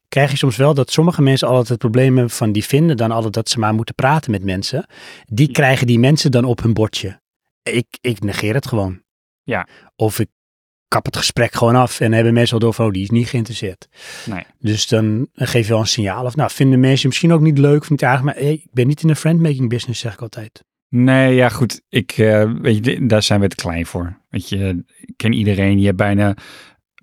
Speaker 2: Krijg je soms wel dat sommige mensen altijd het probleem hebben van die vinden dan altijd dat ze maar moeten praten met mensen.
Speaker 3: Hm.
Speaker 2: Die krijgen die mensen dan op hun bordje. Ik, ik negeer het gewoon.
Speaker 3: Ja.
Speaker 2: Of ik kap het gesprek gewoon af en hebben mensen al door van, oh, die is niet geïnteresseerd.
Speaker 3: Nee.
Speaker 2: Dus dan geef je wel een signaal of, nou, vinden mensen misschien ook niet leuk of niet aardig, maar hey, ik ben niet in de friendmaking business, zeg ik altijd.
Speaker 3: Nee, ja, goed. Ik, eh, weet je, di- daar zijn we te klein voor. Weet je, ik ken iedereen. Je hebt bijna,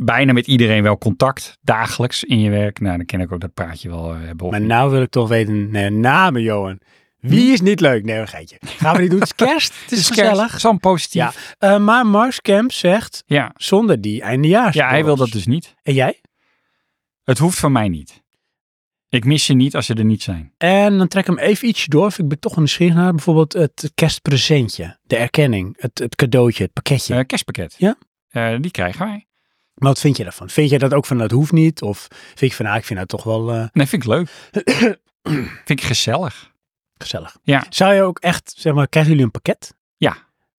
Speaker 3: bijna met iedereen wel contact dagelijks in je werk. Nou, dan ken ik ook dat praatje wel eh, hebben. of
Speaker 2: Maar
Speaker 3: niet.
Speaker 2: nou wil ik toch weten, nee, namen Johan. Wie is niet leuk? Nee, een geitje. Gaan
Speaker 3: [LAUGHS]
Speaker 2: we niet doen. Het is kerst. Het
Speaker 3: kerst.
Speaker 2: is, gezellig.
Speaker 3: Hm? Het is allemaal positief.
Speaker 2: Ja.
Speaker 3: Ja.
Speaker 2: Eh, maar Mars Camp zegt,
Speaker 3: Ja.
Speaker 2: zonder die eindejaars.
Speaker 3: hij wil dat dus niet.
Speaker 2: En jij?
Speaker 3: Het hoeft van mij niet. Ik mis je niet als je er niet zijn.
Speaker 2: En dan trek hem even ietsje door. of Ik ben toch een nieuwsgierig naar. Bijvoorbeeld het kerstpresentje. De erkenning. Het, het cadeautje. Het pakketje.
Speaker 3: Eh, kerstpakket.
Speaker 2: Ja.
Speaker 3: Eh, die krijgen wij.
Speaker 2: Maar wat vind je daarvan? Vind je dat ook van dat hoeft niet? Of vind je van, ah, ik vind dat toch wel eh,
Speaker 3: Nee, vind ik
Speaker 2: [COUGHS]
Speaker 3: leuk. vind ik gezellig.
Speaker 2: gezellig.
Speaker 3: Ja.
Speaker 2: Zou je ook echt, zeg maar, krijgen jullie een pakket?
Speaker 3: Ja.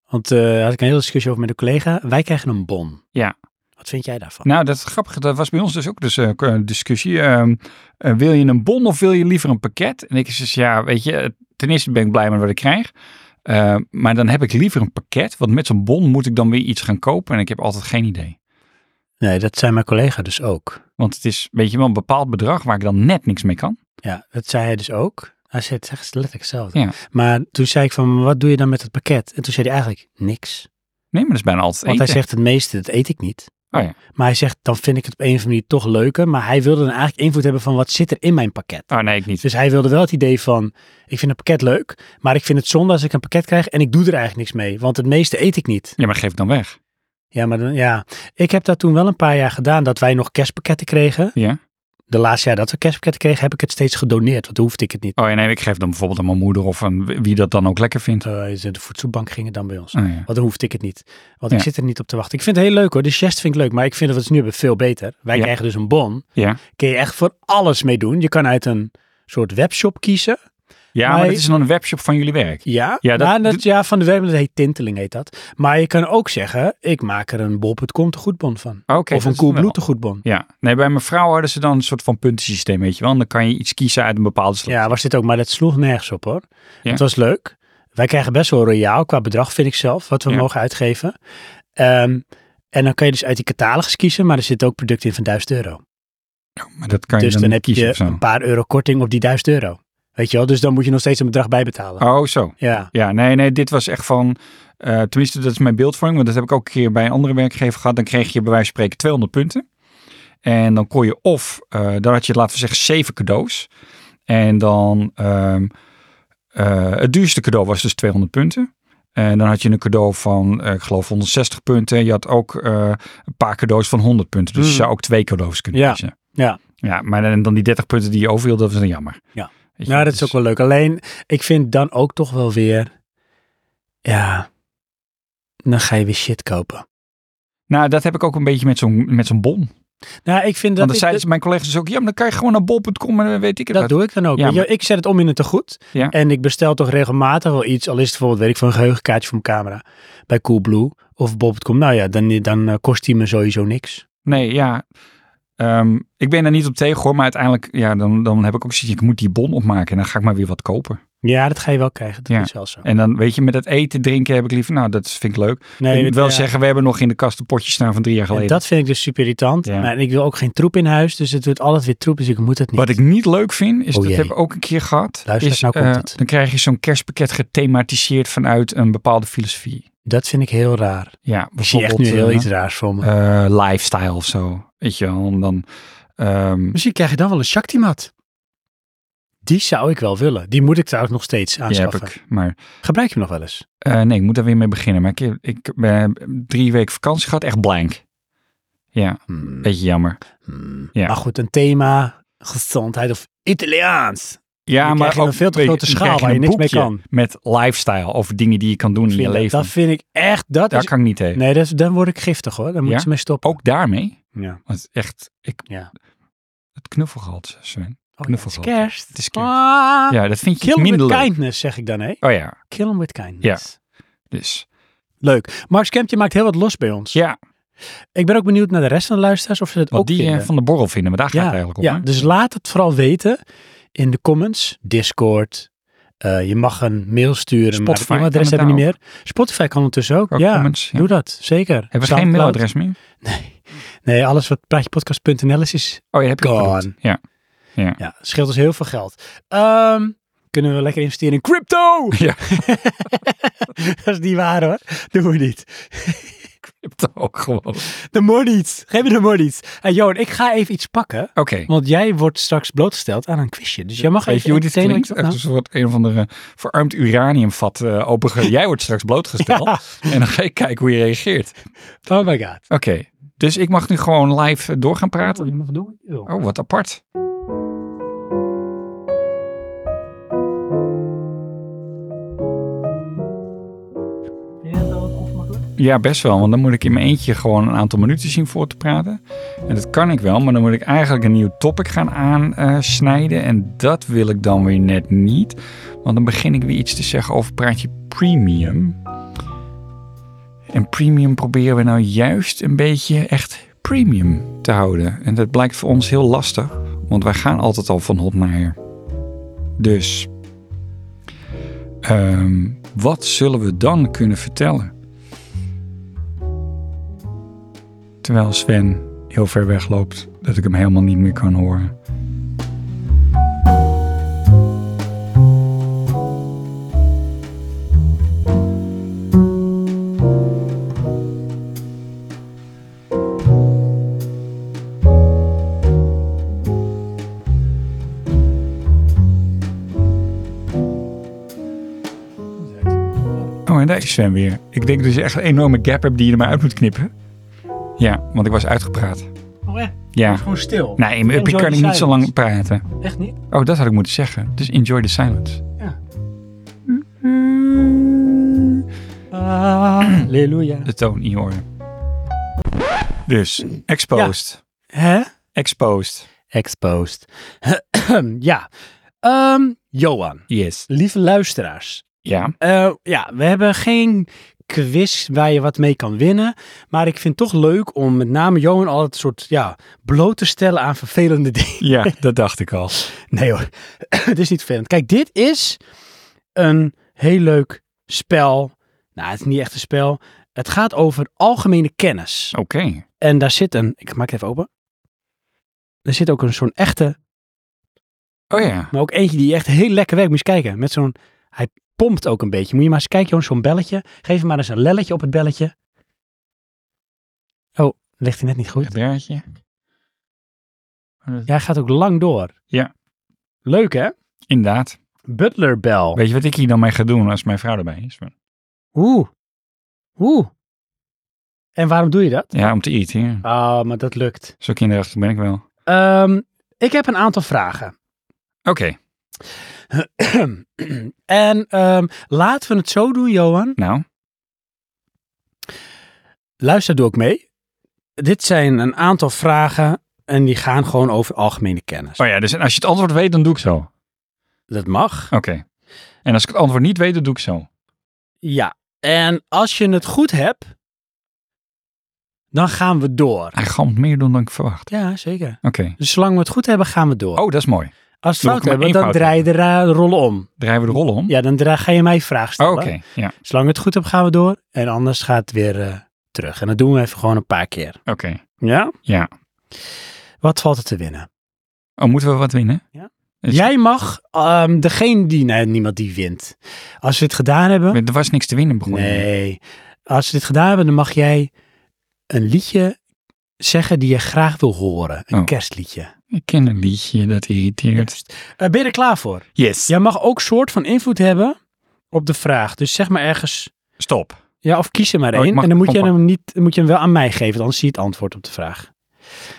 Speaker 2: Want eh, daar had ik een hele discussie over met een collega. Wij krijgen een bon.
Speaker 3: Ja.
Speaker 2: Wat vind jij daarvan?
Speaker 3: Nou, dat is grappig. Dat was bij ons dus ook dus, eh, een discussie. Ehm, eh, wil je een bon of wil je liever een pakket? En ik zeg, ja, weet je, eh, ten eerste ben ik blij met wat ik krijg. Eh, maar dan heb ik liever een pakket, want met zo'n bon moet ik dan weer iets gaan kopen en ik heb altijd geen idee.
Speaker 2: Nee, dat zijn mijn collega dus ook.
Speaker 3: Want het is, weet je wel, een bepaald bedrag waar ik dan net niks mee kan.
Speaker 2: Ja, dat zei hij dus ook. Hij zei het echt letterlijk hetzelfde.
Speaker 3: Ja.
Speaker 2: Maar toen zei ik van, wat doe je dan met het pakket? En toen zei hij eigenlijk, niks.
Speaker 3: Nee, maar dat is bijna altijd
Speaker 2: Want
Speaker 3: eten.
Speaker 2: hij zegt, het meeste, dat eet ik niet.
Speaker 3: Oh ja.
Speaker 2: Maar hij zegt, dan vind ik het op een of andere manier toch leuker. Maar hij wilde dan eigenlijk invloed hebben van, wat zit er in mijn pakket?
Speaker 3: Oh nee, ik niet.
Speaker 2: Dus hij wilde wel het idee van, ik vind een pakket leuk. Maar ik vind het zonde als ik een pakket krijg en ik doe er eigenlijk niks mee. Want het meeste eet ik niet.
Speaker 3: Ja, maar geef het dan weg.
Speaker 2: Ja, maar dan, ja. Ik heb dat toen wel een paar jaar gedaan, dat wij nog kerstpakketten kregen.
Speaker 3: Ja.
Speaker 2: De laatste jaar dat we kerstpakketten kregen, heb ik het steeds gedoneerd. Want dan hoefde ik het niet.
Speaker 3: Oh ja, nee, ik geef dan bijvoorbeeld aan mijn moeder of aan wie- wie dat dan ook lekker vindt.
Speaker 2: Eh, de voedselbank ging het dan bij ons.
Speaker 3: Oh ja.
Speaker 2: Want dan hoefde ik het niet. Want ik
Speaker 3: Ja.
Speaker 2: zit er niet op te wachten. Ik vind het heel leuk hoor. De chest vind ik leuk. Maar ik vind dat we het nu hebben veel beter. Wij
Speaker 3: Ja.
Speaker 2: krijgen dus een bon.
Speaker 3: Ja,
Speaker 2: Kun je echt voor alles mee doen. Je kan uit een soort webshop kiezen.
Speaker 3: ja
Speaker 2: Maar-
Speaker 3: maar het is dan een webshop van jullie werk.
Speaker 2: Ja,
Speaker 3: Ja, dat-
Speaker 2: maar dat,
Speaker 3: dat-
Speaker 2: ja van de web. Dat heet Tinteling heet dat. Maar je kan ook zeggen, ik maak er een bol.com te goedbon van.
Speaker 3: Oké,
Speaker 2: of
Speaker 3: dat
Speaker 2: een
Speaker 3: is wel-
Speaker 2: Coolblue te goedbon.
Speaker 3: Ja, nee, bij mijn vrouw hadden ze dan een soort van puntensysteem, weet je wel. En dan kan je iets kiezen uit een bepaalde slag.
Speaker 2: Ja, was dit ook. Maar dat sloeg nergens op hoor.
Speaker 3: Ja.
Speaker 2: Het was leuk. Wij krijgen best wel royaal qua bedrag, vind ik zelf, wat we
Speaker 3: Ja.
Speaker 2: mogen uitgeven. Ehm, en dan kan je dus uit die catalogus kiezen, maar er zitten ook producten in van 1000 euro.
Speaker 3: Maar dat kan je
Speaker 2: dus
Speaker 3: dan,
Speaker 2: dan
Speaker 3: niet
Speaker 2: heb
Speaker 3: kiezen
Speaker 2: je
Speaker 3: of zo.
Speaker 2: een paar euro korting op die 1000 euro. Weet je wel, dus dan moet je nog steeds een bedrag bijbetalen.
Speaker 3: Oh, zo.
Speaker 2: Ja.
Speaker 3: Ja, nee, nee, dit was echt van... eh, tenminste, dat is mijn beeldvorming, want dat heb ik ook een keer bij een andere werkgever gehad. Dan kreeg je bij wijze van spreken 200 punten. En dan kon je of, eh, dan had je, laten we zeggen, zeven cadeaus. En dan, ehm, eh, het duurste cadeau was dus 200 punten. En dan had je een cadeau van, eh, ik geloof, 160 punten. Je had ook eh, een paar cadeaus van 100 punten. Dus je
Speaker 2: Hmm.
Speaker 3: zou ook twee cadeaus kunnen
Speaker 2: Ja.
Speaker 3: kiezen.
Speaker 2: Ja.
Speaker 3: Ja, maar dan, dan die 30 punten die je over wilde, dat was dan jammer.
Speaker 2: Ja.
Speaker 3: Weet je,
Speaker 2: Nou, dat is
Speaker 3: dus-
Speaker 2: ook wel leuk. Alleen, ik vind dan ook toch wel weer, ja, dan ga je weer shit kopen.
Speaker 3: Nou, dat heb ik ook een beetje met zo'n met zo'n bon.
Speaker 2: Nou, ik vind
Speaker 3: Want
Speaker 2: dat...
Speaker 3: dan
Speaker 2: ik-
Speaker 3: zeiden ze, mijn collega's dus ook, ja, maar dan kan je gewoon naar bol.com en dan weet ik het
Speaker 2: Dat
Speaker 3: wat.
Speaker 2: doe ik dan ook.
Speaker 3: Ja,
Speaker 2: Weet je,
Speaker 3: maar-
Speaker 2: Ik zet het om in het tegoed.
Speaker 3: Ja.
Speaker 2: En ik bestel toch regelmatig wel iets. Al is het bijvoorbeeld, weet ik, van een geheugenkaartje voor mijn camera. Bij Coolblue of Bob.com. Nou ja, dan, dan eh, kost die me sowieso niks.
Speaker 3: Nee, ja. Ehm, ik ben daar niet op tegen hoor, maar uiteindelijk, ja, dan, dan heb ik ook zoiets, ik moet die bon opmaken en dan ga ik maar weer wat kopen.
Speaker 2: Ja, dat ga je wel krijgen. Dat
Speaker 3: Ja.
Speaker 2: is wel zo.
Speaker 3: En dan, weet je, met het eten, drinken heb ik liever, nou, dat vind ik leuk.
Speaker 2: Nee,
Speaker 3: ik moet wel
Speaker 2: ja.
Speaker 3: zeggen, we hebben nog in de kast een potje staan van drie jaar
Speaker 2: En
Speaker 3: geleden.
Speaker 2: dat vind ik dus super irritant.
Speaker 3: Ja.
Speaker 2: Maar ik wil ook geen troep in huis, dus het wordt altijd weer troep, dus ik moet het niet.
Speaker 3: Wat ik niet leuk vind, is
Speaker 2: Oh
Speaker 3: dat
Speaker 2: jee.
Speaker 3: heb ik ook een keer gehad.
Speaker 2: Luister,
Speaker 3: is,
Speaker 2: nou komt
Speaker 3: eh,
Speaker 2: het.
Speaker 3: Dan krijg je zo'n kerstpakket gethematiseerd vanuit een bepaalde filosofie.
Speaker 2: Dat vind ik heel
Speaker 3: Ja,
Speaker 2: raar. Ik zie echt
Speaker 3: bijvoorbeeld
Speaker 2: nu heel
Speaker 3: eh,
Speaker 2: iets raars voor me.
Speaker 3: eh, lifestyle of zo. Weet je wel, en dan... ehm,
Speaker 2: Misschien krijg je dan wel een Shaktimat. Die zou ik wel willen. Die moet ik trouwens nog steeds
Speaker 3: die heb
Speaker 2: aanschaffen.
Speaker 3: ik, maar
Speaker 2: Gebruik je hem nog wel eens?
Speaker 3: Eh, nee, ik moet daar weer mee beginnen. Maar ik, ik ben drie weken vakantie gehad, echt blank. Ja,
Speaker 2: Hmm,
Speaker 3: beetje jammer.
Speaker 2: hmm.
Speaker 3: ja.
Speaker 2: Maar goed, een thema, gezondheid of Italiaans.
Speaker 3: Ja,
Speaker 2: Dan
Speaker 3: maar
Speaker 2: krijg je
Speaker 3: ook
Speaker 2: een veel te
Speaker 3: weet je,
Speaker 2: grote
Speaker 3: dan
Speaker 2: schaal
Speaker 3: krijg je
Speaker 2: waar je
Speaker 3: een
Speaker 2: niks mee
Speaker 3: boekje
Speaker 2: kan.
Speaker 3: Met lifestyle over dingen die je kan doen in je
Speaker 2: Vind-
Speaker 3: leven.
Speaker 2: Dat vind ik echt, dat
Speaker 3: Daar
Speaker 2: is-
Speaker 3: kan ik niet tegen.
Speaker 2: Nee, dat is, dan word ik giftig hoor. Dan moeten
Speaker 3: Ja? Oh.
Speaker 2: ze mee stoppen.
Speaker 3: Ook daarmee.
Speaker 2: Ja. Oh,
Speaker 3: Want echt, ik,
Speaker 2: Ja.
Speaker 3: het knuffelgehalte, Sven.
Speaker 2: Oh, ja, het is
Speaker 3: Knuffelgehalte.
Speaker 2: kerst.
Speaker 3: Het is kerst.
Speaker 2: Ah,
Speaker 3: Ja, dat vind je
Speaker 2: Kill 'em
Speaker 3: minder
Speaker 2: with
Speaker 3: leuk.
Speaker 2: kindness, zeg ik dan hé.
Speaker 3: Oh ja,
Speaker 2: Kill 'em with kindness.
Speaker 3: dus.
Speaker 2: Leuk. Max Kempje maakt heel wat los bij ons.
Speaker 3: Ja,
Speaker 2: Ik ben ook benieuwd naar de rest van de luisteraars of ze het
Speaker 3: wat
Speaker 2: ook
Speaker 3: die eh,
Speaker 2: vinden.
Speaker 3: van de borrel vinden, maar daar gaat
Speaker 2: ja,
Speaker 3: het eigenlijk om.
Speaker 2: ja,
Speaker 3: hè?
Speaker 2: dus laat het vooral weten in de comments, Discord. Eh, je mag een mail sturen,
Speaker 3: Spotify
Speaker 2: maar het e-mailadres
Speaker 3: kan
Speaker 2: hebben we
Speaker 3: het
Speaker 2: niet meer. Spotify kan ondertussen ook.
Speaker 3: Ook
Speaker 2: ja,
Speaker 3: comments, ja.
Speaker 2: doe dat. Zeker.
Speaker 3: Hebben we geen
Speaker 2: SoundCloud.
Speaker 3: mailadres meer?
Speaker 2: Nee, alles wat praatjepodcast.nl is, is
Speaker 3: Oh, je hebt
Speaker 2: Gone.
Speaker 3: Ja. [LAUGHS]
Speaker 2: Ja, scheelt ons heel veel geld. Ehm, kunnen we lekker investeren in crypto?
Speaker 3: [LAUGHS]
Speaker 2: [LAUGHS]
Speaker 3: Ja.
Speaker 2: dat is niet waar hoor. Doen we niet.
Speaker 3: Je hebt het ook gewoon. Oké.
Speaker 2: De monies. Geef me de monies. En Johan, ik ga even iets pakken. Want jij wordt straks blootgesteld aan een quizje. Dus jij mag
Speaker 3: Weet
Speaker 2: even...
Speaker 3: je hoe dit
Speaker 2: meteen-
Speaker 3: klinkt? Echt een
Speaker 2: Nou,
Speaker 3: soort een of andere verarmd uraniumvat eh openge. Jij wordt straks blootgesteld.
Speaker 2: [LAUGHS] Ja.
Speaker 3: En dan ga ik kijken hoe je reageert.
Speaker 2: Oh my god.
Speaker 3: Oké, dus ik mag nu gewoon live eh, door gaan praten.
Speaker 2: je mag doen wat je wil.
Speaker 3: Oh, wat apart. Ja, best wel, want dan moet ik in mijn eentje gewoon een aantal minuten zien voor te praten. En dat kan ik wel, maar dan moet ik eigenlijk een nieuw topic gaan aansnijden. En dat wil ik dan weer net niet, want dan begin ik weer iets te zeggen over praatje premium. En premium proberen we nou juist een beetje echt premium te houden. En dat blijkt voor ons heel lastig, want wij gaan altijd al van hot naar her. Dus, ehm, wat zullen we dan kunnen vertellen? Terwijl Sven heel ver weg loopt, dat ik hem helemaal niet meer kan horen. Oh, en daar is Sven weer. Ik denk dat je echt een enorme gap hebt die je er maar uit moet knippen. Ja, want ik was uitgepraat.
Speaker 2: Oh, echt?
Speaker 3: Ja.
Speaker 2: Gewoon stil.
Speaker 3: Nee, in mijn uppie
Speaker 2: Enjoy
Speaker 3: kan ik
Speaker 2: the
Speaker 3: niet zo lang
Speaker 2: silence.
Speaker 3: praten.
Speaker 2: Echt niet?
Speaker 3: Oh, dat had ik moeten zeggen. Dus enjoy the silence.
Speaker 2: Ah, Halleluja.
Speaker 3: De toon in je oren. Dus, exposed.
Speaker 2: Hè?
Speaker 3: Exposed.
Speaker 2: Exposed. [CLEARS THROAT] ja. Ehm, Johan,
Speaker 3: Yes.
Speaker 2: lieve luisteraars.
Speaker 3: Ja,
Speaker 2: Eh, ja, we hebben geen quiz waar je wat mee kan winnen. Maar ik vind het toch leuk om met name Johan al het soort ja, bloot te stellen aan vervelende [LAUGHS] dingen.
Speaker 3: ja dat dacht ik al.
Speaker 2: Nee hoor, [CLEARS THROAT] het is niet vervelend. Kijk, dit is een heel leuk spel. Nou, het is niet echt een spel. Het gaat over algemene
Speaker 3: [LAUGHS]
Speaker 2: kennis.
Speaker 3: Oké.
Speaker 2: En daar zit een, ik maak het even open. Er zit ook een zo'n echte,
Speaker 3: Oh ja.
Speaker 2: maar ook eentje die echt heel lekker werkt. Moet je eens kijken, met zo'n, hij pompt ook een beetje. Moet je maar eens kijken, Johan, zo'n belletje. Geef hem maar eens een lelletje op het belletje. Oh, ligt hij net niet goed.
Speaker 3: Een draadje.
Speaker 2: Ja, hij gaat ook lang door.
Speaker 3: Ja.
Speaker 2: Leuk hè?
Speaker 3: Inderdaad.
Speaker 2: Butler bell.
Speaker 3: Weet je wat ik hier dan mee ga doen als mijn vrouw erbij is?
Speaker 2: Oeh. Oeh. En waarom doe je dat?
Speaker 3: Ja, om te irriteren.
Speaker 2: Ah, maar dat lukt.
Speaker 3: Zo kinderachtig ben ik wel. Oké.
Speaker 2: Ehm, ik heb een aantal vragen. [CLEARS THROAT] en ehm, laten we het zo doen, Johan.
Speaker 3: Nou,
Speaker 2: Luister, doe ook mee. Dit zijn een aantal vragen en die gaan gewoon over algemene kennis.
Speaker 3: oh ja, dus als je het antwoord weet, dan doe ik zo. Oké.
Speaker 2: Dat mag.
Speaker 3: En als ik het antwoord niet weet, dan doe ik zo.
Speaker 2: Ja. En als je het goed hebt, dan gaan we door.
Speaker 3: Hij gaat meer doen dan ik verwacht.
Speaker 2: Ja, zeker.
Speaker 3: Oké.
Speaker 2: Dus zolang we het goed hebben, gaan we door.
Speaker 3: Oh, dat is mooi.
Speaker 2: Als we
Speaker 3: Doe
Speaker 2: het
Speaker 3: ik
Speaker 2: fout
Speaker 3: maar
Speaker 2: hebben,
Speaker 3: één
Speaker 2: dan
Speaker 3: fout
Speaker 2: draai je de ra- rollen om.
Speaker 3: Draaien we de rollen om?
Speaker 2: Ja, dan dra- ga je mij vragen
Speaker 3: Oh,
Speaker 2: stellen.
Speaker 3: Oké, ja.
Speaker 2: Zolang het goed hebt, gaan we door. En anders gaat het weer eh, terug. En dat doen we even gewoon een paar keer.
Speaker 3: Oké.
Speaker 2: Ja?
Speaker 3: Ja.
Speaker 2: Wat valt er te winnen?
Speaker 3: Oh, moeten we wat winnen?
Speaker 2: Ja.
Speaker 3: Dus-
Speaker 2: Jij mag, ehm, degene die, nee, niemand die wint. Als we dit gedaan hebben,
Speaker 3: Er was niks te winnen begonnen.
Speaker 2: nee. Als we dit gedaan hebben, dan mag jij een liedje zeggen die je graag wil horen. Een
Speaker 3: Oh.
Speaker 2: kerstliedje.
Speaker 3: Ik ken een liedje dat irriteert.
Speaker 2: Eh, ben je er klaar voor?
Speaker 3: Yes.
Speaker 2: Jij mag ook soort van invloed hebben op de vraag. Dus zeg maar ergens
Speaker 3: Stop.
Speaker 2: Ja, of kies er maar
Speaker 3: Oh, ik
Speaker 2: één.
Speaker 3: mag
Speaker 2: en dan moet je,
Speaker 3: hem
Speaker 2: hem niet, moet je hem wel aan mij geven, want anders zie je het antwoord op de vraag.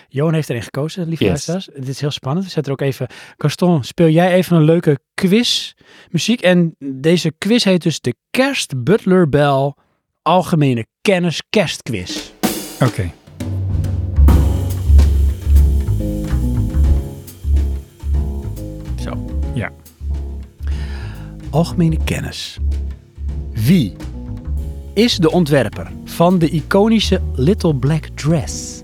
Speaker 2: Johan heeft er één gekozen, lieve
Speaker 3: Yes.
Speaker 2: luisteraars. Dit is heel spannend. We zetten er ook even... Gaston, speel jij even een leuke quizmuziek. En deze quiz heet dus de Kerst Butler Bell Algemene Kennis Kerstquiz.
Speaker 3: Oké.
Speaker 2: Zo.
Speaker 3: Ja.
Speaker 2: Algemene kennis. Wie is de ontwerper van de iconische Little Black Dress?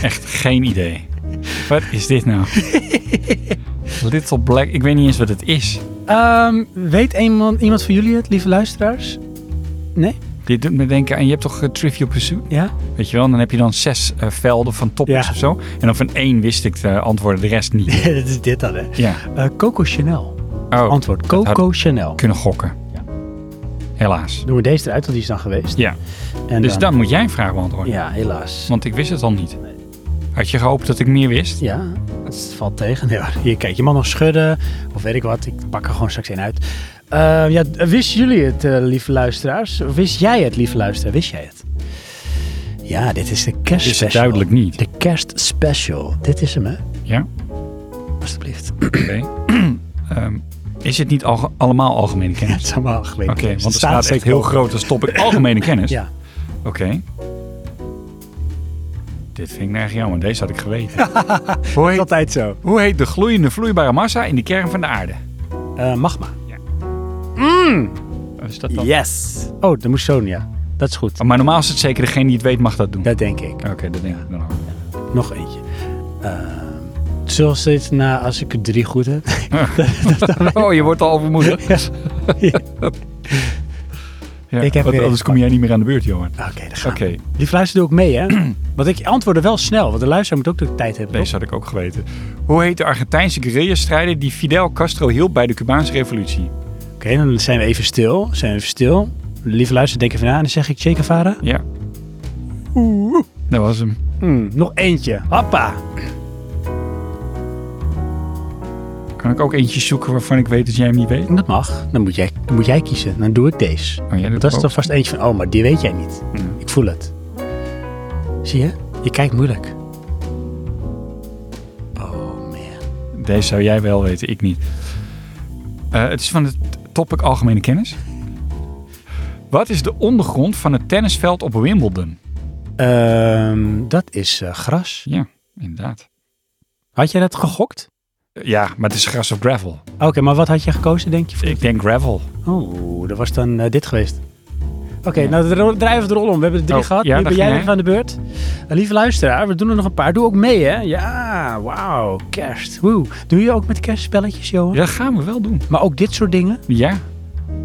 Speaker 3: Echt geen idee. Wat is dit
Speaker 2: [LAUGHS]
Speaker 3: nou? Little Black. Ik weet niet eens wat het is.
Speaker 2: Ehm, weet iemand, iemand van jullie het, lieve luisteraars? Nee?
Speaker 3: Dit doet me denken aan, je hebt toch eh, Trivial Pursuit?
Speaker 2: Ja?
Speaker 3: Weet je wel, dan heb je dan zes eh, velden van toppers
Speaker 2: Ja.
Speaker 3: of zo. En dan van één wist ik de antwoorden, de rest niet.
Speaker 2: [LAUGHS] Dat is dit dan, hè?
Speaker 3: Ja.
Speaker 2: Eh, Coco Chanel.
Speaker 3: Oh,
Speaker 2: Antwoord,
Speaker 3: dat had
Speaker 2: Coco Chanel.
Speaker 3: ik kunnen gokken.
Speaker 2: Ja.
Speaker 3: Helaas.
Speaker 2: Doen we deze eruit, want die is dan geweest.
Speaker 3: Ja,
Speaker 2: En
Speaker 3: dus dan moet jij een vraag beantwoorden.
Speaker 2: Ja, helaas.
Speaker 3: Want ik wist het al niet. Had je gehoopt dat ik meer wist?
Speaker 2: Ja, het valt tegen. Nee, hoor. Hier, kijk, je mag nog schudden of weet ik wat. Ik pak er gewoon straks één uit. Eh, ja, wisten jullie het, eh, lieve luisteraars? Wist jij het, lieve luisteraar? Wist jij het? Ja, dit is de kerstspecial.
Speaker 3: Is het duidelijk niet?
Speaker 2: De kerstspecial. Dit is hem, hè?
Speaker 3: Ja?
Speaker 2: Alsjeblieft. [LAUGHS]
Speaker 3: Oké. [CLEARS THROAT] Ehm, is het niet alge- allemaal algemene kennis?
Speaker 2: Het is allemaal algemeen.
Speaker 3: Oké, want er staat echt heel groot als
Speaker 2: [CLEARS THROAT]
Speaker 3: topic algemene kennis.
Speaker 2: Ja.
Speaker 3: Oké. Dit vind ik nou echt jammer. Deze had ik
Speaker 2: [LAUGHS]
Speaker 3: geweten. hoe, heet,
Speaker 2: Altijd zo.
Speaker 3: hoe heet de gloeiende vloeibare massa in de kern van de aarde?
Speaker 2: Eh, magma.
Speaker 3: Wat Is dat dan?
Speaker 2: Yes. Oh, de moesson, ja. Dat is goed.
Speaker 3: Oh, Maar normaal is het zeker degene die het weet mag dat doen.
Speaker 2: Dat denk ik.
Speaker 3: Oké, dat denk ik dan ook.
Speaker 2: Nog eentje. Ehm zoals dit na als ik er drie goed heb.
Speaker 3: [LAUGHS] Oh, je wordt al overmoedig.
Speaker 2: [LAUGHS] Ja.
Speaker 3: Ja,
Speaker 2: Ik heb
Speaker 3: want
Speaker 2: weer
Speaker 3: anders kom jij niet meer aan de beurt, Johan.
Speaker 2: Oké, dan gaan
Speaker 3: Oké,
Speaker 2: we. Die luister doe ik mee, hè? [CLEARS THROAT] Want ik antwoordde wel snel, want de luisteraar moet ook de tijd hebben.
Speaker 3: deze had ik ook geweten. Hoe heet de Argentijnse guerrilla-strijder die Fidel Castro hielp bij de Cubaanse revolutie?
Speaker 2: toch? Oké, dan zijn we even stil. Zijn we even stil. Lieve luister, denk even na en dan zeg ik Che Guevara.
Speaker 3: Ja. Dat was hem.
Speaker 2: Hmm, nog eentje. Hoppa.
Speaker 3: Kan ik ook eentje zoeken waarvan ik weet dat jij hem niet weet?
Speaker 2: Dat mag. Dan moet jij, dan moet jij kiezen. Dan doe ik deze.
Speaker 3: Oh, jij doet
Speaker 2: Want dat is
Speaker 3: ook. Hmm.
Speaker 2: toch vast eentje van, oh, maar die weet jij niet. Ik voel het. Zie je? Je kijkt moeilijk. Oh, man.
Speaker 3: Deze zou jij wel weten, ik niet. Eh, het is van het topic algemene kennis. Wat is de ondergrond van het tennisveld op Wimbledon?
Speaker 2: Ehm, dat is eh, gras.
Speaker 3: Ja, inderdaad.
Speaker 2: Had jij dat gegokt?
Speaker 3: Ja, maar het is gras of gravel.
Speaker 2: Oké, maar wat had je gekozen, denk je? voor-
Speaker 3: Ik denk gravel.
Speaker 2: Oh, dat was dan eh, dit geweest. Oké, nou dra- draai even de rol om. We hebben er drie
Speaker 3: Oh,
Speaker 2: gehad.
Speaker 3: ja,
Speaker 2: nu
Speaker 3: daar
Speaker 2: ben jij
Speaker 3: ging
Speaker 2: even aan de beurt. Eh, lieve luisteraar, we doen er nog een paar. Doe ook mee, hè? Ja, wauw. Kerst. Woe. Doe je ook met kerstspelletjes, Johan?
Speaker 3: Ja, dat gaan we wel doen.
Speaker 2: Maar ook dit soort dingen?
Speaker 3: Ja?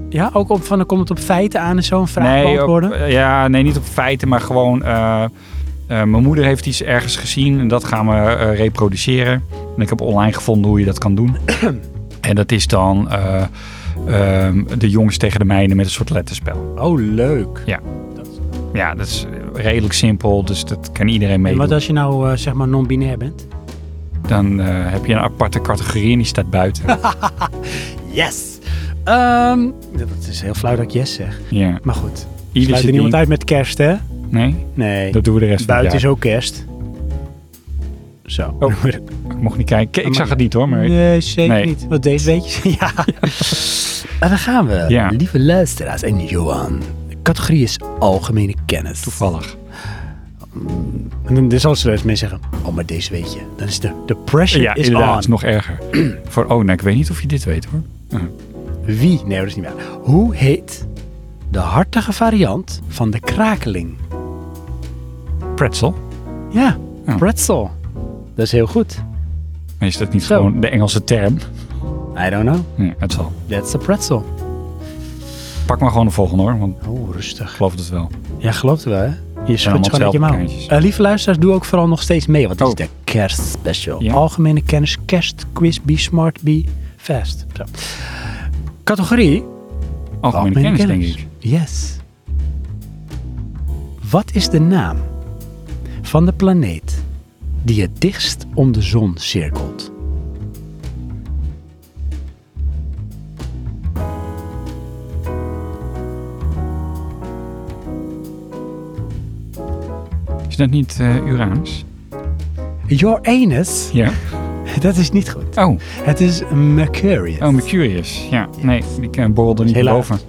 Speaker 2: Ja, ook op, van, dan komt het op feiten aan en zo een vraag
Speaker 3: nee, op, eh,
Speaker 2: beantwoorden?
Speaker 3: ja, nee, niet op feiten, maar gewoon... eh, eh, mijn moeder heeft iets ergens gezien en dat gaan we eh, reproduceren. En ik heb online gevonden hoe je dat kan [CLEARS THROAT] doen. en dat is dan eh, ehm, de jongens tegen de meiden met een soort letterspel.
Speaker 2: Oh, leuk.
Speaker 3: Ja, dat is redelijk simpel, dus dat kan iedereen
Speaker 2: En
Speaker 3: meedoen.
Speaker 2: wat als je nou, eh, zeg maar, non-binair bent?
Speaker 3: Dan eh, heb je een aparte categorie en die staat [LAUGHS] buiten.
Speaker 2: Yes! Ehm, dat is heel flauw dat ik yes zeg.
Speaker 3: ja.
Speaker 2: Maar goed,
Speaker 3: Ieder
Speaker 2: sluit
Speaker 3: zit
Speaker 2: er niemand
Speaker 3: in.
Speaker 2: uit met kerst, hè?
Speaker 3: Nee,
Speaker 2: Nee.
Speaker 3: dat doen we de rest
Speaker 2: Buiten
Speaker 3: van
Speaker 2: is
Speaker 3: het
Speaker 2: ook kerst. Zo. [LAUGHS]
Speaker 3: [LAUGHS] Oh. jaar. Ik mocht niet kijken. Ik zag het niet hoor, maar...
Speaker 2: Nee, zeker
Speaker 3: Nee.
Speaker 2: niet. Want deze weet je. [LAUGHS]
Speaker 3: [LAUGHS]
Speaker 2: ja. En daar gaan we.
Speaker 3: Ja.
Speaker 2: Lieve luisteraars en Johan. De categorie is algemene kennis.
Speaker 3: Toevallig.
Speaker 2: En dan zal ze wel eens mee zeggen. Oh, maar deze weet je. Dan is de, de pressure
Speaker 3: Ja,
Speaker 2: is
Speaker 3: inderdaad, is
Speaker 2: on.
Speaker 3: nog
Speaker 2: [CLEARS THROAT]
Speaker 3: erger. Voor, oh, nou, ik weet niet of je dit weet hoor.
Speaker 2: Wie? Nee, dat is niet waar. Hoe heet de hartige variant van de krakeling?
Speaker 3: Pretzel.
Speaker 2: Ja,
Speaker 3: Oh.
Speaker 2: pretzel. Dat is heel goed.
Speaker 3: Maar is dat niet
Speaker 2: Zo.
Speaker 3: gewoon de Engelse term?
Speaker 2: I don't know.
Speaker 3: Nee, het zal.
Speaker 2: That's a pretzel.
Speaker 3: Pak maar gewoon de volgende hoor, want ik
Speaker 2: Oh, rustig.
Speaker 3: geloof het wel.
Speaker 2: Ja, gelooft wel, hè? Je schudt
Speaker 3: allemaal
Speaker 2: gewoon uit je mouw.
Speaker 3: hetzelfde kaartjes.
Speaker 2: Eh, lieve luisteraars, doe ook vooral nog steeds mee. Want dit
Speaker 3: Oh.
Speaker 2: is de kerstspecial.
Speaker 3: Ja.
Speaker 2: Algemene kennis, kerstquiz, be smart, be fast. Zo. Categorie?
Speaker 3: Algemene kennis, denk ik.
Speaker 2: Yes. Wat is de naam van de planeet die het dichtst om de zon cirkelt?
Speaker 3: Is dat niet eh, Uranus?
Speaker 2: Your anus, [LAUGHS]
Speaker 3: Ja.
Speaker 2: dat is niet goed.
Speaker 3: Oh,
Speaker 2: Het is Mercurius.
Speaker 3: oh Mercurius. Ja, nee, die eh, borrelde niet
Speaker 2: Helaas.
Speaker 3: boven.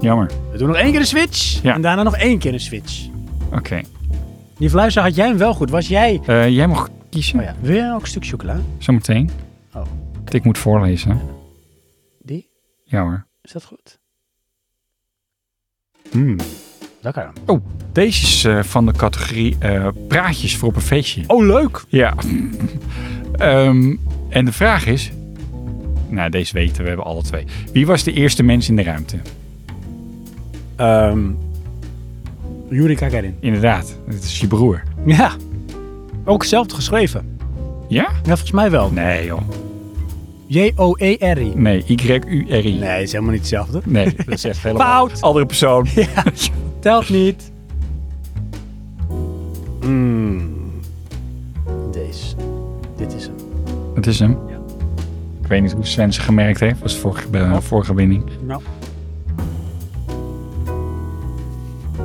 Speaker 3: Jammer.
Speaker 2: We doen nog één keer een switch
Speaker 3: Ja.
Speaker 2: en daarna nog één keer een switch.
Speaker 3: Oké.
Speaker 2: Die fluister had jij hem wel goed. Was jij...
Speaker 3: Eh, jij mag kiezen,
Speaker 2: Oh ja, wil jij ook een stuk chocola?
Speaker 3: zometeen.
Speaker 2: Oh.
Speaker 3: Want Ik moet voorlezen. hè?
Speaker 2: Die?
Speaker 3: Ja hoor.
Speaker 2: Is dat goed?
Speaker 3: Hmm.
Speaker 2: Lekker.
Speaker 3: Oh, deze is eh, van de categorie eh, praatjes voor op een feestje.
Speaker 2: Oh, leuk.
Speaker 3: Ja. [LAUGHS] Ehm, en de vraag is... Nou, deze weten we hebben alle twee. Wie was de eerste mens in de ruimte?
Speaker 2: Ehm Yuri Gagarin.
Speaker 3: Inderdaad, het is je broer.
Speaker 2: Ja. Ook zelf geschreven.
Speaker 3: Ja?
Speaker 2: Ja, volgens mij wel.
Speaker 3: Nee joh.
Speaker 2: J-O-E-R-I.
Speaker 3: Nee, Y-U-R-I.
Speaker 2: Nee, is helemaal niet hetzelfde.
Speaker 3: Nee, [LAUGHS] dat is echt helemaal...
Speaker 2: Fout.
Speaker 3: Andere persoon.
Speaker 2: Ja, telt niet. Hmm. Deze. Dit is hem.
Speaker 3: Dat is hem. Ik weet niet hoe Sven ze gemerkt heeft. was vorige, eh, vorige winning.
Speaker 2: Nou.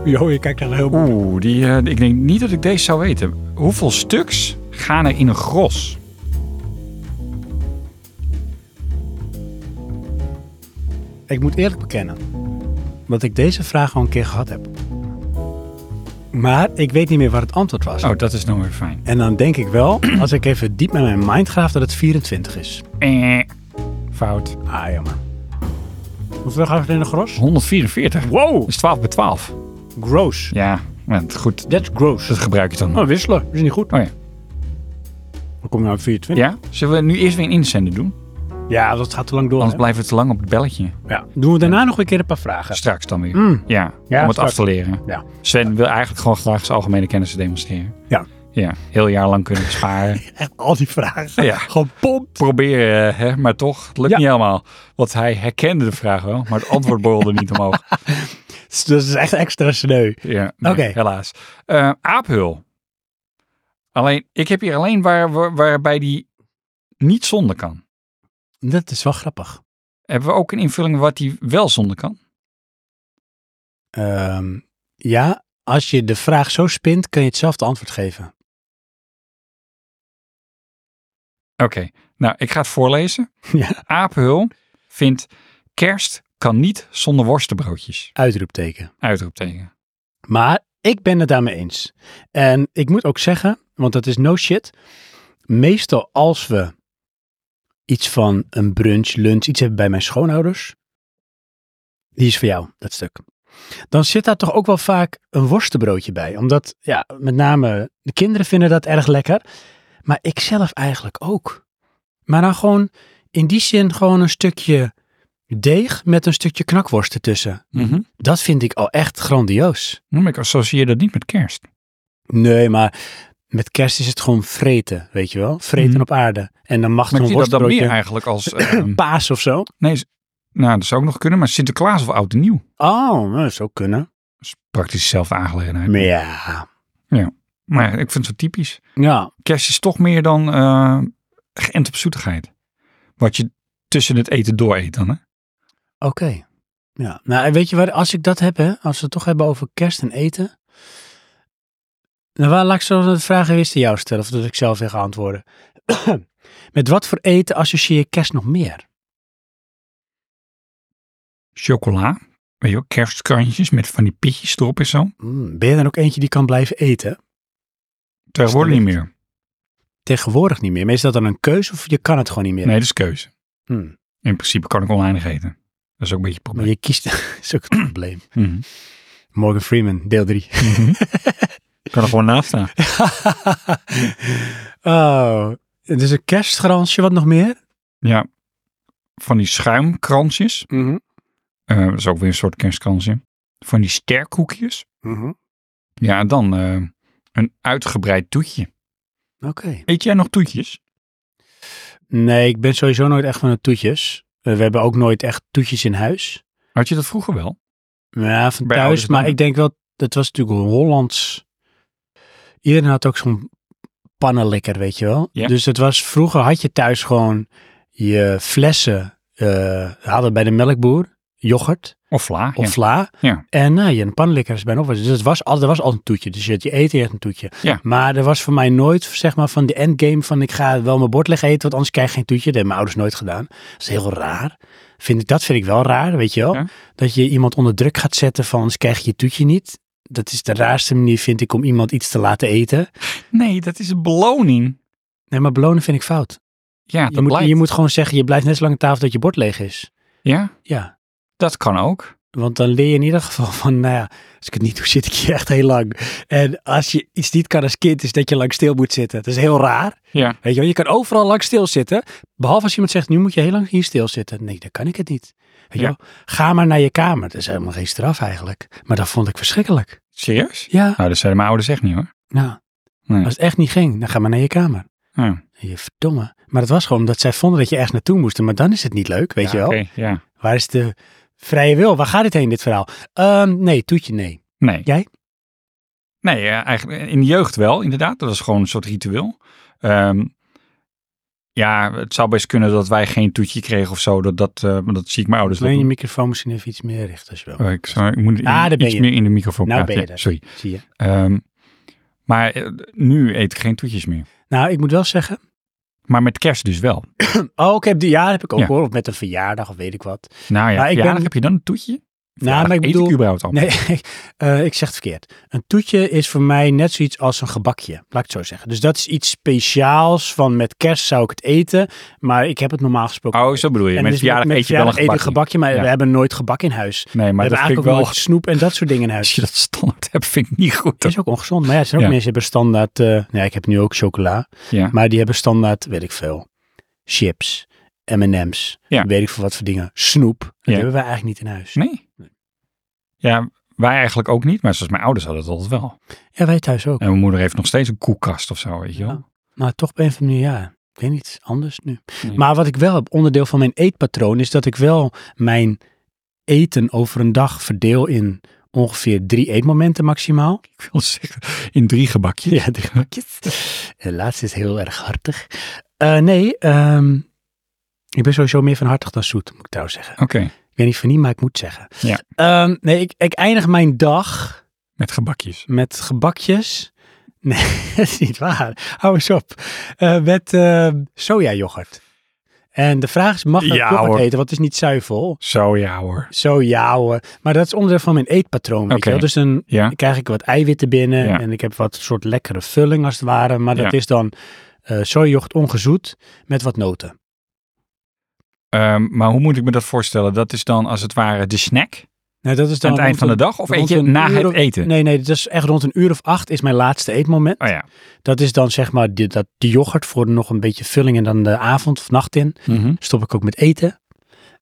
Speaker 2: Jo, je kijkt naar een heel
Speaker 3: Oeh, die, eh, ik denk niet dat ik deze zou weten. Hoeveel stuks gaan er in een gros?
Speaker 2: Ik moet eerlijk bekennen dat ik deze vraag al een keer gehad heb. Maar ik weet niet meer wat het antwoord was.
Speaker 3: Oh, dat is nou weer fijn.
Speaker 2: En dan denk ik wel, [CLEARS THROAT] als ik even diep met mijn mind graaf, dat het 24 is.
Speaker 3: Eh, fout.
Speaker 2: Ah, jammer. Hoeveel gaat het in de gros?
Speaker 3: 144.
Speaker 2: Wow!
Speaker 3: Dat is 12 Dus bij 12.
Speaker 2: Gross.
Speaker 3: Ja, maar het- goed.
Speaker 2: That's gross.
Speaker 3: Dat gebruik je dan.
Speaker 2: Oh, wisselen. Is niet goed.
Speaker 3: Oh ja.
Speaker 2: Dan kom je nou op 24.
Speaker 3: Ja? Zullen we nu eerst weer een inzender doen?
Speaker 2: Ja, dat gaat te lang door.
Speaker 3: Anders
Speaker 2: hè?
Speaker 3: blijven we te lang op het belletje.
Speaker 2: Ja. Doen we daarna nog een keer een paar vragen.
Speaker 3: Straks dan weer.
Speaker 2: Mm.
Speaker 3: Ja,
Speaker 2: Ja,
Speaker 3: om het
Speaker 2: straks.
Speaker 3: af te leren.
Speaker 2: Ja.
Speaker 3: Sven wil eigenlijk gewoon graag zijn algemene kennis demonstreren.
Speaker 2: Ja.
Speaker 3: Ja, heel jaar lang kunnen
Speaker 2: [LAUGHS]
Speaker 3: sparen.
Speaker 2: Echt al die vragen. [LAUGHS]
Speaker 3: Ja.
Speaker 2: Gewoon pomp.
Speaker 3: Proberen, eh, hè, maar toch, het lukt
Speaker 2: Ja.
Speaker 3: niet helemaal. Want hij herkende de vraag wel, maar het antwoord borrelde niet
Speaker 2: [LAUGHS]
Speaker 3: omhoog.
Speaker 2: Dus dat is echt extra sneu.
Speaker 3: Ja, nee,
Speaker 2: Oké.
Speaker 3: helaas. Eh, aaphul. Alleen, ik heb hier alleen waar, waar- waarbij die niet zonder kan.
Speaker 2: Dat is wel grappig.
Speaker 3: Hebben we ook een invulling wat die wel zonder kan?
Speaker 2: Ehm, ja, als je de vraag zo spint, kun je hetzelfde antwoord geven.
Speaker 3: Oké, nou, ik ga het voorlezen.
Speaker 2: Ja.
Speaker 3: Aaphul vindt kerst kan niet zonder worstenbroodjes.
Speaker 2: Uitroepteken.
Speaker 3: Uitroepteken.
Speaker 2: Maar ik ben het daarmee eens. En ik moet ook zeggen, want dat is no shit. Meestal als we iets van een brunch, lunch, iets hebben bij mijn schoonouders. Die is voor jou, dat stuk. Dan zit daar toch ook wel vaak een worstenbroodje bij. Omdat, ja, met name de kinderen vinden dat erg lekker. Maar ik zelf eigenlijk ook. Maar dan gewoon, in die zin, gewoon een stukje deeg met een stukje knakworst ertussen.
Speaker 3: Mhm.
Speaker 2: Dat vind ik al echt grandioos.
Speaker 3: Hm, Maar ik associeer dat niet met kerst.
Speaker 2: Nee, maar met kerst is het gewoon vreten, weet je wel? Vreten
Speaker 3: Mhm.
Speaker 2: op aarde. En dan mag
Speaker 3: Maar
Speaker 2: er
Speaker 3: ik
Speaker 2: een
Speaker 3: zie dat dan meer
Speaker 2: worstbroodje
Speaker 3: eigenlijk als... ehm,
Speaker 2: paas of zo.
Speaker 3: nee, s- nou, dat zou ook nog kunnen, maar Sinterklaas of Oud en Nieuw.
Speaker 2: Oh, nou, dat zou kunnen.
Speaker 3: Dat is praktisch dezelfde aangelegenheid.
Speaker 2: Maar ja.
Speaker 3: Maar ik vind het zo typisch.
Speaker 2: Ja,
Speaker 3: Kerst is toch meer dan eh geënt op zoetigheid. Wat je tussen het eten door eet dan, hè?
Speaker 2: oké. Ja, nou en weet je waar, als ik dat heb, hè, als we het toch hebben over kerst en eten. Nou, waar laat ik zo de vraag eerst aan jou stellen, of dat ik zelf weer ga antwoorden. [CLEARS THROAT] met wat voor eten associeer je kerst nog meer?
Speaker 3: Chocola. Weet je wel, kerstkrantjes met van die pitjes erop en zo.
Speaker 2: Mm, ben je dan ook eentje die kan blijven eten?
Speaker 3: Tegenwoordig niet meer.
Speaker 2: Tegenwoordig niet meer. Maar is dat dan een keuze of je kan het gewoon niet meer?
Speaker 3: Nee, dat is keuze.
Speaker 2: Hmm.
Speaker 3: In principe kan ik oneindig eten. Dat is ook een beetje het
Speaker 2: Maar
Speaker 3: probleem.
Speaker 2: je kiest, [LAUGHS] is ook het probleem.
Speaker 3: Mhm.
Speaker 2: Morgan Freeman, deel 3.
Speaker 3: Ik kan er gewoon naast staan.
Speaker 2: [LAUGHS] oh, het is een kerstgransje, wat nog
Speaker 3: [LAUGHS]
Speaker 2: meer?
Speaker 3: Ja, van die schuimkransjes. Eh, dat is ook weer een soort kerstkransje. Van die sterkhoekjes.
Speaker 2: Mhm.
Speaker 3: Ja, en dan eh, een uitgebreid toetje.
Speaker 2: Oké.
Speaker 3: Eet jij nog toetjes?
Speaker 2: Nee, ik ben sowieso nooit echt van de toetjes. Eh, we hebben ook nooit echt toetjes in huis.
Speaker 3: Had je dat vroeger wel?
Speaker 2: Ja, van
Speaker 3: Bij ouders
Speaker 2: thuis, maar
Speaker 3: dan?
Speaker 2: ik denk wel, dat was natuurlijk Hollands. Iedereen had ook zo'n pannenlikker, weet je wel.
Speaker 3: Ja.
Speaker 2: Dus het was, vroeger had je thuis gewoon je flessen, eh, we hadden bij de melkboer, yoghurt.
Speaker 3: Of vla.
Speaker 2: of
Speaker 3: ja.
Speaker 2: vla.
Speaker 3: Ja.
Speaker 2: En nou, je een pannenlikker is bijna op. Dus het was al, er was al een toetje. Dus je had je eten, je had een toetje.
Speaker 3: Ja.
Speaker 2: Maar er was voor mij nooit, zeg maar, van de endgame van ik ga wel mijn bord leggen eten, want anders krijg ik geen toetje. Dat hebben mijn ouders nooit gedaan. Dat is heel raar. Vind ik, dat vind ik wel raar, weet je wel.
Speaker 3: Ja.
Speaker 2: Dat je iemand onder druk gaat zetten van anders krijg je je toetje niet. Dat is de raarste manier, vind ik, om iemand iets te laten eten.
Speaker 3: Nee, dat is een beloning.
Speaker 2: Nee, maar belonen vind ik fout.
Speaker 3: Ja, dat
Speaker 2: Je moet,
Speaker 3: blijkt.
Speaker 2: je moet gewoon zeggen, je blijft net zo lang aan tafel dat je bord leeg is.
Speaker 3: Ja,
Speaker 2: Ja.
Speaker 3: dat kan ook.
Speaker 2: Want dan leer je in ieder geval van, nou ja, als ik het niet doe, zit ik hier echt heel lang. En als je iets niet kan als kind, is dat je lang stil moet zitten. Dat is heel raar.
Speaker 3: Ja.
Speaker 2: Weet je wel, je kan overal lang stilzitten. Behalve als iemand zegt, nu moet je heel lang hier stilzitten. Nee, dan kan ik het niet. Weet je
Speaker 3: Ja.
Speaker 2: wel, ga maar naar je kamer. Dat is helemaal geen straf eigenlijk. Maar dat vond ik verschrikkelijk.
Speaker 3: Serieus?
Speaker 2: Ja,
Speaker 3: Nou, dat zeiden mijn ouders echt niet hoor.
Speaker 2: nou,
Speaker 3: Nee.
Speaker 2: als het echt niet ging, dan ga maar naar je kamer.
Speaker 3: Ja.
Speaker 2: Je verdomme. Maar dat was gewoon omdat zij vonden dat je ergens naartoe moest. Maar dan is het niet leuk, weet
Speaker 3: Ja,
Speaker 2: je wel.
Speaker 3: oké, ja.
Speaker 2: Waar is de vrije wil? Waar gaat dit heen, dit verhaal? Ehm, nee, toetje nee.
Speaker 3: Nee.
Speaker 2: Jij?
Speaker 3: Nee, eh, eigenlijk in de jeugd wel, inderdaad. Dat was gewoon een soort ritueel. Ehm, ja, het zou best kunnen dat wij geen toetje kregen of zo. Dat, dat, eh, maar dat zie ik mijn ouders.
Speaker 2: Alleen
Speaker 3: dat
Speaker 2: je
Speaker 3: doen.
Speaker 2: microfoon misschien even iets meer richten als je wil.
Speaker 3: Oh, ik, zou- ik moet
Speaker 2: Ah, daar ben
Speaker 3: iets
Speaker 2: je.
Speaker 3: meer in de microfoon
Speaker 2: Nou
Speaker 3: praten.
Speaker 2: ben je
Speaker 3: Ja,
Speaker 2: er.
Speaker 3: sorry.
Speaker 2: Zie je?
Speaker 3: Ehm, maar eh, nu eet ik geen toetjes meer.
Speaker 2: Nou, ik moet wel zeggen.
Speaker 3: Maar met kerst dus wel.
Speaker 2: Oh, ik heb die ja, dat heb ik ook
Speaker 3: Ja.
Speaker 2: hoor. Of met een verjaardag of weet ik wat.
Speaker 3: Nou ja,
Speaker 2: Maar ik
Speaker 3: ja
Speaker 2: ben-
Speaker 3: heb je dan een toetje?
Speaker 2: Nou, maar ik
Speaker 3: Eet
Speaker 2: bedoel.
Speaker 3: ik überhaupt al?
Speaker 2: Nee, [LAUGHS] eh, ik zeg het verkeerd. Een toetje is voor mij net zoiets als een gebakje, laat ik het zo zeggen. Dus dat is iets speciaals van met kerst zou ik het eten, maar ik heb het normaal gesproken.
Speaker 3: Oh, zo bedoel je.
Speaker 2: En
Speaker 3: met
Speaker 2: dus
Speaker 3: verjaardag
Speaker 2: met
Speaker 3: eet je wel een
Speaker 2: verjaardag
Speaker 3: gebakje.
Speaker 2: eten gebakje, maar
Speaker 3: Ja.
Speaker 2: we hebben nooit gebak in huis.
Speaker 3: Nee,
Speaker 2: we
Speaker 3: maar dat
Speaker 2: hebben
Speaker 3: vind ik
Speaker 2: eigenlijk
Speaker 3: wel...
Speaker 2: ook nooit snoep en dat soort dingen in huis.
Speaker 3: [LAUGHS] Als je dat standaard hebt, vind ik niet goed.
Speaker 2: Dat is ook ongezond. Maar ja, er zijn ook
Speaker 3: Ja.
Speaker 2: mensen die hebben standaard... eh nou ja, ik heb nu ook chocola.
Speaker 3: Ja.
Speaker 2: Maar die hebben standaard, weet ik veel, chips, M&M's,
Speaker 3: Ja.
Speaker 2: weet ik veel wat voor dingen. Snoep. Dat
Speaker 3: Ja.
Speaker 2: hebben wij eigenlijk niet in huis.
Speaker 3: Nee. Ja, wij eigenlijk ook niet, maar zoals mijn ouders hadden het altijd wel.
Speaker 2: Ja, wij thuis ook.
Speaker 3: En mijn moeder heeft nog steeds een koelkast of zo, weet je wel.
Speaker 2: Maar toch ben je van nu, ja, ik weet niet, anders nu.
Speaker 3: Nee.
Speaker 2: Maar wat ik wel heb, onderdeel van mijn eetpatroon, is dat ik wel mijn eten over een dag verdeel in ongeveer drie eetmomenten maximaal.
Speaker 3: Ik wil zeggen, in drie gebakjes.
Speaker 2: Ja, drie bakjes. De laatste is heel erg hartig. Eh, nee, ehm, ik ben sowieso meer van hartig dan zoet, moet ik trouwens zeggen.
Speaker 3: Oké,
Speaker 2: Ik weet niet van niet, maar ik moet zeggen.
Speaker 3: Ja.
Speaker 2: Ehm, nee, ik, ik eindig mijn dag
Speaker 3: met gebakjes.
Speaker 2: met gebakjes. [LAUGHS] Nee, dat is niet waar. Hou eens op. Eh, met eh sojayoghurt. En de vraag is, mag dat
Speaker 3: Ja,
Speaker 2: yoghurt
Speaker 3: hoor.
Speaker 2: eten? Want het is niet zuivel.
Speaker 3: Zo ja hoor.
Speaker 2: Soja hoor. Maar dat is onderdeel van mijn eetpatroon. Weet
Speaker 3: Oké.
Speaker 2: je wel? Dus dan
Speaker 3: Ja,
Speaker 2: krijg ik wat eiwitten binnen.
Speaker 3: Ja.
Speaker 2: En ik heb wat soort lekkere vulling als het ware. Maar dat
Speaker 3: Ja.
Speaker 2: is dan eh sojayoghurt ongezoet met wat noten.
Speaker 3: ehm, maar hoe moet ik me dat voorstellen? Dat is dan als het ware de snack
Speaker 2: Nou, dat is dan
Speaker 3: aan het eind
Speaker 2: rond
Speaker 3: van de
Speaker 2: een-
Speaker 3: dag? Of eet
Speaker 2: rond
Speaker 3: je
Speaker 2: een
Speaker 3: na
Speaker 2: uur
Speaker 3: het
Speaker 2: of-
Speaker 3: eten?
Speaker 2: Nee, nee, dat is echt rond een uur of acht is mijn laatste eetmoment.
Speaker 3: Oh ja.
Speaker 2: Dat is dan zeg maar die, dat, die yoghurt voor nog een beetje vulling en dan de avond of nacht in.
Speaker 3: Mhm.
Speaker 2: Stop ik ook met eten.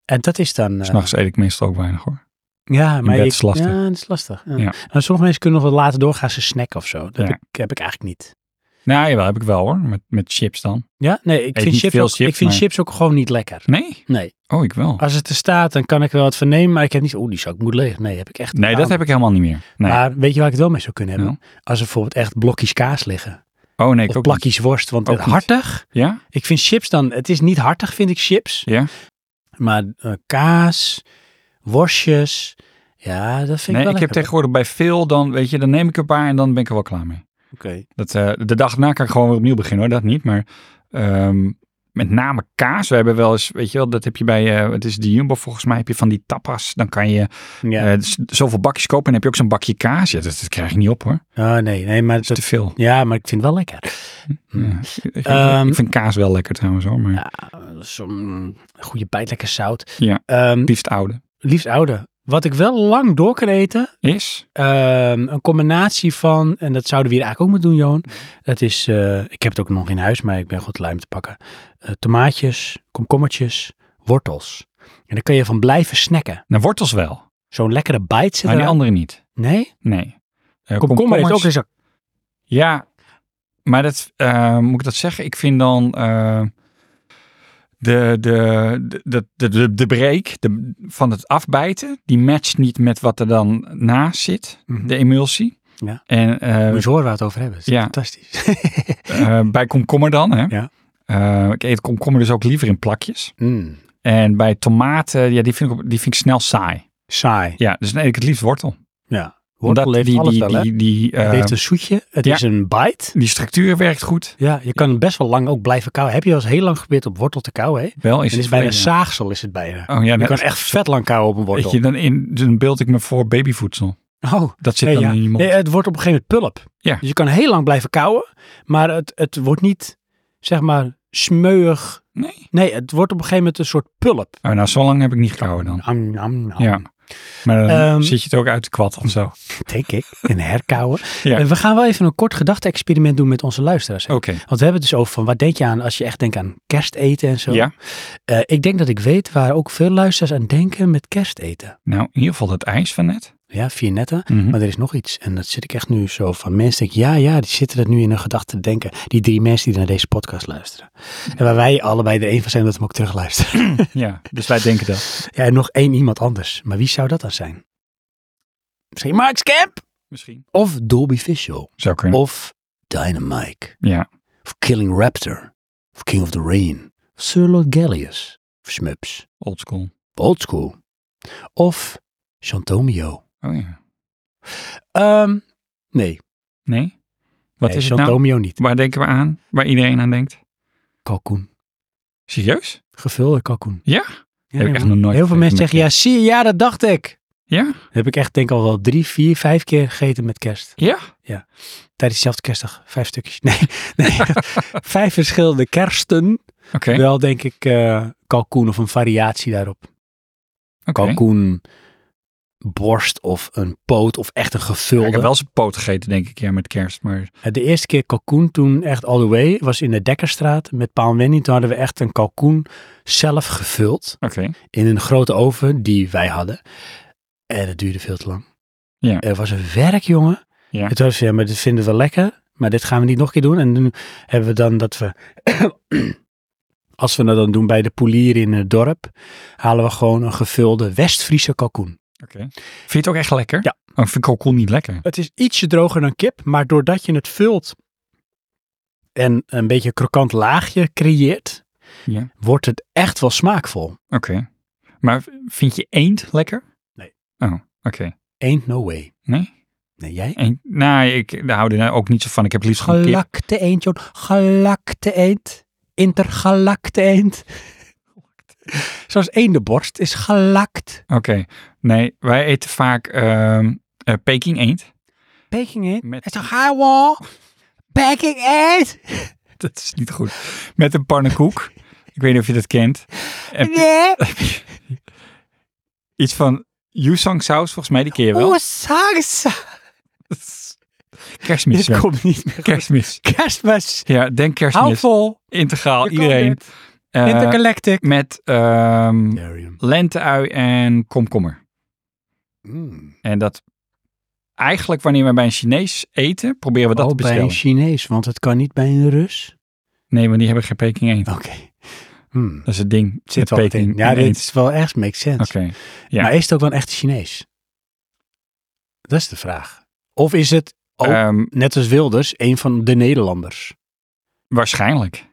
Speaker 2: En dat is dan... eh,
Speaker 3: S'nachts eet ik meestal ook weinig hoor.
Speaker 2: ja, maar
Speaker 3: bed
Speaker 2: ik-
Speaker 3: is lastig.
Speaker 2: Ja, dat is lastig. Ja.
Speaker 3: Ja.
Speaker 2: Maar sommige mensen kunnen nog wat later doorgaan, ze snacken of zo. Dat
Speaker 3: Ja.
Speaker 2: heb, ik, heb ik eigenlijk niet.
Speaker 3: Nou jawel, heb ik wel hoor. Met, met chips dan.
Speaker 2: Ja, nee, ik
Speaker 3: Eet
Speaker 2: vind,
Speaker 3: niet
Speaker 2: chips
Speaker 3: veel
Speaker 2: ook, ik
Speaker 3: chips,
Speaker 2: vind
Speaker 3: maar-
Speaker 2: chips ook gewoon niet lekker.
Speaker 3: Nee?
Speaker 2: Nee.
Speaker 3: Oh, ik wel.
Speaker 2: Als het er staat, dan kan ik er wel wat van nemen, maar ik heb niet, oeh, die zak moet leeg. Nee, heb ik echt
Speaker 3: Nee, dat
Speaker 2: totaal
Speaker 3: heb ik helemaal niet meer.
Speaker 2: niet.
Speaker 3: Nee.
Speaker 2: nou. Maar weet je waar ik het wel mee zou kunnen hebben? Als er bijvoorbeeld echt blokjes kaas liggen.
Speaker 3: oh nee, ik
Speaker 2: of
Speaker 3: ook niet.
Speaker 2: plakjes worst. Want
Speaker 3: Ook
Speaker 2: het
Speaker 3: niet.
Speaker 2: hartig.
Speaker 3: Ja?
Speaker 2: Ik vind chips dan, het is niet hartig vind ik chips.
Speaker 3: Ja?
Speaker 2: Maar eh, kaas, worstjes, ja, dat vind
Speaker 3: nee,
Speaker 2: ik wel
Speaker 3: ik heb
Speaker 2: lekker.
Speaker 3: tegenwoordig bij veel dan, weet je, dan neem ik een paar en dan ben ik er wel klaar mee.
Speaker 2: Oké.
Speaker 3: Dat, eh, de dag na kan ik gewoon weer opnieuw beginnen hoor, dat niet. Maar ehm, met name kaas. We hebben wel eens, weet je wel, dat heb je bij, eh, het is de Jumbo volgens mij, heb je van die tapas. Dan kan je
Speaker 2: Ja.
Speaker 3: eh, z- zoveel bakjes kopen en heb je ook zo'n bakje kaas. Ja, dat, dat krijg ik niet op hoor. Dat
Speaker 2: Ah, nee, nee, maar
Speaker 3: is
Speaker 2: dat,
Speaker 3: te veel.
Speaker 2: ja, maar ik vind het wel lekker.
Speaker 3: Ja. Ik- ik-
Speaker 2: Ehm,
Speaker 3: ik vind kaas wel lekker trouwens hoor, maar
Speaker 2: Zo'n mm, goede bijt, lekker zout.
Speaker 3: Ja.
Speaker 2: Ehm,
Speaker 3: het liefst oude.
Speaker 2: liefst oude. Wat ik wel lang door kan eten,
Speaker 3: Is?
Speaker 2: ehm, een combinatie van, en dat zouden we hier eigenlijk ook moeten doen,
Speaker 3: Mhm.
Speaker 2: Johan. Dat is, eh, ik heb het ook nog in huis, maar ik ben goed lijm te pakken. Eh, tomaatjes, komkommertjes, wortels. En daar kun je van blijven snacken.
Speaker 3: Nou, wortels wel.
Speaker 2: Zo'n lekkere bite zit
Speaker 3: Maar Oh, die
Speaker 2: er.
Speaker 3: andere niet.
Speaker 2: Nee?
Speaker 3: Nee. Eh,
Speaker 2: Komkommer heeft ook
Speaker 3: komkommers-
Speaker 2: een zak.
Speaker 3: Ja, maar dat, eh, moet ik dat zeggen? Ik vind dan eh, de, de, de, de, de, de break de, van het afbijten, die matcht niet met wat er dan naast zit,
Speaker 2: Mhm.
Speaker 3: de emulsie.
Speaker 2: Ja. Dus-
Speaker 3: En eh,
Speaker 2: Moet je eens horen waar we het over hebben. Dat is
Speaker 3: Ja.
Speaker 2: fantastisch. [LAUGHS]
Speaker 3: eh, bij komkommer dan, hè?
Speaker 2: Ja.
Speaker 3: Eh, ik eet komkommer dus ook liever in plakjes.
Speaker 2: Mm.
Speaker 3: En bij tomaten, ja, die vind ik, op- die vind ik snel saai.
Speaker 2: Saai.
Speaker 3: Ja, dus nee, ik het liefst wortel.
Speaker 2: Ja.
Speaker 3: Omdat
Speaker 2: Wortel heeft
Speaker 3: die,
Speaker 2: alles
Speaker 3: die,
Speaker 2: wel, hè?
Speaker 3: die, die, eh,
Speaker 2: het heeft een zoetje. Het
Speaker 3: ja.
Speaker 2: is een bite.
Speaker 3: die structuur werkt goed.
Speaker 2: Ja, je kan best wel lang ook blijven kauwen. Heb je al eens heel lang geprobeerd op wortel te kauwen, hè? En
Speaker 3: Wel is
Speaker 2: het is
Speaker 3: het
Speaker 2: bijna
Speaker 3: vreemd.
Speaker 2: zaagsel is het bijna.
Speaker 3: Oh ja,
Speaker 2: je
Speaker 3: net-
Speaker 2: kan echt vet lang kauwen op een wortel.
Speaker 3: Weet je, dan, in, dan beeld ik me voor babyvoedsel.
Speaker 2: oh,
Speaker 3: Dat zit
Speaker 2: nee,
Speaker 3: dan
Speaker 2: ja.
Speaker 3: in je mond.
Speaker 2: Nee, het wordt op een gegeven moment pulp.
Speaker 3: Ja.
Speaker 2: Dus je kan heel lang blijven kauwen, maar het, het wordt niet, zeg maar, smeuig.
Speaker 3: Nee.
Speaker 2: Nee, het wordt op een gegeven moment een soort pulp.
Speaker 3: Oh, nou, zo lang heb ik niet gehouden dan.
Speaker 2: Am, am, am.
Speaker 3: Oh. Ja. Maar dan
Speaker 2: Ehm,
Speaker 3: zit je het ook uit de kwad of zo. Oké.
Speaker 2: Denk ik. En herkauwen.
Speaker 3: [LAUGHS] Ja. Oh.
Speaker 2: En We gaan wel even een kort gedachte-experiment doen met onze luisteraars. hè. Want we hebben het dus over van, wat denk je aan als je echt denkt aan kersteten en zo.
Speaker 3: Ja.
Speaker 2: Eh, ik denk dat ik weet waar ook veel luisteraars aan denken met kersteten.
Speaker 3: Nou, in ieder geval dat ijs van net.
Speaker 2: Ja, vier netten.
Speaker 3: Mhm.
Speaker 2: Maar er is nog iets. En dat zit ik echt nu zo van. Mensen denken, ja, ja, die zitten dat nu in hun gedachten te denken. Die drie mensen die naar deze podcast luisteren. En waar wij allebei er één van zijn dat we hem ook terugluisteren.
Speaker 3: [LAUGHS]
Speaker 2: [LAUGHS]
Speaker 3: Ja, dus wij denken dat.
Speaker 2: ja, en nog één iemand anders. Maar wie zou dat dan zijn? Misschien Mark Scamp?
Speaker 3: Misschien.
Speaker 2: Of Dolby Fischel?
Speaker 3: Zou kunnen.
Speaker 2: Of Dynamite?
Speaker 3: Ja.
Speaker 2: Of Killing Raptor? Of King of the Rain? Of Sir Lord Gallius? Of Smups?
Speaker 3: Old school.
Speaker 2: Of Old School? Of Chantomio?
Speaker 3: Oh ja.
Speaker 2: Ehm, nee,
Speaker 3: Nee? Wat
Speaker 2: nee,
Speaker 3: is het nou?
Speaker 2: Chantomio niet.
Speaker 3: Waar denken we aan? Waar iedereen aan denkt?
Speaker 2: Kalkoen.
Speaker 3: Serieus?
Speaker 2: Gevulde kalkoen.
Speaker 3: Ja?
Speaker 2: Ja,
Speaker 3: Heb ik echt nog nooit
Speaker 2: Heel veel
Speaker 3: gegeten
Speaker 2: mensen
Speaker 3: met
Speaker 2: zeggen, ja zie je, ja dat dacht ik.
Speaker 3: Ja?
Speaker 2: Dat heb ik echt denk ik al wel drie, vier, vijf keer gegeten met kerst.
Speaker 3: Ja?
Speaker 2: Tijdens dezelfde kerstdag. Vijf stukjes. [LAUGHS] Nee, nee. vijf verschillende kersten.
Speaker 3: Oké.
Speaker 2: Wel denk ik eh, kalkoen of een variatie daarop.
Speaker 3: Oké.
Speaker 2: Kalkoen, borst of een poot of echt een
Speaker 3: Ja,
Speaker 2: gevulde.
Speaker 3: Ik heb wel eens een poot gegeten, denk ik, ja, met kerst. Maar
Speaker 2: Eh, De eerste keer kalkoen toen echt all the way was in de Dekkerstraat met Paul en Wendy. Toen hadden we echt een kalkoen zelf gevuld.
Speaker 3: oké.
Speaker 2: in een grote oven die wij hadden. En het duurde veel te lang.
Speaker 3: Ja.
Speaker 2: Er was een werk, jongen.
Speaker 3: Ja.
Speaker 2: Het was, ja, maar dit vinden we lekker. Maar dit gaan we niet nog een keer doen. En nu hebben we dan dat we... [CLEARS THROAT] Als we dat dan doen bij de polier in het dorp, halen we gewoon een gevulde West-Friese kalkoen.
Speaker 3: Oké. Vind je het ook echt lekker?
Speaker 2: Ja.
Speaker 3: Oh, ik vind kalkoen niet lekker.
Speaker 2: Het is ietsje droger dan kip, maar doordat je het vult en een beetje een krokant laagje creëert,
Speaker 3: Ja.
Speaker 2: wordt het echt wel smaakvol.
Speaker 3: Oké. Maar vind je eend lekker?
Speaker 2: Nee.
Speaker 3: Oh, oké.
Speaker 2: Ain't no way.
Speaker 3: Nee?
Speaker 2: Nee, jij?
Speaker 3: Eend, nou, ik daar hou er ook niet zo van. Ik heb het liefst gewoon kip.
Speaker 2: Galakte eend, John. Galakte eend. Intergalakte eend. Zoals eendenborst is galakt.
Speaker 3: Oké. Nee, wij eten vaak ehm eh, Peking eend. [LAUGHS]
Speaker 2: Peking eend.
Speaker 3: Met-
Speaker 2: Het is een gawa. Peking eend.
Speaker 3: Dat is niet goed. Met een pannenkoek. ik weet niet of je dat kent. En
Speaker 2: Nee.
Speaker 3: iets van Yusang saus, volgens mij, die keer wel.
Speaker 2: Oeh, salsa.
Speaker 3: Kerstmis.
Speaker 2: Dit
Speaker 3: ja.
Speaker 2: komt niet meer.
Speaker 3: Kerstmis.
Speaker 2: Kerstmis.
Speaker 3: Ja, denk
Speaker 2: Hou
Speaker 3: kerstmis.
Speaker 2: vol.
Speaker 3: Integraal,
Speaker 2: Je kan
Speaker 3: iedereen.
Speaker 2: dit.
Speaker 3: Eh,
Speaker 2: Intergalactic.
Speaker 3: met ehm
Speaker 2: Darium.
Speaker 3: lenteui en komkommer.
Speaker 2: Hmm.
Speaker 3: En dat eigenlijk wanneer we bij een Chinees eten, proberen we dat te
Speaker 2: Oh, bij
Speaker 3: bestellen.
Speaker 2: een Chinees, want het kan niet bij een Rus.
Speaker 3: Nee, want die hebben geen Peking eend.
Speaker 2: Oké. Hmm,
Speaker 3: Dat is het ding.
Speaker 2: Ah.
Speaker 3: met
Speaker 2: Zit wel wat in. Ja,
Speaker 3: en
Speaker 2: dit
Speaker 3: eend.
Speaker 2: is wel echt, makes sense.
Speaker 3: Oké. Ja.
Speaker 2: Maar is het ook wel een echte Chinees? Dat is de vraag. Of is het, ook,
Speaker 3: Ehm,
Speaker 2: net als Wilders, een van de Nederlanders?
Speaker 3: waarschijnlijk.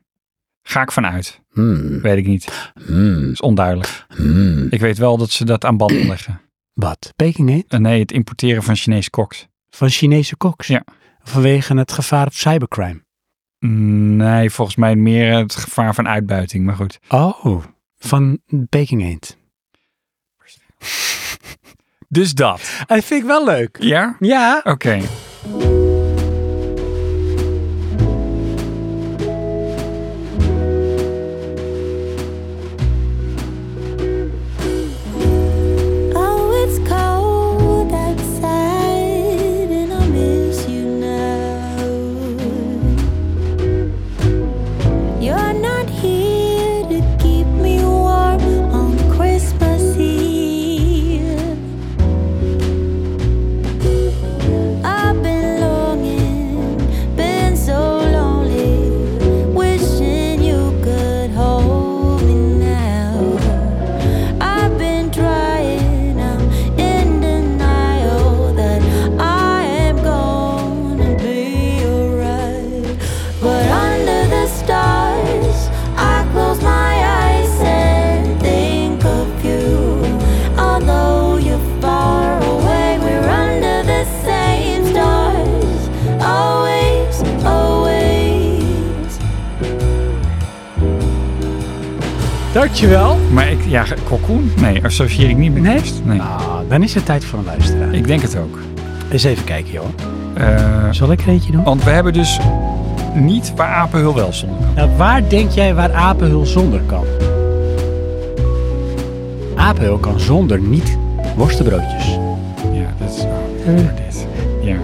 Speaker 3: Ga ik vanuit.
Speaker 2: Hmm,
Speaker 3: Weet ik niet. Dat
Speaker 2: hmm,
Speaker 3: is onduidelijk.
Speaker 2: hmm.
Speaker 3: Ik weet wel dat ze dat
Speaker 2: [CLEARS THROAT]
Speaker 3: aan banden leggen.
Speaker 2: Wat? Peking heet?
Speaker 3: Eh, Nee, het importeren van Chinese koks.
Speaker 2: Van Chinese koks?
Speaker 3: Ja.
Speaker 2: Vanwege het gevaar op cybercrime.
Speaker 3: Nee, volgens mij meer het gevaar van uitbuiting. Maar goed.
Speaker 2: Oh, van Peking eend.
Speaker 3: Dus dat.
Speaker 2: Dat vind ik wel leuk.
Speaker 3: Ja?
Speaker 2: Ja.
Speaker 3: Oké.
Speaker 5: Oh, it's cold outside, and I miss you now. You're not here to keep me warm on Christmas Eve. I've been lost.
Speaker 2: Dankjewel.
Speaker 3: Maar ik, ja, Cocoon? Nee, associeer ik niet met
Speaker 2: Nee?
Speaker 3: kerst. Nee,
Speaker 2: Ah, dan is het tijd voor een luisteraar.
Speaker 3: ik denk het ook.
Speaker 2: Eens even kijken, joh.
Speaker 3: Eh,
Speaker 2: Zal ik er eentje doen?
Speaker 3: want we hebben dus niet waar Apenhul wel zonder kan.
Speaker 2: Nou, waar denk jij waar apenhul zonder kan? Apenhul kan zonder niet worstenbroodjes.
Speaker 3: Ja, dat is... oh, dit. Ja,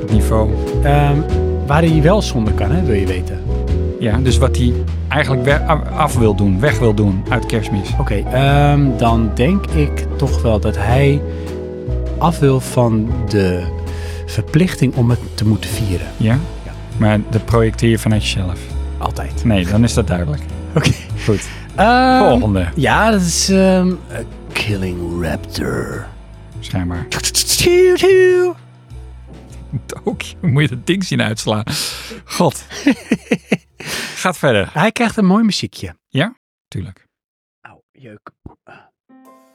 Speaker 3: het niveau.
Speaker 2: Ehm, waar hij wel zonder kan, hè, wil je weten.
Speaker 3: Ja, dus wat hij eigenlijk we- af wil doen, weg wil doen uit kerstmis.
Speaker 2: Oké, ehm, dan denk ik toch wel dat hij af wil van de verplichting om het te moeten vieren.
Speaker 3: Ja?
Speaker 2: Ja.
Speaker 3: Maar dat projecteer je vanuit jezelf.
Speaker 2: Altijd.
Speaker 3: Nee, dan is dat duidelijk.
Speaker 2: [LAUGHS] Oké.
Speaker 3: Goed.
Speaker 2: Ehm,
Speaker 3: Volgende,
Speaker 2: ja, dat is ehm, a Killing Raptor.
Speaker 3: schijnbaar. Tokio, moet je dat ding zien uitslaan. God. Gaat verder.
Speaker 2: Hij krijgt een mooi muziekje.
Speaker 3: Tuurlijk.
Speaker 2: Au, jeuk.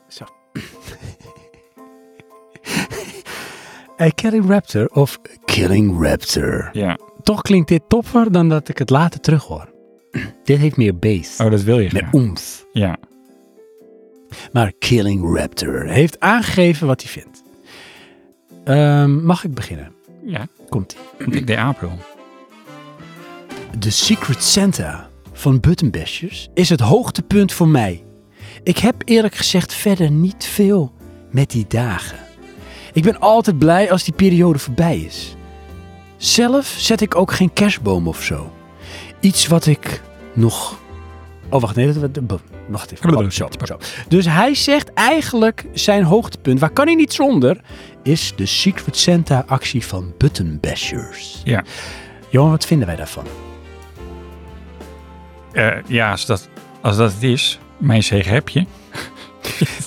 Speaker 2: Zo. [LAUGHS] A Killing Raptor of Killing Raptor.
Speaker 3: Ja.
Speaker 2: Toch klinkt dit topper dan dat ik het later terug hoor. [CLEARS THROAT] dit heeft meer bass.
Speaker 3: Oh, dat wil je
Speaker 2: Meer
Speaker 3: graag.
Speaker 2: oemf.
Speaker 3: Ja.
Speaker 2: Maar Killing Raptor heeft aangegeven wat hij vindt. Ehm, mag ik beginnen?
Speaker 3: Ja.
Speaker 2: Komt ie.
Speaker 3: Want ik deed April.
Speaker 2: De Secret Santa van Buttonbashers is het hoogtepunt voor mij. Ik heb eerlijk gezegd verder niet veel met die dagen. Ik ben altijd blij als die periode voorbij is. Zelf zet ik ook geen kerstboom of zo. Iets wat ik nog. Oh, wacht, nee, dat, dat- dat- wacht even. Oh, zo, zo. Dus hij zegt eigenlijk zijn hoogtepunt, waar kan hij niet zonder, is de Secret Santa actie van Buttonbashers.
Speaker 3: Ja.
Speaker 2: Johan, wat vinden wij daarvan?
Speaker 3: Eh, ja, als dat, als dat het is, mijn zegen heb je.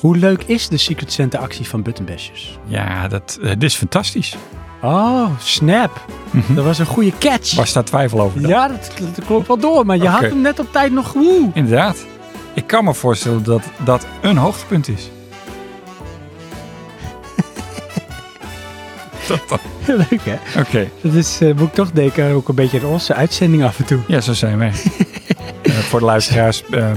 Speaker 2: Hoe leuk is de Secret Santa actie van Buttonbashers?
Speaker 3: Ja, dat, eh, dit is fantastisch.
Speaker 2: Oh, snap. Dat was een goede catch.
Speaker 3: Mhm. Was daar twijfel over? dan?
Speaker 2: Ja, dat, dat klopt wel door, maar je had
Speaker 3: Oké.
Speaker 2: hem net op tijd
Speaker 3: [LAUGHS]
Speaker 2: nog woe.
Speaker 3: Inderdaad. Ik kan me voorstellen dat dat een hoogtepunt [LAUGHS] is. Dat dan.
Speaker 2: leuk hè?
Speaker 3: Oké,
Speaker 2: Dat is, eh, moet ik toch denken, ook een beetje aan onze uitzending af en toe.
Speaker 3: ja, zo zijn [LAUGHS] wij. Eh, voor de luisteraars, ehm,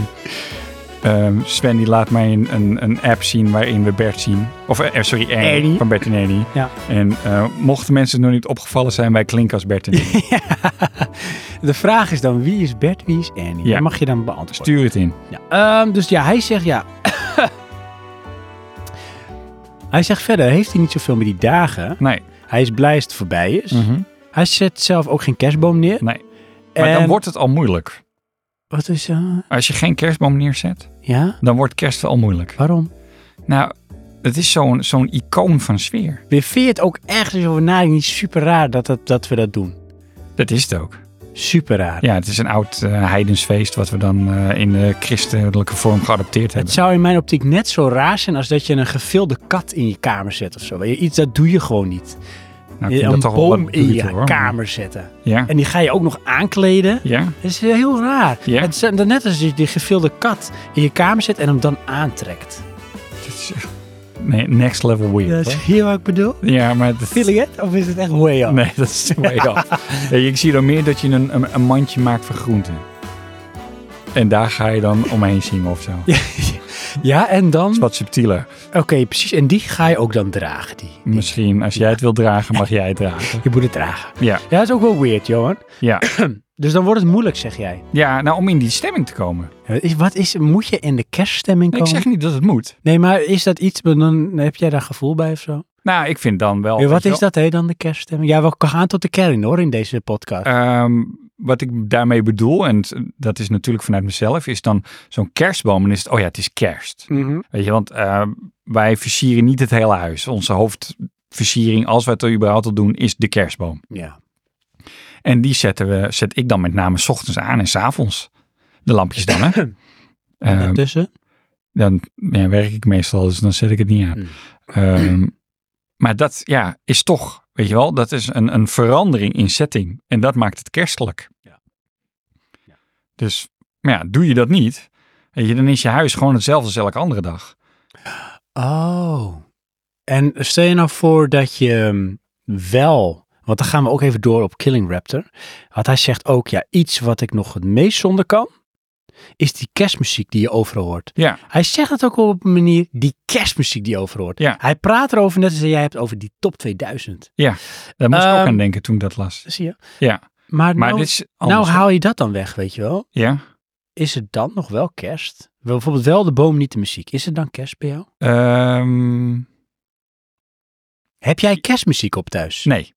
Speaker 3: ehm, Sven die laat mij een, een, een app zien waarin we Bert zien. Of eh, sorry, Ernie,
Speaker 2: Ernie.
Speaker 3: van Bert en Ernie.
Speaker 2: Ja.
Speaker 3: En eh, mochten mensen nog niet opgevallen zijn, wij klinken als Bert en [LAUGHS] Ernie.
Speaker 2: De vraag is dan, wie is Bert, wie is Annie?
Speaker 3: Ja.
Speaker 2: Dat mag je dan beantwoorden.
Speaker 3: Stuur het in.
Speaker 2: Ja. Ehm, dus ja, hij zegt ja. [COUGHS] hij zegt verder, heeft hij niet zoveel met die dagen.
Speaker 3: Nee.
Speaker 2: Hij is blij als het voorbij is.
Speaker 3: Mhm.
Speaker 2: Hij zet zelf ook geen kerstboom neer.
Speaker 3: Nee. Maar dan
Speaker 2: En-
Speaker 3: wordt het al moeilijk.
Speaker 2: Wat is dat?
Speaker 3: Als je geen kerstboom neerzet,
Speaker 2: Ja?
Speaker 3: dan wordt kerst al moeilijk.
Speaker 2: Waarom?
Speaker 3: Nou, het is zo'n zo'n icoon van sfeer.
Speaker 2: Weer vind je het ook echt eens over nadenken niet super raar dat, dat, dat we dat doen?
Speaker 3: Dat is het ook.
Speaker 2: Super raar.
Speaker 3: Ja, het is een oud eh, heidensfeest wat we dan eh, in de christelijke vorm geadopteerd
Speaker 2: Het
Speaker 3: hebben.
Speaker 2: zou in mijn optiek net zo raar zijn als dat je een gevilde kat in je kamer zet of zo. Weet je, Iets dat doe je gewoon niet.
Speaker 3: Nou, ik vind
Speaker 2: Een
Speaker 3: dat toch wel
Speaker 2: boom
Speaker 3: wat
Speaker 2: in
Speaker 3: bruut,
Speaker 2: je
Speaker 3: hoor.
Speaker 2: kamer zetten.
Speaker 3: Ja.
Speaker 2: En die ga je ook nog aankleden.
Speaker 3: ja.
Speaker 2: Dat is heel raar.
Speaker 3: Ja.
Speaker 2: Het is dan net als je die gevilde kat in je kamer zet en hem dan aantrekt.
Speaker 3: Dat is echt- Nee, next level weird. hoor.
Speaker 2: heel wat ik bedoel.
Speaker 3: Ja, maar dat
Speaker 2: Feeling it? Of is het echt way off?
Speaker 3: Nee, dat
Speaker 2: [LAUGHS]
Speaker 3: is way off. Nee, ik zie dan meer dat je een, een, een mandje maakt van groenten. En daar ga je dan omheen zingen of zo. Dat
Speaker 2: [LAUGHS] Ja, en
Speaker 3: is
Speaker 2: dan...
Speaker 3: wat subtieler.
Speaker 2: Oké, precies. En die ga je ook dan dragen. Die.
Speaker 3: Misschien, als jij het wil dragen, mag jij het
Speaker 2: [LAUGHS]
Speaker 3: dragen.
Speaker 2: Je moet het dragen.
Speaker 3: Ja,
Speaker 2: Ja, dat is ook wel weird, Johan.
Speaker 3: ja.
Speaker 2: Dus dan wordt het moeilijk, zeg jij.
Speaker 3: ja nou om in die stemming te komen.
Speaker 2: Wat Eh, is, wat is, moet je in de kerststemming
Speaker 3: Ik
Speaker 2: komen?
Speaker 3: zeg niet dat het moet.
Speaker 2: Nee, maar is dat iets, dan heb jij daar gevoel bij of zo?
Speaker 3: Nou, ik vind dan wel.
Speaker 2: Ja, wat
Speaker 3: weet
Speaker 2: is
Speaker 3: je wel,
Speaker 2: dat hé, dan de kerststemming? Ja, we gaan tot de kern hoor in deze podcast.
Speaker 3: ehm, wat ik daarmee bedoel, en t- dat is natuurlijk vanuit mezelf, is dan zo'n kerstboom. En is het, oh ja, het is kerst.
Speaker 2: Mhm.
Speaker 3: Weet je, want ehm, wij versieren niet het hele huis. Onze hoofdversiering, als we het er überhaupt al doen, is de kerstboom.
Speaker 2: Ja.
Speaker 3: En die zetten we, zet ik dan met name 's ochtends aan en 's avonds. De lampjes dan, hè?
Speaker 2: [CLEARS THROAT] En
Speaker 3: Ehm,
Speaker 2: daartussen?
Speaker 3: dan ja, werk ik meestal, dus dan zet ik het niet aan.
Speaker 2: Mm.
Speaker 3: Ehm, maar dat ja, is toch, weet je wel, dat is een, een verandering in setting. En dat maakt het kerstelijk.
Speaker 2: Ja. Ja.
Speaker 3: Dus maar ja, doe je dat niet, weet je, dan is je huis gewoon hetzelfde als elke andere dag.
Speaker 2: Oh. En stel je nou voor dat je ehm, wel, want dan gaan we ook even door op Killing Raptor. Want hij zegt ook, ja, iets wat ik nog het meest zonder kan, is die kerstmuziek die je overal hoort.
Speaker 3: Ja,
Speaker 2: Hij zegt het ook wel op een manier, die kerstmuziek die je overal hoort.
Speaker 3: Ja.
Speaker 2: Hij praat erover net als jij hebt over die top 2000.
Speaker 3: daar moest ik ook
Speaker 2: Ehm,
Speaker 3: aan denken toen ik dat las.
Speaker 2: Zie je?
Speaker 3: Ja,
Speaker 2: Maar,
Speaker 3: maar
Speaker 2: nou,
Speaker 3: dit is anders.
Speaker 2: nou haal je dat dan weg, weet je wel.
Speaker 3: Ja.
Speaker 2: Is het dan nog wel kerst? Wel, Bijvoorbeeld wel de boom, niet de muziek. Is het dan kerst bij jou?
Speaker 3: Ehm,
Speaker 2: Heb jij kerstmuziek op thuis?
Speaker 3: nee.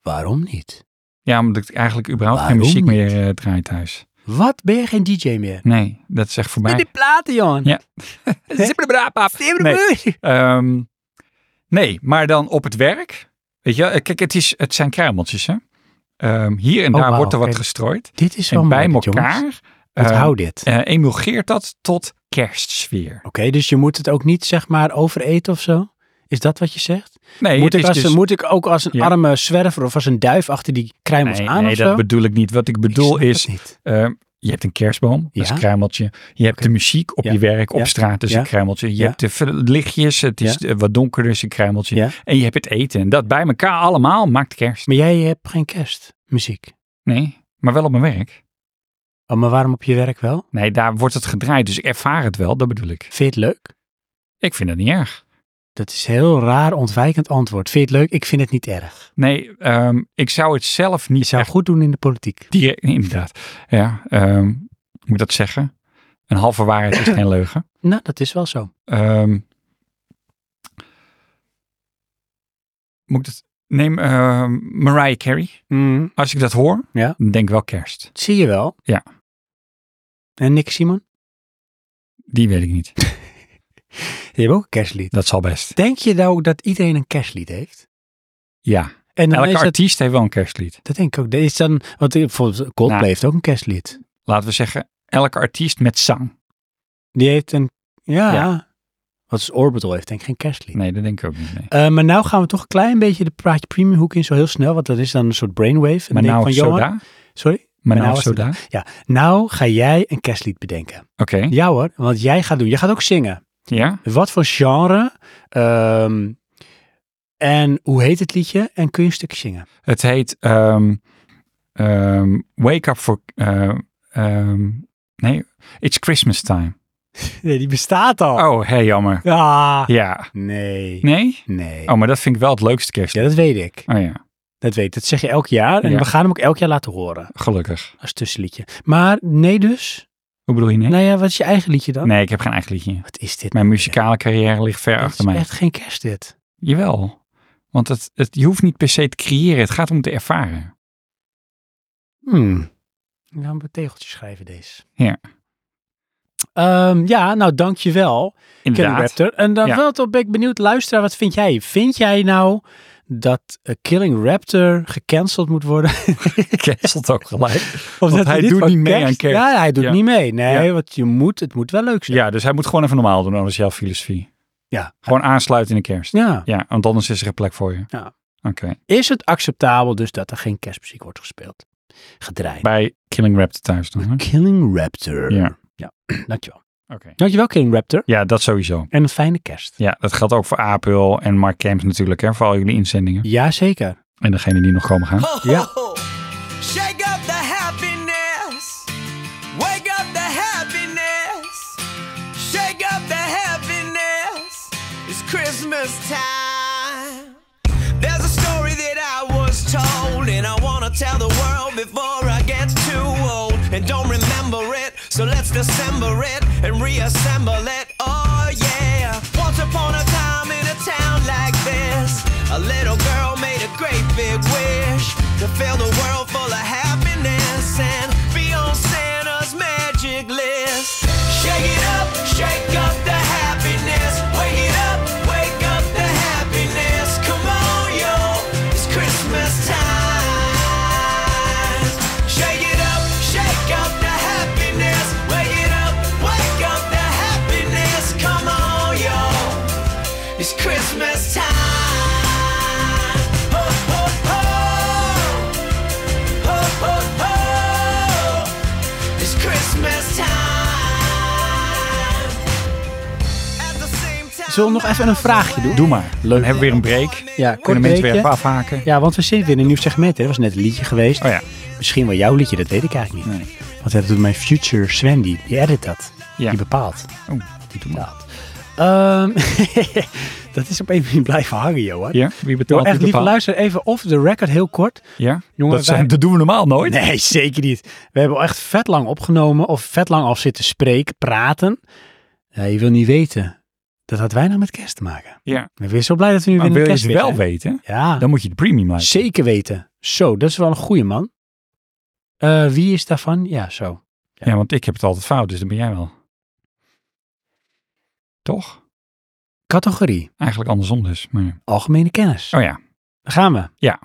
Speaker 2: Waarom niet?
Speaker 3: Ja, omdat ik eigenlijk überhaupt geen
Speaker 2: Waarom
Speaker 3: muziek
Speaker 2: niet?
Speaker 3: meer eh, draai thuis.
Speaker 2: Wat ben je geen DJ meer?
Speaker 3: Nee, dat is echt
Speaker 2: Met
Speaker 3: voorbij.
Speaker 2: die platen, Johan.
Speaker 3: Ja.
Speaker 2: Nee.
Speaker 3: Ehm, nee, maar dan op het werk. Weet je, wel, eh, kijk, het, is, het zijn kruimeltjes, hè. Ehm, hier en
Speaker 2: Oh,
Speaker 3: daar
Speaker 2: wauw,
Speaker 3: wordt er wat
Speaker 2: oké.
Speaker 3: gestrooid.
Speaker 2: Dit is wel
Speaker 3: En bij
Speaker 2: mooi, dit,
Speaker 3: elkaar
Speaker 2: jongens.
Speaker 3: ehm,
Speaker 2: Onthoud dit.
Speaker 3: eh, emulgeert dat tot kerstsfeer.
Speaker 2: Oké, dus je moet het ook niet zeg maar overeten of zo? Is dat wat je zegt?
Speaker 3: Nee,
Speaker 2: moet,
Speaker 3: het
Speaker 2: ik
Speaker 3: is
Speaker 2: als,
Speaker 3: dus-
Speaker 2: een- moet ik ook als een
Speaker 3: Ja.
Speaker 2: arme zwerver of als een duif achter die kruimels
Speaker 3: nee,
Speaker 2: aan
Speaker 3: nee,
Speaker 2: of
Speaker 3: dat
Speaker 2: zo?
Speaker 3: bedoel ik niet. Wat ik bedoel
Speaker 2: Ik snap
Speaker 3: is,
Speaker 2: het niet.
Speaker 3: ehm, je hebt een kerstboom, dat is
Speaker 2: Ja.
Speaker 3: een kruimeltje. Je hebt
Speaker 2: Oké.
Speaker 3: de muziek op
Speaker 2: Ja.
Speaker 3: je werk, op
Speaker 2: Ja.
Speaker 3: straat, dus
Speaker 2: Ja.
Speaker 3: een kruimeltje. Je
Speaker 2: Ja.
Speaker 3: hebt de ver- lichtjes, het is eh, wat donkerder, is een kruimeltje.
Speaker 2: Ja.
Speaker 3: En je hebt het eten. En dat bij elkaar allemaal maakt kerst.
Speaker 2: Maar jij hebt geen kerstmuziek.
Speaker 3: Nee, maar wel op mijn werk.
Speaker 2: Oh, maar waarom op je werk wel?
Speaker 3: Nee, daar wordt het gedraaid, dus ik ervaar het wel, dat bedoel ik.
Speaker 2: Vind je het leuk?
Speaker 3: Ik vind dat niet erg.
Speaker 2: Dat is een heel raar ontwijkend antwoord. Vind je het leuk? Ik vind het niet erg.
Speaker 3: Nee, ehm, ik zou het zelf
Speaker 2: Je
Speaker 3: niet
Speaker 2: zou
Speaker 3: echt
Speaker 2: goed doen in de politiek.
Speaker 3: direct... nee, Inderdaad, ja, ehm, hoe moet ik dat zeggen? Een halve waarheid is geen leugen.
Speaker 2: Nou, dat is wel zo.
Speaker 3: Ehm, moet ik dat... Neem ehm, Mariah Carey. Als ik dat hoor,
Speaker 2: Ja.
Speaker 3: dan denk ik wel kerst.
Speaker 2: Zie je wel.
Speaker 3: Mm. Ja.
Speaker 2: En Nick Simon?
Speaker 3: Die weet ik niet.
Speaker 2: Die hebben ook een kerstlied.
Speaker 3: Dat zal best.
Speaker 2: Denk je nou dat iedereen een kerstlied heeft?
Speaker 3: Ja.
Speaker 2: En dan
Speaker 3: Elke
Speaker 2: is dat,
Speaker 3: artiest heeft wel een kerstlied.
Speaker 2: dat denk ik ook. Dat is dan, want bijvoorbeeld Coldplay
Speaker 3: Nou.
Speaker 2: heeft ook een kerstlied.
Speaker 3: Laten we zeggen, elke artiest met zang.
Speaker 2: Die heeft een, ja.
Speaker 3: Ja.
Speaker 2: Wat is Orbital? Heeft denk ik geen kerstlied.
Speaker 3: Nee, dat denk ik ook niet. Nee.
Speaker 2: Eh, maar nou gaan we toch een klein beetje de praatje premium hoek in zo heel snel. Want dat is dan een soort brainwave. En
Speaker 3: Maar
Speaker 2: dan denk
Speaker 3: nou
Speaker 2: ik van, Johan,
Speaker 3: Soda.
Speaker 2: Sorry?
Speaker 3: Maar
Speaker 2: nou
Speaker 3: nou
Speaker 2: was
Speaker 3: Soda.
Speaker 2: Ja, nou ga jij een kerstlied bedenken.
Speaker 3: Oké.
Speaker 2: Ja hoor, want jij gaat doen. Je gaat ook zingen.
Speaker 3: Ja.
Speaker 2: Wat voor genre? Ehm, en hoe heet het liedje? En kun je een stukje zingen?
Speaker 3: Het heet ehm, ehm, Wake Up for... eh, ehm, nee, It's Christmas Time.
Speaker 2: Nee, die bestaat al.
Speaker 3: Oh, hey, jammer.
Speaker 2: Ah.
Speaker 3: Ja.
Speaker 2: Nee.
Speaker 3: Nee?
Speaker 2: Nee.
Speaker 3: Oh, maar dat vind ik wel het leukste kerstlied.
Speaker 2: Ja, dat weet ik.
Speaker 3: Oh ja,
Speaker 2: Dat weet ik. Dat zeg je elk jaar. En
Speaker 3: Ja.
Speaker 2: we gaan hem ook elk jaar laten horen.
Speaker 3: gelukkig.
Speaker 2: Als tussenliedje. Maar nee dus.
Speaker 3: Hoe bedoel je nee?
Speaker 2: Nou ja, wat is je eigen liedje dan?
Speaker 3: Nee, ik heb geen eigen liedje.
Speaker 2: Wat is dit?
Speaker 3: Mijn
Speaker 2: nou
Speaker 3: muzikale carrière ligt ver
Speaker 2: weer?
Speaker 3: achter
Speaker 2: Het
Speaker 3: mij.
Speaker 2: is echt geen kerst dit.
Speaker 3: Jawel. Want het, het, je hoeft niet per se te creëren. Het gaat om te ervaren.
Speaker 2: Hmm. Ik ga een tegeltje schrijven deze.
Speaker 3: Ja.
Speaker 2: Ehm, ja, nou dankjewel, Kenny
Speaker 3: Inderdaad.
Speaker 2: Raptor. En dan
Speaker 3: Ja.
Speaker 2: wel toch ben ik benieuwd, luisteraar, wat vind jij? Vind jij nou dat eh, Killing Raptor gecanceld moet worden? [LAUGHS]
Speaker 3: [LAUGHS] Cancelt ook gelijk.
Speaker 2: of
Speaker 3: Want
Speaker 2: dat
Speaker 3: hij
Speaker 2: dit
Speaker 3: doet
Speaker 2: voor
Speaker 3: niet mee aan kerst.
Speaker 2: Ja, hij doet
Speaker 3: Ja.
Speaker 2: niet mee. Nee,
Speaker 3: Ja.
Speaker 2: want je moet, het moet wel leuk zijn.
Speaker 3: Ja, dus hij moet gewoon even normaal doen. Anders is jouw filosofie.
Speaker 2: Ja.
Speaker 3: Gewoon aansluiten in de kerst.
Speaker 2: Ja.
Speaker 3: Ja, want anders is er een plek voor je.
Speaker 2: Ja.
Speaker 3: Oké.
Speaker 2: Is het acceptabel dus dat er geen kerstmuziek wordt gespeeld? Gedraaid.
Speaker 3: Bij Killing Raptor thuis dan. hè? Oké.
Speaker 2: Killing Raptor.
Speaker 3: Ja.
Speaker 2: ja. [CLEARS THROAT] Dankjewel. Dankjewel, Killing Raptor.
Speaker 3: Ja, dat sowieso.
Speaker 2: En een fijne kerst.
Speaker 3: Ja, dat geldt ook voor Apel en Mark Camps natuurlijk. Hè, voor al jullie inzendingen.
Speaker 2: Jazeker.
Speaker 3: En degene die nog komen gaan.
Speaker 2: Yeah.
Speaker 7: Shake up the happiness. Wake up the happiness. Shake up the happiness. It's Christmas time. There's a story that I was told, and I want to tell the world before I get too old and don't remember it. So let's dissemble it and reassemble it. Oh, yeah. Once upon a time in a town like this, a little girl made a great big wish to fill the world full of happiness and be on Santa's magic list. Shake it up, shake up the happiness. Wake it up, wake up the happiness. Come on, yo, it's Christmas time. Shake it up, shake up the happiness. Wake it up, wake up the happiness. Come on, yo, it's Christmas time. Ho, ho, ho. Ho, ho, ho. It's Christmas time. At the same time
Speaker 2: Zullen we nog even een vraagje doen?
Speaker 3: Doe maar.
Speaker 2: Leuk.
Speaker 3: Dan hebben we weer een break.
Speaker 2: Ja,
Speaker 3: Kunnen
Speaker 2: kort
Speaker 3: mensen weer
Speaker 2: breakje.
Speaker 3: even afhaken.
Speaker 2: Ja, want we zitten weer in een nieuw segment. Hè? Dat was net een liedje geweest.
Speaker 3: Oh ja.
Speaker 2: Misschien wel jouw liedje, dat weet ik eigenlijk niet.
Speaker 3: Nee.
Speaker 2: Want dat doet mijn future Sven, die, die edit dat.
Speaker 3: Ja.
Speaker 2: Die bepaalt.
Speaker 3: Oh, doe maar.
Speaker 2: Dat. Ehm, [LAUGHS] dat is op een manier blijven hangen, Johan.
Speaker 3: Ja, wie
Speaker 2: Johan,
Speaker 3: betaalt
Speaker 2: echt
Speaker 3: die
Speaker 2: lief,
Speaker 3: bepaalt?
Speaker 2: luister even off the record, heel kort.
Speaker 3: Ja?
Speaker 2: Jongen,
Speaker 3: dat, zijn,
Speaker 2: wij-
Speaker 3: dat doen we normaal nooit.
Speaker 2: Nee, [LAUGHS] zeker niet. We hebben al echt vet lang opgenomen of vet lang al zitten spreken, praten. Ja, je wil niet weten. Dat had wij nou met kerst te maken.
Speaker 3: Ja.
Speaker 2: Ik ben weer zo blij dat we nu
Speaker 3: Maar
Speaker 2: weer
Speaker 3: wil
Speaker 2: een
Speaker 3: je
Speaker 2: kerst
Speaker 3: het wel weten,
Speaker 2: Ja,
Speaker 3: dan moet je de premium luisteren.
Speaker 2: zeker weten. Zo, dat is wel een goede man. Eh, wie is daarvan? Ja, zo.
Speaker 3: Ja, want ik heb het altijd fout, dus dan ben jij wel. Toch?
Speaker 2: Categorie,
Speaker 3: Eigenlijk andersom dus. Maar... ja.
Speaker 2: algemene kennis.
Speaker 3: Oh ja.
Speaker 2: Daar gaan we.
Speaker 3: Ja.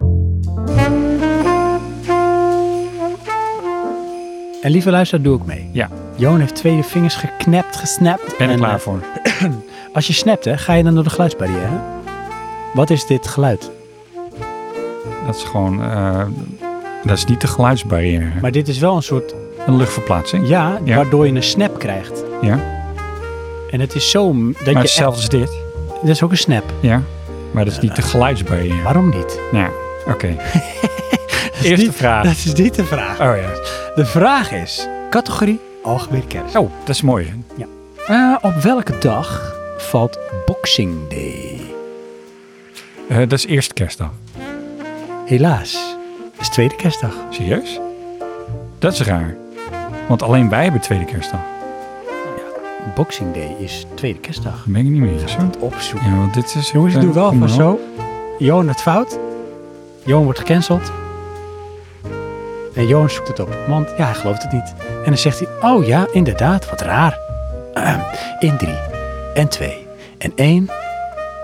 Speaker 2: En lieve luisteraar, doe ik mee.
Speaker 3: Ja.
Speaker 2: Johan heeft twee vingers geknept, gesnapt.
Speaker 3: Ben ik
Speaker 2: En,
Speaker 3: klaar
Speaker 2: eh,
Speaker 3: voor.
Speaker 2: [CLEARS THROAT] Als je snapt, hè, ga je dan door de geluidsbarrière? Wat is dit geluid?
Speaker 3: Dat is gewoon... eh, dat is niet de geluidsbarrière.
Speaker 2: Maar dit is wel een soort
Speaker 3: Een luchtverplaatsing.
Speaker 2: ja,
Speaker 3: Ja.
Speaker 2: waardoor je een snap krijgt.
Speaker 3: Ja.
Speaker 2: En het is zo m- dat
Speaker 3: maar
Speaker 2: je echt,
Speaker 3: hetzelfde als dit.
Speaker 2: dat is ook een snap.
Speaker 3: Ja. Maar dat is niet de geluidsbarrière.
Speaker 2: Waarom niet?
Speaker 3: Ja. Oké. Eerste
Speaker 2: niet-
Speaker 3: vraag.
Speaker 2: [LAUGHS] Dat is niet de vraag.
Speaker 3: Oh ja.
Speaker 2: De vraag is categorie algemene kennis.
Speaker 3: Oh, dat is mooi. hè?
Speaker 2: Eh, op welke dag valt Boxing Day?
Speaker 3: Eh, dat is eerste kerstdag.
Speaker 2: Helaas, het is tweede kerstdag.
Speaker 3: Serieus? Dat is raar. Want alleen wij hebben tweede kerstdag.
Speaker 2: Boxing Day is tweede kerstdag.
Speaker 3: Dat ben ik niet meer. Zo.
Speaker 2: Opzoeken.
Speaker 3: Ja, want dit is...
Speaker 2: Jongens,
Speaker 3: eh,
Speaker 2: doe wel
Speaker 3: kom
Speaker 2: van
Speaker 3: maar op.
Speaker 2: zo. Johan het fout. Johan wordt gecanceld. En Johan zoekt het op, want ja, hij gelooft het niet. En dan zegt hij, oh ja, inderdaad, wat raar. Ahem. in drie, en twee, en één.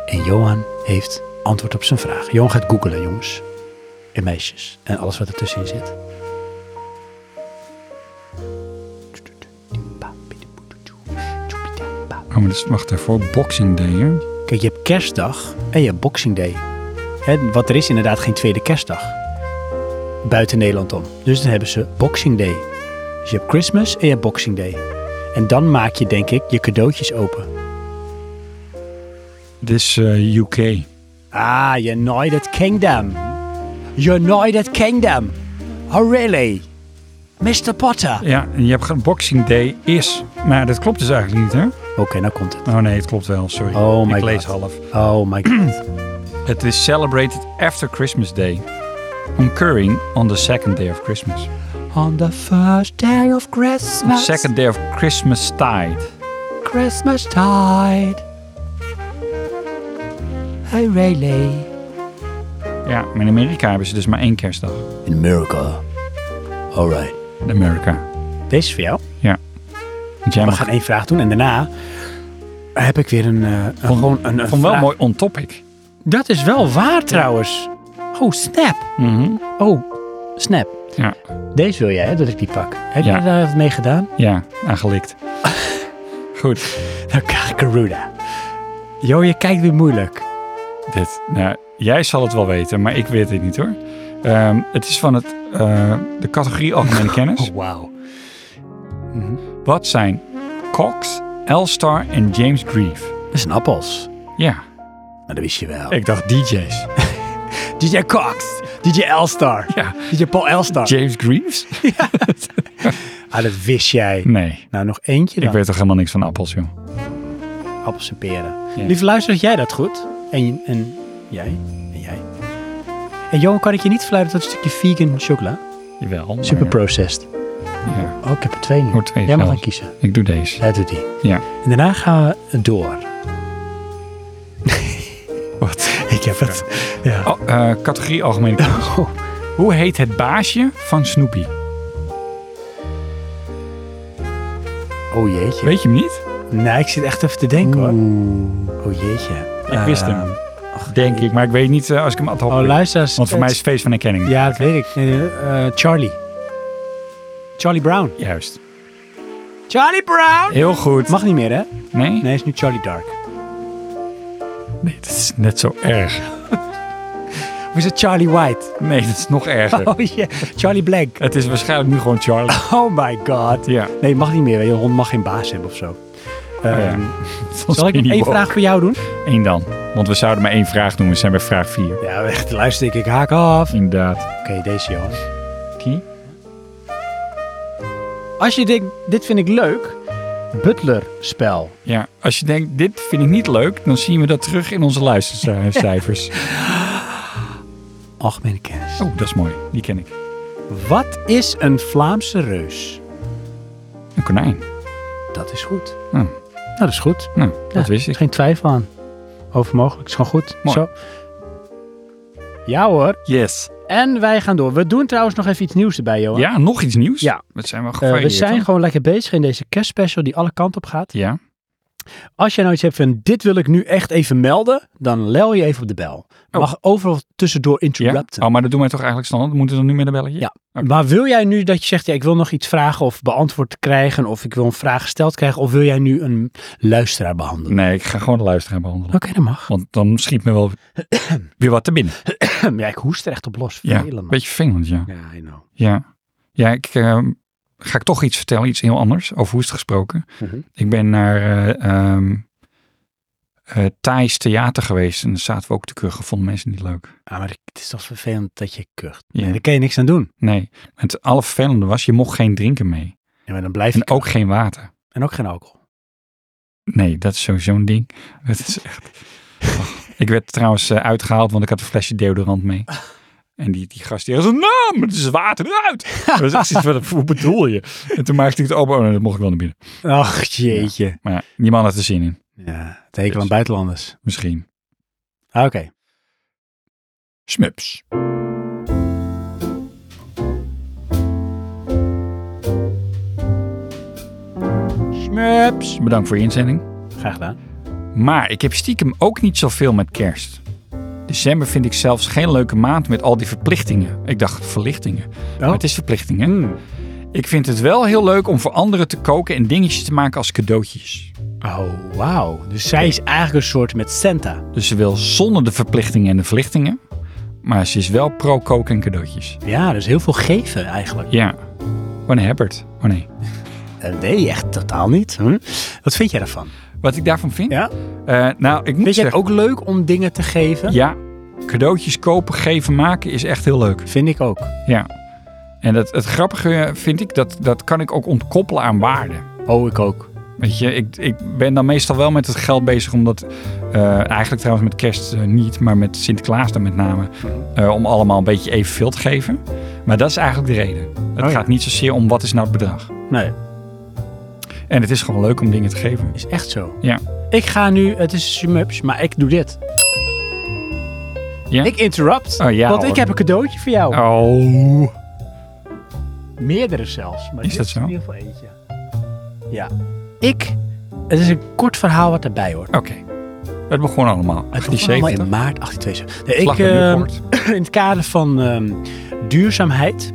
Speaker 2: En Johan heeft antwoord op zijn vraag. Johan gaat googelen, jongens. En meisjes. En alles wat ertussenin zit.
Speaker 3: Oh, maar dat is, wacht even. hoor. Boxing Day, hè?
Speaker 2: Kijk, je hebt kerstdag en je hebt Boxing Day. Hè, wat er is inderdaad geen tweede kerstdag. Buiten Nederland om. Dus dan hebben ze Boxing Day. Dus je hebt Christmas en je hebt Boxing Day. En dan maak je, denk ik, je cadeautjes open.
Speaker 3: Dit is eh, UK.
Speaker 2: Ah, United Kingdom. United Kingdom. Oh, really? Mr. Potter.
Speaker 3: Ja, en je hebt ge- Boxing Day is... Maar dat klopt dus eigenlijk niet, hè?
Speaker 2: Oké, nou komt het.
Speaker 3: Oh nee, het klopt wel. Sorry.
Speaker 2: Oh my
Speaker 3: ik lees
Speaker 2: God.
Speaker 3: half.
Speaker 2: Oh my god.
Speaker 3: Het is celebrated after Christmas Day. Occurring on the second day of Christmas.
Speaker 2: On the first day of
Speaker 3: The
Speaker 2: Christmas.
Speaker 3: second day of Christmas tide.
Speaker 2: Christmas tide. Hey Rayleigh.
Speaker 3: Ja, maar in Amerika hebben ze dus maar één kerstdag.
Speaker 2: In America. Alright.
Speaker 3: In Amerika.
Speaker 2: Deze is voor jou.
Speaker 3: Want jij
Speaker 2: We
Speaker 3: mag...
Speaker 2: gaan één vraag doen en daarna heb ik weer een, eh, een- gewoon een, een
Speaker 3: vond wel
Speaker 2: vraag.
Speaker 3: mooi on topic.
Speaker 2: Dat is wel waar trouwens. Oh, snap.
Speaker 3: Mhm.
Speaker 2: Oh, snap.
Speaker 3: Ja.
Speaker 2: Deze wil jij, hè, dat ik die pak. Heb
Speaker 3: Ja.
Speaker 2: je daar wat mee gedaan?
Speaker 3: Ja,
Speaker 2: [LAUGHS]
Speaker 3: aangelikt. Goed.
Speaker 2: Nou, Karuda. Jo, je kijkt weer moeilijk.
Speaker 3: Dit. Nou, jij zal het wel weten, maar ik weet het niet hoor. Ehm, het is van het, eh, de categorie
Speaker 2: [LAUGHS]
Speaker 3: algemene kennis.
Speaker 2: Oh, wauw.
Speaker 3: Wat zijn Cox, Elstar en James Grief?
Speaker 2: Dat zijn appels.
Speaker 3: Ja,
Speaker 2: Maar dat wist je wel.
Speaker 3: ik dacht
Speaker 2: [LAUGHS]
Speaker 3: DJ's.
Speaker 2: DJ Cox. DJ Elstar.
Speaker 3: Ja.
Speaker 2: DJ Paul Elstar.
Speaker 3: James Greaves?
Speaker 2: ah, dat wist jij.
Speaker 3: Nee,
Speaker 2: Nou, nog eentje dan.
Speaker 3: ik weet toch helemaal niks van appels, joh.
Speaker 2: Appels en peren.
Speaker 3: Ja.
Speaker 2: Lieve luister, jij dat goed? En, en jij? En jij? En Johan, kan ik je niet verleiden tot een stukje vegan chocola?
Speaker 3: Jawel. maar-
Speaker 2: Super processed.
Speaker 3: Ja,
Speaker 2: Oh, ik heb er twee nu.
Speaker 3: Oh, twee
Speaker 2: jij mag
Speaker 3: zelfs.
Speaker 2: dan kiezen.
Speaker 3: ik doe deze.
Speaker 2: Jij doet die.
Speaker 3: Ja.
Speaker 2: En daarna gaan we door.
Speaker 3: [LAUGHS] Wat?
Speaker 2: Ik heb het. Ja.
Speaker 3: Oh, eh, categorie algemene kennis.
Speaker 2: [LAUGHS] Oh.
Speaker 3: Hoe heet het baasje van Snoopy?
Speaker 2: Oh jeetje.
Speaker 3: Weet je hem niet?
Speaker 2: Nee, ik zit echt even te denken hoor. Oh jeetje.
Speaker 3: Ik wist
Speaker 2: Eh,
Speaker 3: hem. Denk ik, maar ik weet niet eh, als ik hem ad hoc
Speaker 2: Oh,
Speaker 3: weet.
Speaker 2: luister eens.
Speaker 3: Want voor mij is feest van herkenning.
Speaker 2: Ja, dat weet ik. Eh, eh, Charlie. Charlie Brown.
Speaker 3: Juist.
Speaker 2: Charlie Brown!
Speaker 3: Heel goed.
Speaker 2: Mag niet meer, hè?
Speaker 3: Nee?
Speaker 2: Nee, is nu Charlie Dark.
Speaker 3: Nee, dat is net zo erg.
Speaker 2: Of is het Charlie White?
Speaker 3: Nee, dat is nog erger.
Speaker 2: [LAUGHS] Oh jee. Charlie Black.
Speaker 3: Het is waarschijnlijk nu gewoon Charlie.
Speaker 2: Oh my god.
Speaker 3: Ja. Oh,
Speaker 2: Nee, mag niet meer. hè. Je hond mag geen baas hebben of zo. Ehm,
Speaker 3: Volgens
Speaker 2: Zal ik
Speaker 3: mij
Speaker 2: nog
Speaker 3: niet
Speaker 2: één
Speaker 3: mogelijk.
Speaker 2: vraag voor jou doen?
Speaker 3: Eén dan. Want we zouden maar één vraag doen. We zijn bij vraag vier.
Speaker 2: Ja, echt. Luister, ik, ik haak af. Oké,
Speaker 3: Inderdaad.
Speaker 2: deze Johan.
Speaker 3: Kie?
Speaker 2: Als je denkt, dit vind ik leuk, butlerspel.
Speaker 3: Ja, als je denkt, dit vind ik niet leuk, dan zien we dat terug in onze
Speaker 2: [LAUGHS]
Speaker 3: luistercijfers.
Speaker 2: Algemene kennis.
Speaker 3: Oh, dat is mooi. Die ken ik.
Speaker 2: Wat is een Vlaamse reus?
Speaker 3: Een konijn.
Speaker 2: Dat is goed.
Speaker 3: Nou,
Speaker 2: Nou, dat is goed.
Speaker 3: nou dat wist
Speaker 2: Ja, is
Speaker 3: ik.
Speaker 2: Geen twijfel aan. Over mogelijk. Is gewoon goed.
Speaker 3: Mooi.
Speaker 2: Zo. Ja hoor.
Speaker 3: Yes.
Speaker 2: En wij gaan door. We doen trouwens nog even iets nieuws erbij, Johan.
Speaker 3: Ja, nog iets nieuws?
Speaker 2: Ja.
Speaker 3: Dat zijn wel
Speaker 2: Eh,
Speaker 3: gevarieerd.
Speaker 2: we zijn
Speaker 3: hoor.
Speaker 2: gewoon lekker bezig in deze kerstspecial die alle kanten op gaat.
Speaker 3: Ja.
Speaker 2: Als jij nou iets hebt van dit wil ik nu echt even melden, dan lel je even op de bel. Mag overal tussendoor
Speaker 3: Oh. ja.
Speaker 2: interrupten.
Speaker 3: Oh, maar dat doen wij toch eigenlijk standaard? Moeten we dan nu met een belletje?
Speaker 2: Ja. Maar wil jij nu dat je zegt, ja, ik wil nog iets vragen of beantwoord krijgen of ik wil een vraag gesteld krijgen of wil jij nu een luisteraar behandelen?
Speaker 3: Nee, ik ga gewoon de luisteraar behandelen.
Speaker 2: Oké, dat mag. [LAUGHS]
Speaker 3: Want dan schiet me wel
Speaker 2: [COUGHS]
Speaker 3: weer wat te binnen.
Speaker 2: ja, ik hoest er echt op los.
Speaker 3: Ja,
Speaker 2: Vervelend, man.
Speaker 3: beetje vervelend, ja.
Speaker 2: Ja, I know.
Speaker 3: Ja, ja ik ehm, ga ik toch iets vertellen, iets heel anders, over hoest gesproken.
Speaker 2: Mhm.
Speaker 3: Ik ben naar eh ehm, eh, Thais Theater geweest en daar zaten we ook te kuchen. Vonden mensen niet leuk.
Speaker 2: Ah, maar het is toch vervelend dat je kucht.
Speaker 3: Ja.
Speaker 2: Nee, daar kan je niks aan doen.
Speaker 3: Nee, het allervervelende was, je mocht geen drinken mee.
Speaker 2: Ja, maar dan blijf je
Speaker 3: En ook
Speaker 2: kuchen.
Speaker 3: geen water.
Speaker 2: en ook geen alcohol.
Speaker 3: Nee, dat is sowieso een ding. Het is echt... Ach, ik werd trouwens eh, uitgehaald, want ik had een flesje deodorant mee. En die, die gast die had zo, nou, maar het is water eruit. Dat was echt zoiets van, hoe bedoel je? En toen maakte ik het open, oh, nee, dat mocht ik wel naar binnen.
Speaker 2: Ach, jeetje.
Speaker 3: Maar ja, die man had er zin in,
Speaker 2: Ja, het hekel aan buitenlanders.
Speaker 3: misschien.
Speaker 2: Ah, Oké.
Speaker 3: Smups. Smups. Bedankt voor je inzending.
Speaker 2: Graag gedaan.
Speaker 3: Maar ik heb stiekem ook niet zoveel met kerst. December vind ik zelfs geen leuke maand met al die verplichtingen. Ik dacht verlichtingen.
Speaker 2: Oh.
Speaker 3: Maar het is verplichtingen.
Speaker 2: Hmm.
Speaker 3: Ik vind het wel heel leuk om voor anderen te koken en dingetjes te maken als cadeautjes.
Speaker 2: Oh, wauw. Dus zij is eigenlijk een soort met Santa.
Speaker 3: Dus ze wil zonder de verplichtingen en de verlichtingen. Maar ze is wel pro koken en cadeautjes.
Speaker 2: Ja, dus heel veel geven eigenlijk.
Speaker 3: Ja. Oh nee, Herbert. Oh nee.
Speaker 2: Eh, nee, echt totaal niet. Hm? Wat vind jij daarvan?
Speaker 3: Wat ik daarvan vind?
Speaker 2: Ja?
Speaker 3: Eh, nou, ik moet
Speaker 2: Vind jij het
Speaker 3: zeggen,
Speaker 2: ook leuk om dingen te geven?
Speaker 3: ja, cadeautjes kopen, geven, maken is echt heel leuk.
Speaker 2: Vind ik ook.
Speaker 3: Ja. En dat, het grappige eh, vind ik, dat, dat kan ik ook ontkoppelen aan waarde.
Speaker 2: Oh, ik ook.
Speaker 3: Weet je, ik, ik ben dan meestal wel met het geld bezig, omdat eh, eigenlijk trouwens met kerst eh, niet, maar met Sinterklaas dan met name, eh, om allemaal een beetje evenveel te geven. Maar dat is eigenlijk de reden. Het
Speaker 2: Oh ja.
Speaker 3: gaat niet zozeer om wat is nou het bedrag.
Speaker 2: Nee,
Speaker 3: En het is gewoon leuk om dingen te geven.
Speaker 2: is echt zo.
Speaker 3: Ja.
Speaker 2: Ik ga nu, het is Smups, maar ik doe dit.
Speaker 3: Ja?
Speaker 2: Ik interrupt,
Speaker 3: Oh, ja,
Speaker 2: want ik
Speaker 3: hoor.
Speaker 2: heb een cadeautje voor jou.
Speaker 3: Oh.
Speaker 2: Meerdere zelfs. Maar
Speaker 3: Is
Speaker 2: dit
Speaker 3: dat zo?
Speaker 2: in ieder geval eentje. Ja. Ik, het is een kort verhaal wat erbij hoort.
Speaker 3: Oké. Het begon allemaal.
Speaker 2: Het begon allemaal
Speaker 3: 1870.
Speaker 2: in maart 1872. Nee,
Speaker 3: Vlag
Speaker 2: ik,
Speaker 3: bij
Speaker 2: ehm,
Speaker 3: Nieuwpoort.
Speaker 2: [COUGHS] in het kader van ehm, duurzaamheid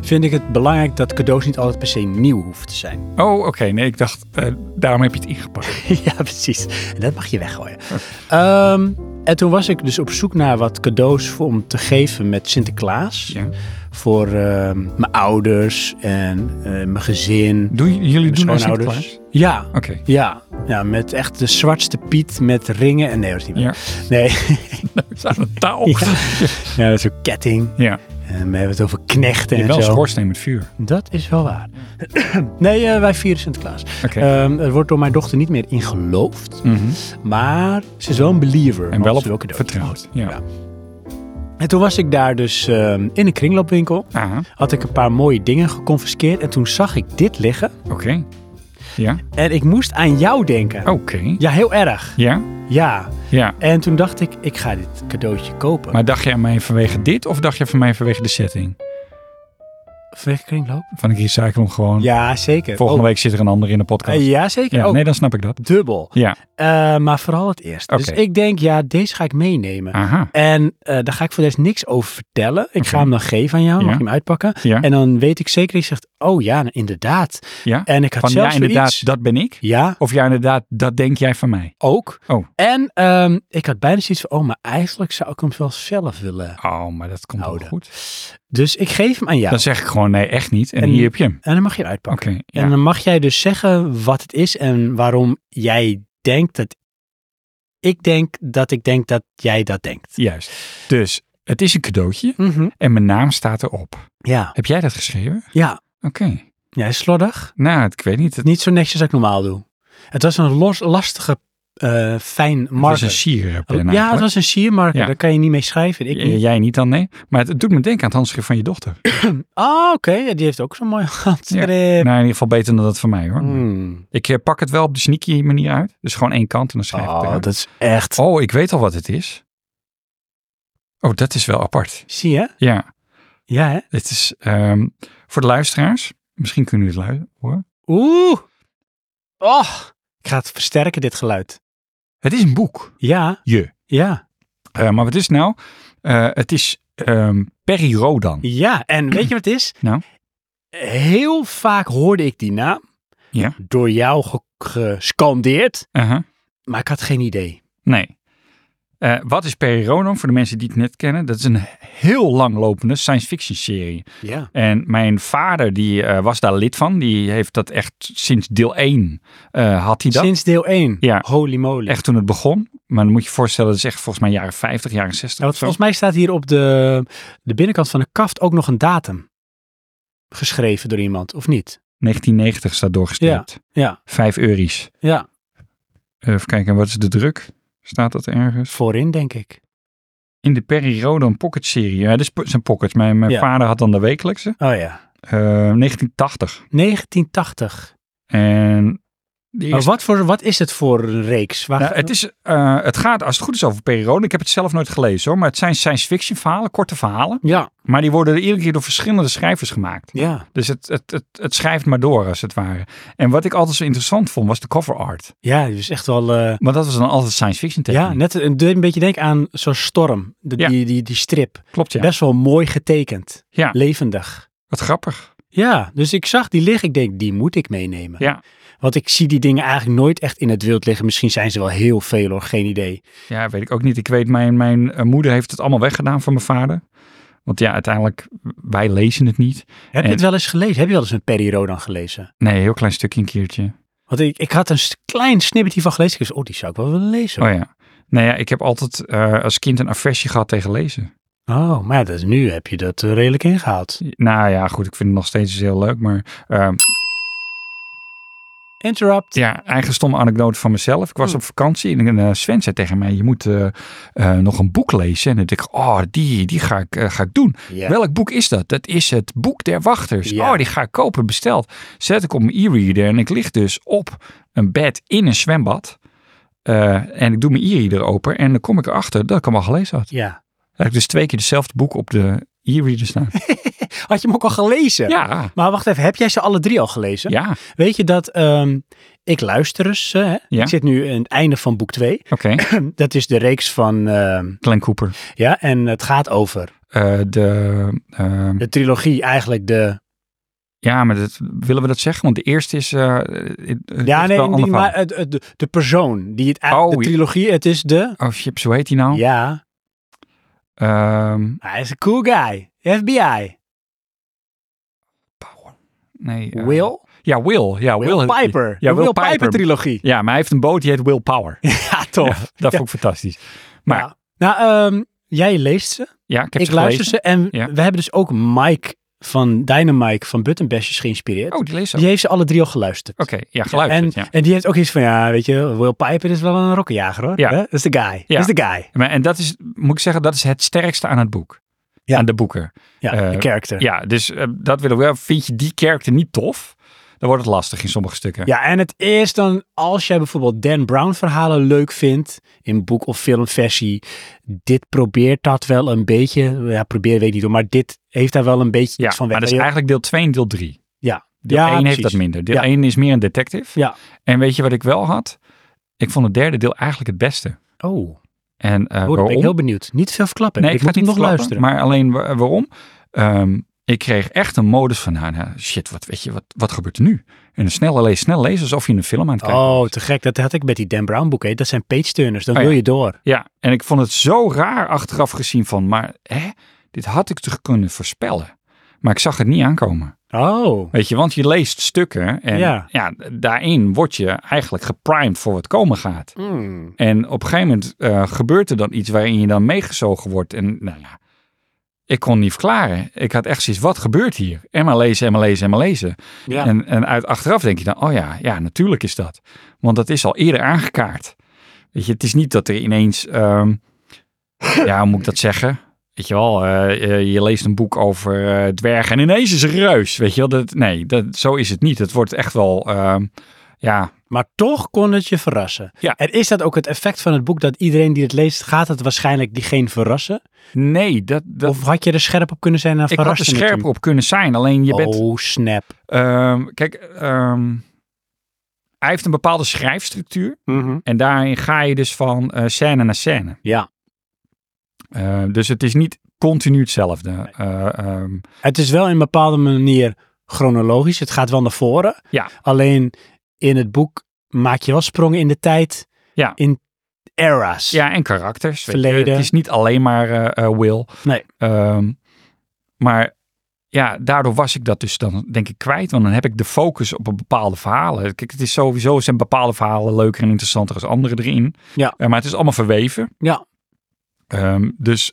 Speaker 2: vind ik het belangrijk dat cadeaus niet altijd per se nieuw hoeven te zijn. [LAUGHS]
Speaker 3: Oh, oké. Nee, ik dacht, eh, daarom heb je het ingepakt.
Speaker 2: ja, precies. En dat mag je
Speaker 3: [LAUGHS]
Speaker 2: weggooien. Ehm, en toen was ik dus op zoek naar wat cadeaus voor, om te geven met Sinterklaas.
Speaker 3: Ja.
Speaker 2: Voor ehm, mijn ouders en eh, mijn gezin.
Speaker 3: Doen j- jullie doen nou
Speaker 2: schoonouders.
Speaker 3: Sinterklaas?
Speaker 2: Ja,
Speaker 3: Oké.
Speaker 2: ja. Ja, met echt de zwartste piet met ringen. En nee, dat is niet waar.
Speaker 3: Ja. [LAUGHS]
Speaker 2: Nee,
Speaker 3: We staan aan de taal.
Speaker 2: Ja.
Speaker 3: Ja.
Speaker 2: ja, dat is een ketting.
Speaker 3: ja.
Speaker 2: En Eh, we hebben het over knechten
Speaker 3: Je hebt
Speaker 2: en
Speaker 3: wel een
Speaker 2: zo.
Speaker 3: schoorsteen met vuur.
Speaker 2: Dat is wel waar. [CLEARS THROAT] nee, eh, wij vieren Sinterklaas.
Speaker 3: Oké.
Speaker 2: Ehm, er wordt door mijn dochter niet meer in geloofd.
Speaker 3: Mhm.
Speaker 2: Maar ze is wel een believer.
Speaker 3: En wel
Speaker 2: want ze wil
Speaker 3: op
Speaker 2: cadeautjes.
Speaker 3: vertrouwd. Ja.
Speaker 2: Ja. En toen was ik daar dus ehm, in een kringloopwinkel.
Speaker 3: Ah,
Speaker 2: Had ik een paar mooie dingen geconfiskeerd. En toen zag ik dit liggen.
Speaker 3: oké. Ja.
Speaker 2: En ik moest aan jou denken.
Speaker 3: Oké.
Speaker 2: Ja, heel erg.
Speaker 3: Ja?
Speaker 2: Ja.
Speaker 3: Ja.
Speaker 2: En toen dacht ik, ik ga dit cadeautje kopen.
Speaker 3: Maar dacht jij aan mij vanwege dit of dacht jij van mij vanwege de setting?
Speaker 2: Vanwege kringloop?
Speaker 3: Van ik recycle hem gewoon.
Speaker 2: Ja, zeker.
Speaker 3: Volgende
Speaker 2: Oh,
Speaker 3: week zit er een ander in de podcast.
Speaker 2: eh, Ja, zeker.
Speaker 3: Ja,
Speaker 2: Oh,
Speaker 3: nee, dan snap ik dat.
Speaker 2: Dubbel.
Speaker 3: Ja.
Speaker 2: Eh, maar vooral het eerst. Dus
Speaker 3: Oké.
Speaker 2: ik denk, ja, deze ga ik meenemen.
Speaker 3: Aha.
Speaker 2: En eh, daar ga ik voor de rest niks over vertellen. Ik ga
Speaker 3: Oké.
Speaker 2: hem dan geven aan jou. Mag
Speaker 3: Ja.
Speaker 2: je hem uitpakken?
Speaker 3: Ja.
Speaker 2: En dan weet ik zeker, ik zegt, oh ja, nou, inderdaad.
Speaker 3: Ja.
Speaker 2: En ik had
Speaker 3: Van ja,
Speaker 2: zelfs
Speaker 3: inderdaad,
Speaker 2: zoiets-
Speaker 3: dat ben ik.
Speaker 2: Ja,
Speaker 3: Of ja, inderdaad, dat denk jij van mij.
Speaker 2: ook.
Speaker 3: Oh.
Speaker 2: En ehm, ik had bijna zoiets van, oh, maar eigenlijk zou ik hem wel zelf willen.
Speaker 3: Oh, maar dat komt wel
Speaker 2: Oude.
Speaker 3: goed.
Speaker 2: Dus ik geef hem aan jou.
Speaker 3: Dan zeg ik gewoon nee, echt niet. En,
Speaker 2: En-
Speaker 3: hier heb je hem.
Speaker 2: En dan mag je hem
Speaker 3: Oké.
Speaker 2: uitpakken.
Speaker 3: ja.
Speaker 2: En dan mag jij dus zeggen wat het is en waarom jij denkt dat ik denk dat ik denk dat jij dat denkt.
Speaker 3: Juist. Dus het is een cadeautje
Speaker 2: Mhm.
Speaker 3: en mijn naam staat erop.
Speaker 2: Ja,
Speaker 3: Heb jij dat geschreven?
Speaker 2: ja.
Speaker 3: Oké.
Speaker 2: Ja, is slordig.
Speaker 3: Nou, ik weet niet. Het
Speaker 2: Niet zo netjes als ik normaal doe. Het was een los, lastige, eh, fijn
Speaker 3: was
Speaker 2: marker.
Speaker 3: een sierpen
Speaker 2: ja, het
Speaker 3: eigenlijk.
Speaker 2: was een siermarker.
Speaker 3: Ja.
Speaker 2: Daar kan je niet mee schrijven. Ik
Speaker 3: J-
Speaker 2: niet.
Speaker 3: Jij niet dan, nee. Maar het, het doet me denken aan het handschrift van je dochter.
Speaker 2: Ah, oké. Ja, die heeft ook zo'n mooi [LAUGHS] handschrift.
Speaker 3: Nou, in ieder geval beter dan dat van mij hoor.
Speaker 2: Hmm.
Speaker 3: Ik eh, pak het wel op de sneaky manier uit. Dus gewoon één kant en dan schrijf ik
Speaker 2: Oh,
Speaker 3: eruit.
Speaker 2: dat is echt...
Speaker 3: Oh, ik weet al wat het is. Oh, dat is wel apart.
Speaker 2: Zie je?
Speaker 3: Ja,
Speaker 2: Ja, hè?
Speaker 3: het is ehm, voor de luisteraars. Misschien kunnen jullie het luisteren hoor.
Speaker 2: Oeh. Oh. Ik ga het versterken, dit geluid.
Speaker 3: Het is een boek.
Speaker 2: Ja,
Speaker 3: Je.
Speaker 2: ja,
Speaker 3: Eh, maar wat is het nou? Eh, het is ehm Perry Rodan.
Speaker 2: ja. En weet je wat het is?
Speaker 3: Nou?
Speaker 2: Heel vaak hoorde ik die naam.
Speaker 3: Ja.
Speaker 2: Door jou ge- gescandeerd.
Speaker 3: Uh-huh.
Speaker 2: Maar ik had geen idee.
Speaker 3: Nee. Eh, wat is Perry Rodan? Voor de mensen die het net kennen. Dat is een heel langlopende science fiction serie.
Speaker 2: Ja.
Speaker 3: En mijn vader die eh, was daar lid van. Die heeft dat echt sinds deel 1 eh, had hij dat.
Speaker 2: Sinds deel 1.
Speaker 3: Ja.
Speaker 2: Holy moly.
Speaker 3: Echt toen het begon. Maar dan moet je je voorstellen, dat is echt volgens mij jaren 50, jaren 60
Speaker 2: Ja,
Speaker 3: of
Speaker 2: want
Speaker 3: zo.
Speaker 2: volgens mij staat hier op de, de binnenkant van de kaft ook nog een datum. Geschreven door iemand, of niet?
Speaker 3: 1990 staat doorgestreept.
Speaker 2: Ja,
Speaker 3: Vijf euro's. Eh,
Speaker 2: ja.
Speaker 3: Even kijken, wat is de druk? Staat dat ergens?
Speaker 2: Voorin, denk ik.
Speaker 3: In de Perry Rodan Pocket serie. Ja, dit is po- zijn pockets. Mijn, mijn
Speaker 2: Ja.
Speaker 3: vader had dan de wekelijkse.
Speaker 2: Oh ja.
Speaker 3: Eh, 1980.
Speaker 2: 1980.
Speaker 3: En de
Speaker 2: Maar
Speaker 3: eerste,
Speaker 2: wat, voor, wat is het voor een reeks? Waar-
Speaker 3: nou, het, is, eh, het gaat, als het goed is, over Perry Rodan. Ik heb het zelf nooit gelezen hoor. Maar het zijn science fiction verhalen, korte verhalen.
Speaker 2: Ja,
Speaker 3: Maar die worden iedere keer door verschillende schrijvers gemaakt.
Speaker 2: ja.
Speaker 3: Dus het, het, het, het schrijft maar door, als het ware. En wat ik altijd zo interessant vond, was de cover art.
Speaker 2: Ja, dus echt wel... eh,
Speaker 3: Maar dat was dan altijd science fiction techniek.
Speaker 2: ja, net een, een beetje denk aan zo'n storm. De,
Speaker 3: Ja.
Speaker 2: die, die, die strip.
Speaker 3: Klopt, ja.
Speaker 2: Best wel mooi getekend.
Speaker 3: Ja.
Speaker 2: Levendig.
Speaker 3: Wat grappig.
Speaker 2: Ja, dus ik zag die liggen. Ik denk, die moet ik meenemen.
Speaker 3: Ja.
Speaker 2: Want ik zie die dingen eigenlijk nooit echt in het wild liggen. Misschien zijn ze wel heel veel hoor, geen idee.
Speaker 3: Ja, weet ik ook niet. Ik weet, mijn, mijn eh, moeder heeft het allemaal weggedaan van mijn vader. Want ja, uiteindelijk, wij lezen het niet.
Speaker 2: Heb je
Speaker 3: En-
Speaker 2: het wel eens gelezen? Heb je wel eens een Perry Rodan gelezen?
Speaker 3: Nee, heel klein stukje een keertje.
Speaker 2: Want ik, ik had een s- klein snippetje van gelezen. Ik dacht, oh, die zou ik wel willen lezen.
Speaker 3: Oh ja. Nou ja, ik heb altijd eh, als kind een aversie gehad tegen lezen.
Speaker 2: Oh, maar ja, dat, nu heb je dat eh, redelijk ingehaald.
Speaker 3: Nou ja, goed, ik vind het nog steeds dus heel leuk. Maar eh,
Speaker 2: Interrupt.
Speaker 3: ja, eigen stomme anekdote van mezelf. Ik was op vakantie en eh, Sven zei tegen mij, je moet eh, eh, nog een boek lezen. En dan denk ik, oh, die, die ga ik, eh, ga ik doen.
Speaker 2: Ja.
Speaker 3: Welk boek is dat? Dat is het Boek der Wachters.
Speaker 2: Ja.
Speaker 3: Oh, die ga ik kopen, besteld. Zet ik op mijn e-reader en ik lig dus op een bed in een zwembad. Eh, en ik doe mijn e-reader open en dan kom ik erachter dat ik hem al gelezen had.
Speaker 2: Ja.
Speaker 3: Heb ik dus twee keer hetzelfde boek op de e-reader staan.
Speaker 2: Had je hem ook al gelezen?
Speaker 3: Ja,
Speaker 2: Maar wacht even, heb jij ze alle drie al gelezen?
Speaker 3: ja,
Speaker 2: Weet je dat ehm, ik luister eens. eh, hè?
Speaker 3: Ja.
Speaker 2: Ik zit nu aan het einde van boek 2.
Speaker 3: oké.
Speaker 2: [CLEARS THROAT] dat is de reeks van. ehm,
Speaker 3: Glenn Cooper.
Speaker 2: ja, en het gaat over
Speaker 3: Eh, de, eh,
Speaker 2: de trilogie, eigenlijk de.
Speaker 3: ja, maar dat, willen we dat zeggen? Want de eerste is... eh, eh, eh,
Speaker 2: Ja,
Speaker 3: is wel
Speaker 2: nee, die-
Speaker 3: een ander
Speaker 2: maar het, het- de, de persoon die het eigenlijk.
Speaker 3: Oh,
Speaker 2: de
Speaker 3: ja.
Speaker 2: trilogie, het is de.
Speaker 3: verhaal. Oh, chips, hoe heet die nou?
Speaker 2: Ja,
Speaker 3: Ehm,
Speaker 2: hij is een cool guy. FBI.
Speaker 3: nee, eh,
Speaker 2: Will?
Speaker 3: Ja, Will. Ja,
Speaker 2: Will,
Speaker 3: heet die.
Speaker 2: Piper.
Speaker 3: Ja,
Speaker 2: de
Speaker 3: Will, Piper. [LAUGHS]
Speaker 2: trilogie.
Speaker 3: Ja, maar hij heeft een boot die heet Will Power.
Speaker 2: [LAUGHS] Ja, tof.
Speaker 3: Dat
Speaker 2: Ja.
Speaker 3: vond ik fantastisch. Maar ja,
Speaker 2: Ja. Nou, ehm, jij leest ze.
Speaker 3: ik heb
Speaker 2: ik
Speaker 3: ze gelezen.
Speaker 2: luister ze. En
Speaker 3: Ja.
Speaker 2: we hebben dus ook Mike van Dynamike van Buttonbashers geïnspireerd.
Speaker 3: Oh, die lees ook.
Speaker 2: die heeft ze alle drie al geluisterd.
Speaker 3: Oké, ja, geluisterd.
Speaker 2: en,
Speaker 3: Ja,
Speaker 2: en die heeft ook iets van, ja, weet je, Will Piper is wel een rokkenjager hoor.
Speaker 3: Ja.
Speaker 2: Hè? Dat is de guy.
Speaker 3: Ja.
Speaker 2: Dat is de guy.
Speaker 3: Maar, en dat is, moet ik zeggen, dat is het sterkste aan het boek.
Speaker 2: Ja.
Speaker 3: Aan de boeken.
Speaker 2: Ja,
Speaker 3: Eh,
Speaker 2: de character.
Speaker 3: Ja, dus eh, dat willen we wel. Vind je die character niet tof, dan wordt het lastig in sommige stukken.
Speaker 2: Ja, en het is dan, als jij bijvoorbeeld Dan Brown verhalen leuk vindt, in boek- of filmversie, dit probeert dat wel een beetje, ja, probeer weet ik niet hoor, maar dit heeft daar wel een beetje
Speaker 3: Ja,
Speaker 2: iets van weg.
Speaker 3: maar dat is eigenlijk deel 2 en deel 3.
Speaker 2: ja,
Speaker 3: Deel
Speaker 2: ja,
Speaker 3: 1 heeft
Speaker 2: precies.
Speaker 3: dat minder. Deel
Speaker 2: Ja.
Speaker 3: 1 is meer een detective.
Speaker 2: Ja.
Speaker 3: En weet je wat ik wel had? Ik vond het derde deel eigenlijk het beste.
Speaker 2: Oh,
Speaker 3: En eh
Speaker 2: oh, dan ben ik
Speaker 3: Nou, waarom?
Speaker 2: heel benieuwd. Niet veel verklappen.
Speaker 3: Nee,
Speaker 2: ik
Speaker 3: ik,
Speaker 2: moet
Speaker 3: ga
Speaker 2: hem
Speaker 3: het
Speaker 2: nog
Speaker 3: niet
Speaker 2: luisteren.
Speaker 3: luisteren. Maar alleen wa- waarom? Ehm, ik kreeg echt een modus van, nou, nou, shit, wat, weet je, wat, wat gebeurt er nu? En een snel, alleen snel lezen, alsof je een film aan het kijken
Speaker 2: Oh,
Speaker 3: was.
Speaker 2: te gek. Dat had ik met die Dan Brown boeken. hè. Dat zijn page turners. Dan
Speaker 3: Oh,
Speaker 2: wil
Speaker 3: ja.
Speaker 2: je door.
Speaker 3: Ja, en ik vond het zo raar achteraf gezien van, maar hè, dit had ik toch kunnen voorspellen. Maar ik zag het niet aankomen.
Speaker 2: Oh,
Speaker 3: Weet je, want je leest stukken en
Speaker 2: Ja.
Speaker 3: ja. daarin word je eigenlijk geprimed voor wat komen gaat. En op een gegeven moment eh, gebeurt er dan iets waarin je dan meegezogen wordt. En nou ja, ik kon niet verklaren. Ik had echt zoiets, wat gebeurt hier? En maar lezen, en maar lezen, en maar lezen.
Speaker 2: Ja.
Speaker 3: En, en uit, achteraf denk je dan, oh ja, ja, natuurlijk is dat. Want dat is al eerder aangekaart. Weet je, het is niet dat er ineens, ehm, ja, hoe moet ik dat zeggen? Weet je wel, eh, eh, je leest een boek over eh, dwergen en ineens is er een reus. Weet je wel, dat, nee, dat, zo is het niet. Het wordt echt wel, ehm, ja,
Speaker 2: Maar toch kon het je verrassen.
Speaker 3: Ja.
Speaker 2: En is dat ook het effect van het boek dat iedereen die het leest, gaat het waarschijnlijk diegene verrassen?
Speaker 3: nee, dat, dat
Speaker 2: Of had je er scherp op kunnen zijn en
Speaker 3: ik had er
Speaker 2: verrassen het
Speaker 3: scherp
Speaker 2: hem?
Speaker 3: op kunnen zijn. Alleen je bent,
Speaker 2: Oh, snap.
Speaker 3: ehm, kijk, ehm, hij heeft een bepaalde schrijfstructuur. En daarin ga je dus van eh, scène naar scène.
Speaker 2: Ja.
Speaker 3: Eh, dus het is niet continu hetzelfde. Eh, ehm,
Speaker 2: Het is wel in een bepaalde manier chronologisch. Het gaat wel naar voren.
Speaker 3: Ja.
Speaker 2: Alleen in het boek maak je wel sprongen in de tijd.
Speaker 3: Ja.
Speaker 2: In eras.
Speaker 3: ja, en karakters. weet je.
Speaker 2: Verleden.
Speaker 3: Het is niet alleen maar eh, eh, Will.
Speaker 2: Nee.
Speaker 3: Ehm, maar ja, daardoor was ik dat dus dan denk ik kwijt. Want dan heb ik de focus op een bepaalde verhalen. Kijk, het is sowieso zijn bepaalde verhalen leuker en interessanter als andere erin.
Speaker 2: Ja.
Speaker 3: Eh, maar het is allemaal verweven.
Speaker 2: Ja.
Speaker 3: Ehm, dus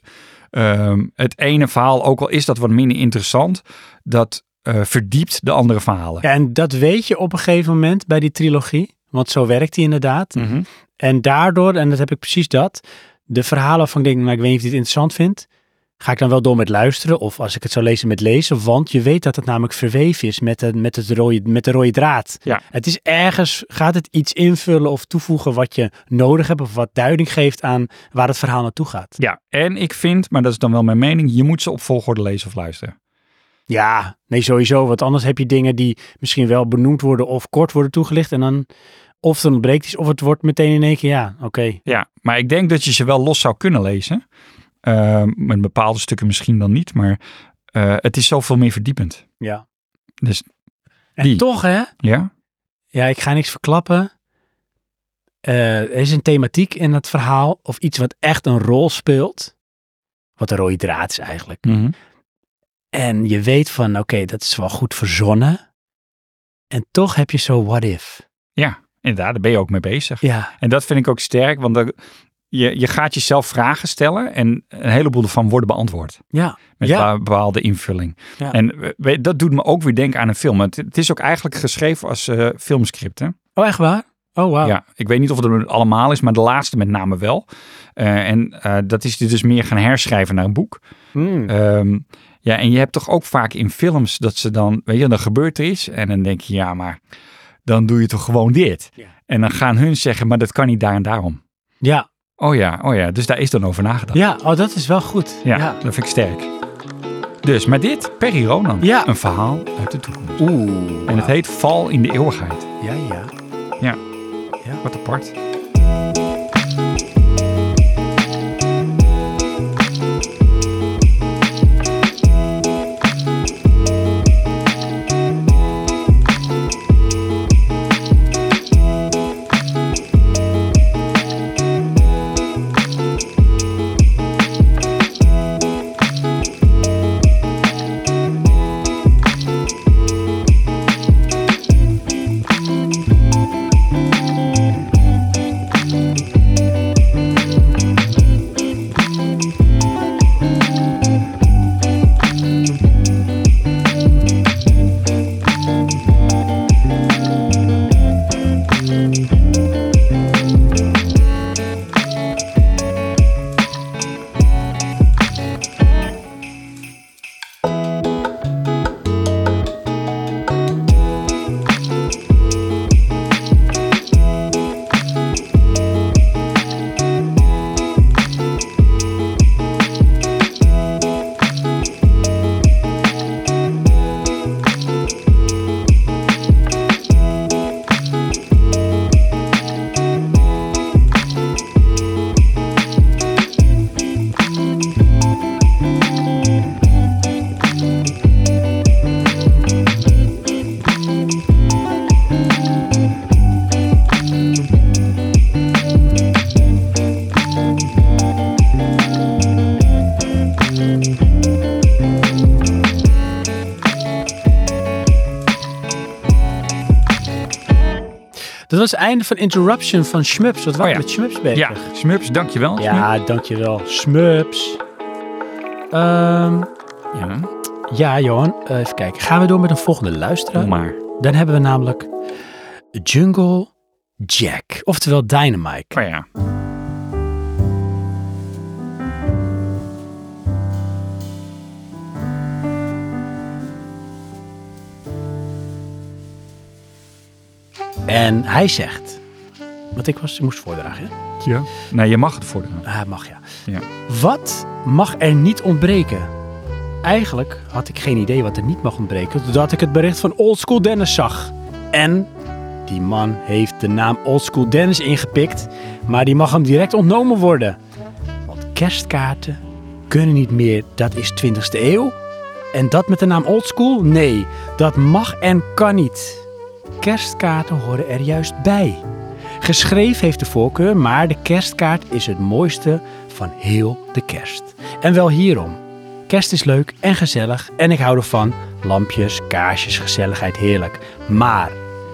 Speaker 3: ehm, het ene verhaal, ook al is dat wat minder interessant, dat eh, verdiept de andere verhalen.
Speaker 2: Ja, en dat weet je op een gegeven moment bij die trilogie. Want zo werkt hij inderdaad.
Speaker 3: Mhm.
Speaker 2: En daardoor, en dat heb ik precies dat, de verhalen van ik denk, nou, ik weet niet of je dit interessant vindt, ga ik dan wel door met luisteren of als ik het zou lezen met lezen, want je weet dat het namelijk verweven is met, de, met, het rode, met de rode draad.
Speaker 3: Ja.
Speaker 2: Het is ergens, gaat het iets invullen of toevoegen wat je nodig hebt of wat duiding geeft aan waar het verhaal naartoe gaat.
Speaker 3: Ja, en ik vind, maar dat is dan wel mijn mening, je moet ze op volgorde lezen of luisteren.
Speaker 2: Ja, nee sowieso, want anders heb je dingen die misschien wel benoemd worden of kort worden toegelicht en dan of er ontbreekt iets of het wordt meteen in één keer ja, oké.
Speaker 3: Ja, maar ik denk dat je ze wel los zou kunnen lezen. Eh, met bepaalde stukken misschien dan niet, maar eh, het is zoveel meer verdiepend.
Speaker 2: Ja.
Speaker 3: Dus
Speaker 2: En
Speaker 3: Die.
Speaker 2: toch hè,
Speaker 3: ja,
Speaker 2: Ja, ik ga niks verklappen. Eh, er is een thematiek in het verhaal of iets wat echt een rol speelt. Wat een rode draad is eigenlijk.
Speaker 3: Mhm.
Speaker 2: En je weet van, oké, dat is wel goed verzonnen. En toch heb je zo what if.
Speaker 3: inderdaad, daar ben je ook mee bezig.
Speaker 2: Ja,
Speaker 3: En dat vind ik ook sterk, want dan- je, je gaat jezelf vragen stellen en een heleboel ervan worden beantwoord.
Speaker 2: ja,
Speaker 3: Met
Speaker 2: Ja.
Speaker 3: een bepaalde invulling.
Speaker 2: Ja.
Speaker 3: En eh, weet- dat doet me ook weer denken aan een film. Het, het is ook eigenlijk geschreven als eh, filmscript, hè?
Speaker 2: Oh, echt waar? Oh, wauw.
Speaker 3: Ja, ik weet niet of het er allemaal is, maar de laatste met name wel. Eh, en eh, dat is dus meer gaan herschrijven naar een boek.
Speaker 2: Hmm.
Speaker 3: Ehm, ja, en je hebt toch ook vaak in films dat ze dan, weet je, dan gebeurt er iets en dan denk je, ja, maar dan doe je toch gewoon dit.
Speaker 2: Ja.
Speaker 3: En dan gaan hun zeggen, maar dat kan niet daar en daarom.
Speaker 2: Ja,
Speaker 3: Oh ja, oh ja, dus daar is dan over nagedacht.
Speaker 2: ja, oh, dat is wel goed.
Speaker 3: Ja, dat vind ik sterk. Dus, maar dit, Perry Ronan,
Speaker 2: Ja.
Speaker 3: een verhaal uit de toekomst.
Speaker 2: Oeh.
Speaker 3: En het heet Val in de Eeuwigheid.
Speaker 2: Ja, ja.
Speaker 3: Ja, ja. wat apart.
Speaker 2: Dat was het einde van Interruption van Schmups. Wat waren
Speaker 3: Oh, ja.
Speaker 2: we met Schmups bezig?
Speaker 3: Ja, Smurfs, dankjewel.
Speaker 2: Ja, dankjewel. Smups. Oké, Ehm,
Speaker 3: Ja,
Speaker 2: ja, Johan, eh, even kijken. Gaan we door met een volgende luisteraar?
Speaker 3: doe maar.
Speaker 2: Dan hebben we namelijk Jungle Jack, oftewel Dynamite.
Speaker 3: Maar ja.
Speaker 2: En hij zegt, want ik was, moest voordragen, hè?
Speaker 3: ja. Nee, je mag het voordragen.
Speaker 2: Ah, mag ja.
Speaker 3: Ja.
Speaker 2: Wat mag er niet ontbreken? Eigenlijk had ik geen idee wat er niet mag ontbreken, totdat ik het bericht van Old School Dennis zag. En die man heeft de naam Old School Dennis ingepikt, maar die mag hem direct ontnomen worden. Want kerstkaarten kunnen niet meer, dat is 20e eeuw. En dat met de naam Old School? Nee, dat mag en kan niet. Kerstkaarten horen er juist bij. Geschreven heeft de voorkeur, maar de kerstkaart is het mooiste van heel de kerst. En wel hierom. Kerst is leuk en gezellig en ik hou ervan. Lampjes, kaarsjes, gezelligheid, heerlijk. Maar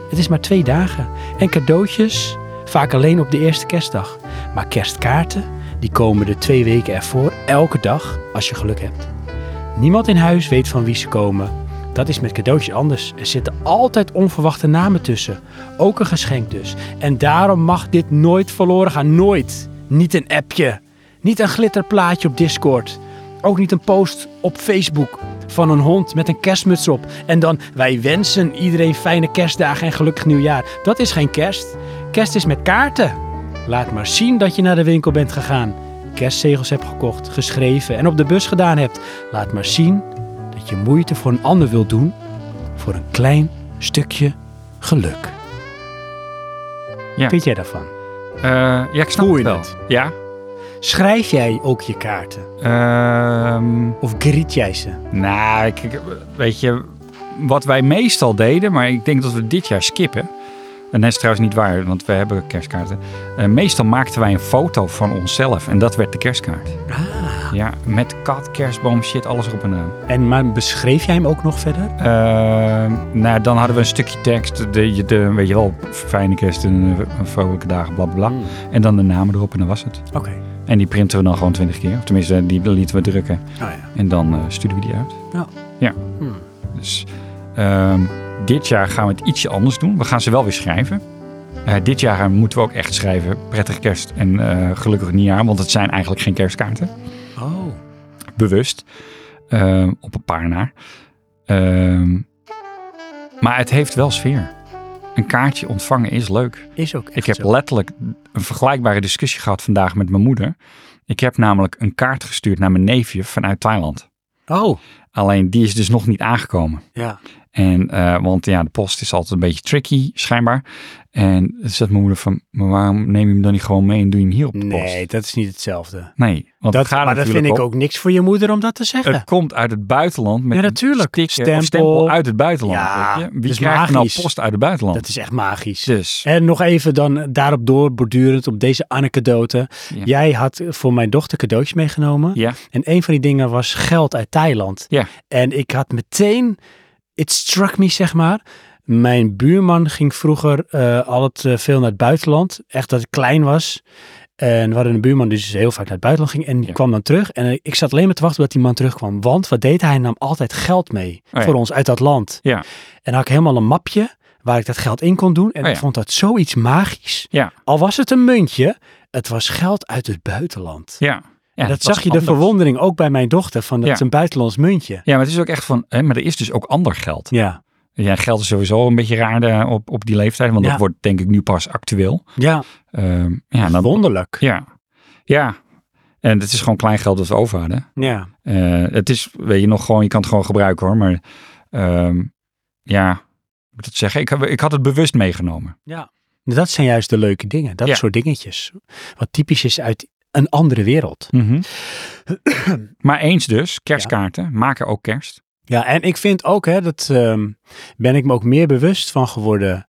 Speaker 2: het is maar twee dagen en cadeautjes vaak alleen op de eerste kerstdag. Maar kerstkaarten, die komen de twee weken ervoor, elke dag als je geluk hebt. Niemand in huis weet van wie ze komen. Dat is met cadeautjes anders. Er zitten altijd onverwachte namen tussen. Ook een geschenk dus. En daarom mag dit nooit verloren gaan. Nooit. Niet een appje. Niet een glitterplaatje op Discord. Ook niet een post op Facebook van een hond met een kerstmuts op. En dan wij wensen iedereen fijne kerstdagen en gelukkig nieuwjaar. Dat is geen kerst. Kerst is met kaarten. Laat maar zien dat je naar de winkel bent gegaan. Kerstzegels hebt gekocht, geschreven en op de bus gedaan hebt. Laat maar zien dat je moeite voor een ander wilt doen voor een klein stukje geluk.
Speaker 3: Ja.
Speaker 2: Vind jij daarvan?
Speaker 3: Eh, ja, ik snap
Speaker 2: Voel
Speaker 3: het
Speaker 2: je
Speaker 3: wel.
Speaker 2: dat?
Speaker 3: Ja.
Speaker 2: Schrijf jij ook je kaarten?
Speaker 3: Ehm,
Speaker 2: Of griet jij ze?
Speaker 3: nou, ik, ik- weet je, wat wij meestal deden, maar ik denk dat we dit jaar skippen. En dat is trouwens niet waar, want we hebben kerstkaarten. Eh, meestal maakten wij een foto van onszelf en dat werd de kerstkaart. Ja, met kat, kerstboom, shit, alles erop en aan.
Speaker 2: En maar beschreef jij hem ook nog verder?
Speaker 3: Eh, nou, dan hadden we een stukje tekst. De, de, weet je wel, fijne kerst en eh, vrolijke dagen, bla bla bla. En dan de namen erop en dan was het.
Speaker 2: Oké.
Speaker 3: En die printen we dan gewoon twintig keer. Of tenminste, die lieten we drukken.
Speaker 2: Nou ja.
Speaker 3: En dan eh, sturen we die uit.
Speaker 2: Ja.
Speaker 3: Ja.
Speaker 2: Hmm.
Speaker 3: Dus ehm, dit jaar gaan we het ietsje anders doen. We gaan ze wel weer schrijven. Eh, dit jaar moeten we ook echt schrijven. Prettig kerst en eh, gelukkig nieuwjaar. Want het zijn eigenlijk geen kerstkaarten.
Speaker 2: Oh.
Speaker 3: Bewust. Ehm, op een paar na. Ehm, maar het heeft wel sfeer. Een kaartje ontvangen is leuk.
Speaker 2: Is ook echt
Speaker 3: Ik heb
Speaker 2: zo.
Speaker 3: letterlijk een vergelijkbare discussie gehad vandaag met mijn moeder. Ik heb namelijk een kaart gestuurd naar mijn neefje vanuit Thailand.
Speaker 2: Oh.
Speaker 3: Alleen die is dus nog niet aangekomen.
Speaker 2: Ja.
Speaker 3: En, eh, want ja, de post is altijd een beetje tricky, schijnbaar. En toen zegt mijn moeder van, maar waarom neem je hem dan niet gewoon mee en doe je hem hier op de post?
Speaker 2: Nee, dat is niet hetzelfde.
Speaker 3: Nee, want
Speaker 2: Dat,
Speaker 3: het gaat
Speaker 2: maar dat vind
Speaker 3: natuurlijk
Speaker 2: ik
Speaker 3: om-
Speaker 2: ook niks voor je moeder om dat te zeggen.
Speaker 3: Het komt uit het buitenland met
Speaker 2: Ja, natuurlijk.
Speaker 3: een sticker of
Speaker 2: Stempel.
Speaker 3: stempel uit het buitenland.
Speaker 2: Ja,
Speaker 3: weet je?
Speaker 2: dat
Speaker 3: Wie
Speaker 2: is
Speaker 3: krijgt er nou
Speaker 2: magisch.
Speaker 3: post uit het buitenland?
Speaker 2: Dat is echt magisch.
Speaker 3: Dus,
Speaker 2: En nog even dan daarop doorbordurend op deze anekdote.
Speaker 3: Ja.
Speaker 2: Jij had voor mijn dochter cadeautjes meegenomen.
Speaker 3: ja,
Speaker 2: En een van die dingen was geld uit Thailand.
Speaker 3: Ja.
Speaker 2: En ik had meteen, it struck me zeg maar. Mijn buurman ging vroeger eh altijd eh, veel naar het buitenland. Echt dat ik klein was. En we hadden een buurman die dus heel vaak naar het buitenland ging. En die
Speaker 3: Ja.
Speaker 2: kwam dan terug. En eh, ik zat alleen maar te wachten dat die man terugkwam. Want wat deed hij? Hij nam altijd geld mee
Speaker 3: Oh ja.
Speaker 2: voor ons uit dat land.
Speaker 3: Ja.
Speaker 2: En dan had ik helemaal een mapje waar ik dat geld in kon doen. En
Speaker 3: Oh ja.
Speaker 2: ik vond dat zoiets magisch.
Speaker 3: ja,
Speaker 2: Al was het een muntje, het was geld uit het buitenland.
Speaker 3: ja. ja
Speaker 2: En dat
Speaker 3: het was
Speaker 2: zag je de
Speaker 3: anders.
Speaker 2: verwondering ook bij mijn dochter van dat
Speaker 3: Ja.
Speaker 2: is een buitenlands muntje.
Speaker 3: Ja, maar het is ook echt van, hè, maar er is dus ook ander geld.
Speaker 2: Ja.
Speaker 3: Ja, geld is sowieso een beetje raar eh, op, op die leeftijd, want
Speaker 2: Ja.
Speaker 3: dat wordt denk ik nu pas actueel.
Speaker 2: Ja,
Speaker 3: Ehm, ja, dan-
Speaker 2: wonderlijk.
Speaker 3: ja, ja. En het is gewoon klein geld dat we over hadden.
Speaker 2: Ja.
Speaker 3: Eh, het is, weet je nog, gewoon, je kan het gewoon gebruiken hoor, maar ehm, ja, hoe moet ik dat zeggen? Ik, heb- ik had het bewust meegenomen.
Speaker 2: Dat zijn juist de leuke dingen, dat
Speaker 3: Ja.
Speaker 2: soort dingetjes. Wat typisch is uit een andere wereld.
Speaker 3: maar eens dus, kerstkaarten maken ook kerst.
Speaker 2: Ja, en ik vind ook, hè, dat ehm, ben ik me ook meer bewust van geworden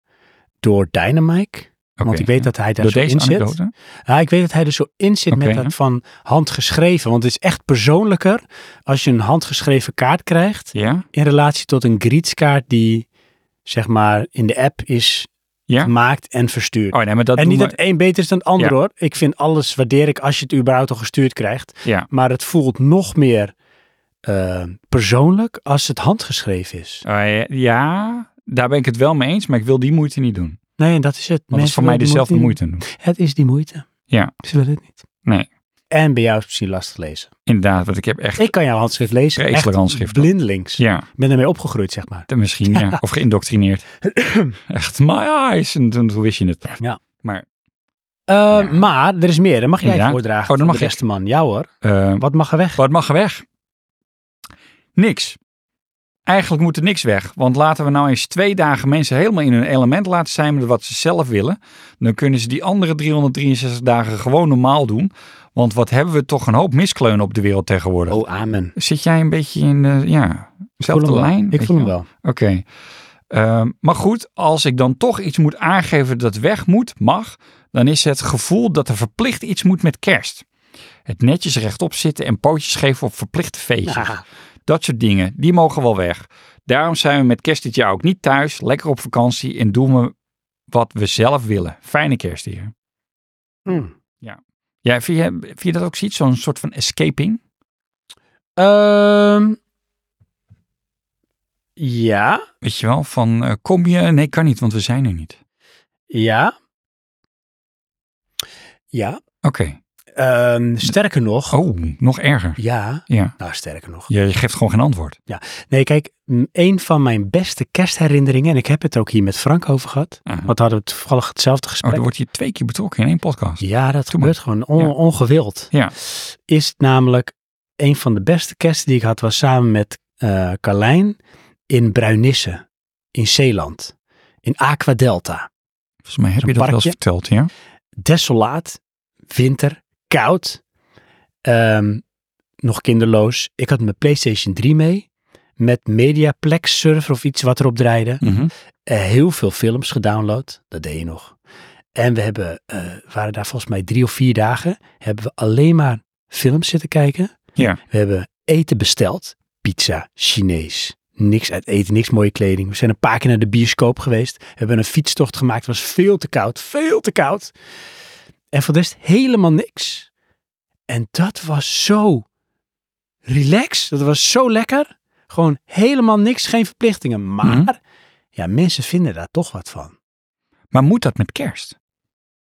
Speaker 2: door Dynamike.
Speaker 3: Oké,
Speaker 2: want ik weet
Speaker 3: ja.
Speaker 2: dat hij daar
Speaker 3: Door
Speaker 2: zo
Speaker 3: deze
Speaker 2: in zit.
Speaker 3: anekdote?
Speaker 2: Ja, ik weet dat hij er zo in zit
Speaker 3: Oké,
Speaker 2: met dat
Speaker 3: ja.
Speaker 2: van handgeschreven. Want het is echt persoonlijker als je een handgeschreven kaart krijgt.
Speaker 3: Ja,
Speaker 2: in relatie tot een greetskaart die zeg maar in de app is
Speaker 3: ja.
Speaker 2: gemaakt en verstuurd.
Speaker 3: Oh nee, maar dat
Speaker 2: en
Speaker 3: doen
Speaker 2: niet
Speaker 3: we-
Speaker 2: dat het een beter is dan het ander
Speaker 3: Ja.
Speaker 2: hoor. Ik vind alles waardeer ik als je het überhaupt al gestuurd krijgt.
Speaker 3: Ja,
Speaker 2: Maar het voelt nog meer eh, persoonlijk als het handgeschreven is.
Speaker 3: Eh, ja, daar ben ik het wel mee eens, maar ik wil die moeite niet doen.
Speaker 2: Nee, en dat is het.
Speaker 3: Want dat is voor mij
Speaker 2: willen die
Speaker 3: dezelfde
Speaker 2: niet.
Speaker 3: moeite doen.
Speaker 2: Het is die moeite.
Speaker 3: Ja.
Speaker 2: Ze willen het niet.
Speaker 3: Nee.
Speaker 2: En bij jou is het misschien lastig lezen.
Speaker 3: Inderdaad, want ik heb echt...
Speaker 2: Ik kan jouw handschrift lezen.
Speaker 3: Vreselijk
Speaker 2: echt
Speaker 3: handschrift.
Speaker 2: Blindelings.
Speaker 3: Ja,
Speaker 2: Ik ben ermee opgegroeid, zeg maar.
Speaker 3: dan misschien,
Speaker 2: [LAUGHS]
Speaker 3: ja. Of geïndoctrineerd. [CLEARS THROAT] echt, my eyes. En toen, toen wist je het.
Speaker 2: Ja.
Speaker 3: Maar
Speaker 2: Eh,
Speaker 3: Ja.
Speaker 2: Maar er is meer. Dan mag jij
Speaker 3: Ja.
Speaker 2: voordragen.
Speaker 3: Oh, dan
Speaker 2: van
Speaker 3: mag
Speaker 2: de
Speaker 3: ik.
Speaker 2: beste man. Ja hoor.
Speaker 3: eh,
Speaker 2: Wat mag er weg?
Speaker 3: Wat mag er weg? Niks. Eigenlijk moet er niks weg. Want laten we nou eens twee dagen mensen helemaal in hun element laten zijn met wat ze zelf willen. Dan kunnen ze die andere 363 dagen gewoon normaal doen. Want wat hebben we toch een hoop miskleunen op de wereld tegenwoordig.
Speaker 2: Oh, amen.
Speaker 3: Zit jij een beetje in de ja,
Speaker 2: Ik
Speaker 3: zelfde
Speaker 2: voel hem wel.
Speaker 3: lijn?
Speaker 2: Ik
Speaker 3: Weet
Speaker 2: voel
Speaker 3: je
Speaker 2: hem wel.
Speaker 3: Oké. Ehm, maar goed, als ik dan toch iets moet aangeven dat weg moet, mag, dan is het gevoel dat er verplicht iets moet met kerst. Het netjes rechtop zitten en pootjes geven op verplichte feestjes.
Speaker 2: Ja.
Speaker 3: Dat soort dingen, die mogen wel weg. Daarom zijn we met kerst dit jaar ook niet thuis, lekker op vakantie en doen we wat we zelf willen. Fijne kerst hier.
Speaker 2: Hmm.
Speaker 3: Ja, vind je, vind je dat ook zoiets, zo'n soort van escaping?
Speaker 2: Ehm, ja.
Speaker 3: Weet je wel, van eh, kom je? Nee, kan niet, want we zijn er niet.
Speaker 2: Ja. Ja.
Speaker 3: Oké.
Speaker 2: Ehm, sterker nog.
Speaker 3: Oh, nog erger.
Speaker 2: Ja.
Speaker 3: Ja.
Speaker 2: Nou, sterker nog.
Speaker 3: Je, je geeft gewoon geen antwoord.
Speaker 2: Nee, kijk, m, een van mijn beste kerstherinneringen, en ik heb het ook hier met Frank over gehad,
Speaker 3: Aha.
Speaker 2: want we hadden toevallig hetzelfde
Speaker 3: Oh,
Speaker 2: gesprek.
Speaker 3: dan wordt je twee keer betrokken in één podcast.
Speaker 2: Ja, dat
Speaker 3: Doe maar.
Speaker 2: gebeurt gewoon on-
Speaker 3: Ja.
Speaker 2: ongewild.
Speaker 3: Ja.
Speaker 2: Is het namelijk een van de beste kersten die ik had, was samen met eh Carlijn in Bruinisse, in Zeeland, in Aqua Delta.
Speaker 3: Volgens mij heb
Speaker 2: Zo'n
Speaker 3: je dat wel eens
Speaker 2: parkje.
Speaker 3: verteld, ja?
Speaker 2: Desolaat, winter, koud, ehm, nog kinderloos. Ik had mijn PlayStation 3 mee, met Mediaplex server of iets wat erop draaide. eh, heel veel films gedownload. Dat deed je nog. En we hebben, eh, waren daar volgens mij drie of vier dagen. Hebben we alleen maar films zitten kijken.
Speaker 3: Ja.
Speaker 2: We hebben eten besteld. Pizza, Chinees. Niks uit eten, niks mooie kleding. We zijn een paar keer naar de bioscoop geweest. We hebben een fietstocht gemaakt. Het was veel te koud. Veel te koud. En voor de rest helemaal niks. En dat was zo relaxed. Dat was zo lekker. Gewoon helemaal niks. Geen verplichtingen. Maar
Speaker 3: Mhm.
Speaker 2: ja, mensen vinden daar toch wat van.
Speaker 3: Maar moet dat met kerst?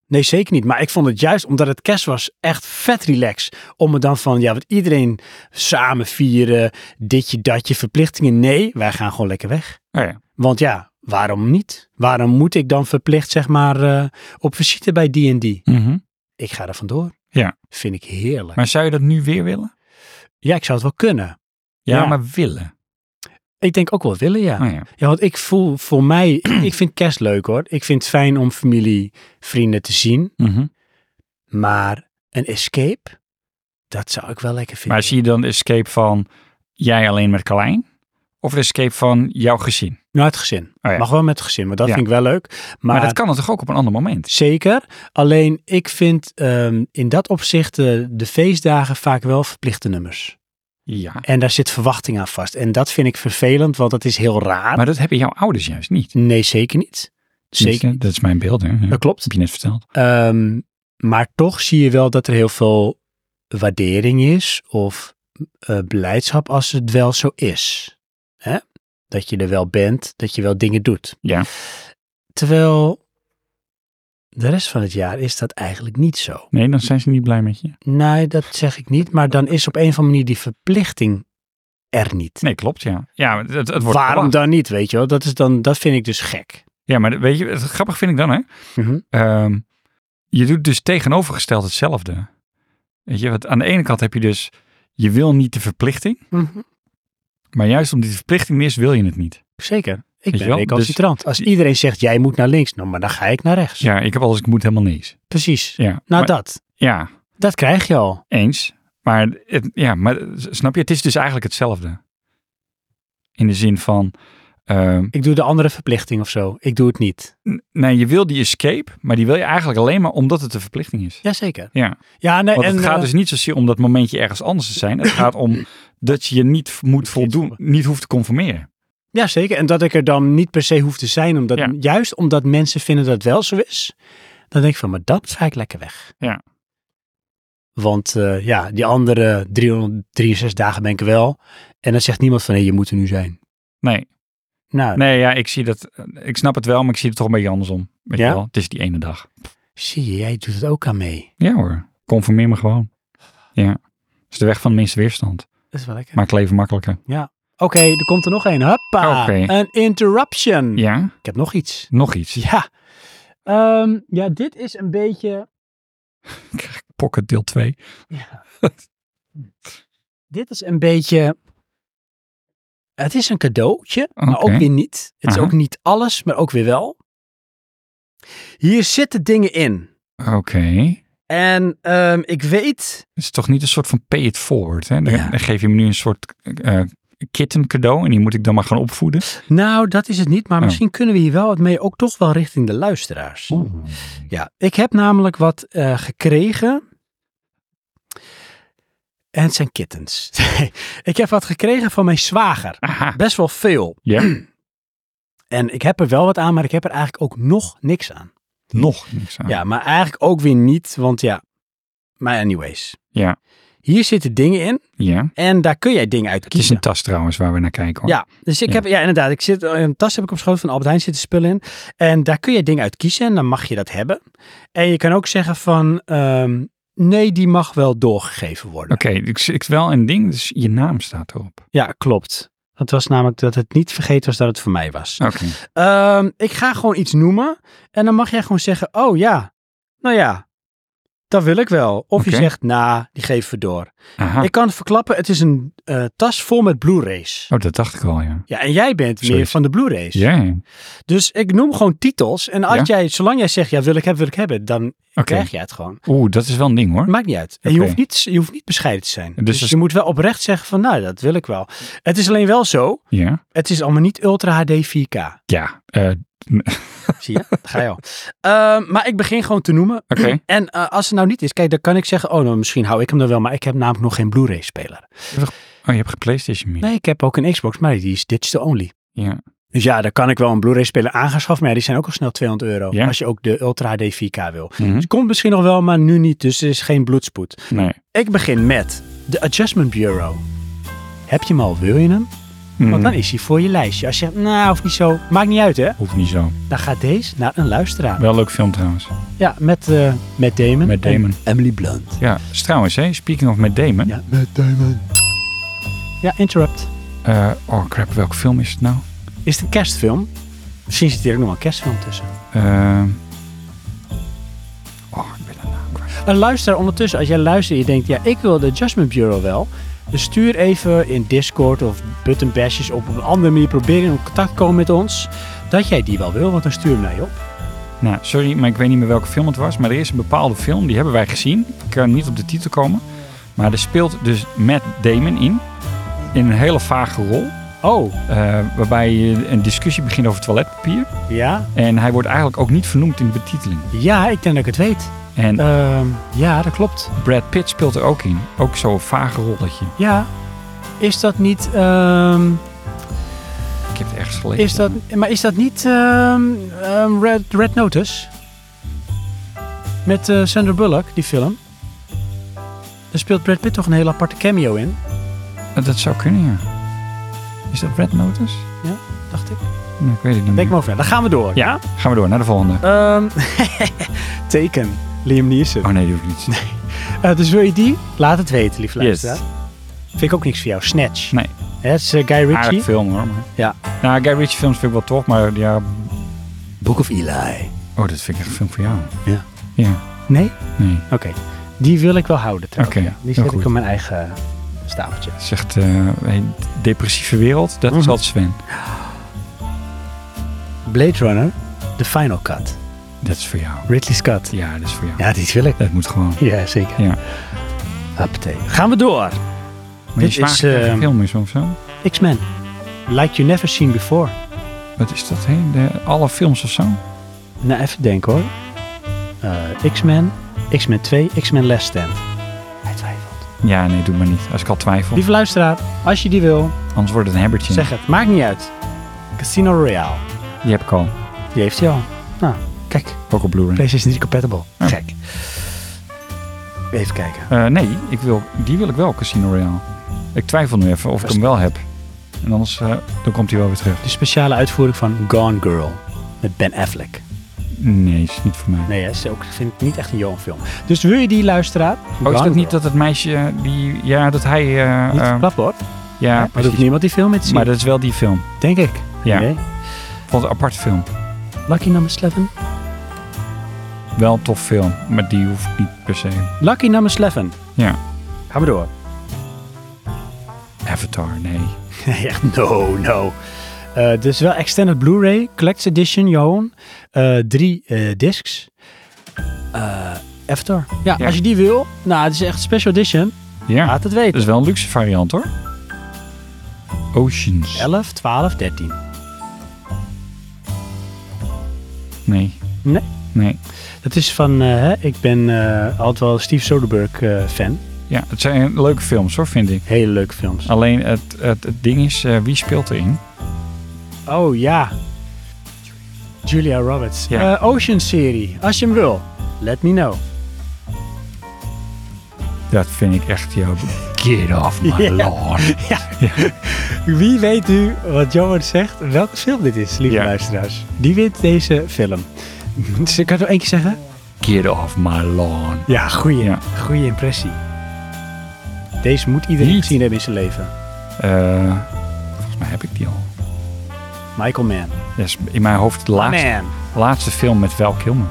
Speaker 2: Nee, zeker niet. Maar ik vond het juist omdat het kerst was echt vet relax. Om het dan van, ja, wat iedereen samen vieren, ditje, datje, verplichtingen. Nee, wij gaan gewoon lekker weg.
Speaker 3: Oh ja.
Speaker 2: Want ja, waarom niet? Waarom moet ik dan verplicht, zeg maar, eh, op visite bij D&D?
Speaker 3: Mhm.
Speaker 2: Ik ga er vandoor.
Speaker 3: Ja.
Speaker 2: Vind ik heerlijk.
Speaker 3: Maar zou je dat nu weer willen?
Speaker 2: Ja, ik zou het wel kunnen.
Speaker 3: Ja,
Speaker 2: Ja.
Speaker 3: maar willen.
Speaker 2: Ik denk ook wel willen, ja.
Speaker 3: Oh ja.
Speaker 2: Ja, want ik voel voor mij, [CLEARS THROAT] ik vind kerst leuk hoor. Ik vind het fijn om familie, vrienden te zien.
Speaker 3: Mhm.
Speaker 2: Maar een escape, dat zou ik wel lekker vinden.
Speaker 3: Maar zie je dan de escape van jij alleen met Carlijn? Of de escape van jouw gezin?
Speaker 2: Nou, het gezin.
Speaker 3: Oh ja.
Speaker 2: Mag wel met het gezin, want dat
Speaker 3: Ja.
Speaker 2: vind ik wel leuk. Maar,
Speaker 3: Maar, dat kan het toch ook op een ander moment?
Speaker 2: zeker. Alleen, ik vind ehm, in dat opzicht eh, de feestdagen vaak wel verplichte nummers.
Speaker 3: Ja.
Speaker 2: En daar zit verwachting aan vast. En dat vind ik vervelend, want dat is heel raar.
Speaker 3: Maar dat hebben jouw ouders juist niet.
Speaker 2: Nee, zeker niet. Zeker.
Speaker 3: Tenminste,
Speaker 2: niet.
Speaker 3: Dat is mijn beeld, hè? Ja.
Speaker 2: Dat klopt.
Speaker 3: heb je net verteld.
Speaker 2: Ehm, maar toch zie je wel dat er heel veel waardering is of eh blijdschap als het wel zo is. Hè? Dat je er wel bent, dat je wel dingen doet.
Speaker 3: Ja.
Speaker 2: Terwijl de rest van het jaar is dat eigenlijk niet zo.
Speaker 3: Nee, dan zijn ze niet blij met je.
Speaker 2: Nee, dat zeg ik niet, maar dan is op een of andere manier die verplichting er niet.
Speaker 3: Nee, klopt, ja. Ja, maar het, het wordt
Speaker 2: Waarom
Speaker 3: verwacht.
Speaker 2: dan niet, weet je wel? Dat, is dan, dat vind ik dus gek.
Speaker 3: Ja, maar weet je, het grappig vind ik dan, hè?
Speaker 2: Mhm.
Speaker 3: Ehm, je doet dus tegenovergesteld hetzelfde. Weet je, want aan de ene kant heb je dus, je wil niet de verplichting, maar juist omdat die verplichting is, wil je het niet.
Speaker 2: Zeker. Ik
Speaker 3: je
Speaker 2: ben
Speaker 3: wel?
Speaker 2: recalcitrant. Als
Speaker 3: Dus-
Speaker 2: iedereen zegt, jij moet naar links, nou, maar dan ga ik naar rechts.
Speaker 3: Ja, ik heb al als ik moet helemaal niks.
Speaker 2: Precies.
Speaker 3: Ja,
Speaker 2: Nou,
Speaker 3: maar-
Speaker 2: dat.
Speaker 3: ja
Speaker 2: Dat krijg je al.
Speaker 3: eens. Maar, het, ja, maar snap je, het is dus eigenlijk hetzelfde. In de zin van, ehm,
Speaker 2: Ik doe de andere verplichting of zo. Ik doe het niet.
Speaker 3: n- nee, je wil die escape, maar die wil je eigenlijk alleen maar omdat het de verplichting is.
Speaker 2: Jazeker.
Speaker 3: Ja,
Speaker 2: Ja, nee,
Speaker 3: want
Speaker 2: en,
Speaker 3: het gaat
Speaker 2: eh,
Speaker 3: dus niet zozeer om dat momentje ergens anders te zijn. Het gaat
Speaker 2: [LAUGHS]
Speaker 3: om dat je je niet moet voldoen, niet hoeft te conformeren.
Speaker 2: ja, zeker. En dat ik er dan niet per se hoef te zijn. Omdat,
Speaker 3: Ja.
Speaker 2: Juist omdat mensen vinden dat het wel zo is. Dan denk ik van, maar dat ga ik lekker weg.
Speaker 3: Ja.
Speaker 2: Want eh, ja, die andere 363 dagen ben ik er wel. En dan zegt niemand van, hé, je moet er nu zijn.
Speaker 3: Nee.
Speaker 2: Nou,
Speaker 3: Nee, ja, ik zie dat. eh, Ik snap het wel, maar ik zie het toch een beetje andersom. Weet
Speaker 2: Ja?
Speaker 3: je wel? Het is die ene dag.
Speaker 2: zie je, jij doet het ook aan mee.
Speaker 3: Ja hoor. Conformeer me gewoon. Ja. Dat is de weg van de minste weerstand.
Speaker 2: Dat is wel lekker.
Speaker 3: Maakt leven makkelijker.
Speaker 2: Oké, er komt er nog een. Hoppa,
Speaker 3: Oké.
Speaker 2: een interruption.
Speaker 3: Ja.
Speaker 2: Ik heb nog iets.
Speaker 3: Nog iets.
Speaker 2: [LAUGHS] Ja. Ehm, ja, dit is een beetje...
Speaker 3: Pocket deel 2.
Speaker 2: Dit is een beetje... Het is een cadeautje, maar
Speaker 3: Oké.
Speaker 2: ook weer niet. Het
Speaker 3: Aha.
Speaker 2: is ook niet alles, maar ook weer wel. Hier zitten dingen in.
Speaker 3: Oké.
Speaker 2: En ehm, ik weet...
Speaker 3: Het is toch niet een soort van pay it forward. Hè? Dan,
Speaker 2: Ja.
Speaker 3: dan geef je me nu een soort eh kitten cadeau. En die moet ik dan maar gaan opvoeden.
Speaker 2: Nou, dat is het niet, maar
Speaker 3: Oh.
Speaker 2: misschien kunnen we hier wel wat mee. Ook toch wel richting de luisteraars. Ja, ik heb namelijk wat eh, gekregen. En het zijn kittens. [LAUGHS] ik heb wat gekregen van mijn zwager.
Speaker 3: Aha.
Speaker 2: Best wel veel. [CLEARS THROAT]
Speaker 3: Ja.
Speaker 2: En ik heb er wel wat aan, maar ik heb er eigenlijk ook nog niks aan.
Speaker 3: Nog niks aan.
Speaker 2: Ja, maar eigenlijk ook weer niet, want ja. Maar anyways.
Speaker 3: Ja.
Speaker 2: Hier zitten dingen in
Speaker 3: Ja.
Speaker 2: en daar kun jij dingen uit
Speaker 3: Het is
Speaker 2: kiezen.
Speaker 3: een tas trouwens waar we naar kijken. Hoor.
Speaker 2: Ja, dus ik
Speaker 3: Ja.
Speaker 2: heb, ja inderdaad, ik zit, een tas heb ik op schoot van Albert Heijn zitten spullen in. En daar kun je dingen uit kiezen en dan mag je dat hebben. En je kan ook zeggen van, ehm, nee, die mag wel doorgegeven worden.
Speaker 3: Oké, ik ik wel een ding, dus je naam staat erop.
Speaker 2: Ja, klopt. Het was namelijk dat het niet vergeten was dat het voor mij was.
Speaker 3: Oké.
Speaker 2: Ehm, ik ga gewoon iets noemen en dan mag jij gewoon zeggen, oh ja, nou ja, dat wil ik wel. Of je
Speaker 3: Oké. Ah.
Speaker 2: zegt, nou, die geven we door.
Speaker 3: Aha.
Speaker 2: Ik kan het verklappen, het is een eh, tas vol met Blu-rays.
Speaker 3: Oh, dat dacht ik al, ja.
Speaker 2: Ja, en jij bent meer
Speaker 3: Zoiets.
Speaker 2: van de Blu-rays.
Speaker 3: Ja, ja. oké.
Speaker 2: Dus ik noem gewoon titels. En als
Speaker 3: Ja?
Speaker 2: jij, zolang jij zegt, ja, wil ik hebben, wil ik hebben, dan krijg jij het gewoon.
Speaker 3: Oeh, dat is wel een ding hoor.
Speaker 2: Maakt niet uit. En je,
Speaker 3: Oké.
Speaker 2: hoeft niet, je hoeft niet bescheiden te zijn. Dus,
Speaker 3: Dus als-
Speaker 2: je moet wel oprecht zeggen van, nou, dat wil ik wel. Het is alleen wel zo,
Speaker 3: Ja.
Speaker 2: het is allemaal niet Ultra HD 4K.
Speaker 3: Ja. eh,
Speaker 2: Zie je? Daar Ga je al. Ehm, maar ik begin gewoon te noemen.
Speaker 3: Oké.
Speaker 2: [CLEARS THROAT] En eh, als het nou niet is, kijk, dan kan ik zeggen, oh, nou, misschien hou ik hem dan wel, maar ik heb namelijk nog geen Blu-ray-speler.
Speaker 3: Oh, je hebt geen PlayStation meer.
Speaker 2: Nee, ik heb ook een Xbox, maar die is digital only.
Speaker 3: Ja.
Speaker 2: Dus ja, dan kan ik wel een Blu-ray-speler aangeschaft, maar ja, die zijn ook al snel 200 euro.
Speaker 3: Ja.
Speaker 2: Als je ook de Ultra HD 4K wil.
Speaker 3: Mhm.
Speaker 2: Het komt misschien nog wel, maar nu niet, dus er is geen bloedspoed.
Speaker 3: Nee.
Speaker 2: Ik begin met de Adjustment Bureau. Heb je hem al, wil je hem? Want dan
Speaker 3: Mhm.
Speaker 2: is hij voor je lijstje. Als je zegt, nou, of niet zo, maakt niet uit hè.
Speaker 3: Hoeft niet zo.
Speaker 2: Dan gaat deze naar een luisteraar.
Speaker 3: Wel een leuk film trouwens.
Speaker 2: Ja, met, eh met Damon.
Speaker 3: Matt
Speaker 2: en
Speaker 3: Damon.
Speaker 2: Emily Blunt.
Speaker 3: Ja, is trouwens, hè, speaking of met Damon.
Speaker 2: Ja. Ja, Interrupt.
Speaker 3: Eh, oh crap, welke film is het nou?
Speaker 2: Is het een kerstfilm? Misschien zit hier ook nog wel een kerstfilm tussen.
Speaker 3: Eh, oh, ik ben de naam kwijt.
Speaker 2: Een luisteraar ondertussen, als jij luistert en je denkt, ja, ik wil de Adjustment Bureau wel. Dus stuur even in Discord of Button Bashes op een andere manier proberen in contact te komen met ons. Dat jij die wel wil, want dan stuur hem naar je op.
Speaker 3: Nou, sorry, maar ik weet niet meer welke film het was. Maar er is een bepaalde film, die hebben wij gezien. Ik kan niet op de titel komen. Maar er speelt dus Matt Damon in. In een hele vage rol.
Speaker 2: Oh,
Speaker 3: eh, waarbij je een discussie begint over toiletpapier.
Speaker 2: ja?
Speaker 3: En hij wordt eigenlijk ook niet vernoemd in de betiteling.
Speaker 2: Ja, ik denk dat ik het weet.
Speaker 3: En
Speaker 2: Ehm, ja, dat klopt.
Speaker 3: Brad Pitt speelt er ook in. Ook zo'n vage rolletje.
Speaker 2: Ja. Is dat niet, ehm,
Speaker 3: Ik heb het ergens gelezen.
Speaker 2: is dat, maar is dat niet ehm, ehm, Red, Red Notice? Met eh, Sandra Bullock, die film. Daar speelt Brad Pitt toch een hele aparte cameo in,
Speaker 3: Eh, Dat zou kunnen, ja. Is dat Red Notice?
Speaker 2: dacht ik.
Speaker 3: Nou, ik weet het niet
Speaker 2: Denk
Speaker 3: meer.
Speaker 2: maar over na. Dan gaan we door.
Speaker 3: Ja, gaan we door naar de volgende.
Speaker 2: Ehm, [LAUGHS] teken. Liam Neeson.
Speaker 3: Oh nee, die hoef ik niet.
Speaker 2: Eh, dus wil je die? Laat het weten, lief
Speaker 3: Ah. Yes.
Speaker 2: luisteraar. Vind ik ook niks voor jou. Snatch.
Speaker 3: Nee.
Speaker 2: Hè, Het is eh, Guy
Speaker 3: Aardig
Speaker 2: Ritchie.
Speaker 3: film hoor. Maar...
Speaker 2: Ja.
Speaker 3: Nou, Guy Ritchie films vind ik wel tof, maar ja...
Speaker 2: Book of Eli.
Speaker 3: Oh, dat vind ik echt een film voor jou.
Speaker 2: Ja.
Speaker 3: Ja,
Speaker 2: Nee?
Speaker 3: nee.
Speaker 2: Oké. Die wil ik wel houden trouwens.
Speaker 3: Oké,
Speaker 2: ja. Die
Speaker 3: heel
Speaker 2: zet ik
Speaker 3: goed.
Speaker 2: op mijn eigen stapeltje.
Speaker 3: Zegt eh een depressieve wereld, dat is
Speaker 2: Mhm.
Speaker 3: altijd Sven.
Speaker 2: Blade Runner. The Final Cut.
Speaker 3: Dat is voor jou.
Speaker 2: Ridley Scott.
Speaker 3: Ja, dat is voor jou.
Speaker 2: Ja, die wil ik.
Speaker 3: Dat moet gewoon. Maar
Speaker 2: Ja, zeker.
Speaker 3: Ja.
Speaker 2: Apte. Gaan we door.
Speaker 3: je
Speaker 2: Dit
Speaker 3: zwager
Speaker 2: is,
Speaker 3: krijgt een
Speaker 2: eh,
Speaker 3: film is of zo.
Speaker 2: X-Men. Like you never seen before.
Speaker 3: Wat is dat heen? De, alle films of zo?
Speaker 2: Nou, even denken hoor. Eh, X-Men, X-Men 2, X-Men Last Stand. Hij twijfelt.
Speaker 3: Ja, nee, doe maar niet. Als ik al twijfel.
Speaker 2: Lieve luisteraar, als je die wil,
Speaker 3: Anders wordt het een hebbertje.
Speaker 2: zeg het. Maakt niet uit. Casino Royale.
Speaker 3: Die heb ik al.
Speaker 2: Die heeft hij al. Nou, kijk.
Speaker 3: Ook op Blu-ray.
Speaker 2: PlayStation 3 compatible.
Speaker 3: Ja.
Speaker 2: Gek. Even kijken.
Speaker 3: Eh, nee, ik wil, die wil ik wel, Casino Royale. Ik twijfel nu even of ik hem wel heb. En anders eh, dan komt hij wel weer terug.
Speaker 2: De speciale uitvoering van Gone Girl. Met Ben Affleck.
Speaker 3: Nee, is niet voor mij.
Speaker 2: Nee, dat is ook, ik vind het niet echt een Johan film. Dus wil je die luisteraar?
Speaker 3: Oh, is
Speaker 2: Gone
Speaker 3: dat niet
Speaker 2: Girl.
Speaker 3: dat het meisje eh, die... Ja, dat hij... eh,
Speaker 2: Niet
Speaker 3: eh,
Speaker 2: verklapt wordt?
Speaker 3: ja,
Speaker 2: maar doet
Speaker 3: precies.
Speaker 2: niemand die film met te zien,
Speaker 3: Maar dat is wel die film.
Speaker 2: denk ik.
Speaker 3: Ja.
Speaker 2: Nee.
Speaker 3: Ik vond het een apart film.
Speaker 2: Lucky number 11.
Speaker 3: Wel een tof film, maar die hoeft niet per se.
Speaker 2: Lucky number 11.
Speaker 3: Ja.
Speaker 2: Ga maar door. [LAUGHS]
Speaker 3: Avatar, nee.
Speaker 2: Nee, echt no, no. Eh dus wel Extended Blu-ray, Collector's Edition, Johan. Eh, drie eh, discs. Eh After. Ja,
Speaker 3: Ja.
Speaker 2: als je die wil. Nou, het is echt special edition.
Speaker 3: Ja, Dus-
Speaker 2: Laat het weten.
Speaker 3: dat is wel een luxe variant hoor. Oceans.
Speaker 2: 11, 12, 13.
Speaker 3: Nee.
Speaker 2: Nee.
Speaker 3: Nee.
Speaker 2: Dat is van, eh, hè, ik ben eh, altijd wel Steve Soderbergh eh, fan.
Speaker 3: Ja, het zijn leuke films hoor, vind ik.
Speaker 2: Hele leuke films.
Speaker 3: Alleen het, het, het ding is, eh, wie speelt erin?
Speaker 2: Oh ja. Julia Roberts.
Speaker 3: Ja.
Speaker 2: Eh, Ocean serie. Als je hem wil, let me know.
Speaker 3: Dat vind ik echt jouw... Get off my
Speaker 2: [LAUGHS] Ja.
Speaker 3: lawn.
Speaker 2: Wie weet nu wat Johan zegt, welke film dit is, lieve
Speaker 3: Ja.
Speaker 2: luisteraars. Die wint deze film. [LAUGHS] Dus ik kan het nog één keer zeggen?
Speaker 3: Get off my lawn.
Speaker 2: Ja, goeie,
Speaker 3: Ja.
Speaker 2: goeie impressie. Deze moet iedereen
Speaker 3: Niet.
Speaker 2: gezien hebben in zijn leven.
Speaker 3: Eh, volgens mij heb ik die al.
Speaker 2: Michael Mann.
Speaker 3: Dat is in mijn hoofd de laatste,
Speaker 2: Man.
Speaker 3: laatste film met Val Kilmer.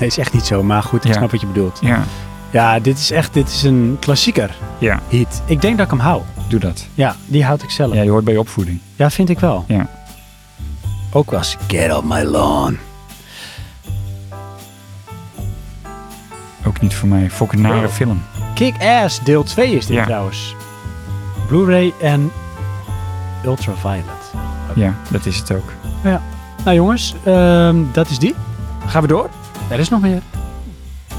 Speaker 2: Nee, is echt niet zo, maar goed, ik
Speaker 3: Ja.
Speaker 2: snap wat je bedoelt.
Speaker 3: Ja,
Speaker 2: Ja, dit is echt dit is een klassieker
Speaker 3: ja
Speaker 2: hit. Ik denk dat ik hem hou.
Speaker 3: doe dat.
Speaker 2: Ja, die houd ik zelf.
Speaker 3: Ja,
Speaker 2: Ja,
Speaker 3: je hoort bij je opvoeding.
Speaker 2: vind ik wel.
Speaker 3: Ja.
Speaker 2: Ook wel eens Get on my lawn.
Speaker 3: Ook niet voor mij. Fucking nare film.
Speaker 2: Kick-Ass deel 2 is dit
Speaker 3: Ja.
Speaker 2: trouwens. Blu-ray en Ultraviolet.
Speaker 3: Ja, dat is het ook.
Speaker 2: Nou jongens, ehm, dat is die. Gaan we door? Er is nog meer.
Speaker 3: De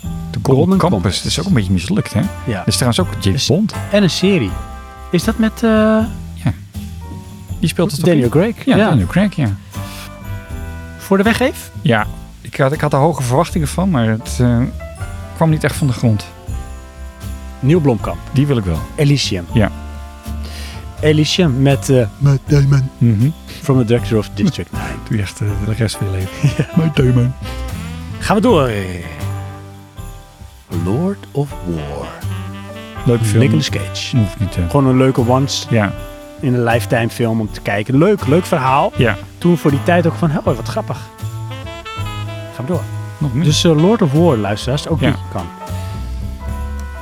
Speaker 3: Golden,
Speaker 2: Golden
Speaker 3: Campus.
Speaker 2: Compass.
Speaker 3: Dat is ook een beetje mislukt, hè?
Speaker 2: Ja.
Speaker 3: Dat is trouwens ook James
Speaker 2: Dus-
Speaker 3: Bond.
Speaker 2: En een serie. Is dat met eh,
Speaker 3: Die speelt het
Speaker 2: Daniel Craig?
Speaker 3: Ja, Daniel Craig, ja.
Speaker 2: Voor de weggeef?
Speaker 3: Ja, ik had, ik had er hoge verwachtingen van, maar het eh, kwam niet echt van de grond.
Speaker 2: Neil Blomkamp.
Speaker 3: Die wil ik wel.
Speaker 2: Elysium.
Speaker 3: Ja.
Speaker 2: Elysium met eh, Matt Damon.
Speaker 3: Mhm.
Speaker 2: From the director of
Speaker 3: [LAUGHS]
Speaker 2: District 9.
Speaker 3: Doe je echt eh, de rest van je [LAUGHS] leven. Mijn Damon.
Speaker 2: Gaan we door. Lord of War.
Speaker 3: Leuke film.
Speaker 2: Nicolas Cage.
Speaker 3: Hoeft niet, hè.
Speaker 2: Gewoon een leuke once
Speaker 3: Ja,
Speaker 2: in een lifetime film om te kijken. Leuk, leuk verhaal.
Speaker 3: ja.
Speaker 2: Toen voor die tijd ook van, oh, wat grappig. Gaan we door.
Speaker 3: Nog meer.
Speaker 2: Dus eh, Lord of War, luisteraars, ook
Speaker 3: Hm. Ja.
Speaker 2: die kan.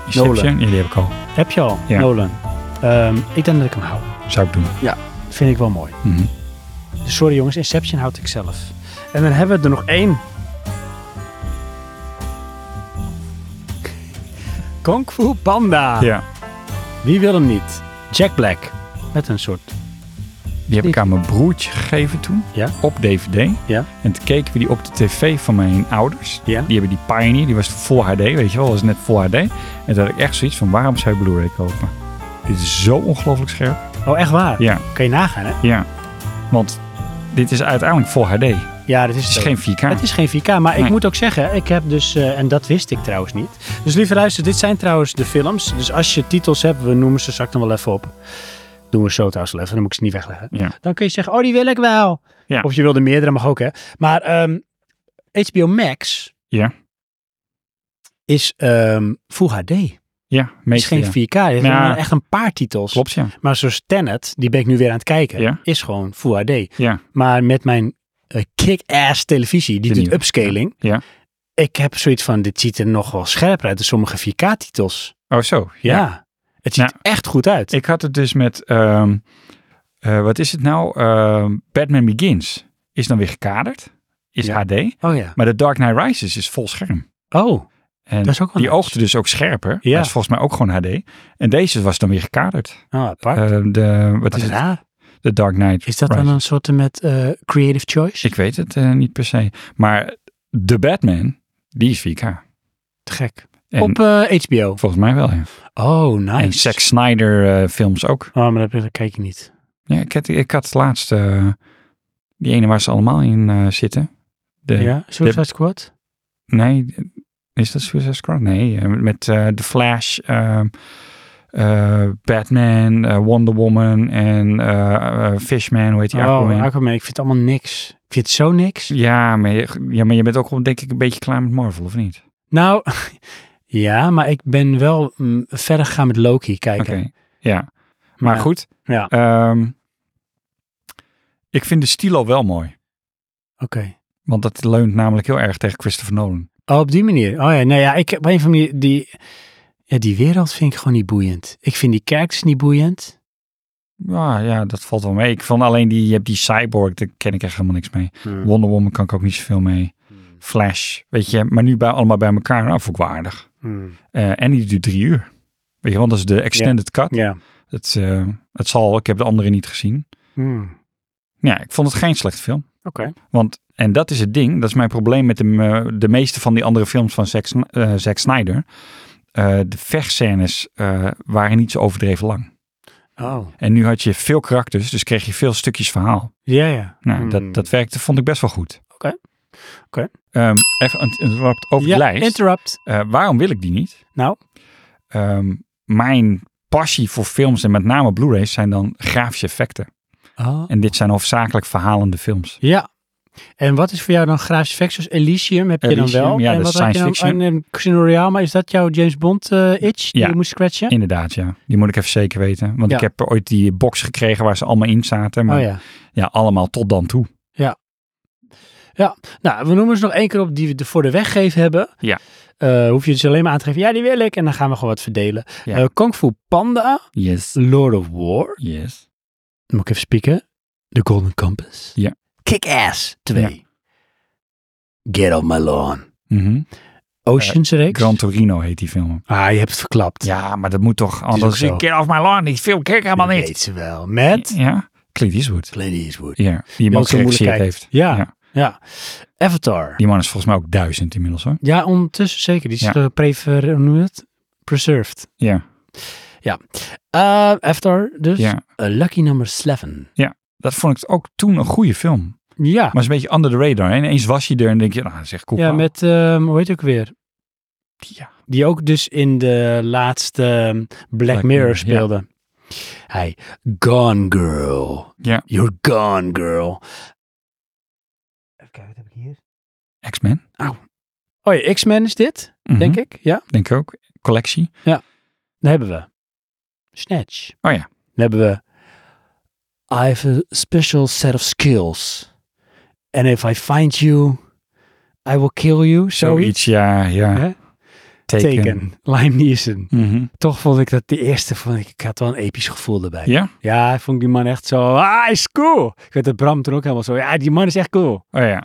Speaker 3: Inception. Ja, die heb ik al.
Speaker 2: Heb je al,
Speaker 3: Ja.
Speaker 2: Nolan? Ehm, ik denk dat ik hem hou.
Speaker 3: Zou ik doen.
Speaker 2: Vind ik wel mooi.
Speaker 3: Mhm.
Speaker 2: Dus sorry jongens, Inception houd ik zelf. En dan hebben we er nog één. Kung Fu Panda.
Speaker 3: Ja.
Speaker 2: Wie wil hem niet? Jack Black. Met een soort...
Speaker 3: Die heb ik aan mijn broertje gegeven toen.
Speaker 2: Ja.
Speaker 3: Op DVD.
Speaker 2: Ja.
Speaker 3: En toen keken we die op de tv van mijn ouders.
Speaker 2: Ja.
Speaker 3: Die hebben die Pioneer. Die was full HD, weet je wel. was net full HD. En toen had ik echt zoiets van, waarom zou je Blu-ray kopen? Dit is zo ongelooflijk scherp.
Speaker 2: Oh, echt waar?
Speaker 3: Ja,
Speaker 2: Kan je nagaan, hè?
Speaker 3: ja. Want dit is uiteindelijk full HD.
Speaker 2: Ja, dat is
Speaker 3: Het is
Speaker 2: zo.
Speaker 3: geen 4K.
Speaker 2: Het is geen 4K, maar ik
Speaker 3: Nee.
Speaker 2: moet ook zeggen, ik heb dus, eh, en dat wist ik trouwens niet. Dus lieve luister, dit zijn trouwens de films. Dus als je titels hebt, we noemen ze straks dan wel even op. Doen we zo trouwens wel even, dan moet ik ze niet wegleggen.
Speaker 3: Ja.
Speaker 2: Dan kun je zeggen, oh die wil ik wel.
Speaker 3: Ja.
Speaker 2: Of je wilde meerdere, mag ook hè. Maar ehm, HBO Max
Speaker 3: Ja.
Speaker 2: is ehm Full HD. Het
Speaker 3: Ja,
Speaker 2: is
Speaker 3: meestal.
Speaker 2: geen 4K, het zijn
Speaker 3: Ja.
Speaker 2: maar echt een paar titels.
Speaker 3: Klopt, ja.
Speaker 2: Maar zoals Tenet, die ben ik nu weer aan het kijken,
Speaker 3: Ja.
Speaker 2: is gewoon Full HD.
Speaker 3: Ja,
Speaker 2: Maar met mijn eh, kick-ass televisie, die
Speaker 3: De
Speaker 2: doet
Speaker 3: nieuwe.
Speaker 2: upscaling.
Speaker 3: Ja.
Speaker 2: Ik heb zoiets van, dit ziet er nogal scherper uit dan sommige 4K-titels.
Speaker 3: oh zo.
Speaker 2: Ja. Het ziet
Speaker 3: Nou,
Speaker 2: er echt goed uit.
Speaker 3: Ik had het dus met, ehm, eh, wat is het nou? Ehm, Batman Begins is dan weer gekaderd. Is
Speaker 2: Ja.
Speaker 3: HD.
Speaker 2: oh ja.
Speaker 3: Maar de Dark Knight Rises is vol scherm.
Speaker 2: Oh,
Speaker 3: En
Speaker 2: Dat is ook wel
Speaker 3: die
Speaker 2: nice.
Speaker 3: oogte dus ook scherper.
Speaker 2: Ja.
Speaker 3: Dat is volgens mij ook gewoon HD. En deze was dan weer gekaderd.
Speaker 2: ah, apart.
Speaker 3: Eh, de, wat
Speaker 2: Wat
Speaker 3: is het?
Speaker 2: raar.
Speaker 3: De Dark Knight.
Speaker 2: Is dat dan
Speaker 3: Rises.
Speaker 2: een soort met eh, creative choice?
Speaker 3: Ik weet het eh, niet per se. Maar de Batman, die is 4K.
Speaker 2: Te gek.
Speaker 3: En
Speaker 2: Op eh, HBO.
Speaker 3: volgens mij wel, ja.
Speaker 2: Oh, nice.
Speaker 3: En Zack Snyder eh, films ook.
Speaker 2: Oh, maar dat, dat kijk ik niet.
Speaker 3: Ja, ik, had, ik had laatst eh, die ene waar ze allemaal in eh, zitten. De,
Speaker 2: Ja? Suicide
Speaker 3: de-
Speaker 2: Squad?
Speaker 3: Nee, Is dat Suicide Squad? Nee, eh, met eh The Flash, ehm, eh, Batman, eh, Wonder Woman en eh, eh, Fishman, hoe heet die?
Speaker 2: oh,
Speaker 3: Aquaman.
Speaker 2: Aquaman. Ik vind het allemaal niks. Ik vind het zo niks.
Speaker 3: Ja maar, je, ja, maar je bent ook wel, denk ik een beetje klaar met Marvel, of niet?
Speaker 2: Nou, [LAUGHS] ja, maar ik ben wel mm, verder gegaan met Loki kijken.
Speaker 3: Oké, ja. Maar
Speaker 2: Ja.
Speaker 3: goed,
Speaker 2: Ja, oké.
Speaker 3: ehm, ik vind de stilo wel mooi. Want dat leunt namelijk heel erg tegen Christopher Nolan.
Speaker 2: Oh, op die manier. Oh ja, nou ja, ik op een van die, die, ja, die wereld vind ik gewoon niet boeiend. Ik vind die kijkers niet boeiend.
Speaker 3: Ja, Nou, ja, dat valt wel mee. Ik vond alleen die, je hebt die cyborg, daar ken ik echt helemaal niks mee.
Speaker 2: Hmm.
Speaker 3: Wonder Woman kan ik ook niet zoveel mee. Flash, weet je. Maar nu bij, allemaal bij elkaar, nou, vond ik wel aardig.
Speaker 2: Hmm.
Speaker 3: Eh, en die duurt drie uur. Weet je, want dat is de extended cut.
Speaker 2: Ja.
Speaker 3: Het, eh, het zal, ik heb de andere niet gezien.
Speaker 2: Hmm.
Speaker 3: Ja, ik vond het geen slecht film.
Speaker 2: Oké.
Speaker 3: Want, en dat is het ding, dat is mijn probleem met de, me- de meeste van die andere films van Zack, Sn- eh, Zack Snyder. Eh, de vechtscènes eh, waren niet zo overdreven lang.
Speaker 2: Oh.
Speaker 3: En nu had je veel karakters, dus kreeg je veel stukjes verhaal.
Speaker 2: Ja, ja.
Speaker 3: Nou,
Speaker 2: Hmm.
Speaker 3: dat, dat werkte, vond ik best wel goed.
Speaker 2: Oké. Oké.
Speaker 3: Ehm, even een interrupt over
Speaker 2: ja,
Speaker 3: de lijst.
Speaker 2: interrupt.
Speaker 3: Eh, waarom wil ik die niet?
Speaker 2: Nou?
Speaker 3: Ehm, mijn passie voor films en met name Blu-rays zijn dan grafische effecten.
Speaker 2: Oh.
Speaker 3: En dit zijn hoofdzakelijk verhalende films.
Speaker 2: Ja. En wat is voor jou dan Graafs Vexus? Elysium heb je
Speaker 3: Elysium,
Speaker 2: dan wel.
Speaker 3: ja,
Speaker 2: en
Speaker 3: dat
Speaker 2: wat
Speaker 3: is
Speaker 2: had je
Speaker 3: science
Speaker 2: dan- En, en Casino Royale, maar is dat jouw James Bond eh, itch die
Speaker 3: Ja.
Speaker 2: je moest scratchen?
Speaker 3: Inderdaad, ja. Die moet ik even zeker weten. Want
Speaker 2: Ja.
Speaker 3: ik heb ooit die box gekregen waar ze allemaal in zaten. Maar
Speaker 2: Oh
Speaker 3: ja.
Speaker 2: ja.
Speaker 3: allemaal tot dan toe.
Speaker 2: Nou, we noemen ze nog één keer op die we de- voor de weggeven hebben.
Speaker 3: Ja.
Speaker 2: Eh, hoef je dus alleen maar aan te geven, ja, die wil ik. En dan gaan we gewoon wat verdelen.
Speaker 3: Ja.
Speaker 2: Eh, Kung Fu Panda,
Speaker 3: Yes.
Speaker 2: Lord of War,
Speaker 3: Yes.
Speaker 2: moet ik even spieken, The Golden Compass.
Speaker 3: Ja.
Speaker 2: Kick-Ass 2. Get on my lawn.
Speaker 3: Mhm.
Speaker 2: Ocean's Rex.
Speaker 3: Gran Torino heet die film.
Speaker 2: Ah, je hebt het verklapt.
Speaker 3: Eh, Ja, maar dat moet toch anders.
Speaker 2: ook zo.
Speaker 3: Ik ken af mijn lawn. Die film ken ik helemaal
Speaker 2: Dat
Speaker 3: niet.
Speaker 2: weet ze wel. Met
Speaker 3: Ja. Clint Eastwood.
Speaker 2: Clint Eastwood.
Speaker 3: Ja. Die man
Speaker 2: ook zo
Speaker 3: geregisseerd
Speaker 2: moeilijk
Speaker 3: heeft.
Speaker 2: kijkt. Ja. Ja. Avatar.
Speaker 3: Die man is volgens mij ook duizend inmiddels hoor.
Speaker 2: Ja, ondertussen zeker. Die is
Speaker 3: Ja.
Speaker 2: eh, prefer, hoe noem je het? Preserved.
Speaker 3: Ja.
Speaker 2: Eh, Avatar dus.
Speaker 3: Ja.
Speaker 2: Eh, Lucky number 7.
Speaker 3: Dat vond ik ook toen een goede film.
Speaker 2: Ja.
Speaker 3: Maar is een beetje under the radar. hè. En eens was je er en denk je, nou, dat is echt cool.
Speaker 2: Ja,
Speaker 3: verhaal.
Speaker 2: met, ehm, hoe heet het ook weer?
Speaker 3: Ja.
Speaker 2: Die ook dus in de laatste ehm, Black, Mirror
Speaker 3: Mirror, ja.
Speaker 2: speelde. Hij, Gone Girl.
Speaker 3: Ja.
Speaker 2: You're Gone Girl. Even kijken, wat heb ik hier?
Speaker 3: X-Men.
Speaker 2: Oh ja, X-Men is dit,
Speaker 3: Mhm.
Speaker 2: denk ik. Ja,
Speaker 3: Denk ik ook. Collectie.
Speaker 2: dan hebben we Snatch.
Speaker 3: Oh ja.
Speaker 2: Dan hebben we I have a special set of skills. And if I find you, I will kill you. Zoiets.
Speaker 3: Zoiets, ja. ja.
Speaker 2: Hè?
Speaker 3: Taken.
Speaker 2: Teken. Lime Neeson.
Speaker 3: Mhm.
Speaker 2: Toch vond ik dat de eerste, vond ik, ik had wel een episch gevoel erbij.
Speaker 3: Ja?
Speaker 2: Ja, ik vond die man echt zo, ah, hij is cool. Ik weet dat Bram toen ook helemaal zo, ja, die man is echt cool.
Speaker 3: Oh ja.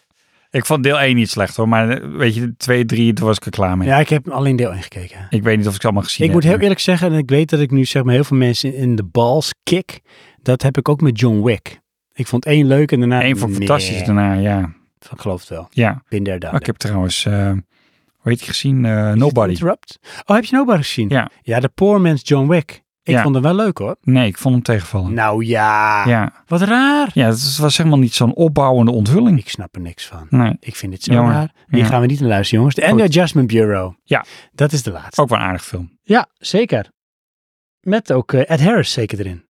Speaker 3: Ik vond deel 1 niet slecht hoor, maar eh, weet je, 2, 3, toen was ik er klaar mee.
Speaker 2: Ja, ik heb alleen deel 1 gekeken.
Speaker 3: Ik weet niet of ik het allemaal gezien
Speaker 2: ik
Speaker 3: heb.
Speaker 2: moet heel
Speaker 3: maar-
Speaker 2: eerlijk zeggen, en ik weet dat ik nu zeg maar heel veel mensen in de bals kick. Dat heb ik ook met John Wick. Ik vond één leuk en daarna...
Speaker 3: Eén vond ik fantastisch
Speaker 2: Nee,
Speaker 3: daarna, ja.
Speaker 2: Ik geloof het wel.
Speaker 3: ja.
Speaker 2: Bin there, done
Speaker 3: Maar ik heb trouwens, eh, hoe heet die gezien? Eh, Nobody.
Speaker 2: Interrupt. Oh, heb je Nobody gezien?
Speaker 3: Ja.
Speaker 2: Ja, de poor man's John Wick. Ik
Speaker 3: Ja.
Speaker 2: vond hem wel leuk hoor.
Speaker 3: Nee, ik vond hem tegenvallen.
Speaker 2: Nou ja.
Speaker 3: Ja.
Speaker 2: Wat raar.
Speaker 3: ja, het was helemaal niet zo'n opbouwende onthulling.
Speaker 2: Ik snap er niks van.
Speaker 3: Nee,
Speaker 2: Ik vind dit zo
Speaker 3: Jammer.
Speaker 2: raar. Die
Speaker 3: Ja.
Speaker 2: gaan we niet naar luisteren, jongens. De End
Speaker 3: Goed.
Speaker 2: Adjustment Bureau.
Speaker 3: Ja.
Speaker 2: Dat is de laatste.
Speaker 3: ook wel een aardig film.
Speaker 2: Ja, zeker. Met ook eh, Ed Harris zeker erin.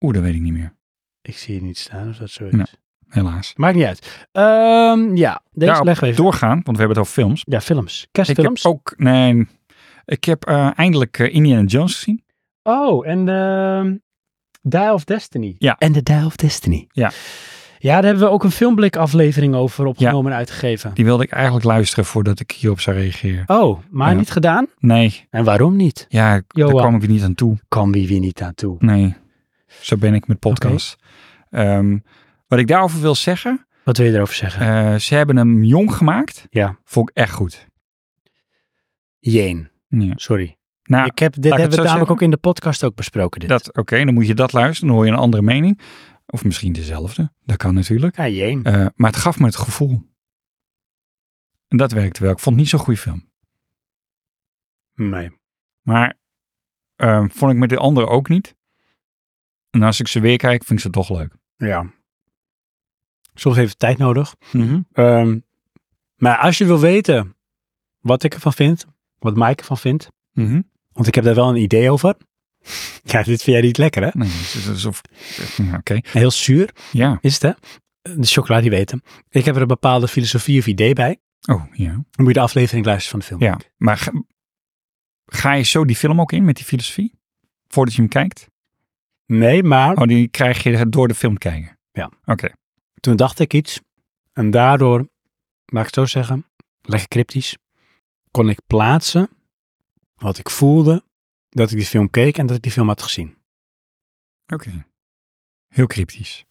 Speaker 3: Oeh, dat weet ik niet meer,
Speaker 2: Ik zie het niet staan of dat zo is.
Speaker 3: Nee. helaas.
Speaker 2: Maakt niet uit. Ehm, ja, deze
Speaker 3: Daarop
Speaker 2: leggen we even.
Speaker 3: Doorgaan, want we hebben het over films.
Speaker 2: Ja, films.
Speaker 3: Ik
Speaker 2: Kerstfilms.
Speaker 3: heb ook, nee, ik heb eh, eindelijk eh, Indiana Jones gezien.
Speaker 2: Oh, en ehm Dial of Destiny.
Speaker 3: Ja.
Speaker 2: En de Dial of Destiny.
Speaker 3: Ja.
Speaker 2: Ja, daar hebben we ook een filmblik aflevering over opgenomen en uitgegeven.
Speaker 3: Die wilde ik eigenlijk luisteren voordat ik hierop zou reageren.
Speaker 2: Oh, maar
Speaker 3: Ja.
Speaker 2: niet gedaan?
Speaker 3: Nee,
Speaker 2: En waarom niet?
Speaker 3: ja,
Speaker 2: Johan.
Speaker 3: daar kwam ik er niet aan toe.
Speaker 2: Kan wie wie niet aan toe.
Speaker 3: Nee, zo ben ik met podcasts. Ehm, wat ik daarover wil zeggen,
Speaker 2: Wat wil je erover zeggen?
Speaker 3: eh, ze hebben hem jong gemaakt.
Speaker 2: Ja.
Speaker 3: Vond ik echt goed.
Speaker 2: Jeen.
Speaker 3: Ja.
Speaker 2: Sorry.
Speaker 3: Nou,
Speaker 2: ik heb, dit
Speaker 3: ik het
Speaker 2: hebben we
Speaker 3: zo
Speaker 2: namelijk
Speaker 3: zeggen?
Speaker 2: ook in de podcast ook besproken. Dit.
Speaker 3: dat, oké, dan moet je dat luisteren, dan hoor je een andere mening. Of misschien dezelfde, dat kan natuurlijk.
Speaker 2: Ja, jeen.
Speaker 3: Eh, maar het gaf me het gevoel. En dat werkte wel. Ik vond het niet zo'n goede film.
Speaker 2: Nee.
Speaker 3: Maar ehm, vond ik met de andere ook niet. En als ik ze weer kijk, vind ik ze toch leuk.
Speaker 2: Ja. Mhm. Soms heeft het tijd nodig. Ehm, maar als je wil weten wat ik ervan vind, wat Mike ervan vindt.
Speaker 3: Mhm.
Speaker 2: Want ik heb daar wel een idee over. [LAUGHS] Ja, dit vind jij niet lekker, hè?
Speaker 3: Nee, het is alsof... Ja, Oké,
Speaker 2: Heel zuur
Speaker 3: ja.
Speaker 2: is het, hè? De chocola, die weet hem. Ik heb er een bepaalde filosofie of idee bij.
Speaker 3: Oh, ja.
Speaker 2: Dan moet je de aflevering luisteren van de film.
Speaker 3: Ja, maar ga, ga je zo die film ook in met die filosofie? Voordat je hem kijkt?
Speaker 2: Nee, maar
Speaker 3: Oh, die krijg je door de film kijken?
Speaker 2: Ja.
Speaker 3: Oké.
Speaker 2: toen dacht ik iets. En daardoor, laat ik het zo zeggen, lekker cryptisch, kon ik plaatsen wat ik voelde dat ik die film keek en dat ik die film had gezien.
Speaker 3: Oké. Heel cryptisch.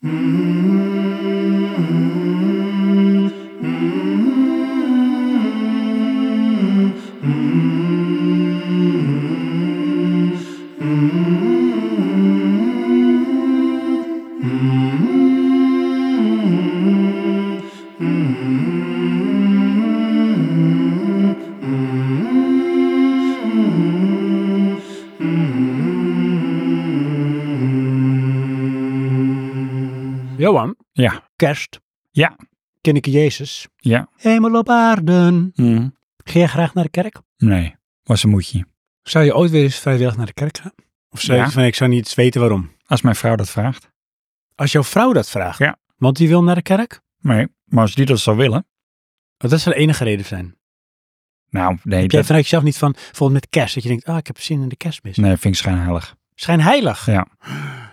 Speaker 2: Johan,
Speaker 3: Ja.
Speaker 2: kerst.
Speaker 3: Ja.
Speaker 2: Ken ik Jezus.
Speaker 3: Ja.
Speaker 2: Hemel op aarde. Ga je graag naar de kerk?
Speaker 3: Nee, was een moedje.
Speaker 2: Zou je ooit weer eens vrijwillig naar de kerk gaan? Of zou
Speaker 3: Ja.
Speaker 2: je van, ik zou niet eens weten waarom.
Speaker 3: Als mijn vrouw dat vraagt.
Speaker 2: Als jouw vrouw dat vraagt,
Speaker 3: Ja.
Speaker 2: want die wil naar de kerk,
Speaker 3: Nee, maar als die dat zou willen.
Speaker 2: want dat zou de enige reden zijn.
Speaker 3: Nou, nee,
Speaker 2: Heb jij
Speaker 3: dat,
Speaker 2: vanuit jezelf niet van, bijvoorbeeld met kerst, dat je denkt, ah, ik heb zin in de kerstmis.
Speaker 3: nee, vind ik schijnheilig.
Speaker 2: Schijnheilig.
Speaker 3: Ja.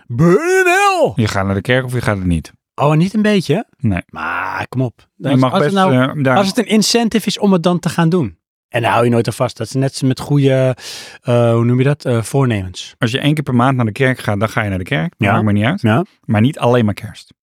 Speaker 2: Burn in hell!
Speaker 3: Je gaat naar de kerk of je gaat er niet.
Speaker 2: Oh, en niet een beetje?
Speaker 3: Nee.
Speaker 2: Maar kom op.
Speaker 3: Je mag
Speaker 2: als,
Speaker 3: best...
Speaker 2: het nou,
Speaker 3: eh, daar,
Speaker 2: als het een incentive is om het dan te gaan doen. En daar hou je nooit aan vast. Dat is net zo met goede, eh, hoe noem je dat, Eh, voornemens.
Speaker 3: Als je één keer per maand naar de kerk gaat, dan ga je naar de kerk.
Speaker 2: Ja.
Speaker 3: Maakt me niet uit.
Speaker 2: Ja.
Speaker 3: Maar niet alleen maar kerst.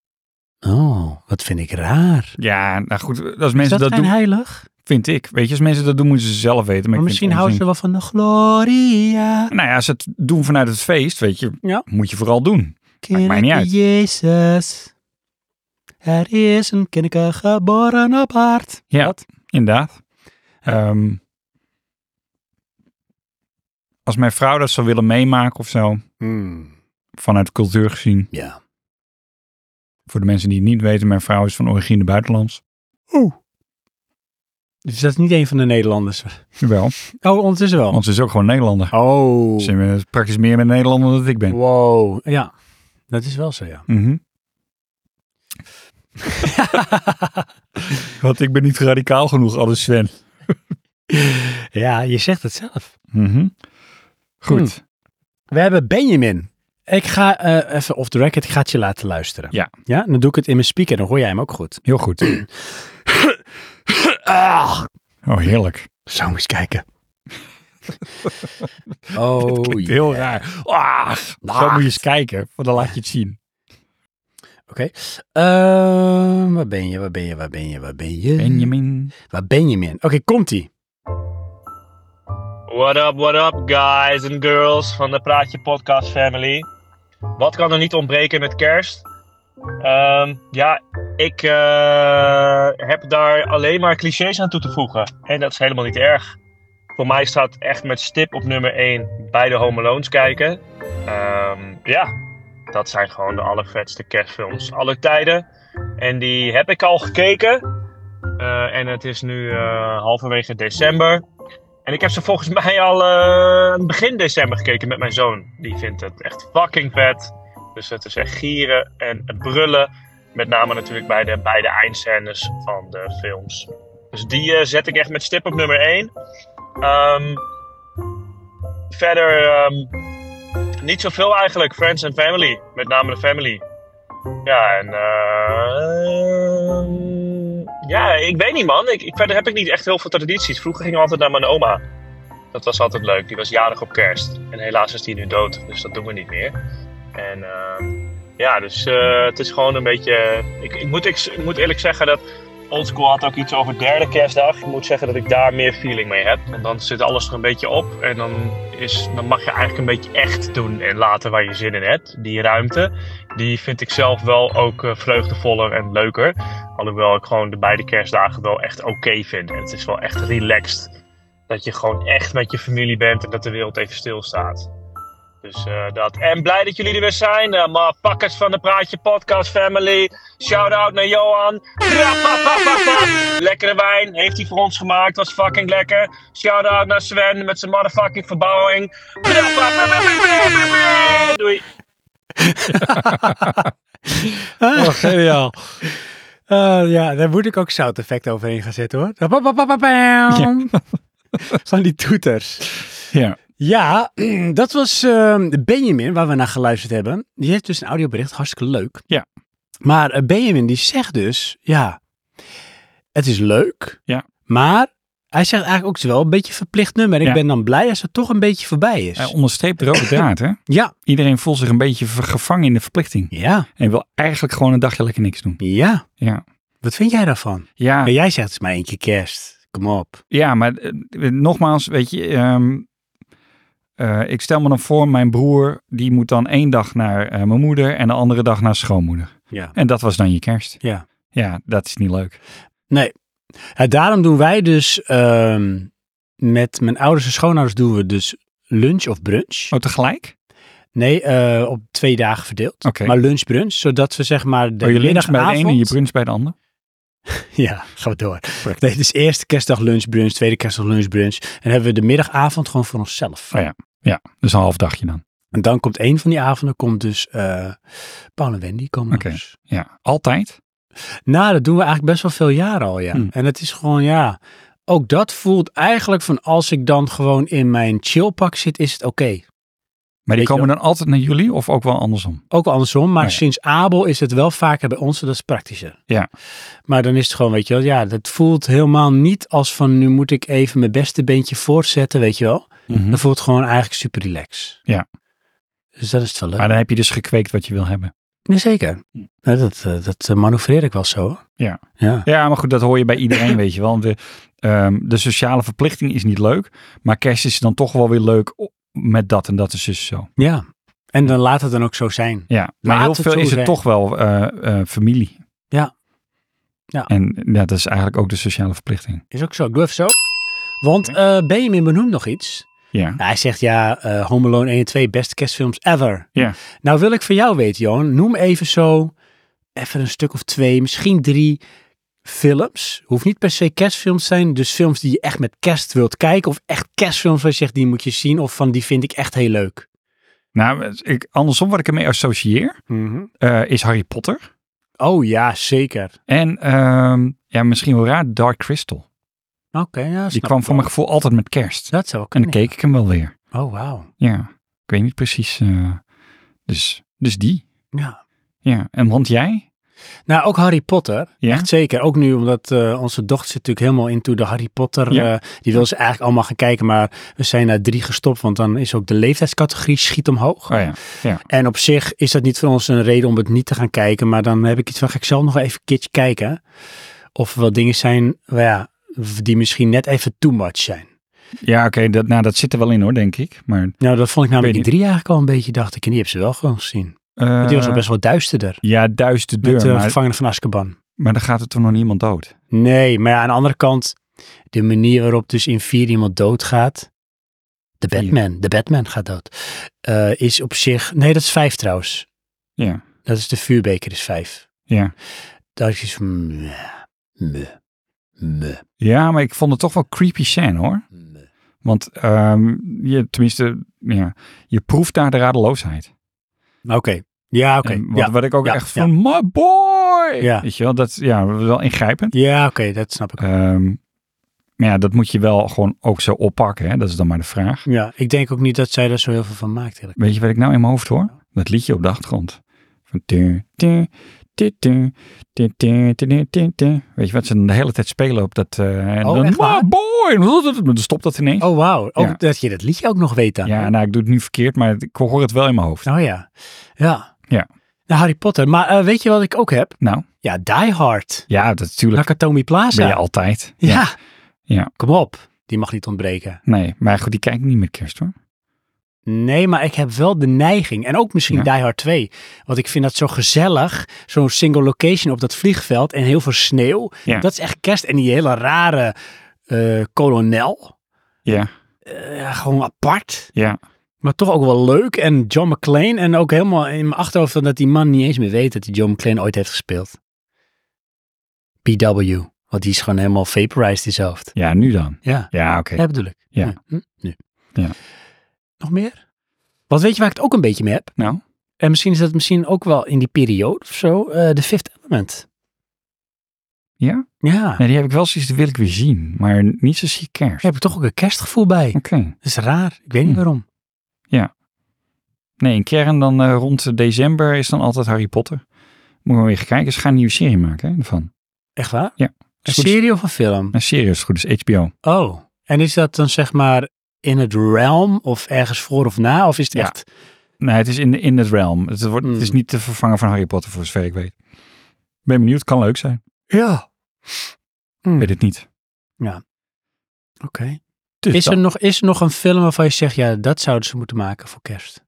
Speaker 2: Oh, dat vind ik raar.
Speaker 3: Ja, nou goed, als
Speaker 2: Is
Speaker 3: mensen
Speaker 2: dat,
Speaker 3: dat, doen,
Speaker 2: heilig?
Speaker 3: vind ik. Weet je, als mensen dat doen, moeten ze zelf weten. Maar
Speaker 2: Maar
Speaker 3: ik
Speaker 2: misschien
Speaker 3: vind het
Speaker 2: houden ze
Speaker 3: onzin.
Speaker 2: wel van de Gloria.
Speaker 3: Nou ja, als ze het doen vanuit het feest, weet je,
Speaker 2: Ja.
Speaker 3: moet je vooral doen.
Speaker 2: Maakt
Speaker 3: mij niet uit.
Speaker 2: Jezus. Er is een kindje geboren op aard.
Speaker 3: Ja,
Speaker 2: Wat?
Speaker 3: inderdaad. Ehm, als mijn vrouw dat zou willen meemaken of zo, Hmm, vanuit cultuur gezien.
Speaker 2: Ja.
Speaker 3: Voor de mensen die het niet weten, mijn vrouw is van origine buitenlands.
Speaker 2: Dus dat is niet een van de Nederlanders.
Speaker 3: Jawel,
Speaker 2: Oh, ondertussen wel.
Speaker 3: want ze is ook gewoon Nederlander.
Speaker 2: Oh.
Speaker 3: Ze is praktisch meer met Nederlander dan dat ik ben.
Speaker 2: Wow. Ja, dat is wel zo, ja.
Speaker 3: [LAUGHS] Mhm. Want ik ben niet radicaal genoeg, alles Sven.
Speaker 2: [LAUGHS] Ja, je zegt het zelf.
Speaker 3: Mhm. Goed.
Speaker 2: We hebben Benjamin. Ik ga eh, even off the record, ik ga het je laten luisteren.
Speaker 3: Ja.
Speaker 2: Ja, dan doe ik het in mijn speaker, dan hoor jij hem ook goed.
Speaker 3: Heel goed. [COUGHS]
Speaker 2: Ah,
Speaker 3: Oh, heerlijk.
Speaker 2: zo eens kijken. [LAUGHS] oh,
Speaker 3: Klinkt
Speaker 2: ja.
Speaker 3: heel raar. Ah, zo moet je eens kijken, want dan laat je het zien.
Speaker 2: Oké. Ehm, waar ben je, waar ben je, waar ben je, waar ben je?
Speaker 3: Benjamin.
Speaker 2: Waar ben je, man? Oké, komt-ie.
Speaker 8: What up, what up, guys and girls van de Praatje Podcast Family. Wat kan er niet ontbreken met kerst? Ehm, ja, ik eh, heb daar alleen maar clichés aan toe te voegen. En dat is helemaal niet erg. Voor mij staat echt met stip op nummer 1 bij de Home Alone's kijken. Ehm, ja, dat zijn gewoon de allervetste kerstfilms aller tijden. En die heb ik al gekeken. Eh, en het is nu eh, halverwege december. En ik heb ze volgens [LAUGHS] mij al eh, begin december gekeken met mijn zoon. Die vindt het echt fucking vet. Dus het is echt gieren en het brullen. Met name natuurlijk bij de, bij de eindscènes van de films. Dus die eh, zet ik echt met stip op nummer 1. verder ehm, niet zoveel eigenlijk. Friends and family. Met name de family. Ja, en... eh, ja, ik weet niet man. Ik, ik, verder heb ik niet echt heel veel tradities. Vroeger gingen we altijd naar mijn oma. Dat was altijd leuk. Die was jarig op kerst. En helaas is die nu dood. Dus dat doen we niet meer. En eh, ja, dus eh, het is gewoon een beetje... Ik, ik, moet, ik, ik moet eerlijk zeggen dat... Oldschool had ook iets over derde kerstdag. Ik moet zeggen dat ik daar meer feeling mee heb. Want dan zit alles er een beetje op. En dan, is, dan mag je eigenlijk een beetje echt doen en laten waar je zin in hebt. Die ruimte, die vind ik zelf wel ook eh, vreugdevoller en leuker. Alhoewel ik gewoon de beide kerstdagen wel echt oké vind. En het is wel echt relaxed. Dat je gewoon echt met je familie bent en dat de wereld even stilstaat. Dus eh, dat. En blij dat jullie er weer zijn. eh, maar pakkers van de Praatje Podcast Family. Shout-out naar Johan. [LAUGHS] Rapapapapa. Lekkere wijn. Heeft hij voor ons gemaakt. Was fucking lekker. Shout-out naar Sven met zijn motherfucking verbouwing. [LAUGHS] Rapapapapa. Doei.
Speaker 3: Oh,
Speaker 2: [LAUGHS]
Speaker 3: geniaal.
Speaker 2: Eh, ja, daar moet ik ook sound effect overheen gaan
Speaker 3: [LAUGHS]
Speaker 2: zetten hoor. Bababababam. Van die toeters.
Speaker 3: Ja.
Speaker 2: Ja, [CLEARS THROAT] dat was eh, Benjamin waar we naar geluisterd hebben. Die heeft dus een audiobericht, hartstikke leuk.
Speaker 3: Ja.
Speaker 2: Maar eh, Benjamin die zegt dus, ja, het is leuk.
Speaker 3: Ja.
Speaker 2: Maar hij zegt eigenlijk ook, het is wel een beetje een verplicht nummer. Ik
Speaker 3: Ja.
Speaker 2: ben dan blij als het toch een beetje voorbij is.
Speaker 3: Hij onderstreept de rode draad, hè?
Speaker 2: Ja,
Speaker 3: Iedereen voelt zich een beetje ver- gevangen in de verplichting.
Speaker 2: ja,
Speaker 3: En wil eigenlijk gewoon een dagje lekker niks doen.
Speaker 2: ja.
Speaker 3: Ja.
Speaker 2: Wat vind jij daarvan?
Speaker 3: Ja,
Speaker 2: Maar jij zegt, het is maar één keer kerst. Kom op.
Speaker 3: ja maar eh, eh, nogmaals, weet je... ehm, eh, ik stel me dan voor, mijn broer, die moet dan één dag naar eh, mijn moeder en de andere dag naar schoonmoeder.
Speaker 2: Ja.
Speaker 3: En dat was dan je kerst.
Speaker 2: Ja.
Speaker 3: Ja, dat is niet leuk.
Speaker 2: Nee. Ja, daarom doen wij dus ehm, met mijn ouders en schoonouders doen we dus lunch of brunch.
Speaker 3: Oh, tegelijk?
Speaker 2: Nee, eh, op twee dagen verdeeld.
Speaker 3: Oké.
Speaker 2: Maar lunch, brunch, zodat we zeg maar de
Speaker 3: Oh, je lunch bij de
Speaker 2: middagavond...
Speaker 3: ene en je brunch bij de ander?
Speaker 2: [LAUGHS] Ja, gaan we door. Nee, dus eerste kerstdag lunch, brunch, tweede kerstdag lunch, brunch. En hebben we de middagavond gewoon voor onszelf.
Speaker 3: Oh ja. Ja, dus een half dagje dan.
Speaker 2: En dan komt één van die avonden, komt dus eh Paul en Wendy komen
Speaker 3: Oké.
Speaker 2: langs.
Speaker 3: Ja, altijd?
Speaker 2: Nou, dat doen we eigenlijk best wel veel jaren al, ja.
Speaker 3: Hmm.
Speaker 2: En het is gewoon, ja, ook dat voelt eigenlijk van als ik dan gewoon in mijn chillpak zit, is het oké.
Speaker 3: Maar
Speaker 2: Weet
Speaker 3: die
Speaker 2: je
Speaker 3: komen dan altijd naar jullie of ook wel andersom?
Speaker 2: Ook wel andersom, maar
Speaker 3: Oh ja.
Speaker 2: sinds Abel is het wel vaker bij ons, dat is praktischer.
Speaker 3: Ja.
Speaker 2: Maar dan is het gewoon, weet je wel, ja, dat voelt helemaal niet als van nu moet ik even mijn beste beentje voortzetten, weet je wel.
Speaker 3: Mhm.
Speaker 2: Dat voelt gewoon eigenlijk super relax.
Speaker 3: Ja.
Speaker 2: Dus dat is het wel leuk.
Speaker 3: Maar dan heb je dus gekweekt wat je wil hebben.
Speaker 2: Nee, zeker. Nou, dat, eh, dat eh, manoeuvreer ik wel zo. hoor.
Speaker 3: Ja.
Speaker 2: Ja.
Speaker 3: Ja, maar goed, dat hoor je bij
Speaker 2: [LAUGHS]
Speaker 3: iedereen, weet je wel. De, ehm, de sociale verplichting is niet leuk, maar kerst is dan toch wel weer leuk o- met dat en dat is dus zo.
Speaker 2: Ja. En dan laat het dan ook zo zijn.
Speaker 3: Ja, maar
Speaker 2: Laat
Speaker 3: heel
Speaker 2: het
Speaker 3: veel
Speaker 2: zo
Speaker 3: is het
Speaker 2: zijn.
Speaker 3: toch wel eh, eh, familie.
Speaker 2: Ja. Ja.
Speaker 3: En ja, dat is eigenlijk ook de sociale verplichting.
Speaker 2: Is ook zo. Ik doe even zo. Want eh Benjamin benoemt nog iets.
Speaker 3: Ja.
Speaker 2: Nou, hij zegt ja, eh, Home Alone 1 en 2, beste kerstfilms ever.
Speaker 3: Ja.
Speaker 2: Nou wil ik van jou weten, Johan. Noem even zo, even een stuk of twee, misschien drie films. Hoeft niet per se kerstfilms te zijn. Dus films die je echt met kerst wilt kijken. Of echt kerstfilms waar je zegt, die moet je zien. Of van, die vind ik echt heel leuk.
Speaker 3: Nou, ik, andersom wat ik ermee associeer eh, is Harry Potter.
Speaker 2: Oh ja, zeker.
Speaker 3: En ehm, ja, misschien wel raar, Dark Crystal.
Speaker 2: Oké, ja,
Speaker 3: Die
Speaker 2: snap
Speaker 3: kwam
Speaker 2: ik
Speaker 3: voor
Speaker 2: wel.
Speaker 3: mijn gevoel altijd met kerst.
Speaker 2: Dat zou
Speaker 3: En dan
Speaker 2: kunnen.
Speaker 3: keek ik hem wel weer.
Speaker 2: Oh, wauw.
Speaker 3: Ja, ik weet niet precies. eh, dus, dus die.
Speaker 2: Ja.
Speaker 3: Ja, en want jij?
Speaker 2: Nou, ook Harry Potter.
Speaker 3: Ja?
Speaker 2: Echt zeker. Ook nu, omdat eh, onze dochter zit natuurlijk helemaal into de Harry Potter.
Speaker 3: Ja.
Speaker 2: eh, die wil ze eigenlijk allemaal gaan kijken, maar we zijn naar drie gestopt. Want dan is ook de leeftijdscategorie schiet omhoog.
Speaker 3: Oh ja, ja.
Speaker 2: En op zich is dat niet voor ons een reden om het niet te gaan kijken. Maar dan heb ik iets van, ga ik zelf nog wel even een keertje kijken. Of er wel dingen zijn, nou ja, die misschien net even too much zijn.
Speaker 3: Ja, oké, dat, nou, dat zit er wel in hoor, denk ik. Maar,
Speaker 2: Nou, dat vond ik namelijk
Speaker 3: Weet
Speaker 2: die drie eigenlijk al een beetje, dacht ik. En die heb ze wel gewoon gezien.
Speaker 3: eh,
Speaker 2: Want die was al best wel duisterder.
Speaker 3: Ja, duizend
Speaker 2: Met eh,
Speaker 3: deur.
Speaker 2: de
Speaker 3: maar,
Speaker 2: gevangenen van Azkaban.
Speaker 3: maar dan gaat er toch nog niemand dood.
Speaker 2: Nee, maar ja, aan de andere kant, de manier waarop dus in vier iemand doodgaat. De
Speaker 3: Vier.
Speaker 2: Batman, de Batman gaat dood. eh, is op zich, nee dat is vijf trouwens.
Speaker 3: Ja,
Speaker 2: Dat is de vuurbeker is vijf.
Speaker 3: ja.
Speaker 2: Dat is iets van, meh, meh, meh,
Speaker 3: Ja, maar ik vond het toch wel creepy scène hoor.
Speaker 2: meh.
Speaker 3: Want ehm, je, tenminste, ja, je proeft daar de radeloosheid.
Speaker 2: Oké, ja oké.
Speaker 3: En wat,
Speaker 2: Ja,
Speaker 3: wat ik ook
Speaker 2: ja,
Speaker 3: echt van, my boy!
Speaker 2: Ja.
Speaker 3: Weet je wel, dat ja, wel ingrijpend.
Speaker 2: ja oké, dat snap ik.
Speaker 3: Ehm, maar ja, dat moet je wel gewoon ook zo oppakken. Hè? Dat is dan maar de vraag.
Speaker 2: Ja, ik denk ook niet dat zij daar zo heel veel van maakt. Eigenlijk.
Speaker 3: Weet je wat ik nou in mijn hoofd hoor? Dat liedje op de achtergrond. Van tu, tu, tu, tu, tu, tu, tu, tu, tu, tu. Weet je wat ze dan de hele tijd spelen op dat... eh en
Speaker 2: Oh,
Speaker 3: dan,
Speaker 2: echt waar?
Speaker 3: "My boy! Dan stopt dat ineens.
Speaker 2: Oh wauw, ook
Speaker 3: Ja.
Speaker 2: dat je dat liedje ook nog weet dan. hè?
Speaker 3: ja, nou, ik doe het nu verkeerd, maar ik hoor het wel in mijn hoofd.
Speaker 2: Oh ja, ja.
Speaker 3: Ja.
Speaker 2: Nou, Harry Potter, maar eh, weet je wat ik ook heb?
Speaker 3: Nou,
Speaker 2: Ja, Die Hard.
Speaker 3: ja, dat natuurlijk
Speaker 2: Nakatomi Plaza.
Speaker 3: ben je altijd.
Speaker 2: Ja.
Speaker 3: Ja.
Speaker 2: Kom op. Die mag niet ontbreken.
Speaker 3: Nee, maar goed, die kijk ik niet met kerst hoor.
Speaker 2: Nee, maar ik heb wel de neiging. En ook misschien
Speaker 3: Ja.
Speaker 2: Die Hard 2. Want ik vind dat zo gezellig. Zo'n single location op dat vliegveld. En heel veel sneeuw.
Speaker 3: Ja.
Speaker 2: Dat is echt kerst. En die hele rare eh, kolonel.
Speaker 3: Ja,
Speaker 2: Eh, gewoon apart.
Speaker 3: ja.
Speaker 2: Maar toch ook wel leuk. En John McClane. En ook helemaal in mijn achterhoofd van dat die man niet eens meer weet dat hij John McClane ooit heeft gespeeld. PW. Want die is gewoon helemaal vaporized in zijn hoofd.
Speaker 3: Ja, nu dan.
Speaker 2: Ja,
Speaker 3: Ja, oké.
Speaker 2: dat bedoel ik.
Speaker 3: Ja.
Speaker 2: Hm, Nu.
Speaker 3: Ja.
Speaker 2: Nog meer? Wat weet je waar ik het ook een beetje mee heb?
Speaker 3: Nou,
Speaker 2: En misschien is dat misschien ook wel in die periode of zo. eh The Fifth Element.
Speaker 3: Ja?
Speaker 2: Ja.
Speaker 3: nee, die heb ik wel zoiets, die wil ik weer zien. Maar niet zo zie kerst.
Speaker 2: Daar heb ik toch ook een kerstgevoel bij.
Speaker 3: Oké.
Speaker 2: Dat is raar. Ik weet niet
Speaker 3: Hm.
Speaker 2: waarom.
Speaker 3: Nee, in kern dan eh, rond december is dan altijd Harry Potter. Moet we weer gaan kijken. Ze gaan een nieuwe serie maken hè, ervan.
Speaker 2: Echt waar?
Speaker 3: Ja.
Speaker 2: Een
Speaker 3: Is goed.
Speaker 2: serie of een film?
Speaker 3: Een serie is goed, is HBO.
Speaker 2: Oh. En is dat dan zeg maar in het realm of ergens voor of na? Of is het
Speaker 3: Ja.
Speaker 2: echt...
Speaker 3: Nee, het is in, in het realm. Het, wordt, het is
Speaker 2: Hmm.
Speaker 3: niet te vervangen van Harry Potter, voor zover ik weet. Ben benieuwd, het kan leuk zijn.
Speaker 2: Ja. Hmm.
Speaker 3: Weet het niet.
Speaker 2: Oké.
Speaker 3: Dus
Speaker 2: Is, er
Speaker 3: dat-
Speaker 2: nog- is er nog een film waarvan je zegt, ja, dat zouden ze moeten maken voor kerst?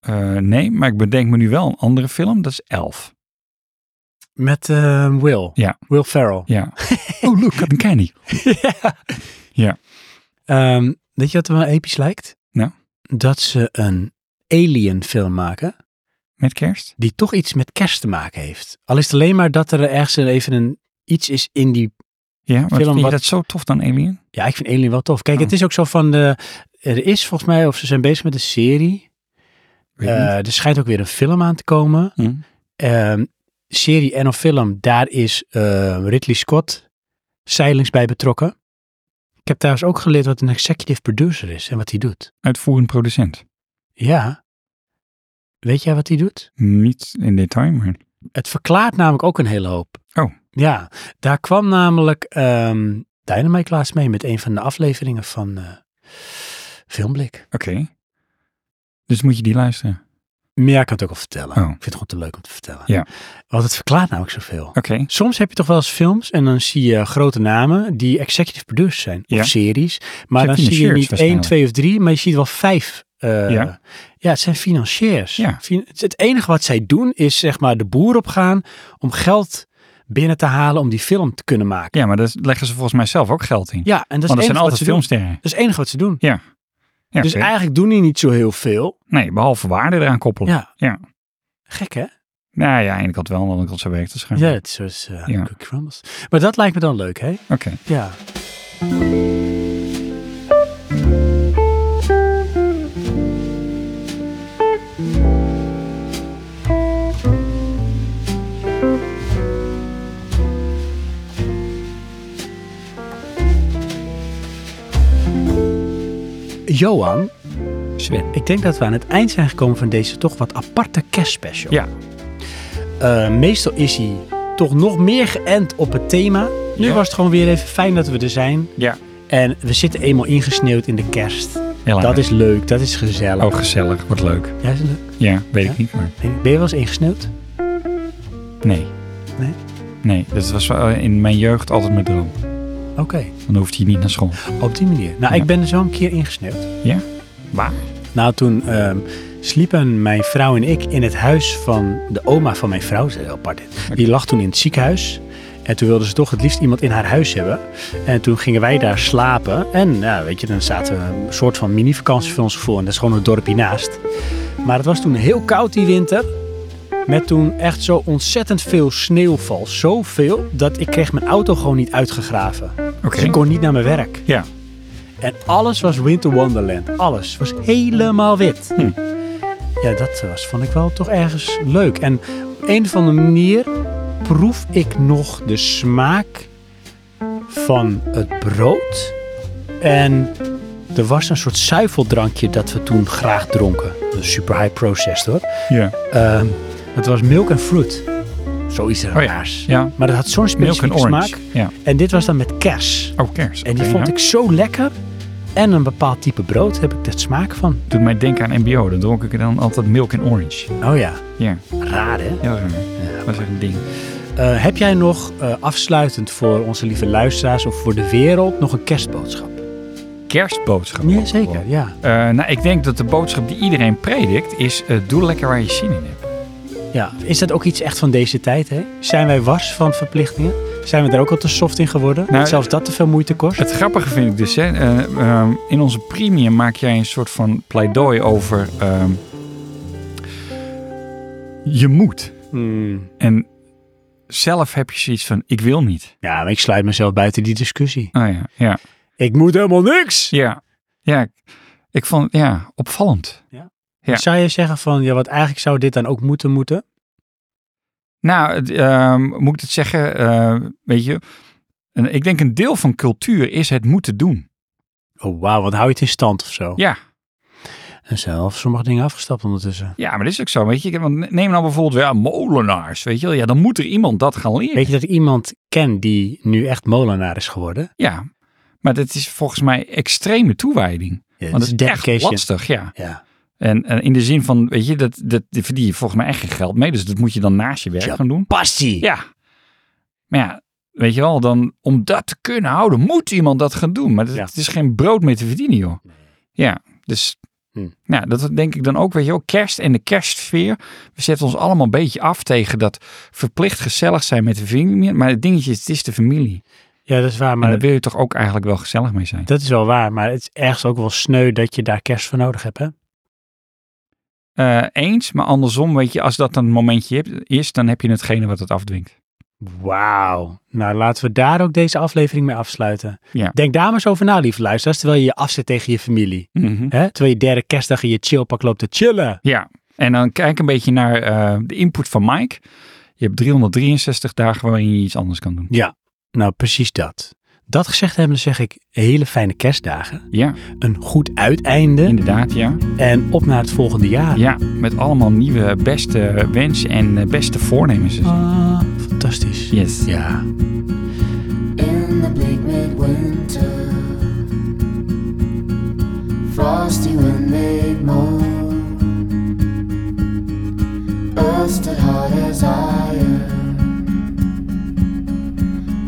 Speaker 3: Eh, nee, maar ik bedenk me nu wel een andere film. Dat is Elf.
Speaker 2: Met eh, Will.
Speaker 3: Ja.
Speaker 2: Will Ferrell. [LAUGHS]
Speaker 3: Ja. oh, look, een candy.
Speaker 2: Ehm, weet je wat er wel episch lijkt?
Speaker 3: Nou?
Speaker 2: Dat ze een alien film maken.
Speaker 3: Met kerst?
Speaker 2: die toch iets met kerst te maken heeft. Al is het alleen maar dat er ergens even een iets is in die...
Speaker 3: Ja, maar
Speaker 2: Film
Speaker 3: vind je
Speaker 2: wat-
Speaker 3: dat zo tof dan, Alien?
Speaker 2: Ja, ik vind Alien wel tof. Kijk,
Speaker 3: Oh.
Speaker 2: het is ook zo van de... Er is volgens mij, of ze zijn bezig met een serie.
Speaker 3: Weet ik
Speaker 2: Eh,
Speaker 3: niet.
Speaker 2: er schijnt ook weer een film aan te komen.
Speaker 3: Hmm.
Speaker 2: Ehm, serie en of film, daar is eh, Ridley Scott zeilings bij betrokken. Ik heb trouwens ook geleerd wat een executive producer is en wat hij doet.
Speaker 3: Uitvoerend producent.
Speaker 2: Ja. Weet jij wat hij doet?
Speaker 3: Niet in detail, maar...
Speaker 2: Het verklaart namelijk ook een hele hoop.
Speaker 3: Oh.
Speaker 2: Ja, daar kwam namelijk ehm Dynamite laatst mee met een van de afleveringen van eh, Filmblik.
Speaker 3: Oké. Dus moet je die luisteren.
Speaker 2: Maar ja, ik kan het ook al vertellen.
Speaker 3: Oh.
Speaker 2: Ik vind het gewoon te leuk om te vertellen.
Speaker 3: Ja.
Speaker 2: Want het verklaart namelijk zoveel.
Speaker 3: Oké.
Speaker 2: Soms heb je toch wel eens films en dan zie je grote namen die executive producers zijn.
Speaker 3: Ja.
Speaker 2: Of series. Maar
Speaker 3: Zijn
Speaker 2: dan zie je
Speaker 3: financiers
Speaker 2: niet één,
Speaker 3: waarschijnlijk.
Speaker 2: twee of drie, maar je ziet wel vijf. eh,
Speaker 3: Ja.
Speaker 2: ja. het zijn financiers.
Speaker 3: Ja.
Speaker 2: Fin- het- het enige wat zij doen is zeg maar de boer op gaan om geld binnen te halen om die film te kunnen maken.
Speaker 3: Ja, maar daar leggen ze volgens mij zelf ook geld in.
Speaker 2: Ja, en dat
Speaker 3: Want dat
Speaker 2: is, het
Speaker 3: zijn
Speaker 2: enige wat
Speaker 3: altijd
Speaker 2: ze doen.
Speaker 3: filmsterren.
Speaker 2: dat is het enige wat ze doen.
Speaker 3: Ja. Ja,
Speaker 2: dus
Speaker 3: oké.
Speaker 2: eigenlijk doen die niet zo heel veel.
Speaker 3: Nee, behalve waarde eraan koppelen.
Speaker 2: Ja.
Speaker 3: Ja.
Speaker 2: Gek hè?
Speaker 3: Nou ja, aan de ene kant wel, aan de andere kant zo werkt het
Speaker 2: Ja,
Speaker 3: schijnbaar.
Speaker 2: het is zoals eh,
Speaker 3: Ja.
Speaker 2: Cookie Crumbles. Maar dat lijkt me dan leuk hè?
Speaker 3: Oké.
Speaker 2: Ja. Johan,
Speaker 3: Sven.
Speaker 2: ik denk dat we aan het eind zijn gekomen van deze toch wat aparte kerstspecial.
Speaker 3: Ja.
Speaker 2: Eh, meestal is hij toch nog meer geënt op het thema. Nu
Speaker 3: Ja.
Speaker 2: was het gewoon weer even fijn dat we er zijn.
Speaker 3: Ja.
Speaker 2: En we zitten eenmaal ingesneeuwd in de kerst.
Speaker 3: Heel
Speaker 2: Dat
Speaker 3: aardig.
Speaker 2: is leuk, dat is gezellig.
Speaker 3: Oh, gezellig. Wat leuk.
Speaker 2: Ja, is het leuk?
Speaker 3: Ja, weet
Speaker 2: Ja?
Speaker 3: ik niet, maar...
Speaker 2: Ben je wel eens ingesneeuwd?
Speaker 3: Nee.
Speaker 2: Nee?
Speaker 3: Nee, dat was wel in mijn jeugd altijd mijn droom.
Speaker 2: Oké,
Speaker 3: Dan hoeft hij niet naar school.
Speaker 2: op die manier. Nou,
Speaker 3: Ja.
Speaker 2: ik ben er zo een keer ingesneeuwd.
Speaker 3: Ja? Waar?
Speaker 2: Nou, toen ehm, sliepen mijn vrouw en ik in het huis van de oma van mijn vrouw. Dat is heel apart dit. Die lag toen in het ziekenhuis. En toen wilden ze toch het liefst iemand in haar huis hebben. En toen gingen wij daar slapen. En nou, weet je, dan zaten we een soort van mini-vakantie voor ons gevoel. En dat is gewoon een dorpje naast. Maar het was toen heel koud die winter. Met toen echt zo ontzettend veel sneeuwval. Zoveel dat ik kreeg mijn auto gewoon niet uitgegraven.
Speaker 3: Oké.
Speaker 2: Dus ik kon niet naar mijn werk.
Speaker 3: Ja.
Speaker 2: En alles was Winter Wonderland. Alles was helemaal wit.
Speaker 3: Hm.
Speaker 2: Ja, dat was, vond ik wel toch ergens leuk. En op een of andere manier proef ik nog de smaak van het brood. En er was een soort zuiveldrankje dat we toen graag dronken. Dat is Super high processed hoor.
Speaker 3: Ja.
Speaker 2: Ehm, het was milk and fruit. Zoiets raars.
Speaker 3: Oh Ja.
Speaker 2: Maar dat had zo'n
Speaker 3: Milk en
Speaker 2: specifieke
Speaker 3: orange.
Speaker 2: smaak.
Speaker 3: Ja.
Speaker 2: En dit was dan met kers.
Speaker 3: Oh, kerst.
Speaker 2: En die
Speaker 3: Oké,
Speaker 2: vond
Speaker 3: ja.
Speaker 2: ik zo lekker. En een bepaald type brood heb ik dat smaak van.
Speaker 3: Doet mij denken aan MBO. Dan dronk ik er dan altijd milk en orange.
Speaker 2: Oh ja,
Speaker 3: Ja.
Speaker 2: raar hè?
Speaker 3: Heel raar. Dat was echt een ding.
Speaker 2: Eh, heb jij nog eh, afsluitend voor onze lieve luisteraars of voor de wereld nog een kerstboodschap?
Speaker 3: Kerstboodschap.
Speaker 2: zeker. Ja.
Speaker 3: Eh, nou, ik denk dat de boodschap die iedereen predikt is: eh, doe lekker waar je zin in hebt.
Speaker 2: ja. Is dat ook iets echt van deze tijd hè? Zijn wij wars van verplichtingen?
Speaker 9: Zijn we daar ook al te soft in geworden?
Speaker 3: Nou,
Speaker 9: dat zelfs dat te veel moeite kost?
Speaker 3: Het grappige vind ik dus, hè, eh, ehm, in onze premium maak jij een soort van pleidooi over ehm, je moet.
Speaker 9: Hmm.
Speaker 3: En zelf heb je zoiets van, ik wil niet.
Speaker 9: Ja, maar ik sluit mezelf buiten die discussie.
Speaker 3: Ah ja, ja.
Speaker 9: Ik moet helemaal niks!
Speaker 3: Ja, ja. Ik vond, ja, opvallend. Ja.
Speaker 9: Zou je zeggen van, ja, wat eigenlijk zou dit dan ook moeten moeten?
Speaker 3: Nou, het, ehm, moet ik het zeggen, eh, weet je, een- ik denk een deel van cultuur is het moeten doen.
Speaker 9: Oh, wauw, wat hou je het in stand of zo?
Speaker 3: Ja,
Speaker 9: En zelf sommige dingen afgestapt ondertussen.
Speaker 3: ja, maar dat is ook zo, weet je. Want neem nou bijvoorbeeld, ja, molenaars, weet je wel. Ja, dan moet er iemand dat gaan leren.
Speaker 9: Weet je dat ik iemand ken die nu echt molenaar is geworden?
Speaker 3: Ja, maar dat is volgens mij extreme toewijding.
Speaker 9: Ja,
Speaker 3: Want het is echt lastig, ja.
Speaker 9: Ja.
Speaker 3: En, en in de zin van, weet je, dat, dat die verdien je volgens mij echt geen geld mee. Dus dat moet je dan naast je werk
Speaker 9: Ja.
Speaker 3: gaan doen.
Speaker 9: Passie!
Speaker 3: Ja. Maar ja, weet je wel, dan om dat te kunnen houden, moet iemand dat gaan doen. Maar dat,
Speaker 9: Ja.
Speaker 3: het is geen brood mee te verdienen, joh. Ja, dus
Speaker 9: Hm.
Speaker 3: nou, dat denk ik dan ook, weet je wel, kerst en de kerstsfeer. We zetten ons allemaal een beetje af tegen dat verplicht gezellig zijn met de familie. Maar het dingetje is, het is de familie.
Speaker 9: Ja, dat is waar,
Speaker 3: Maar
Speaker 9: maar
Speaker 3: daar wil je toch ook eigenlijk wel gezellig mee zijn.
Speaker 9: dat is wel waar. Maar het is ergens ook wel sneu dat je daar kerst voor nodig hebt, hè?
Speaker 3: Eh, eens, maar andersom, weet je, als dat dan een momentje hebt- is, dan heb je hetgene wat het afdwingt.
Speaker 9: Wauw. Nou, laten we daar ook deze aflevering mee afsluiten.
Speaker 3: Ja.
Speaker 9: Denk daar maar eens over na, lieve luisteraars, terwijl je je afzet tegen je familie. Hè? Terwijl je derde kerstdag in je chillpak loopt te chillen.
Speaker 3: Ja, en dan kijk een beetje naar eh, de input van Mike. Je hebt 363 dagen waarin je iets anders kan doen.
Speaker 9: Ja, nou precies dat. Dat gezegd hebben, zeg ik hele fijne kerstdagen.
Speaker 3: Ja,
Speaker 9: Een goed uiteinde.
Speaker 3: inderdaad, ja.
Speaker 9: En op naar het volgende jaar.
Speaker 3: Ja, met allemaal nieuwe beste wensen en eh, beste voornemens. en zo.
Speaker 9: Ah, fantastisch.
Speaker 3: Yes.
Speaker 9: Ja.
Speaker 10: in the bleak midwinter. Frosty wind made moan. Earth still hard as iron.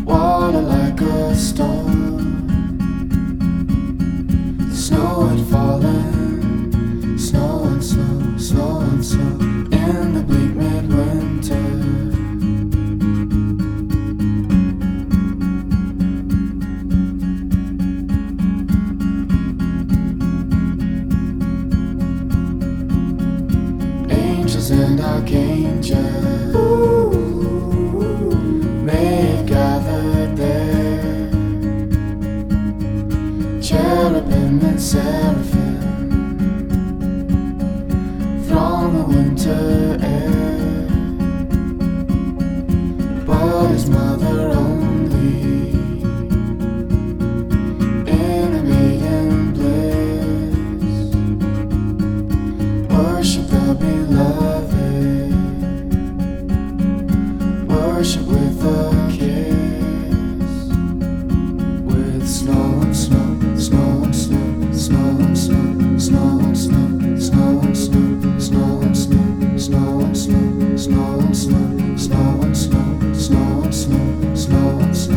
Speaker 10: Water like a stone. Snow had fallen. Snow and snow, snow and snow. In the bleak midwinter. angels and archangels may have gathered there. Cherubim and seraphim throng the winter air. But his mother only in a maiden bliss worship the beloved, worship with a kiss, with snow and snow, snow and snow, snow and snow, snow and snow, snow and snow, snow and snow, snow and snow, snow and snow, snow and snow, snow and snow, snow and snow, snow and snow, snow and snow, snow and snow,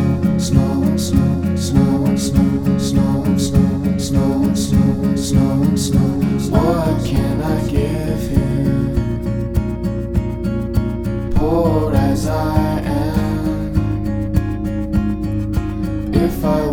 Speaker 10: snow and snow, snow and snow, snow. What can I give him? Poor as I am. If I